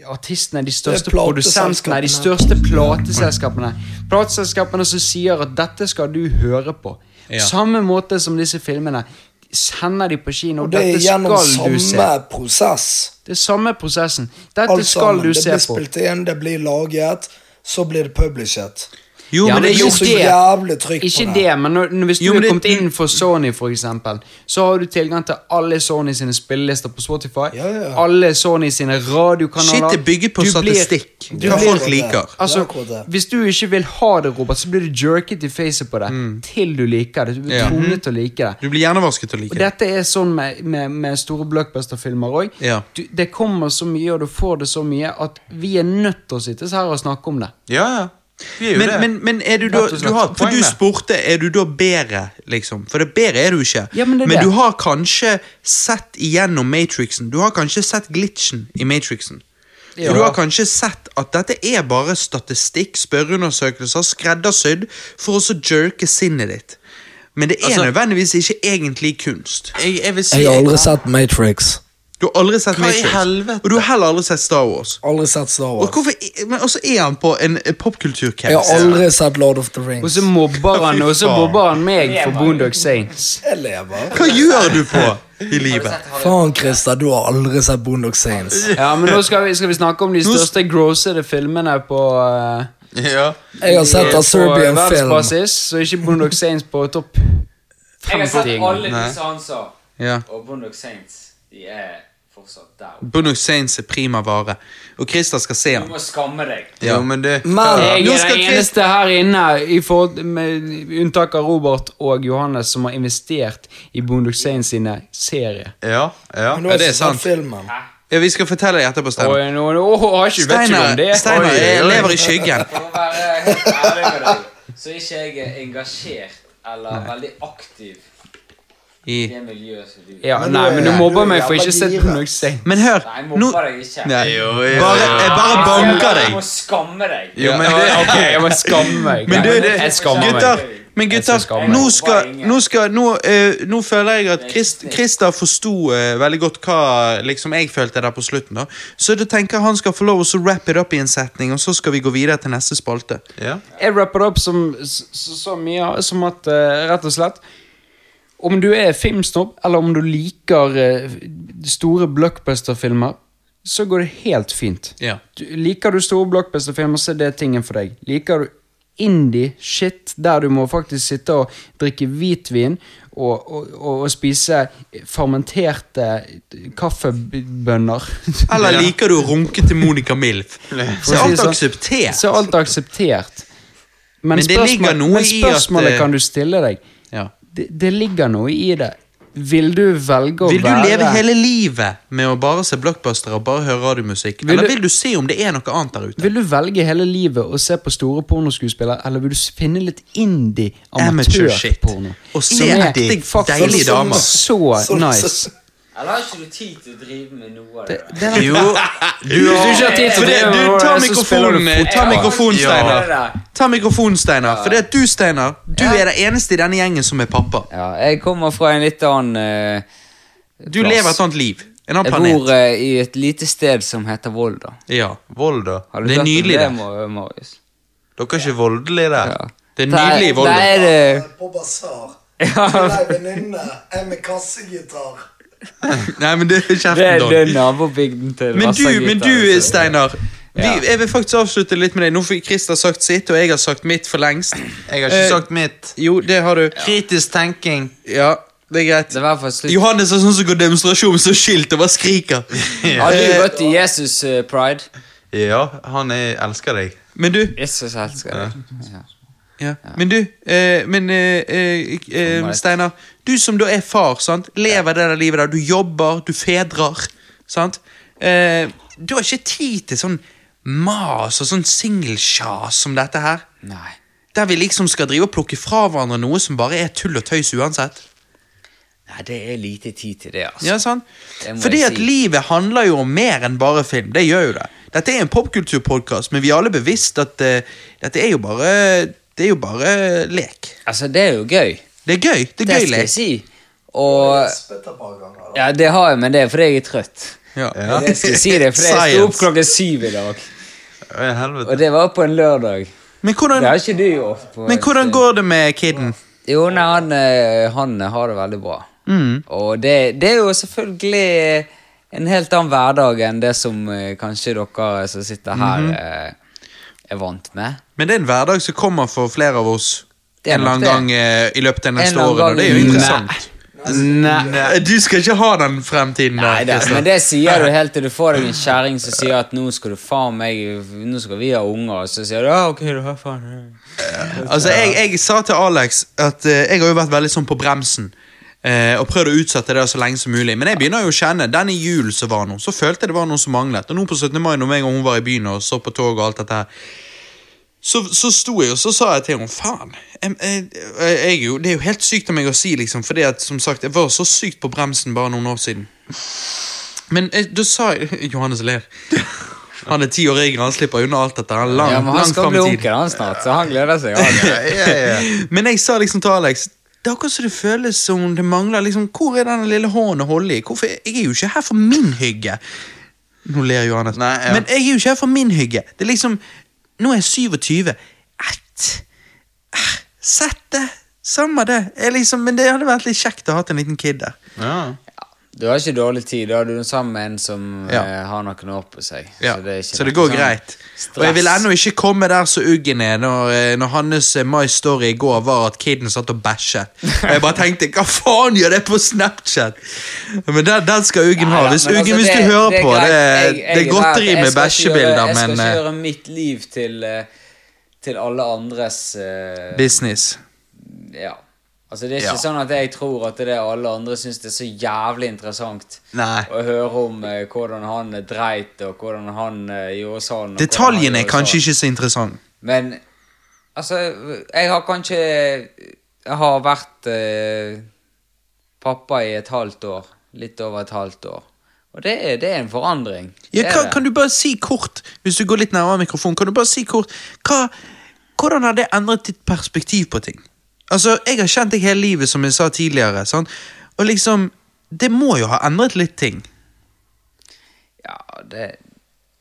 artistene, de største
Det er
produsentene, de største plateselskapene. Plateselskapene som sier at 'dette skal du høre på'.
Ja.
Samme måte som disse filmene. Sender de på kino.
Og det er
dette
gjennom
skal du se.
samme prosess.
Det er samme prosessen. Dette
Alt
skal
sammen.
du
Det
se
blir
på.
spilt inn, det blir laget, så blir det published.
Jo,
Ja,
men det er
blir
gjort
så jævlig trykk på
Ikke
det.
det, men når, når, hvis
Jo,
du
men
er
det-
kommet inn for Sony, for eksempel, så har du tilgang til alle Sony sine spillelister på Spotify.
Ja, ja, ja.
Alle Sony sine radiokanaler.
Shit er bygget på
Du blir-
statistikk.
du
Hva
blir-
folk liker.
Det er
Altså,
akkurat det.
hvis du ikke vil ha det, Robert, så blir du jerket i facet på det til du liker det. Du blir
Ja.
tvunget til å like det.
Du blir hjernevasket og
Og
liker det.
dette er sånn med, med, med store blockbuster-filmer òg.
Ja.
Det kommer så mye, og du får det så mye, at vi er nødt til å sitte her og snakke om det.
ja, ja. Vi er jo
men,
det.
men, men er du da
Rett og
du
slett.
har, For
Poeng
du
der.
spurte er du da bedre, liksom. For det bedre er du ikke.
Ja, men det er det.
du har kanskje sett igjennom Matrixen. Du har kanskje sett glitchen i Matrixen.
Ja.
Og du har kanskje sett at dette er bare statistikk, spørreundersøkelser, skreddersydd for å så jerke sinnet ditt. Men det er
Altså-
nødvendigvis ikke egentlig kunst.
Jeg, jeg vil si
Jeg har aldri sett Matrix.
Du har aldri sett
Hva i
Matrix,
helvete?
og du har heller aldri sett Star Wars.
Aldri sett Star
Og
Wars.
hvorfor, men også er han på en eh, popkulturcamp.
Jeg har aldri sett Lord of the
Og så
Rings.
mobber han, og så
faen.
mobber han meg for Boondock Saints.
Jeg lever.
Hva gjør du på i livet?
Faen, Christer, du har aldri sett Boondock Saints.
Ja, men nå skal vi, skal vi snakke om de
s-
største grossede filmene på eh,
Ja.
Jeg har sett
på
A Serbian Film.
verdensbasis, så ikke Boondock Saints på topp
Jeg har sett
50 engang.
alle disse han sa.
Ja.
Og Bondock Saints, de er fortsatt der. oppe.
Bono Saints er prima vare, og Christer skal se
Du
han.
må skamme deg.
Jo, men det
Men
Jeg
Nå
er
skal
den
Chris-
eneste her inne, i forhold, med unntak av Robert og Johannes, som har investert i Boondock Saints sine serier.
Ja. ja.
Men du har
det er
ikke
sant.
sett filmen.
Ja, vi skal fortelle deg etterpå,
Og
Steinar.
nå, nå har ikke vet ikke om
Steinar,
det.
Steinar
Oi,
jeg
oi.
lever i skyggen.
For å være helt ærlig med deg, så er ikke jeg engasjert eller veldig aktiv
I.
i det miljøet som du
Ja,
Men du
nei,
er-
men du
du
mobber
er
meg for
jævla
ikke å sett
gira.
Boondock Saints.
Men hør,
Nei,
nå
mobber deg ikke.
Nei.
Jo, jo.
bare, Jeg bare
Jeg sier
banker
bare, Du
deg.
må skamme deg.
Jo, men det
Ok, jeg må skamme meg.
Men du,
Nei, jeg skammer
gutter,
meg.
men
Jeg skal
gutter
skamme
nå,
meg.
skal, nå, skal, nå, eh, nå føler jeg at
Det er
Christ,
riktig.
Christer forsto eh, veldig godt hva liksom, jeg følte der på slutten. da Så du tenker han skal få lov å så wrap it up i en setning, og så skal vi gå videre til neste spalte.
Ja.
Jeg rapper det opp som, så, så mye som at eh, rett og slett Om du er filmsnobb, eller om du liker eh, store blockbuster-filmer, så går det helt fint.
Ja.
Du, liker du store blockbuster-filmer, så er det tingen for deg. Liker du indie-shit, der du må faktisk sitte og drikke hvitvin og, og, og, og spise fermenterte kaffebønner
Eller liker du å runke til Monica Milf? Så er
For å si det
alt
sånn.
akseptert.
Så er alt akseptert. Men,
Men det ligger
spørsmål,
noe
men
i at,
spørsmålet
eh,
kan du stille deg.
Ja.
Det, det ligger noe i det. Vil du velge å
Vil du
være
leve hele livet med å bare se blockbuster og bare høre radiomusikk?
Vil
Eller
du-
vil du se om det er noe annet der ute?
Vil du velge hele livet å se på store pornoskuespillere, eller vil du s- finne litt indie
Amateur shit.
amatørporno?
Og se
Som er
ekte,
faktisk
deilige damer.
Så
Sånn-
nice.
Eller har ikke du tid til å drive med noe av det? der?
Det er
Jo, du,
Hvis du ikke har tid til å
For det-
drive med
du, Ta
hvordan, så spiller du
mikrofonen, eh, ta
fotball.
mikrofonen,
Ja.
Steinar. Ta mikrofonen, Steinar. For det at du, Steinar, du er den eneste i denne gjengen som er pappa.
Ja, jeg kommer fra en litt annen eh,
Du
plass.
lever et annet liv. En annen
Jeg
planet.
bor eh, i et lite sted som heter Volda.
Ja.
Volda.
Har du
Det er
hørt om
nydelig der.
det, Mar- Marius?
Dere er ikke voldelige der.
Ja.
Det er nydelig i Volda.
Der er det
På basar. Med ei venninne. Jeg med kassegitar.
Nei, men det er
Det
kjeften,
er, det
Don.
er nabobygden til
Men
Vassagita,
du, men du,
altså.
Steinar. Vi, jeg vil faktisk avslutte litt med deg. Nå fikk Christer sagt sitt, og jeg har sagt mitt for lengst.
Jeg har
Eh,
ikke sagt mitt.
Jo, det har du.
Kritisk tenking.
Ja, det er greit.
Det var i hvert fall slutt.
Johannes er sånn som går demonstrasjon med sånn skilt og bare skriker.
Har du
Eh,
gått i Jesus eh, Pride?
Ja, han er, elsker deg.
Men du,
Jesus elsker deg.
ja.
Ja.
men du, eh, men eh, eh, eh, Steinar. Du som da er far, sant? lever det der livet der. Du jobber, du fedrer. Sant? Eh, du har ikke tid til sånn mas og sånn singelsjas som dette her.
Nei.
Der vi liksom skal drive og plukke fra hverandre noe som bare er tull og tøys uansett.
Nei, det er lite tid til det, altså.
Ja, sant?
Det må
Fordi
jeg
at
si.
livet handler jo om mer enn bare film. Det gjør jo det. Dette er en popkulturpodkast, men vi er alle bevisst at eh, dette er jo bare Det er jo bare lek.
Altså, det er jo gøy.
Det er gøy. Det er
Det
gøy
skal jeg
lek.
si. Og Ja, det har jeg, men det er fordi jeg er trøtt.
Ja.
Ja.
Jeg skal si det, fordi jeg sto opp
Science.
klokka syv i dag.
Å, i Helvete.
Og det var på en lørdag.
Men
Det
hvordan,
har ikke du gjort. på
men
en
hvordan
stund.
går det med kiden?
Jo, nei, han, eh, han har det veldig bra.
Mm.
Og det, det er jo selvfølgelig en helt annen hverdag enn det som eh, kanskje dere som sitter her,
Mhm.
eh, er vant med.
Men det er en hverdag som kommer for flere av oss
Det er
en eller
nok
annen gang
det.
eh, i løpet av
En
neste
eller annen
året. og Det er jo
gang i-
interessant. Nei, Du skal ikke ha den fremtiden
Nei,
der.
det,
Kristian.
men det sier du helt til du får deg en kjerring som sier at nå skal du faen meg Nå skal vi ha unger, og så sier du ja, ok, du har faen
Altså, jeg, jeg sa til Alex at eh, jeg har jo vært veldig sånn på bremsen. eh, og prøvd å utsette det så lenge som mulig. Men jeg begynner jo å kjenne denne julen som var nå, så følte jeg det var noe som manglet. Og nå på 17. mai, når jeg og hun var i byen og så på tog og alt dette her så, så sto jeg og så sa jeg til henne faen. Jeg, jeg, jeg, er jo, det er jo helt sykt av meg å si, liksom, fordi at som sagt, jeg var så sykt på bremsen bare noen år siden. Men eh, da sa jeg Johannes ler. Han er ti år yngre, han slipper unna alt dette. Han er lang,
Ja, men han
langt
skal
frem
bli
i tid.
onkel han snart, så han gleder seg. Han.
Ja, ja, ja.
Men jeg sa liksom til Alex det er akkurat som det føles som det mangler liksom, Hvor er den lille hånden å holde i? Hvorfor, jeg er jo ikke her for min hygge. Nå ler Johannes.
Nei, ja.
Men jeg er jo ikke her for min hygge. Det er liksom Nå er jeg 27. Et. Eh, Sett det. Samme det. Jeg liksom, men det hadde vært litt kjekt å ha hatt en liten kid der.
Ja.
Du har ikke dårlig tid, da er du sammen med en som
Ja.
eh, har noen år på seg.
Ja,
Så det, er ikke
så det
noe
går
sånn
greit. Og jeg
stress.
vil ennå ikke komme der så uggen er når, eh, når hans eh, My Story i går var at kiden satt og bæsjet. Og jeg bare tenkte hva faen gjør det på Snapchat? Men den, den skal uggen ha.
Neida,
Hvis,
men
uggen,
altså,
hvis du
det-
hører
det er
på,
greit.
det,
Jeg- jeg
det er
er
godteri
verdt- jeg
med
skal ikke gjøre-
bæsjebilder,
Jeg
men
skal
eh,
ikke gjøre mitt liv til, eh, til alle andres eh,
business.
Ja. Altså Det er ikke
Ja.
sånn at jeg tror at det er alle andre syns det er så jævlig interessant
Nei.
å høre om eh, hvordan han eh, dreit, og hvordan han eh, gjorde sånn. og hvordan han
Detaljene er
gjorde
kanskje
sånn.
ikke så interessant.
Men altså, jeg har kanskje Jeg har vært eh, pappa i et halvt år. Litt over et halvt år. Og det er, det er en forandring.
Ja,
det er
kan,
det.
kan du bare si kort, hvis du går litt nærmere mikrofonen, kan du bare si kort hva, Hvordan har det endret ditt perspektiv på ting? Altså, Jeg har kjent deg hele livet, som jeg sa tidligere. sant? Og liksom, Det må jo ha endret litt ting.
Ja, det,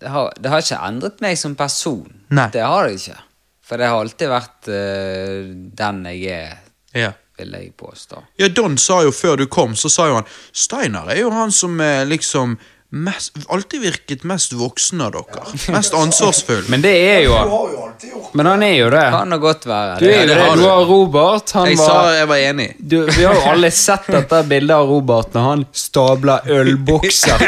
det, har, det har ikke endret meg som person.
Nei.
Det har det ikke. For det har alltid vært eh, den jeg er,
Ja.
vil jeg påstå.
ja, Don sa jo før du kom, så sa jo han Steinar er jo han som eh, liksom mest, alltid virket mest voksen av dere. Mest ansvarsfull.
Men det er jo
Du
han.
har jo alltid gjort
Men han er jo det.
Kan det godt være.
Du er jo
det,
det. Du har Robert. Han
jeg sa
var
jeg var enig.
du, Vi har jo alle sett dette bildet av Robert når han stabler ølbokser.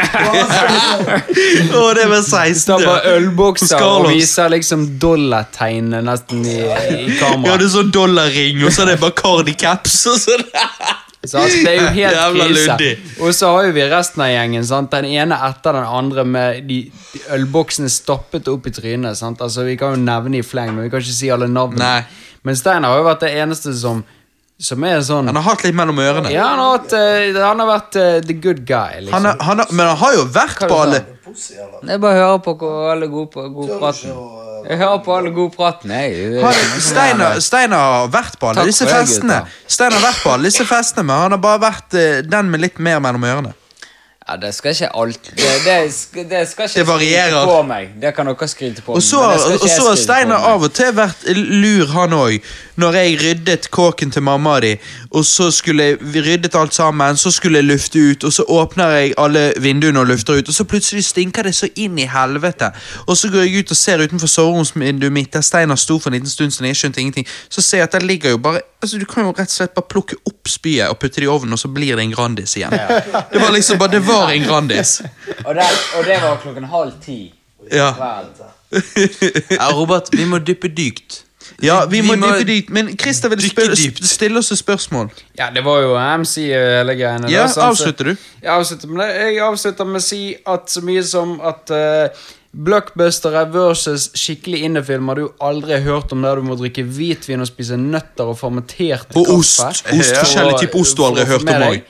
Å, det var 16.
Stabler ølbokser og
Scarlett.
viser liksom dollartegnet nesten i, i
Vi hadde
kameraet.
sånn dollarring, og så er det Bacardi caps. og sånn.
Så altså, det er jo helt
Jævla
krise.
luddig.
Og så har jo vi resten av gjengen. sant? Den ene etter den andre med de, de ølboksene stappet opp i trynet. sant? Altså, Vi kan jo nevne i fleng, men vi kan ikke si alle navnene.
Nei.
Men Steinar har jo vært det eneste som, som er sånn
Han har hatt litt mellom ørene.
Ja, han har, vært, eh, han har vært eh, the good guy, liksom.
Han er, han er, men han har jo vært
Hva er
på
det
alle
da?
pussy, eller?
Jeg bare hører på hvor alle gode på god
Tør du
praten.
ikke å, eh,
Jeg hører på alle gode praten, jeg. Det-
han, Steinar, Steinar har vært på alle
Takk
disse
for det,
festene.
gutter.
Steinar har vært på alle disse festene, men han har bare vært eh, den med litt mer mellom ørene.
Ja, det skal ikke alt Det, det, skal, det skal ikke
Det varierer.
skryte på meg. Det kan dere skryte på
Og
meg,
så
men
har
det skal ikke
og
jeg
så har
skryte på
Steinar
meg.
av og til vært lur, han òg. Når jeg ryddet kåken til mamma di, og så skulle jeg- vi ryddet alt sammen, så skulle jeg lufte ut, og så åpner jeg alle vinduene og lufter ut, og så plutselig stinker det så inn i helvete. Og så går jeg ut og ser utenfor soveromsvinduet mitt, der Steinar sto for en liten stund siden, jeg skjønte ingenting, så ser jeg at der ligger jo bare Altså, Du kan jo rett og slett bare plukke opp spyet og putte det i ovnen, og så blir det en Grandis igjen. Det var liksom bare, det var en Grandis.
Og det, og det var klokken halv ti.
Ja.
Vel.
ja, Robert, vi må dyppe dypt.
Ja, vi, må,
Vi må
dyppe dypt, men Christer vil
dykke
spille-
dypt.
stille oss et spørsmål.
Ja, det var jo MC og hele greiene.
Ja,
da, sant?
avslutter du?
Jeg avslutter med det. Jeg avslutter med å si at så mye som at uh, blockbustere versus skikkelig indiefilmer du aldri har hørt om der du må drikke hvitvin og spise nøtter og fermentert
Og
kaffe.
ost. Ost, forskjellig type ost du
for å
aldri har
få
hørt
med
om
deg,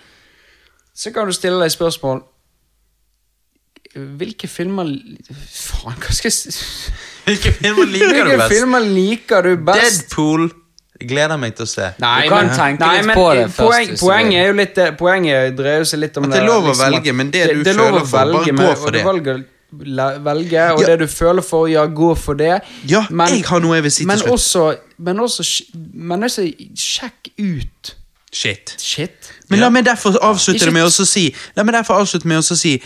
Så kan du stille deg spørsmål Hvilke filmer Faen, hva skal jeg si?
Hvilke filmer liker du
Hvilke
best?
filmer liker du best?
Deadpool. Gleder meg til å se.
Nei,
Du kan
men,
tenke
nei,
litt
men eh,
på det først,
poeng,
hvis du
Poenget
vil.
er jo litt det- Poenget dreier seg litt om
At det er lov å velge, men det du
er lov
føler
å
for, bare
velge,
gå
men-
for
og
det.
Du velger, la- velge, og
Ja.
det du føler for, ja, gå for det.
Ja, jeg har noe jeg vil si til
men
slutt.
Også, men også sj- Men også sjekk ut
Shit.
Shit.
Men la meg derfor avslutte
Ikke-
det med å så si La meg derfor avslutte med å så si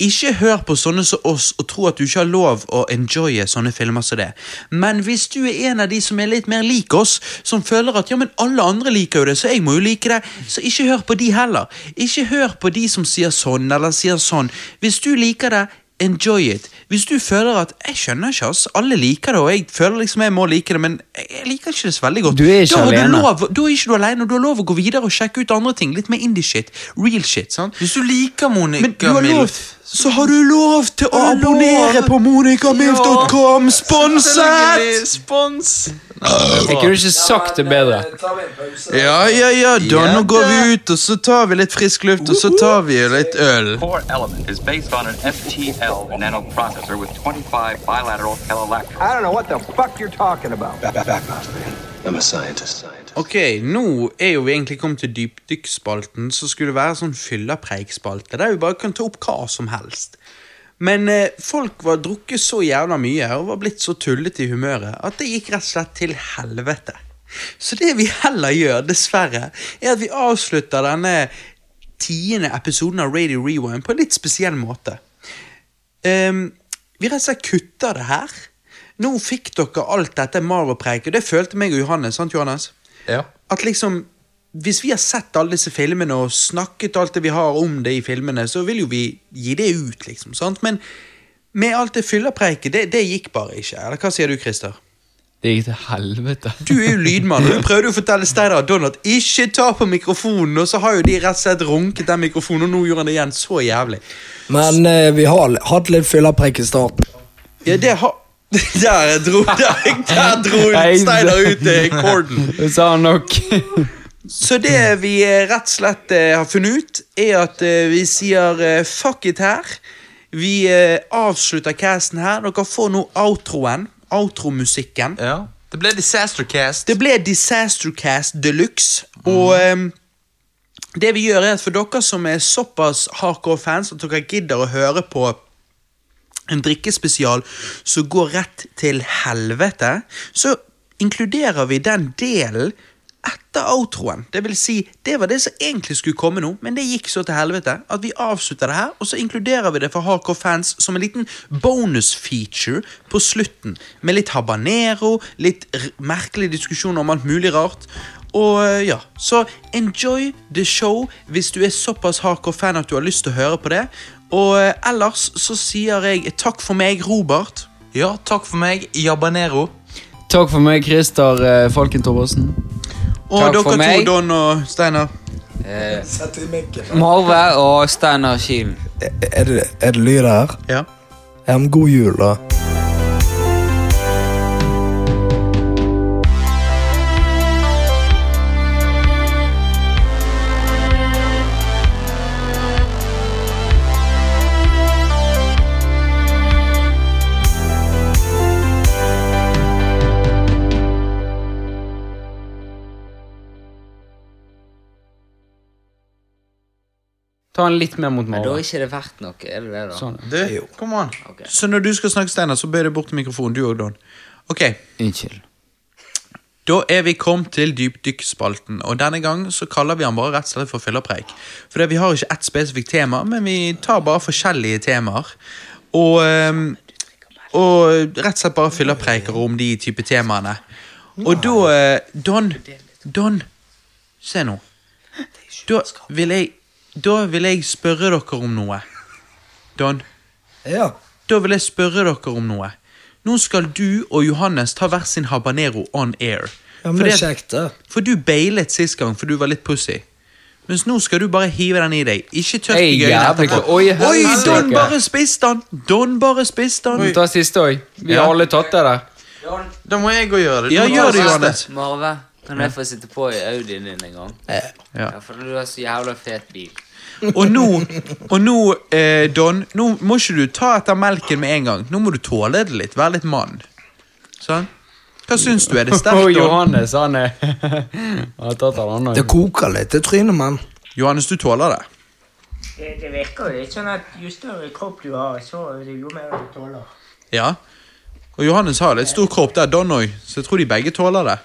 ikke hør på sånne som oss og tro at du ikke har lov å enjoye sånne filmer som det. Men hvis du er en av de som er litt mer lik oss, som føler at ja, men alle andre liker jo det, så jeg må jo like det, så ikke hør på de heller. Ikke hør på de som sier sånn eller sier sånn. Hvis du liker det,
enjoy it. Hvis du føler at 'jeg skjønner ikke, ass', alle liker det, og jeg føler liksom jeg må like det, men jeg liker ikke det så veldig godt,
Du er ikke
da, har du
alene.
lov, da er ikke du alene, og du har lov å gå videre og sjekke ut andre ting. Litt mer indie-shit. Real shit. sant?
Hvis du liker
Men du
Monica
har lov,
Milf
så har du lov til å
har lov.
abonnere på monicamilf.com! Sponset!
Selvfølgelig, Spons!
Jeg kunne ikke sagt det bedre.
Ja, ja, ja, da nå går vi ut, og så tar vi litt frisk luft, og så tar vi litt øl.
Core Element is based on an FTL nanoprocessor with 25 bilateral electrons.
Ok, nå er jo vi egentlig kommet til dypdykkspalten, så skulle det være sånn fyllepreikspalte, der vi bare kan ta opp hva som helst. Men eh, folk var drukket så jævla mye og var blitt så tullete i humøret at det gikk rett og slett til helvete. Så det vi heller gjør, dessverre, er at vi avslutter denne tiende episoden av Radio Rewind på en litt spesiell måte. Ehm, vi rett og slett kutter det her. Nå fikk dere alt dette Marvel-preiket, og det følte meg og Johannes, sant Johannes?
Ja.
At liksom, hvis vi har sett alle disse filmene og snakket alt det vi har om det i filmene, så vil jo vi gi det ut, liksom, sant? Men med alt det fyllerpreiket, det, det gikk bare ikke. Eller hva sier du, Christer?
Det gikk til helvete.
Du er jo lydmann, og du prøvde jo å fortelle Steinar og Donald ikke ta på mikrofonen, og så har jo de rett og slett runket den mikrofonen, og nå gjorde han det igjen så jævlig.
Men eh, vi har l- hatt litt fyllepreik i starten.
Ja, det har Der dro, der, der dro
Nei,
Steinar ut eh, korden.
Det sa han nok.
Så
Mm.
det vi eh, rett og slett eh, har funnet ut, er at eh, vi sier eh, fuck it her. Vi eh, avslutter casten her. Dere får nå outroen. Outromusikken.
ja. Det ble Disaster Cast. Mm.
Det ble Disastercast Deluxe, og ehm, det vi gjør er at for dere som er såpass hardcore fans at dere gidder å høre på en drikkespesial som går rett til helvete, så inkluderer vi den delen etter outroen. Det vil si, det var det som egentlig skulle komme nå, men det gikk så til helvete at vi avslutter det her, og så inkluderer vi det for hardcore fans som en liten bonus feature på slutten, med litt habanero, litt r merkelig diskusjon om alt mulig rart. Og eh, ja, så enjoy the show hvis du er såpass hardcore fan at du har lyst til å høre på det. Og eh, ellers så sier jeg takk for meg, Robert.
Ja, takk for meg, Jabanero.
Takk for meg, Christer eh, Falken Torbersen.
Og
Takk
dere
for
to,
meg.
Don og Steinar.
Sett i mikken.
Marve og Steinar Kilen.
Eh, Er det, er det lyd her?
Ja.
Ja, men god jul, da.
Ta han litt mer mot
Men da er
Marve.
ikke det verdt noe, er det det, da?
Sånn.
Du, kom an. Så når du skal snakke, Steinar, så bøyer du bort til mikrofonen, du og Don. Ok,
Unnskyld.
Da er vi kommet til dypdykkspalten, og denne gang så kaller vi han bare rett og slett for fyllerpreik. For det, vi har ikke ett spesifikt tema, men vi tar bare forskjellige temaer. Og, ehm, og rett og slett bare fyllerpreiker om de type temaene. Og da eh, Don, Don, se nå. Da vil jeg, da vil jeg spørre dere om noe. Don.
Ja.
Da vil jeg spørre dere om noe. Nå skal du og Johannes ta hver sin habanero on air.
ja men
For
det er
det-
kjekt, det.
for du beilet sist gang, for du var litt pussy. Mens nå skal du bare hive den i deg. Ikke tørk
Ei,
deg i øynene
jævlig
etterpå.
god. Oi,
Oi,
helsike.
Don bare spiste den! Don bare spiste den!
Ta siste òg. Vi har alle tatt det der.
Da må jeg gå og gjøre det.
Ja,
Du må
gjør
ta
det,
siste.
Johannes.
Marve, kan jeg få sitte på i Audien din en gang? Ja, for du har så jævla fet bil.
Og nå, og nå eh, Don, nå må ikke du ta etter melken med en gang. Nå må du tåle det litt. Være litt mann. Sånn. Hva syns du? Er det
Og
sterkt, Don?
Johannes, han er Han har tatt han, han
Det
òg.
koker litt i trynet, men.
Johannes, du tåler det.
Det, det virker jo litt sånn at jo større kropp du har, så er det jo mer du tåler.
Ja. Og Johannes har litt stor kropp der, Don òg, så jeg tror de begge tåler det.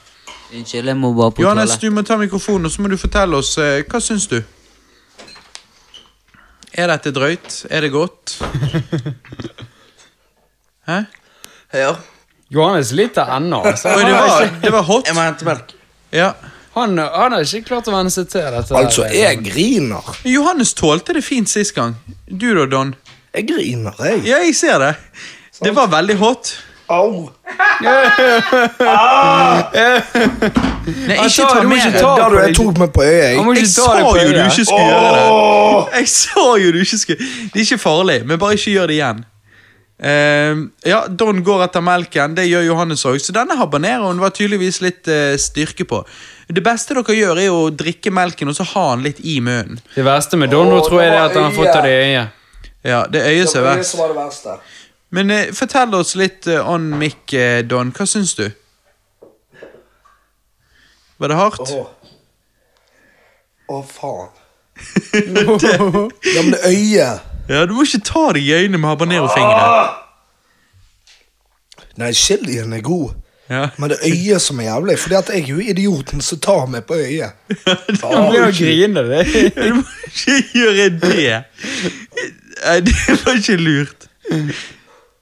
Unnskyld, jeg må bare på
Johannes,
toalett.
du må ta mikrofonen, og så må du fortelle oss eh, hva syns du? Er dette drøyt? Er det godt? Hæ?
Ja.
Johannes litt av ennå. Altså.
Oi, det var, det var hot.
Jeg må hente melk.
Ja.
Han, han har ikke klart å venne
Altså,
seg til dette. der.
Altså, jeg griner.
Johannes tålte det fint sist gang. Du da, Don?
Jeg griner, jeg.
Ja, jeg ser det. Det var veldig hot.
Au!
Nei, Altså, ikke ta
må
mer.
ikke
Det
ta
er
på
der
deg.
du tok meg på øyet. jeg.
Han må
Jeg
ikke ta
sa
det på
jo du
øyet.
ikke skulle gjøre det. Jeg sa jo du ikke skulle Det er ikke farlig, men bare ikke gjør det igjen. Ehm, ja, Don går etter melken, det gjør Johannes òg, så denne habaneroen var tydeligvis litt eh, styrke på. Det beste dere gjør, er jo å drikke melken og så ha den litt i munnen.
Det verste med Don nå
Åh,
tror jeg
det
det er
var
at han har fått av det i øyet.
Ja, det er øyet
Det
som
var
er
det
verst.
som var det verste.
Men eh, fortell oss litt eh, on mic, eh, Don. Hva syns du? Var det hardt?
Åh. Å, faen. Ja, men det øyet
Ja, Du må ikke ta det i øynene med habanerofingrene.
Nei, chilien er god.
Ja.
Men det er øyet som er jævlig. Fordi at jeg er jo idioten som tar meg på øyet.
Han blir jo griner, det.
Du må ikke gjøre det. Nei, det var ikke lurt.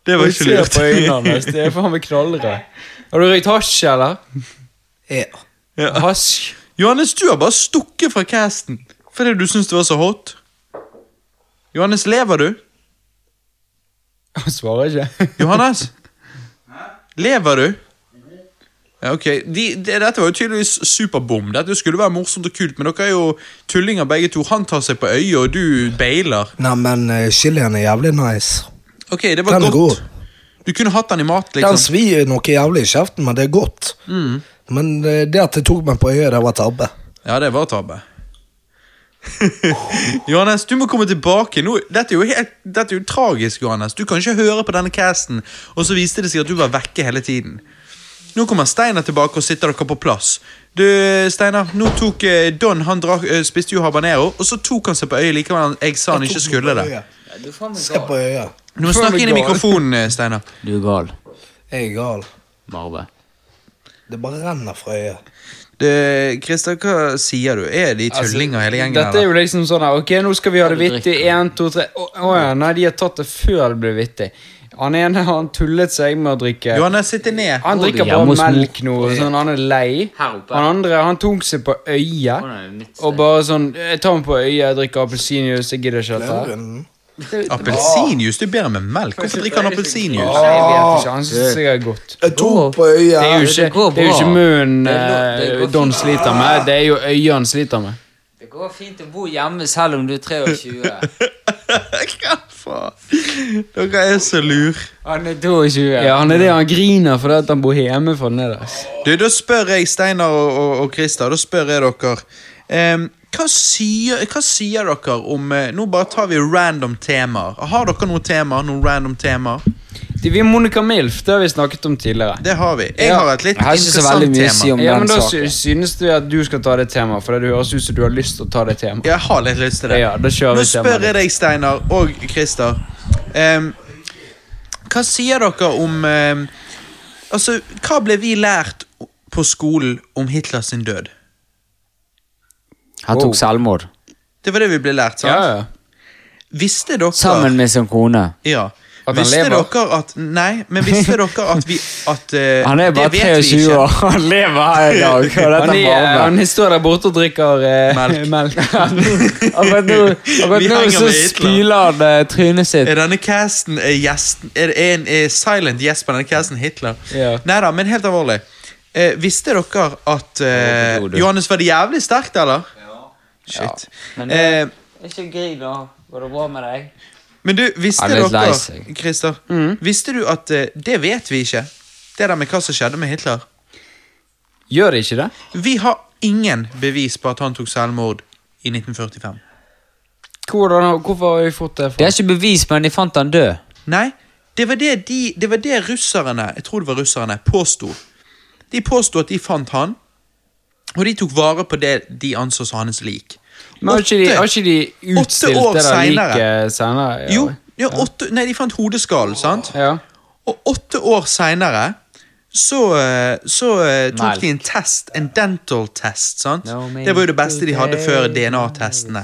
Det var
Jeg
ikke
ser på øynene
lurt.
hans. Det er faen meg knallrød. Har du røykt hasj, eller?
Ja.
Hasj?
Johannes, du har bare stukket fra casten fordi du syns det var så hot. Johannes, lever du?
Han svarer ikke.
Johannes? Lever du? Ja, ok. De, de, dette var jo tydeligvis superbom. Dette skulle være morsomt og kult, men dere er jo tullinger begge to. Han tar seg på øyet, og du bailer.
Nei, men eh, chilien er jævlig nice.
Ok, det var
Den er god.
godt. liksom. Du kunne hatt den i mat,
Den
liksom.
svir noe jævlig i kjeften, men det er godt.
Mm.
Men eh, det at det tok meg på øyet, det var tabbe.
Ja, det var tabbe. Johannes, du må komme tilbake. Nå, dette, er jo helt, dette er jo tragisk, Johannes. Du kan ikke høre på denne casten, og så viste det seg at du var vekke hele tiden. Nå kommer Steinar tilbake og sitter dere på plass. Du, Steinar, nå tok eh, Don Han drak, eh, spiste jo habanero, og så tok han seg på øyet likevel. Jeg sa han ikke skulle det.
Du er faen meg
Skal på øyet.
Du må snakke inn i mikrofonen, eh, Steinar.
Du er gal,
Jeg er gal.
Marve.
Det bare renner fra øyet.
Det- Christer, hva sier du? Er de tullinger, hele gjengen?
Altså, Dette
eller?
er jo liksom sånn her, Ok, nå skal vi ha det
Hva du
vittig.
drikker.
Én, to, tre Å å ja, nei, de har tatt det før det ble vittig. Han ene han tullet seg med å drikke
Johannes, sitt deg ned.
Han
Bor du
drikker
hjemme
bare
hos mor?
melk nå, sånn han er lei.
Her oppe.
Han andre han tok seg på øyet.
Å, nei, mitt
Og bare sånn Jeg tar meg på øyet, jeg drikker appelsinjuice, jeg gidder ikke dette. her.
Runden.
Appelsinjuice? Det er bedre med melk. Hvorfor drikker han appelsinjuice?
Nei, jeg
Ah,
vet ikke. Han syns det er godt.
Jeg tok på øyet.
Det er jo
det
ikke,
går
det er jo
bra.
ikke munnen
Det går- det
eh,
går
Don
fint.
sliter med, det er jo øyet han sliter med.
Det går fint å bo hjemme selv om du er 23.
Hva faen? Dere er så lur.
Han er 22.
Ja, han er det, han griner fordi at han bor hjemme for den der. ass.
Du, da spør jeg Steinar og, og, og Christer, da spør jeg dere ehm, hva, sier, hva sier dere om eh, Nå bare tar vi random temaer. Har dere noen temaer? Noen random temaer?
Det- Vi er Monica Milf, det har vi snakket om tidligere.
Det har vi. Jeg
Ja.
har et litt
Jeg har ikke så veldig
interessant
mye å si
tema.
om
Ja, men
den
Da sy
saken.
synes vi at du skal ta det temaet, for det høres ut som du har lyst til å ta det temaet.
Jeg har litt lyst til det.
Ja, da kjører
Nå
vi
spør
temaet.
jeg deg, Steinar og Christer. Ehm, hva sier dere om ehm, Altså, hva ble vi lært på skolen om Hitlers død?
Han
Wow.
tok selvmord.
Det var det vi ble lært, sant?
Ja, ja.
Visste dere
Sammen med sin kone.
ja.
han
Visste
lever?
dere at Nei, men visste dere at vi at, eh,
Han er bare
Det vet vi
23
ikke.
år. Han lever her i dag. Og
Han,
dette
er,
er varme.
han står der borte og drikker eh,
Melk.
melk. akkurat nå, akkurat
Vi
nå
henger
så
med Hitler.
spyler han eh, trynet sitt.
Er denne casten er gjesten Er er en er silent gjest på denne casten Hitler?
Ja.
Nei da, men helt alvorlig. Eh, visste dere at eh,
Jeg tror det.
Johannes var det jævlig sterkt, eller? Ja. Shit.
Men
Eh,
Ikke grin, da. Går det bra med deg?
men du, visste
Han er litt lei
dere
seg.
Christer,
Mm.
visste du at eh, Det vet vi ikke. Det der med hva som skjedde med Hitler.
Gjør det ikke det?
Vi har ingen bevis på at han tok selvmord i 1945.
Hvordan, har- hvorfor har vi fått det
Det
fra?
er ikke bevis, men de fant han død.
Nei, det var det, de, det var det russerne, jeg tror det var russerne, påsto. De påsto at de fant han, og de tok vare på det de anså som hans lik.
Men har ikke de, har ikke de
åtte
utstilt
år
det der
senere.
liket senere? Ja.
Jo, ja, åtte, nei, de fant hodeskallen, sant?
Ja.
Og åtte år seinere så, eh, så eh, tok de en test, en dental test, sant?
No, man,
det var jo det beste de hadde før DNA-testene.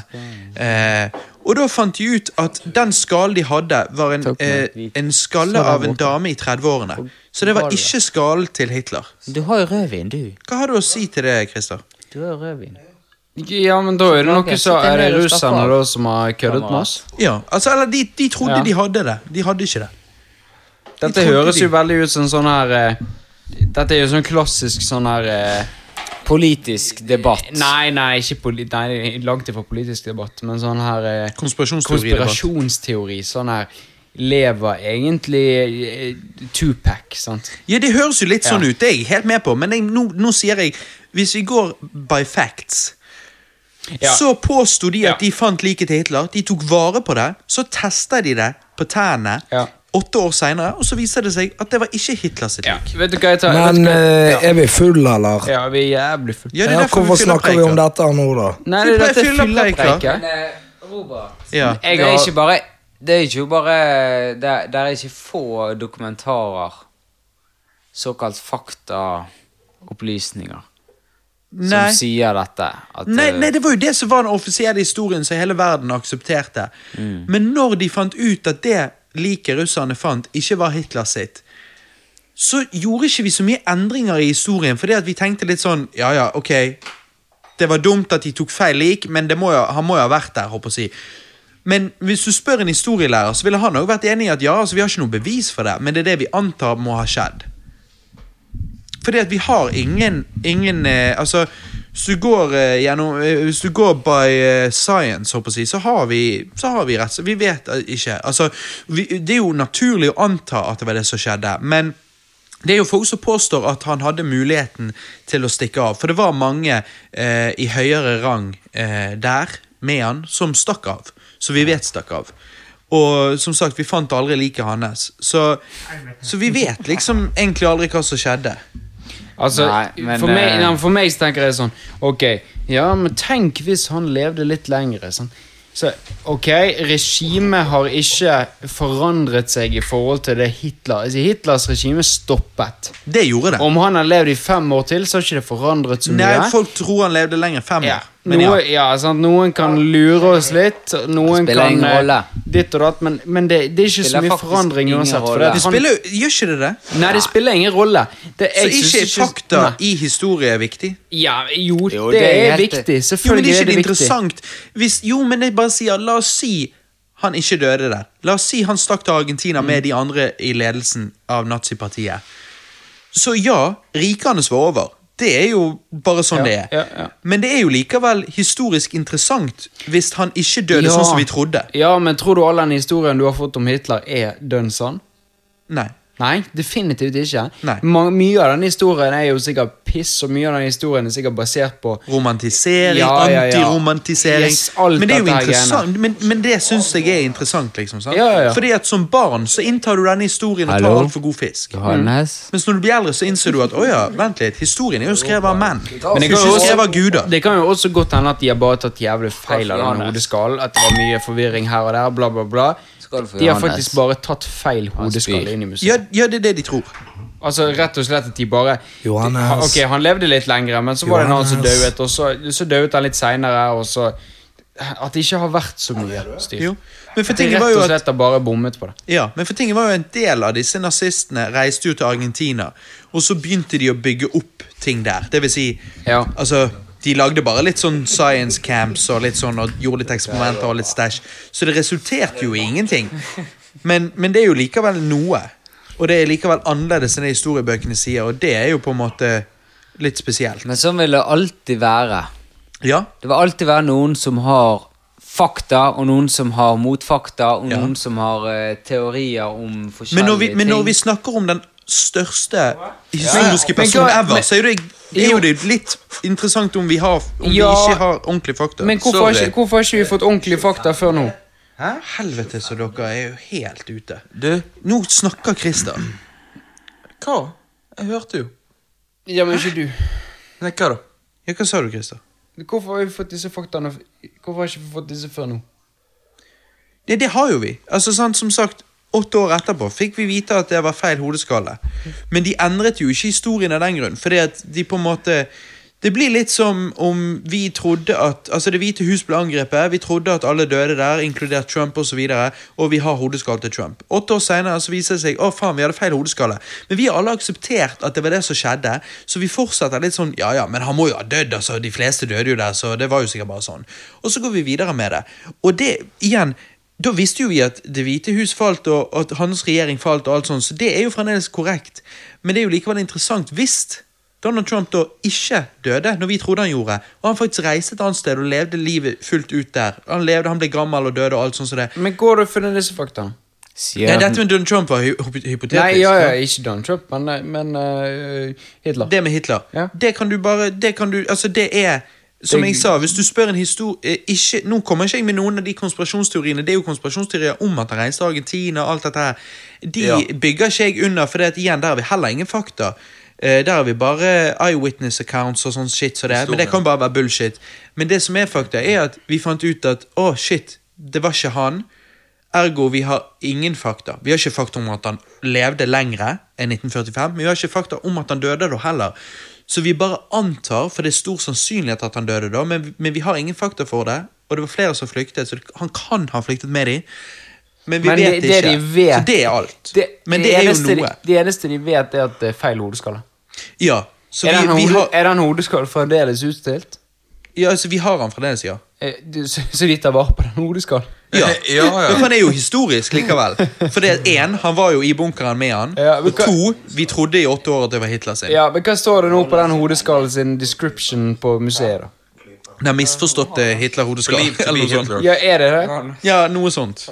Eh, og da fant de ut at den skallen de hadde, var en, eh, en skalle av en dame i 30-årene. Så det var ikke skallen til Hitler.
Du har jo rødvin, du.
Hva har du å si til det, Christer?
Du har jo rødvin.
Ja, men da er det
Ok,
noe så
sitt deg
er det
ned og slapp
russerne
av.
da som har køddet med oss.
Ja, altså, eller de, de trodde
Ja.
de hadde det. De hadde ikke det.
Dette
trodde
høres jo
de-
veldig ut som sånn her eh, Dette er jo sånn klassisk sånn her eh,
Politisk debatt.
Nei, nei, ikke poli nei, det er langt ifra politisk debatt, men sånn her eh,
Konspirasjonsteori.
Konspirasjonsteori. Sånn her Lever egentlig eh, Tupac, sant?
Ja, det høres jo litt sånn ut, det er jeg helt med på, men jeg, nå, nå sier jeg Hvis vi går by facts
Ja.
Så påsto de at
Ja.
de fant liket til Hitler, de tok vare på det, så testa de det på tærne
Ja.
åtte år seinere, og så viser det seg at det var ikke Hitler sitt
Ja.
lik.
Vet du hva jeg tar? vet
Men
du hva jeg-
eh, er vi fulle, eller?
ja, vi er jævlig fulle.
Ja, det er
Ja,
derfor vi
hvorfor
fyller
snakker vi om
preiker.
dette nå, da?
Nei,
Vi
det,
pleier
dette er
fyllepreiker.
fyllepreiker.
Men eh, Robert,
Ja.
Jeg
det er
har-
ikke bare Det er ikke bare Det, det er ikke få dokumentarer, såkalt faktaopplysninger,
Nei.
som sier dette. At,
Nei,
eh,
nei, det var jo det som var den offisielle historien som hele verden aksepterte.
Mm.
Men når de fant ut at det liket russerne fant, ikke var Hitler sitt, så gjorde ikke vi så mye endringer i historien, fordi at vi tenkte litt sånn Ja, ja, ok, det var dumt at de tok feil lik, men det må jo, han må jo ha vært der, håper jeg å si. Men hvis du spør en historielærer, så ville han òg vært enig i at ja, altså, vi har ikke noe bevis for det, men det er det vi antar må ha skjedd. Fordi at vi har ingen, ingen eh, Altså, hvis du går eh, gjennom eh, Hvis du går by eh, science, håper jeg å si, så har vi, så har vi rett. Vi vet eh, ikke. Altså, vi, det er jo naturlig å anta at det var det som skjedde, men det er jo folk som påstår at han hadde muligheten til å stikke av, for det var mange eh, i høyere rang eh, der med han som stakk av, som vi vet stakk av. Og som sagt, vi fant aldri liket hans, så, så vi vet liksom egentlig aldri hva som skjedde.
Altså,
Nei, men,
for, meg,
eh,
nei, for meg så tenker jeg sånn Ok, ja, men tenk hvis han levde litt lengre sånn. Så, ok, regimet har ikke forandret seg i forhold til det Hitler altså, Hitlers regime stoppet.
Det gjorde det.
Om han har levd i fem år til, så har ikke det forandret så mye.
Nei, folk tror han levde lenger enn fem
ja.
år. Men ja.
Noe, ja, sant? Noen kan lure oss litt, noen
spiller
kan
ingen
eh,
rolle.
ditt og datt, men, men det, det er ikke så
Spiller
mye
faktisk
forandring
ingen
uansett. For
rolle.
det,
Det
at han,
spiller, jo- gjør ikke det det?
nei, det spiller ingen rolle. Det,
Så
jeg synes
ikke fakta
Nei.
i historie er viktig?
Ja, jo,
Jo,
det,
det er
er
helt-
viktig.
Jo, men det er
Selvfølgelig
ikke det
er det viktig.
interessant. Hvis, jo, men jeg bare sier, la oss si han ikke døde der. La oss si han stakk til Argentina
Mm.
med de andre i ledelsen av nazipartiet. Så ja, riket hans var over. Det er jo bare sånn det er.
ja, ja.
Men det er jo likevel historisk interessant hvis han ikke døde sånn som vi trodde.
Ja, men tror du all den historien du har fått om Hitler, er dønn sann?
Nei.
Nei, definitivt ikke.
Nei.
Ma- mye av den historien er jo sikkert piss, og mye av den historien er sikkert basert på
Romantisering,
Ja, ja, ja.
antiromantisering
Yes, alt
Men det er jo
dette her
interessant Men, men det syns jeg er interessant, liksom. Sant?
Ja, ja, ja.
Fordi at som barn så inntar du denne historien og
Hallo?
tar altfor god fisk.
Mm.
Johannes?
Mens når du blir eldre, så innser du at åja, vent litt, historien er jo skrevet av menn.
Men det
ikke
kan jo også-
skrevet av guder.
Det kan jo også godt hende at de har bare tatt jævlig feil av den hodeskallen. At det var mye forvirring her og der, bla, bla, bla.
Skal du få
De har
Johannes.
faktisk bare tatt feil
spyr.
hodeskalle inn i museet.
Ja, ja, det er det de tror.
Altså rett og slett at de bare
Johannes.
Ha- Ok, han levde litt lengre, men så var det en annen som
Johannes.
døde, og så, så døde han litt seinere, og så At det ikke har vært så mye styr.
Jo. Men for
At de
tingen
rett
var
og
jo at
slett har bare bommet på det.
Ja, men for tingen var jo en del av disse nazistene reiste jo til Argentina, og så begynte de å bygge opp ting der. Det vil si,
Ja.
altså de lagde bare litt sånn science camps og litt sånn, og gjorde litt eksperimenter og litt stæsj. Så det resulterte jo i ingenting. Men, men det er jo likevel noe. Og det er likevel annerledes enn det historiebøkene sier, og det er jo på en måte litt spesielt.
Men sånn vil det alltid være.
Ja,
Det vil alltid være noen som har fakta, og noen som har motfakta, og noen som har eh, teorier om forskjellige
men når, vi,
ting.
men når vi snakker om den største historiske
Men- men
personen
hva-
ever,
men-
så er det, er jo det litt interessant om vi, har, om
Ja.
vi ikke har ordentlig fakta.
Men hvorfor har ikke, hvorfor har ikke vi fått ordentlige fakta før nå?
Helvete, så dere er jo helt ute.
Du,
Nå snakker Christer.
hva? Jeg hørte jo.
Ja, men ikke du.
Nei, hva da?
Ja, hva sa du, Christer?
Hvorfor har vi fått disse faktaene Hvorfor har ikke vi fått disse før nå?
Det, det har jo vi. Altså, sant, som sagt, åtte år etterpå fikk vi vite at det var feil hodeskalle. Men de endret jo ikke historien av den grunn, fordi at de på en måte Det blir litt som om vi trodde at Altså, Det hvite hus ble angrepet. Vi trodde at alle døde der, inkludert Trump osv., og, så videre, og vi har hodeskalle til Trump. Åtte år senere så viser det seg å faen, vi hadde feil hodeskalle. Men vi har alle akseptert at det var det som skjedde, så vi fortsetter litt sånn Ja, ja, men han må jo ha dødd, altså. De fleste døde jo der, så det var jo sikkert bare sånn. Og så går vi videre med det. Og det, igjen da visste jo vi at Det hvite hus falt, og at hans regjering falt, og alt sånt, så det er jo fremdeles korrekt. Men det er jo likevel interessant hvis Donald Trump da ikke døde, når vi trodde han gjorde, og han faktisk reiste et annet sted og levde livet fullt ut der. Han levde, han ble gammel og døde og alt sånt som det.
Men går du for den disse fakta?
Nei, dette med Donald Trump var hy hypo- hypotetisk.
Nei, ja, ja, ikke Donald Trump, men, men eh, Hitler.
Det med Hitler.
Ja.
Det kan du bare Det kan du Altså, det er som
Det-
jeg sa, hvis du spør en histor... eh, Ikke, nå kommer ikke jeg med noen av de konspirasjonsteoriene. Det er jo konspirasjonsteorier om at han reiste til Argentina og alt dette her. De bygger ikke jeg under, for det at, igjen, der har vi heller ingen fakta. Eh, Der har vi bare eyewitness accounts og sånn shit som det. Men det kan bare være bullshit. Men det som er fakta, er at vi fant ut at å, shit, det var ikke han. Ergo vi har ingen fakta. Vi har ikke fakta om at han levde lengre enn 1945, men vi har ikke fakta om at han døde da heller. Så vi bare antar, for det er stor sannsynlighet at han døde da, men, men vi har ingen fakta for det. Og det var flere som flyktet, så det- han kan ha flyktet med dem. Men vi
Men
vet
det- det
ikke.
de vet-
så det er alt.
Det,
men det, er
eneste
jo noe.
De, det eneste de vet, er at det er feil hodeskalle.
Ja, så
Er
vi,
den,
vi,
hode,
har,
er den hodeskallen fremdeles utstilt?
ja, altså, vi har han fremdeles, ja.
Eh, du- Så, så de tar vare på den hodeskallen?
Ja.
Ja, ja.
Men han er jo historisk likevel. For det er én, han var jo i bunkeren med han.
Ja, men
og
hva-
to, vi trodde i åtte år at det var Hitler sin.
Ja, men hva står det nå på den hodeskallen sin description på museet, da?
Den misforståtte Hitler-hodeskall.
Believe to
Eller
be
noe sånt.
Hitler.
Ja, er det det?
Ja, noe sånt.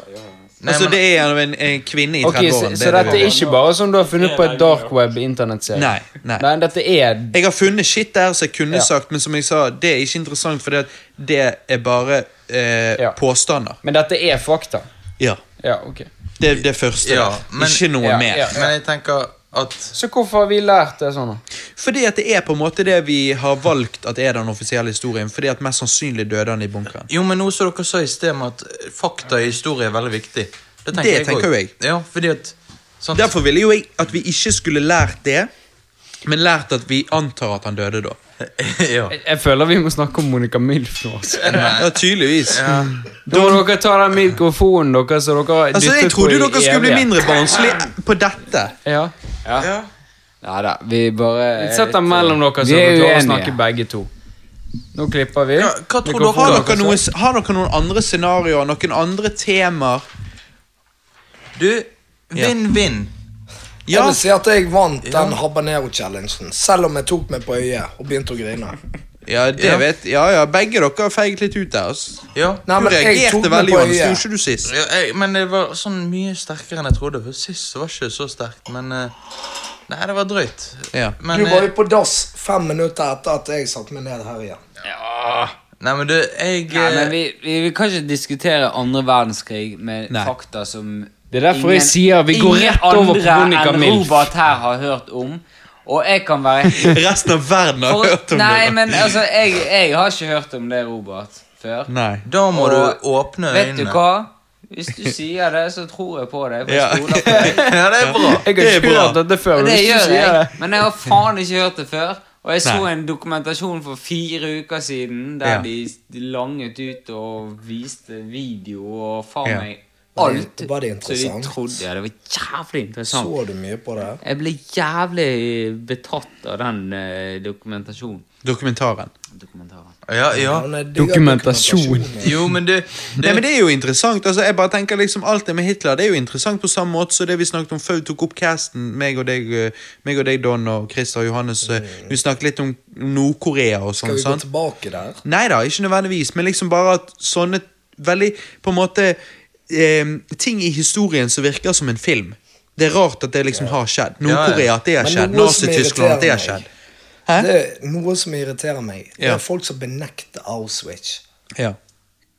altså, det er en, en, en kvinne i
Ok,
30
så,
årene
så dette er ikke bare som du har funnet på et dark web-internettserie?
Nei, nei.
Nei, dette er
Jeg har funnet shit der som jeg kunne
Ja.
sagt, men som jeg sa, det er ikke interessant, for det, det er bare eh,
Ja.
påstander.
Men dette er fakta?
Ja.
Ja, ok.
Det er det første.
Ja,
der.
men-
ikke noe
Ja,
mer.
ja.
Men jeg tenker at
Så hvorfor har vi lært det sånn, da?
Fordi at det er på en måte det vi har valgt at er den offisielle historien. Fordi at mest sannsynlig døde han i bunkeren.
Jo, men noe som dere sa i sted med at eh, fakta i historie er veldig viktig. Det tenker,
Det
jeg,
tenker
også.
jo jeg.
Ja, fordi at sant?
Derfor ville jo jeg at vi ikke skulle lært det, men lært at vi antar at han døde da.
ja.
Jeg, jeg føler vi må snakke om Monica Milf nå. altså.
Ja, tydeligvis.
Da må dere ta den mikrofonen dere så dere har
Altså, Jeg
dyttet på
trodde
i
dere skulle bli
evighet.
mindre barnslige på dette.
Ja.
Nei da, vi bare er
Sett den
litt, eh,
mellom dere, så
vi er
dere klarer å
uenige.
snakke begge to. Nå klipper vi.
Hva- hva tror dere-
Mikrofonen
Har
Ja,
dere, noe, har dere noen andre scenarioer, noen andre temaer?
Du, vinn-vinn.
Ja.
Jeg vil si at jeg vant den habanero-challengen, selv om jeg tok meg på øyet og begynte å grine.
Ja, det
Ja.
vet Ja, ja, begge dere har feiget litt ut der. Altså.
Ja.
Nei,
Du
men jeg tok
reagerte
meg
veldig
på
annerledes, gjorde
øyet.
ikke du sist?
Ja, jeg, men det var sånn mye sterkere enn jeg trodde. For sist var det ikke så sterkt, men eh, Nei, det var drøyt.
Ja.
Men,
Du var
eh,
jo på dass fem minutter etter at jeg satte meg ned her igjen.
Nei, men du, jeg
Nei, men
eh,
vi, vi, vi kan ikke diskutere andre verdenskrig med
Nei.
fakta som
Det er derfor jeg sier vi går rett over på Monica
Ingen andre enn
Milf.
Robert her har hørt om. Og jeg kan være
Resten av verden har hørt om
Nei,
det. da.
men altså, jeg, jeg har ikke hørt om det, Robert, før.
Nei.
Da må du
Og-
åpne
Vet du
øynene.
hva? Hvis du sier det, så tror jeg på deg. For
Ja.
jeg stoler på deg.
Ja, det er bra.
Jeg har ikke hørt dette før.
Og
men
det
hvis du
gjør
sier
jeg,
det-
men jeg har faen ikke hørt det før. Og jeg så
Nei.
en dokumentasjon for fire uker siden der
Ja.
de de langet ut og viste video og faen
Ja.
meg
Var det-
alt.
var det
så de
interessant?
trodde Ja, det var jævlig interessant.
Så du mye på det?
Jeg ble jævlig betatt av den eh, dokumentasjonen.
Dokumentaren.
Dokumentaren.
Ja, ja.
Men jeg digger
Dokumentasjon.
dokumentasjon.
Jo, men du
Nei, men Det er jo interessant. altså jeg bare tenker liksom Alt det med Hitler det er jo interessant på samme måte som det vi snakket om før vi tok opp casten. Meg og deg, eh, meg og deg Don og Christer og Johannes. eh, Vi snakket litt om Nord-Korea og
Skal
sånn.
vi gå
sant?
tilbake der?
Nei da, ikke nødvendigvis, men liksom bare at sånne veldig På en måte eh, Ting i historien som virker som en film. Det er rart at det liksom har skjedd. Nord-Korea, at det har
Men
skjedd.
noe som
Nazi-Tyskland, at det har
irriterer meg.
skjedd. Hæ?
Det er noe som irriterer meg. Det
Ja.
er folk som benekter Auschwitz.
Ja.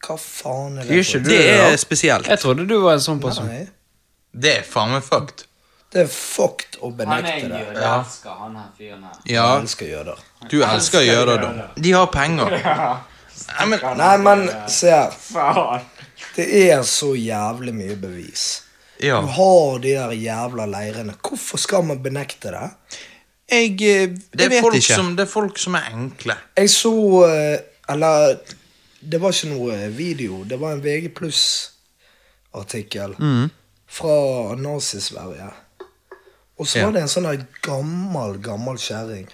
Hva faen er
Gjør
det?
ikke
for
du
Det er
det?
spesielt.
Jeg trodde du var en sånn person.
Nei,
Det er faen meg fucked.
det er fucked å
Han er
benekte det.
jøde, elsker han her fyren her.
Ja,
Jeg elsker jøder.
du elsker å gjøre det, da.
De har penger.
Nei, men se her. Det er så jævlig mye bevis.
Ja.
Du har de der jævla leirene. Hvorfor skal man benekte det?
Jeg, eh, jeg
Det er,
vet
folk
ikke.
som, det er folk som er enkle.
Jeg så eh, Eller det var ikke noe video. Det var en VG pluss-artikkel
Mm.
fra Nazi-Sverige. Og så
Ja.
var det en sånn her gammel, gammel kjerring.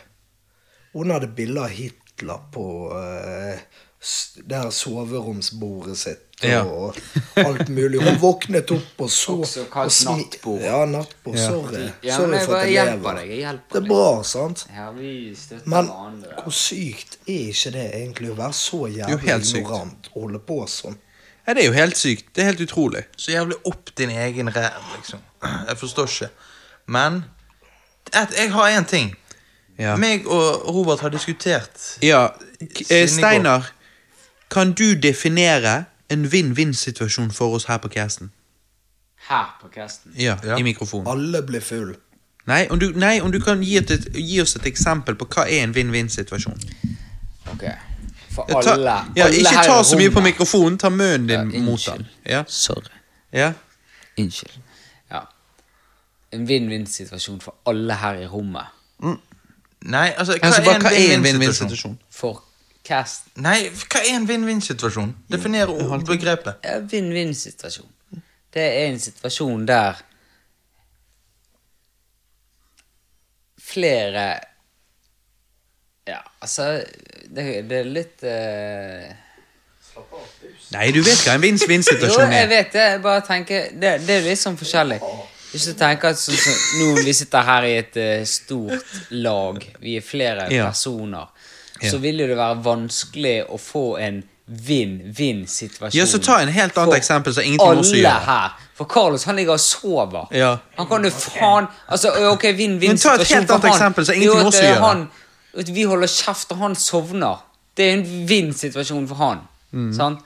Hun hadde bilde av Hitler på eh, s- det her soveromsbordet sitt.
Ja.
Og alt mulig. Hun våknet opp og så
Også kalt
og smi-
nattbord.
Ja, nattbord. Sorry.
Ja, men
Sorry
jeg
for
bare
at jeg
hjelper
lever.
deg. Jeg
Det
hjelper
er
deg.
bra, sant?
Ja, vi støtter
Men
hverandre.
hvor sykt er ikke det egentlig å være så
Jo,
jævlig
helt sykt.
ignorant og holde på sånn?
Ja, det er jo helt sykt. Det er helt utrolig.
Så jævlig opp din egen ræv, liksom. Jeg forstår ikke. Men et, jeg har én ting.
Ja.
Meg og Robert har diskutert
Ja, k- eh,
Siden i går.
Steinar, kan du definere en vinn-vinn-situasjon for oss her på casten?
Her på casten.
Ja,
Ja.
i mikrofonen.
Alle blir full.
Nei, om du, nei, om du kan gi, et, gi oss et eksempel på hva er en vinn-vinn-situasjon.
Ok. For
Ja, ta-
alle.
ja,
alle
ikke
her i
ta så mye på
rommet.
mikrofonen, ta munnen din
Ja,
mot
unnskyld.
den. Ja,
Sorry.
ja.
Unnskyld. Ja. En vinn-vinn-situasjon for alle her i rommet.
Nei, altså, hva,
Altså, hva, hva
er
er
en
en
vinn-vinn-situasjon?
vinn-vinn-situasjon?
For cast
Nei, hva er en vinn-vinn-situasjon? Definer ord- begrepet.
ja, Vinn-vinn-situasjon. Det er en situasjon der flere Ja, altså Det, det er litt eh,
Nei, du vet hva en
Jo,
vinn-vinn-situasjon
jeg
er.
vet det. Jeg bare tenker Det, det er jo litt sånn forskjellig. Hvis du tenker at sånn som nå vi sitter her i et eh, stort lag, vi er flere
Ja.
personer, så vil jo det være vanskelig å få en vinn-vinn-situasjon.
Ja, så ta en helt annet
for
eksempel som ingenting med oss å
alle
gjøre.
her. For Carlos, han ligger og sover.
Ja.
Han kan jo faen Altså, ok,
Men ta et
vinn-vinn-situasjon
helt annet eksempel som ingenting med oss å gjøre.
eh, han at Vi holder kjeft, og han sovner. Det er en vinn-situasjon for han.
Mm.
Sant?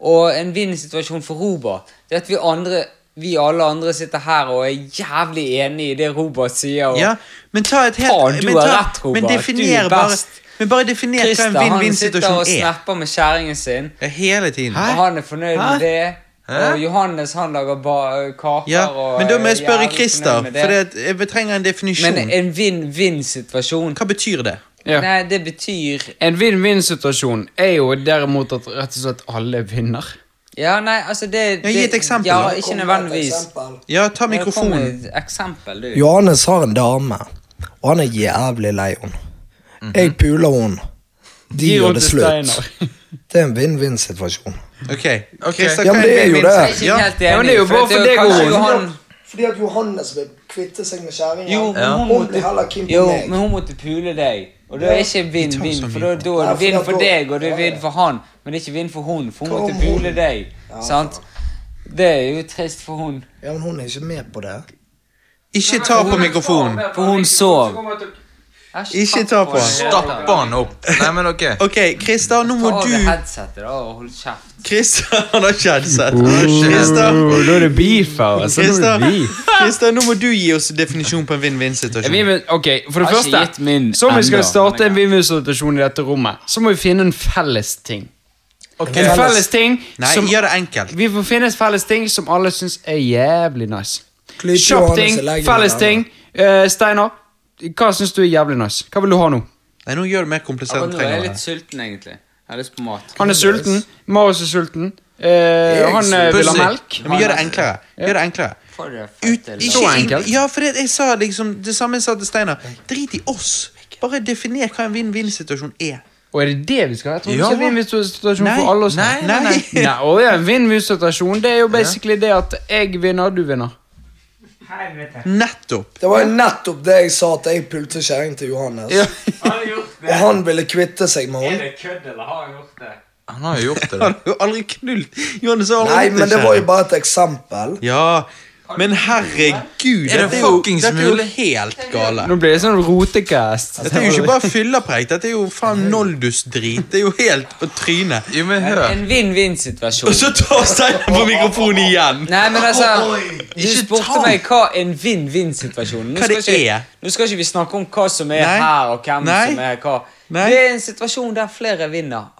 Og en vinn-situasjon for Robert. Det er at vi andre vi alle andre sitter her og er jævlig enig i det Robert sier. Og
Ja, men ta et helt
Faen, du
men
har
ta-
rett, Robert.
Men
Du
definer
er
bare
best.
Men bare definer hva
Christer
en
han sitter og
vinn-vinn-situasjon er.
snapper med kjæringen sin,
Ja, Hele tiden.
og han er fornøyd med det. Og Johannes han lager ba kaker
Ja,
og
men da må
er
jeg spørre
jævlig
Christer,
fornøyd med det.
for sånn- det at jeg trenger en definisjon.
Men en vinn-vinn-situasjon
Hva betyr det?
Ja.
Nei, det betyr
En vinn-vinn-situasjon er jo derimot at rett og slett alle vinner.
Ja, nei, altså det,
Ja, gi et eksempel,
Ja,
da.
ikke nødvendigvis.
Ja, ta
Kom
mikrofonen.
med et eksempel, du.
Johannes har en dame, og han er jævlig lei henne. Jeg puler henne. De
Gi
gjør
rundt
det
til
slutt.
Steinar.
Det er en vinn-vinn-situasjon.
Ok, Christer,
Ja,
hva
men
er
det er
en
jo
vinn-vinn?
Jeg er
det.
ikke
Ja.
helt enig.
Ja, men det er jo bare
at
for
det er
deg,
kanskje
Ron.
Johan
Fordi at Johannes vil kvitte seg med kjerringa.
Jo, men hun måtte, jo, men hun måtte pule deg. Og da er ikke
Vi tar
vinn-vinn,
så
for da,
mye.
da er
Ja,
det
for
vinn
da-
for deg, og det
Ja,
er
ja.
vinn for han. Men det er ikke vinn for hun, for hun
Kom,
måtte pule
hun.
deg.
Ja,
Sant? Det er jo trist for hun.
Ja, men hun er ikke med på det.
Ikke ta på mikrofonen.
For hun sov.
Ikke ta på han.
Stappe han opp. Nei, men ok.
Ok, Christer, nå må
Ta av
du
deg headsetet, da, og hold kjeft.
Christer, han har ikke headset.
Mm.
Christer,
Og da er det beef her. Altså, da er
Christer,
det beef.
Christer, nå må du gi oss definisjon på en
Ja, vi
vinn-vinn-situasjon.
vil- Ok, for det
Jeg har ikke gitt min
første Så om vi skal
enda.
starte en Vimmus-rotasjon i dette rommet, så må vi finne en felles ting. En felles ting
Nei,
som
gjør det enkelt.
Vi får finne en felles ting som alle syns er jævlig nice.
Klype
Kjapp
Johannes
ting,
i leggen
felles
med
ting. Eh, Steinar, hva syns du er jævlig nice? Hva vil du ha nå?
Nei, nå gjør det mer
Ja,
komplisert enn
men nå er
trenger
jeg
å
litt
være.
sulten, egentlig. Jeg har lyst på mat.
Han er sulten. Marius er sulten. Eh, han eh, vil ha
Pussy.
melk.
Ja, Men gjør det enklere. Gjør det enklere.
Få det
Ut,
fette
ikke
Så
inn-
enkelt.
Ja, for det, jeg sa liksom det samme jeg sa til Steinar. Drit i oss. Bare definer hva en vinn-vinn-situasjon er.
Og er det det vi skal ha? Jeg tror
Ja.
ikke vinn-vinn-situasjon
Nei,
for alle oss.
nei, nei, nei.
nei og ja, Vinn-vinn-situasjon det er jo basically det at jeg vinner, du vinner.
Helvete.
Nettopp.
Det var jo nettopp det jeg sa, at jeg pulte kjerringen til Johannes.
Ja.
Har han gjort
Og
det?
han ville kvitte seg med
Er
henne.
det kødd, eller har han gjort det?
Han har jo gjort det.
Han har jo aldri knullt Johannes har aldri
Nei,
gjort
men det var jo
kjære.
bare et eksempel.
Ja, men herregud.
Er det
dette jo-
fuckings
Dette er jo
mulig?
helt gale.
Nå blir det sånn rotecast.
Dette er jo ikke bare fyllepreik. Dette er jo faen Noldus-drit. Det er jo helt på trynet.
Jo, men hør.
En vinn-vinn-situasjon.
Og så tar Steinar på mikrofonen igjen.
Nei, men altså Du
ikke ta
spurte meg hva en vinn-vinn-situasjon Nå
Hva
skal
det
ikke-
er.
Nå skal ikke vi snakke om hva som er
Nei.
her, og hvem
Nei.
som er hva.
Nei.
Det er en situasjon der flere vinner.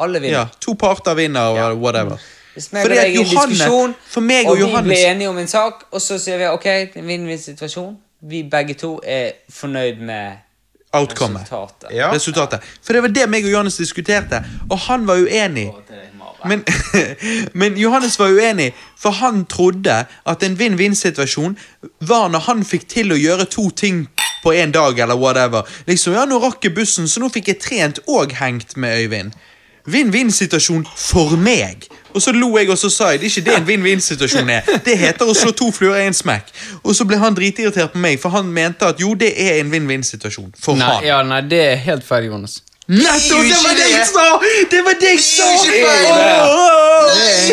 Alle vinner.
Ja, To parter vinner, og whatever.
Hvis meg og
Fordi
deg
at
er i en
Johanne-
diskusjon,
for meg og
og, vi
Johannes-
blir enige om en sak, og så sier vi ok, det er en vinn-vinn-situasjon. Vi begge to er fornøyd med
Outcomet.
Resultatet.
Ja.
Resultatet. For det var det meg og Johannes diskuterte, og han var uenig. Men, men Johannes var uenig, for han trodde at en vinn-vinn-situasjon var når han fikk til å gjøre to ting på én dag, eller whatever. Liksom, ja, nå rakk jeg bussen, så nå fikk jeg trent og hengt med Øyvind. Vinn-vinn-situasjon for meg. Og så lo jeg, og så sa jeg det er ikke det en vinn-vinn-situasjon er. Det heter å slå to fluer i en smekk. Og så ble han dritirritert på meg, for han mente at jo, det er en vinn-vinn-situasjon. For
Nei,
han.
ja, nei, det er helt feil, Jonas.
Nettopp! Det var det jeg sa! Det var det jeg sa!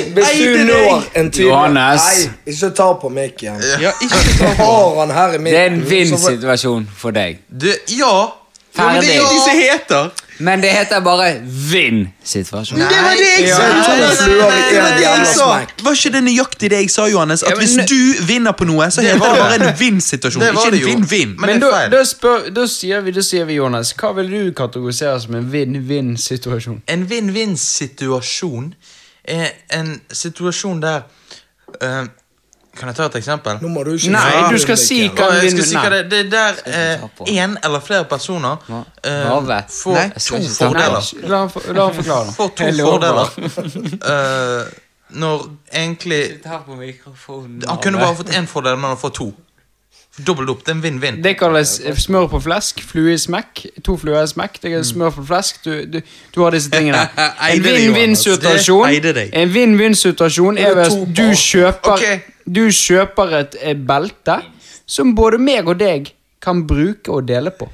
Hvis du
Eide
når
deg!
en tydelig
Johannes.
Nei, ikke ta på mikken.
Ja, ikke
Jeg har han her i mikken.
Det er en
så får-
vinn-situasjon for deg.
Det, ja.
Det
Ferdig.
er de som heter
Men det heter bare vinn-situasjon.
Det var det jeg
Ja,
sa!
to
Det
fluer i
var
en
det jeg
jævla
sa.
smekk.
Var ikke det nøyaktig det jeg sa, Johannes? At
Ja, men
hvis
ne-
du vinner på noe, så heter det bare en vinn-situasjon.
Det var
Ikke en
det jo.
vinn-vinn.
Men
Men
det er
da,
feil.
da, spør, da, sier vi, da sier vi, Jonas, hva vil du kategorisere som en vinn-vinn-situasjon?
En vinn-vinn-situasjon er en situasjon der eh, Kan jeg ta et eksempel?
Nå må du ikke
Nei,
snakke
du
om
skal
det,
si
Ken.
hva
Ja, jeg
en
skal si hva
vinn-vinn
det, det er der
ta på.
én eller flere personer
Hva-
eh,
Havet.
får
Nei, jeg
to
skal ikke ta på.
fordeler.
La han for- la han forklare.
Får to
Jeg lover.
fordeler. Eh, når egentlig
her på mikrofonen.
Han kunne bare fått én fordel, men han får to. Dobbelt opp. Det er en vinn-vinn.
Det kalles smør på flesk, flue i smekk. To fluer i smekk.
Mm.
Det er smør på flesk. Du, du, du har disse tingene. En
Eide deg, Johannes. Det eide
vinn-vinn-situasjon
deg.
En vinn-vinn-situasjon er hvis du kjøper
Ok.
Du kjøper et eh, belte som både meg og deg kan bruke og dele på.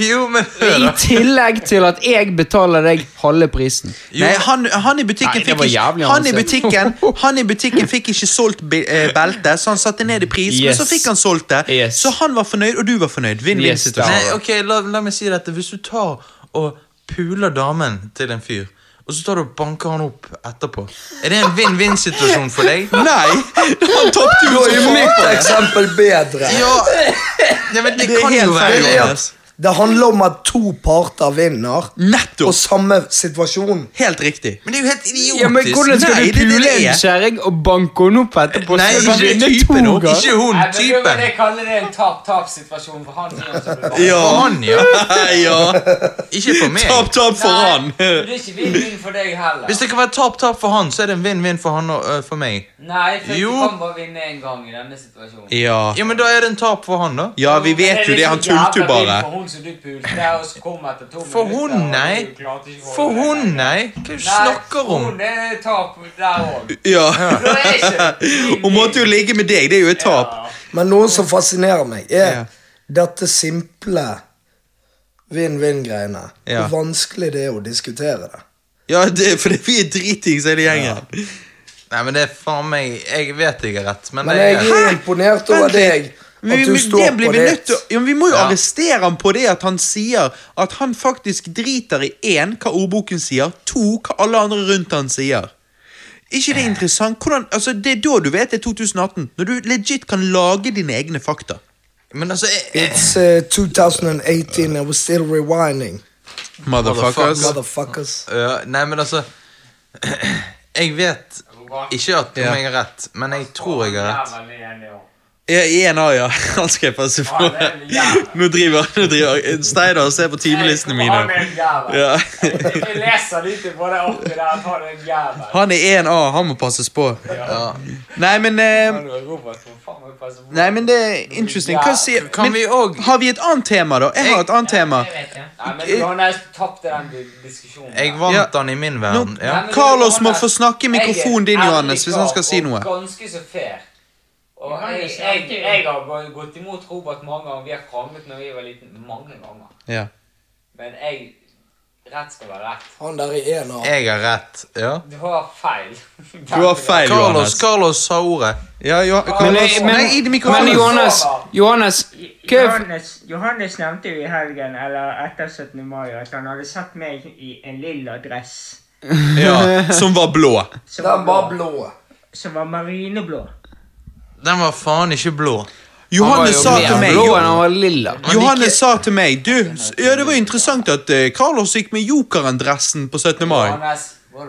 Jo, men hør,
I
da.
tillegg til at jeg betaler deg halve prisen.
Nei, han, han i butikken
Nei, det
fikk
var
ikke
jævlig,
han, i
Hansen.
butikken, han i butikken fikk ikke solgt bi- eh, belte, så han satte ned i pris, men så
Yes.
fikk han solgt det.
Yes.
Så han var fornøyd, og du var fornøyd.
Yes,
Vinn-vinn-situasjon.
Nei, ok, la, la meg si dette. Hvis du tar og puler damen til en fyr, og så tar du og banker han opp etterpå, er det en vinn-vinn-situasjon for deg?
Nei! Han tapte jo
Da er
så
mitt eksempel bedre.
Ja, ja men det,
Det er
kan jo
helt
være
feil,
det.
Johannes.
Det handler om at to parter vinner på
Nettopp!
samme situasjon.
Helt riktig.
Men det er jo helt idiotisk.
Ja, men Hvordan skal
Nei,
du
det er det
pule
det er.
en kjerring og banke henne opp etterpå?
Nei,
så du kan
ikke
vinne
typen
to
opp.
ganger?
Ikke hun,
Nei, men
typen.
Jeg kaller det en tap-tap-situasjon for han. som ble valgt.
Ja.
For han, ja.
ja.
Ikke for meg.
Tap, tap for han.
Nei, men Det er ikke vinn-vinn for deg heller.
Hvis det kan være tap-tap for han, så er det en vinn-vinn for han og øh, for meg.
Nei, for
Jo.
du kan bare vinne en gang i denne situasjonen.
Ja.
Ja, men da er det en tap for han, da.
ja, vi
Men
vet jo det.
er så
Han tulte jo
jævla
bare.
vinn For hun som du pulte, og så kom etter to
For
minutter,
hun,
og
nei.
du klarte ikke å holde
For
deg
hun,
lenger.
nei. Hva er det du
Nei,
snakker om?
Hun er tap der òg.
Ja.
Det er ikke
Hun måtte jo ligge med deg, det er jo et tap.
Men noe som fascinerer meg, er
Ja.
dette simple vinn-vinn-greiene.
Ja.
Hvor vanskelig det er å diskutere det.
Ja, det, er fordi vi er dritings hele gjengen.
Nei, men det er faen meg Jeg vet jeg har rett, men
Men
jeg
jeg er imponert over
Vent
deg.
litt.
At du
men det
står
blir
på
vi nødt
det.
til å- ja, men Vi må jo arrestere ham på det at han sier at han faktisk driter i én, hva ordboken sier, to, hva alle andre rundt han sier. ikke det interessant? Hvordan, altså, det er da du vet det er 2018. Når du legit kan lage dine egne fakta.
Men altså jeg, jeg,
It's uh, 2018 and we're still rewinding.
Motherfuckers.
Motherfuckers.
Ja, Nei, men altså Jeg vet ikke at om
Ja.
jeg har rett, men jeg tror jeg har rett.
veldig enig også.
Ja, I en A, ja. Han skrev passe på.
Ja, det er jævlig.
Nå driver, nå driver Steinar ser på timelistene
Han
mine.
er en jævel.
Ja.
Jeg leser lite på det oppi der at han er en jævel.
Han er 1A, han må passes på. Ja. Nei, men eh,
Robert, for faen må jeg passe på.
Nei, men det er interesting. Hva sier men,
Kan vi òg
Har vi et annet tema, da? Jeg har et annet tema.
Nei, men Johannes tapte den di- diskusjonen.
Jeg
Ja.
vant han i min verden.
Nå-
Ja.
Nei, men
Carlos må
Johannes,
få snakke i mikrofonen din,
jeg er
Johannes, hvis han skal
ærlig
si
kar
noe.
Og ganske så fair. Og jeg, jeg, jeg har gå- gått imot Robert mange ganger. Vi har kranglet når vi var liten, mange ganger.
Ja.
Men jeg Rett skal være rett.
Han der i en av
Jeg har rett. Ja.
Du har feil.
Du har feil,
Carlos,
Johannes.
Carlos sa ordet.
Ja, jo,
Men,
Carlos.
men,
Nei, i
men
mikrofonen.
Johannes, Johannes hva er
Johannes, Johannes nevnte jo i helgen, eller etter 17. mai, at han hadde sett meg i en lilla dress.
Ja, som var blå.
Som
Den
var,
var blå.
som var marineblå.
Den var faen ikke blå.
Johannes sa til
mer
meg
blå enn han var lilla.
Johannes sa til eh, meg Du, s- ja, det var interessant at eh, Carlos gikk med jokeren-dressen på 17. mai.
Johannes,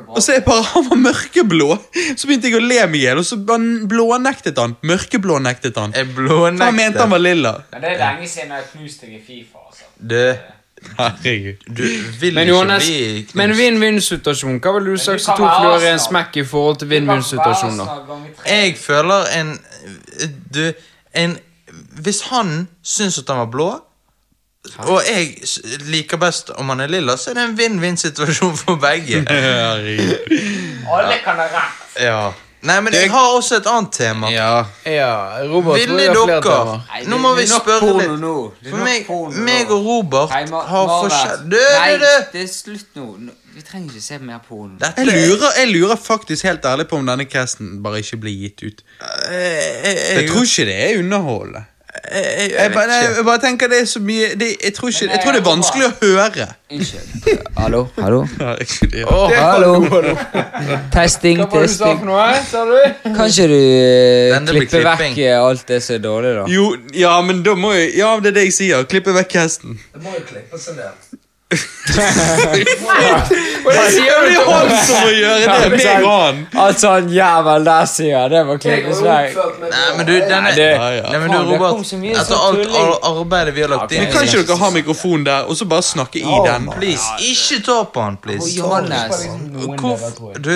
Og så er bare han var mørkeblå. Så begynte jeg å le meg i hjel, og så han blånektet han. Mørkeblånektet han.
Jeg
For han mente han
blånekter.
var lilla.
Men det er lenge siden jeg har knust deg i Fifa, altså.
Du,
Herregud.
du vil
Men
ikke
Johannes,
bli
men
knust.
vinn-vinn-situasjon. Hva ville du sagt
du
som
kan
to
være
fluer i en
Arsenal.
smekk i forhold til vinn-vinn-situasjon, da?
Jeg føler en Du, en Hvis han syns at han var blå, og jeg s- liker best om han er lilla, så er det en vinn-vinn-situasjon for begge.
Alle kan ha rett.
Ja. Nei, men jeg har også et annet tema.
Ja, Robert,
Ville dere Nå må vi spørre litt.
nå.
For meg, meg og Robert
Nei, Ma-
har
Marit.
forskjell... Du, du, du!
Nei, det er slutt nå. Nå- Vi trenger ikke se mer porno.
Dette
Jeg lurer, jeg lurer faktisk helt ærlig på om denne casten bare ikke blir gitt ut. Eh, Jeg tror ikke det er underholdende.
jeg,
Jeg,
jeg
bare-
vet
jeg,
ikke.
jeg bare tenker det er så mye det, jeg, tror ikke, jeg tror det er vanskelig å høre.
Unnskyld. Hallo? Hallo?
Åh,
Hallo? Testing, testing.
noe, sa du?
Kan ikke du eh,
Denne blir
klippe
klipping.
vekk eh, alt det som er dårlig, da?
Jo, ja, men da må jeg Ja, det er det jeg sier. Klippe vekk casten.
Det må jo klippes en del.
Ja, det er han som må gjøre det! Det er han.
Altså, han jævel der sier det var klippes vekk.
Nei, men du, denne
Ja, ja.
Nei, men du,
Faen, det kom
Robert.
så mye
Etter
sånn
alt
tulling.
ar- arbeidet vi har lagt
Men
inn
kan ikke dere ha mikrofonen der, og så bare snakke i den?
Please, Oh ikke ta på han,
Å,
please.
Johannes,
Hvorfor Du,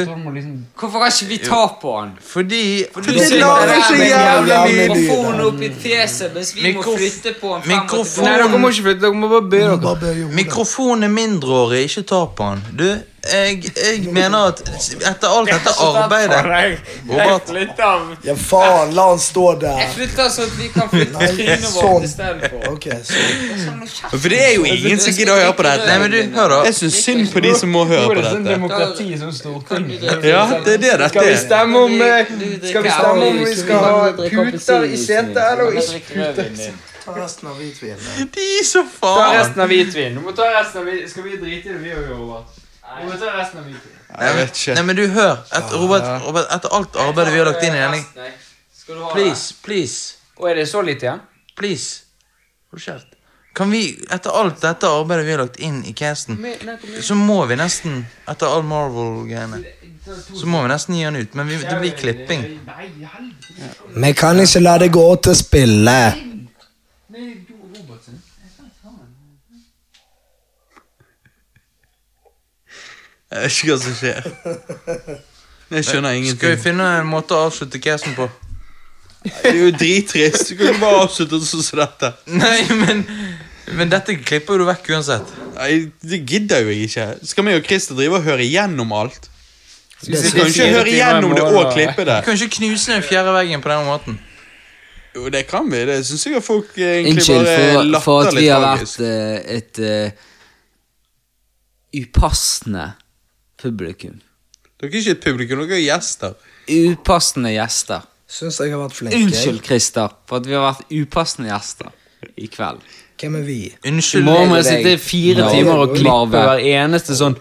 hvorfor kan ikke vi ta på han?
fordi
Det
Du sitter
lager
der
så
med
jævla
jævla
mye lyd.
Mikrofonen opp i fjeset mens vi må
Mikrof-
flytte på han frem og
Mikrofon
Nei, dere må ikke flytte. Dere må bare be dere.
Mikrofonen er mindreårig, ikke ta på han. Du, jeg, jeg mener at etter alt dette arbeidet Robert,
Ja, faen, la han stå der.
Jeg flytter sånn at vi kan flytte trynet
sånn.
vårt istedenfor.
Ok, sånn.
For det er jo ingen som gidder å høre på dette.
Nei, men du, hør, da.
Jeg syns synd på de som må høre på dette.
demokrati
som Stortinget.
Kan du drikke-
Ja, det er det dette er.
stemme om eh,
Du drikker
Skal vi stemme om vi
avgjørelsen,
skal
kan
ha
du drikke
puter i
appelsinjuice
setet
min?
eller
Kan du
ikke?
drikke rødvin din?
Ta resten av hvitvinen.
De er så
Ta
faen
resten av hvitvin. Du må ta resten av hvitvin. Skal vi drite i det, vi òg, Robert? Du må ta resten av hvitvin.
Jeg vet ikke.
Nei, men du, hør. Et, Robert, Robert, etter alt arbeidet vi har lagt inn i denne
Nei. Skal du ha det?
Please, please,
Å, er det så lite igjen?
please. Hold kjeft. Kan vi, etter alt dette arbeidet vi har lagt inn i casten, så må vi nesten, etter all Marvel-greiene, så må vi nesten gi han ut. Men vi, det blir klipping.
Vi kan ikke la det gå til spille.
Jeg vet ikke hva som skjer. Jeg skjønner
Skal vi
ingenting.
finne en måte å avslutte casten på?
Det er jo drittrist. Du kan ikke bare avslutte sånn som dette.
Nei, men Men dette klipper jo du vekk uansett.
Nei, Det gidder jo jeg ikke. Skal meg og Christer drive og høre igjennom alt? Vi
sitte
skal
i
jo ikke
fire
høre
timer i
igjennom det og
morgen,
klippe det.
Du kan ikke knuse den fjerde veggen på den måten.
Jo, det kan vi. Det syns jeg at folk egentlig
Unnskyld
bare
for, for at
latter
vi
litt
har
tragisk.
vært eh, et eh, upassende publikum.
Dere er ikke et publikum, dere er gjester.
Upassende gjester.
Syns jeg har vært flink. jeg.
Unnskyld, Christer, for at vi har vært upassende gjester i kveld.
Hvem er vi?
Unnskyld.
Må
meg
vi
og deg.
sitte i fire
Nei.
timer og klippe
Marve.
hver eneste sånn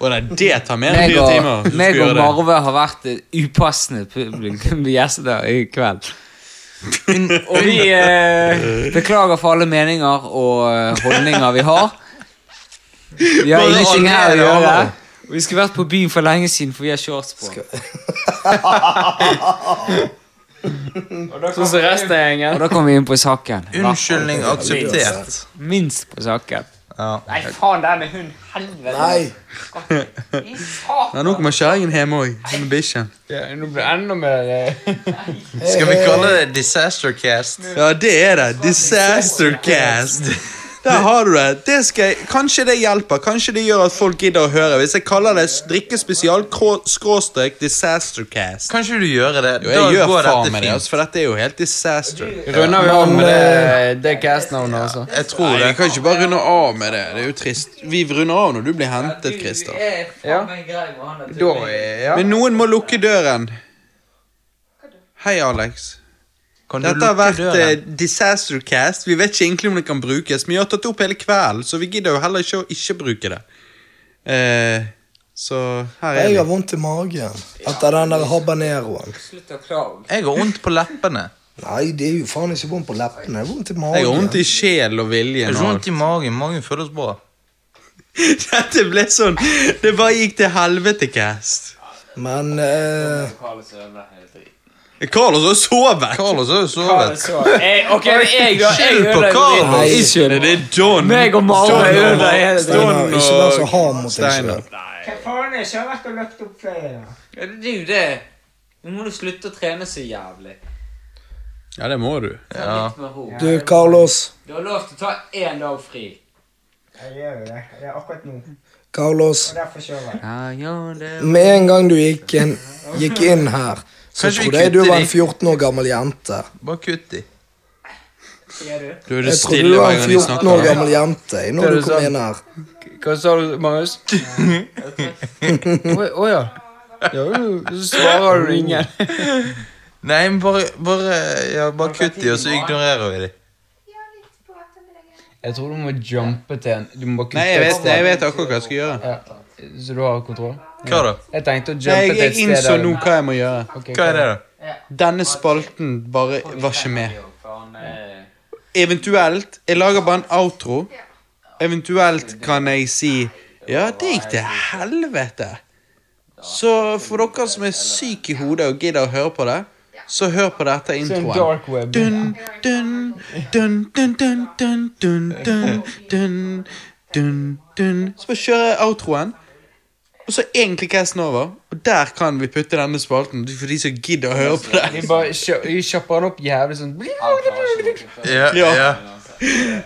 Å nei, det tar mer enn
Meg
fire timer.
og,
hvis du
meg
skal
og
gjøre det.
Marve har vært et upassende publikum i gjester i kveld. Og vi eh, beklager for alle meninger og eh, holdninger vi har. Vi har
Bare
ingenting her å
alle er
gjøre.
jævla.
Og vi skulle vært på byen for lenge siden, for vi har shorts på.
Sånn som resten av gjengen.
Og da kom vi inn på saken.
Unnskyldning akseptert.
Minst på saken.
Nei, faen, der med hund. Helvete.
Nei.
I satan.
Nei, nå kommer kjerringen hjem òg. Hun er bikkjen.
Ja, nå blir det enda mer eh,
Skal vi kalle det disaster cast?
Eh, Ja, det er det. Disastercast. Der har du det. det skal jeg, kanskje det hjelper. Kanskje det gjør at folk gidder å høre. Hvis jeg kaller det drikkespesial krå- skråstrek disastercast.
Kan ikke du gjøre det?
Jo, jeg gjør
går
faen
dette
med det,
fint.
altså, for dette er jo helt disaster.
Runder vi av med det, det cast-navnet, altså?
Jeg tror
Nei,
det.
vi kan ikke bare runde av med det. Det er jo trist. Vi runder av når du blir hentet, Christer.
Ja. Da eh, ja.
Men noen må lukke døren. Hei, Alex.
Kan du
Dette har
lukke
vært eh,
døren?
Disastercast. Vi vet ikke egentlig om det kan brukes, men vi har tatt opp hele kvelden, så vi gidder jo heller ikke å ikke bruke det. Eh, så her er
Jeg har
vi.
vondt i magen etter den der habaneroen.
Slutt å klage.
Jeg har vondt på leppene.
Nei, det er jo faen ikke vondt på leppene. Det er vondt i magen.
Jeg har vondt i sjel og vilje
Jeg har
nå.
vondt i magen. Magen føles bra.
Dette ble sånn Det bare gikk til helvete, Cast.
Men eh,
Carlos har sovet!
Carlos har jo sovet.
Jeg, ok, men jeg, da. Jeg
Skyld på
ødelegger
Carlos!
Nei.
Nei, Det er John.
Meg og Mare ødelegger hele tiden.
Steinar, ikke vær så hard mot deg
Steinar.
selv.
Hva faen er det som har vært og løpt opp flere?
Ja, det er jo det. Nå må du slutte å trene så jævlig.
Ja, det må du.
Ta litt med ro.
Du, Carlos.
Du har lov til å ta én dag fri.
Jeg gjør jo det. Det er akkurat nå.
Carlos.
Og derfor sover jeg.
Ja, ja, det
Med en gang du gikk inn, gikk inn her, så
Kanskje vi
trodde jeg du
kutter
var
de?
en 14 år gammel jente.
Bare kutt de.
Sier du?
Du er det
Jeg trodde du
stille
var
hver
en
gang de
14
snakker.
år gammel jente
Det er
når du
det
kom
sant.
inn her.
Hva sa du, Marius? Å å ja. Ja, jo, så svarer du ingen.
Nei, men bare, bare, ja, bare kutt de, og så ignorerer vi de.
Jeg tror du må jumpe til en Du må bare
Nei, jeg vet, jeg vet akkurat hva jeg skal gjøre.
Så du har kontroll?
Hva da?
Jeg tenkte å
Nei,
jumpe
jeg,
til
jeg
et sted
innså
der-
nå hva jeg må gjøre.
Ok,
Hva er det, da?
Ja.
Denne spalten bare var ikke med.
Faen, eh,
Eventuelt Jeg lager bare en outro. Eventuelt kan jeg si Ja, det gikk til helvete. Så for dere som er syke i hodet og gidder å høre på det, så hør på dette
Så en
introen.
dark web.
Dun, dun, dun, dun, dun, dun, dun, dun, dun, dun, dun. Så bare kjører jeg outroen. Og så er egentlig casten over. Og der kan vi putte denne spalten for de som gidder å høre på
Vi
det.
bare kjø- vi kjapper den opp jævlig sånn
Ja,
Ja.
ja.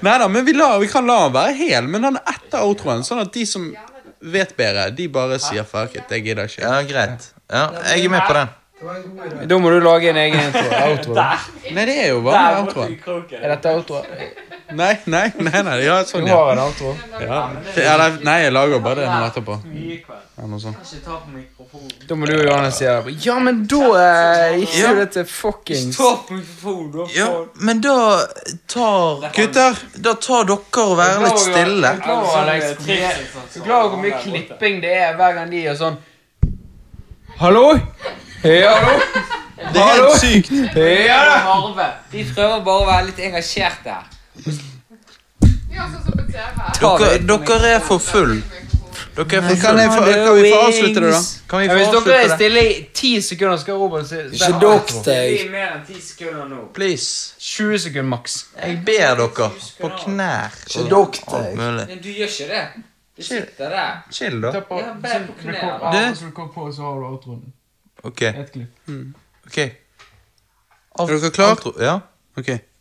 Nei da, men vi, la, vi kan la han være hel, men han er etter outroen. Sånn at de som vet bedre, de bare sier fuck it, jeg gidder ikke.
ja, greit. Ja, jeg er med på den.
Da må du lage en egen intro. Outro. da.
Nei, det er jo bare outroen.
Er dette outro?
Nei, nei, nei, nei, ja,
Du
sånn, ja.
har en outro.
ja. Det- ja det- nei, jeg lager bare det nå etterpå. Eller noe sånt.
Ikke ta på mikrofonen.
Da må du og Johannes si det. Ja, men da eh, gikk jo det til fuckings
Ta på mikrofonen, da,
Ja,
faen.
men da tar
Gutter,
Da tar dere og være litt stille.
Jeg klarer å legge- Jeg klarer hvor mye klipping det er hver gang de gjør sånn Hallo? Hei, hallo?
det er helt sykt.
Hei, hallo?
Arve. Vi prøver bare å være litt engasjert her. Ta
Dere,
det.
dere er for full. Dere er for
Kan,
full.
jeg, få- kan vi få avslutte det, da?
Kan vi
Ja,
få
Hvis dere er
avslutte det?
stille i ti sekunder, skal Robert si
Ikke dokk deg.
blir mer enn ti sekunder nå.
Please.
20 sekunder maks.
Jeg ber dere på knær.
Ikke dokk
Alt
deg.
mulig.
Men du gjør ikke det. Du sitter der.
Chill, da.
Ta på-
Ja, bare på knærne.
Du?
Du?
Så du kommer på, så har du outroen.
OK.
Et klipp.
ok.
Er dere klare?
Outro- Ja.
Ok.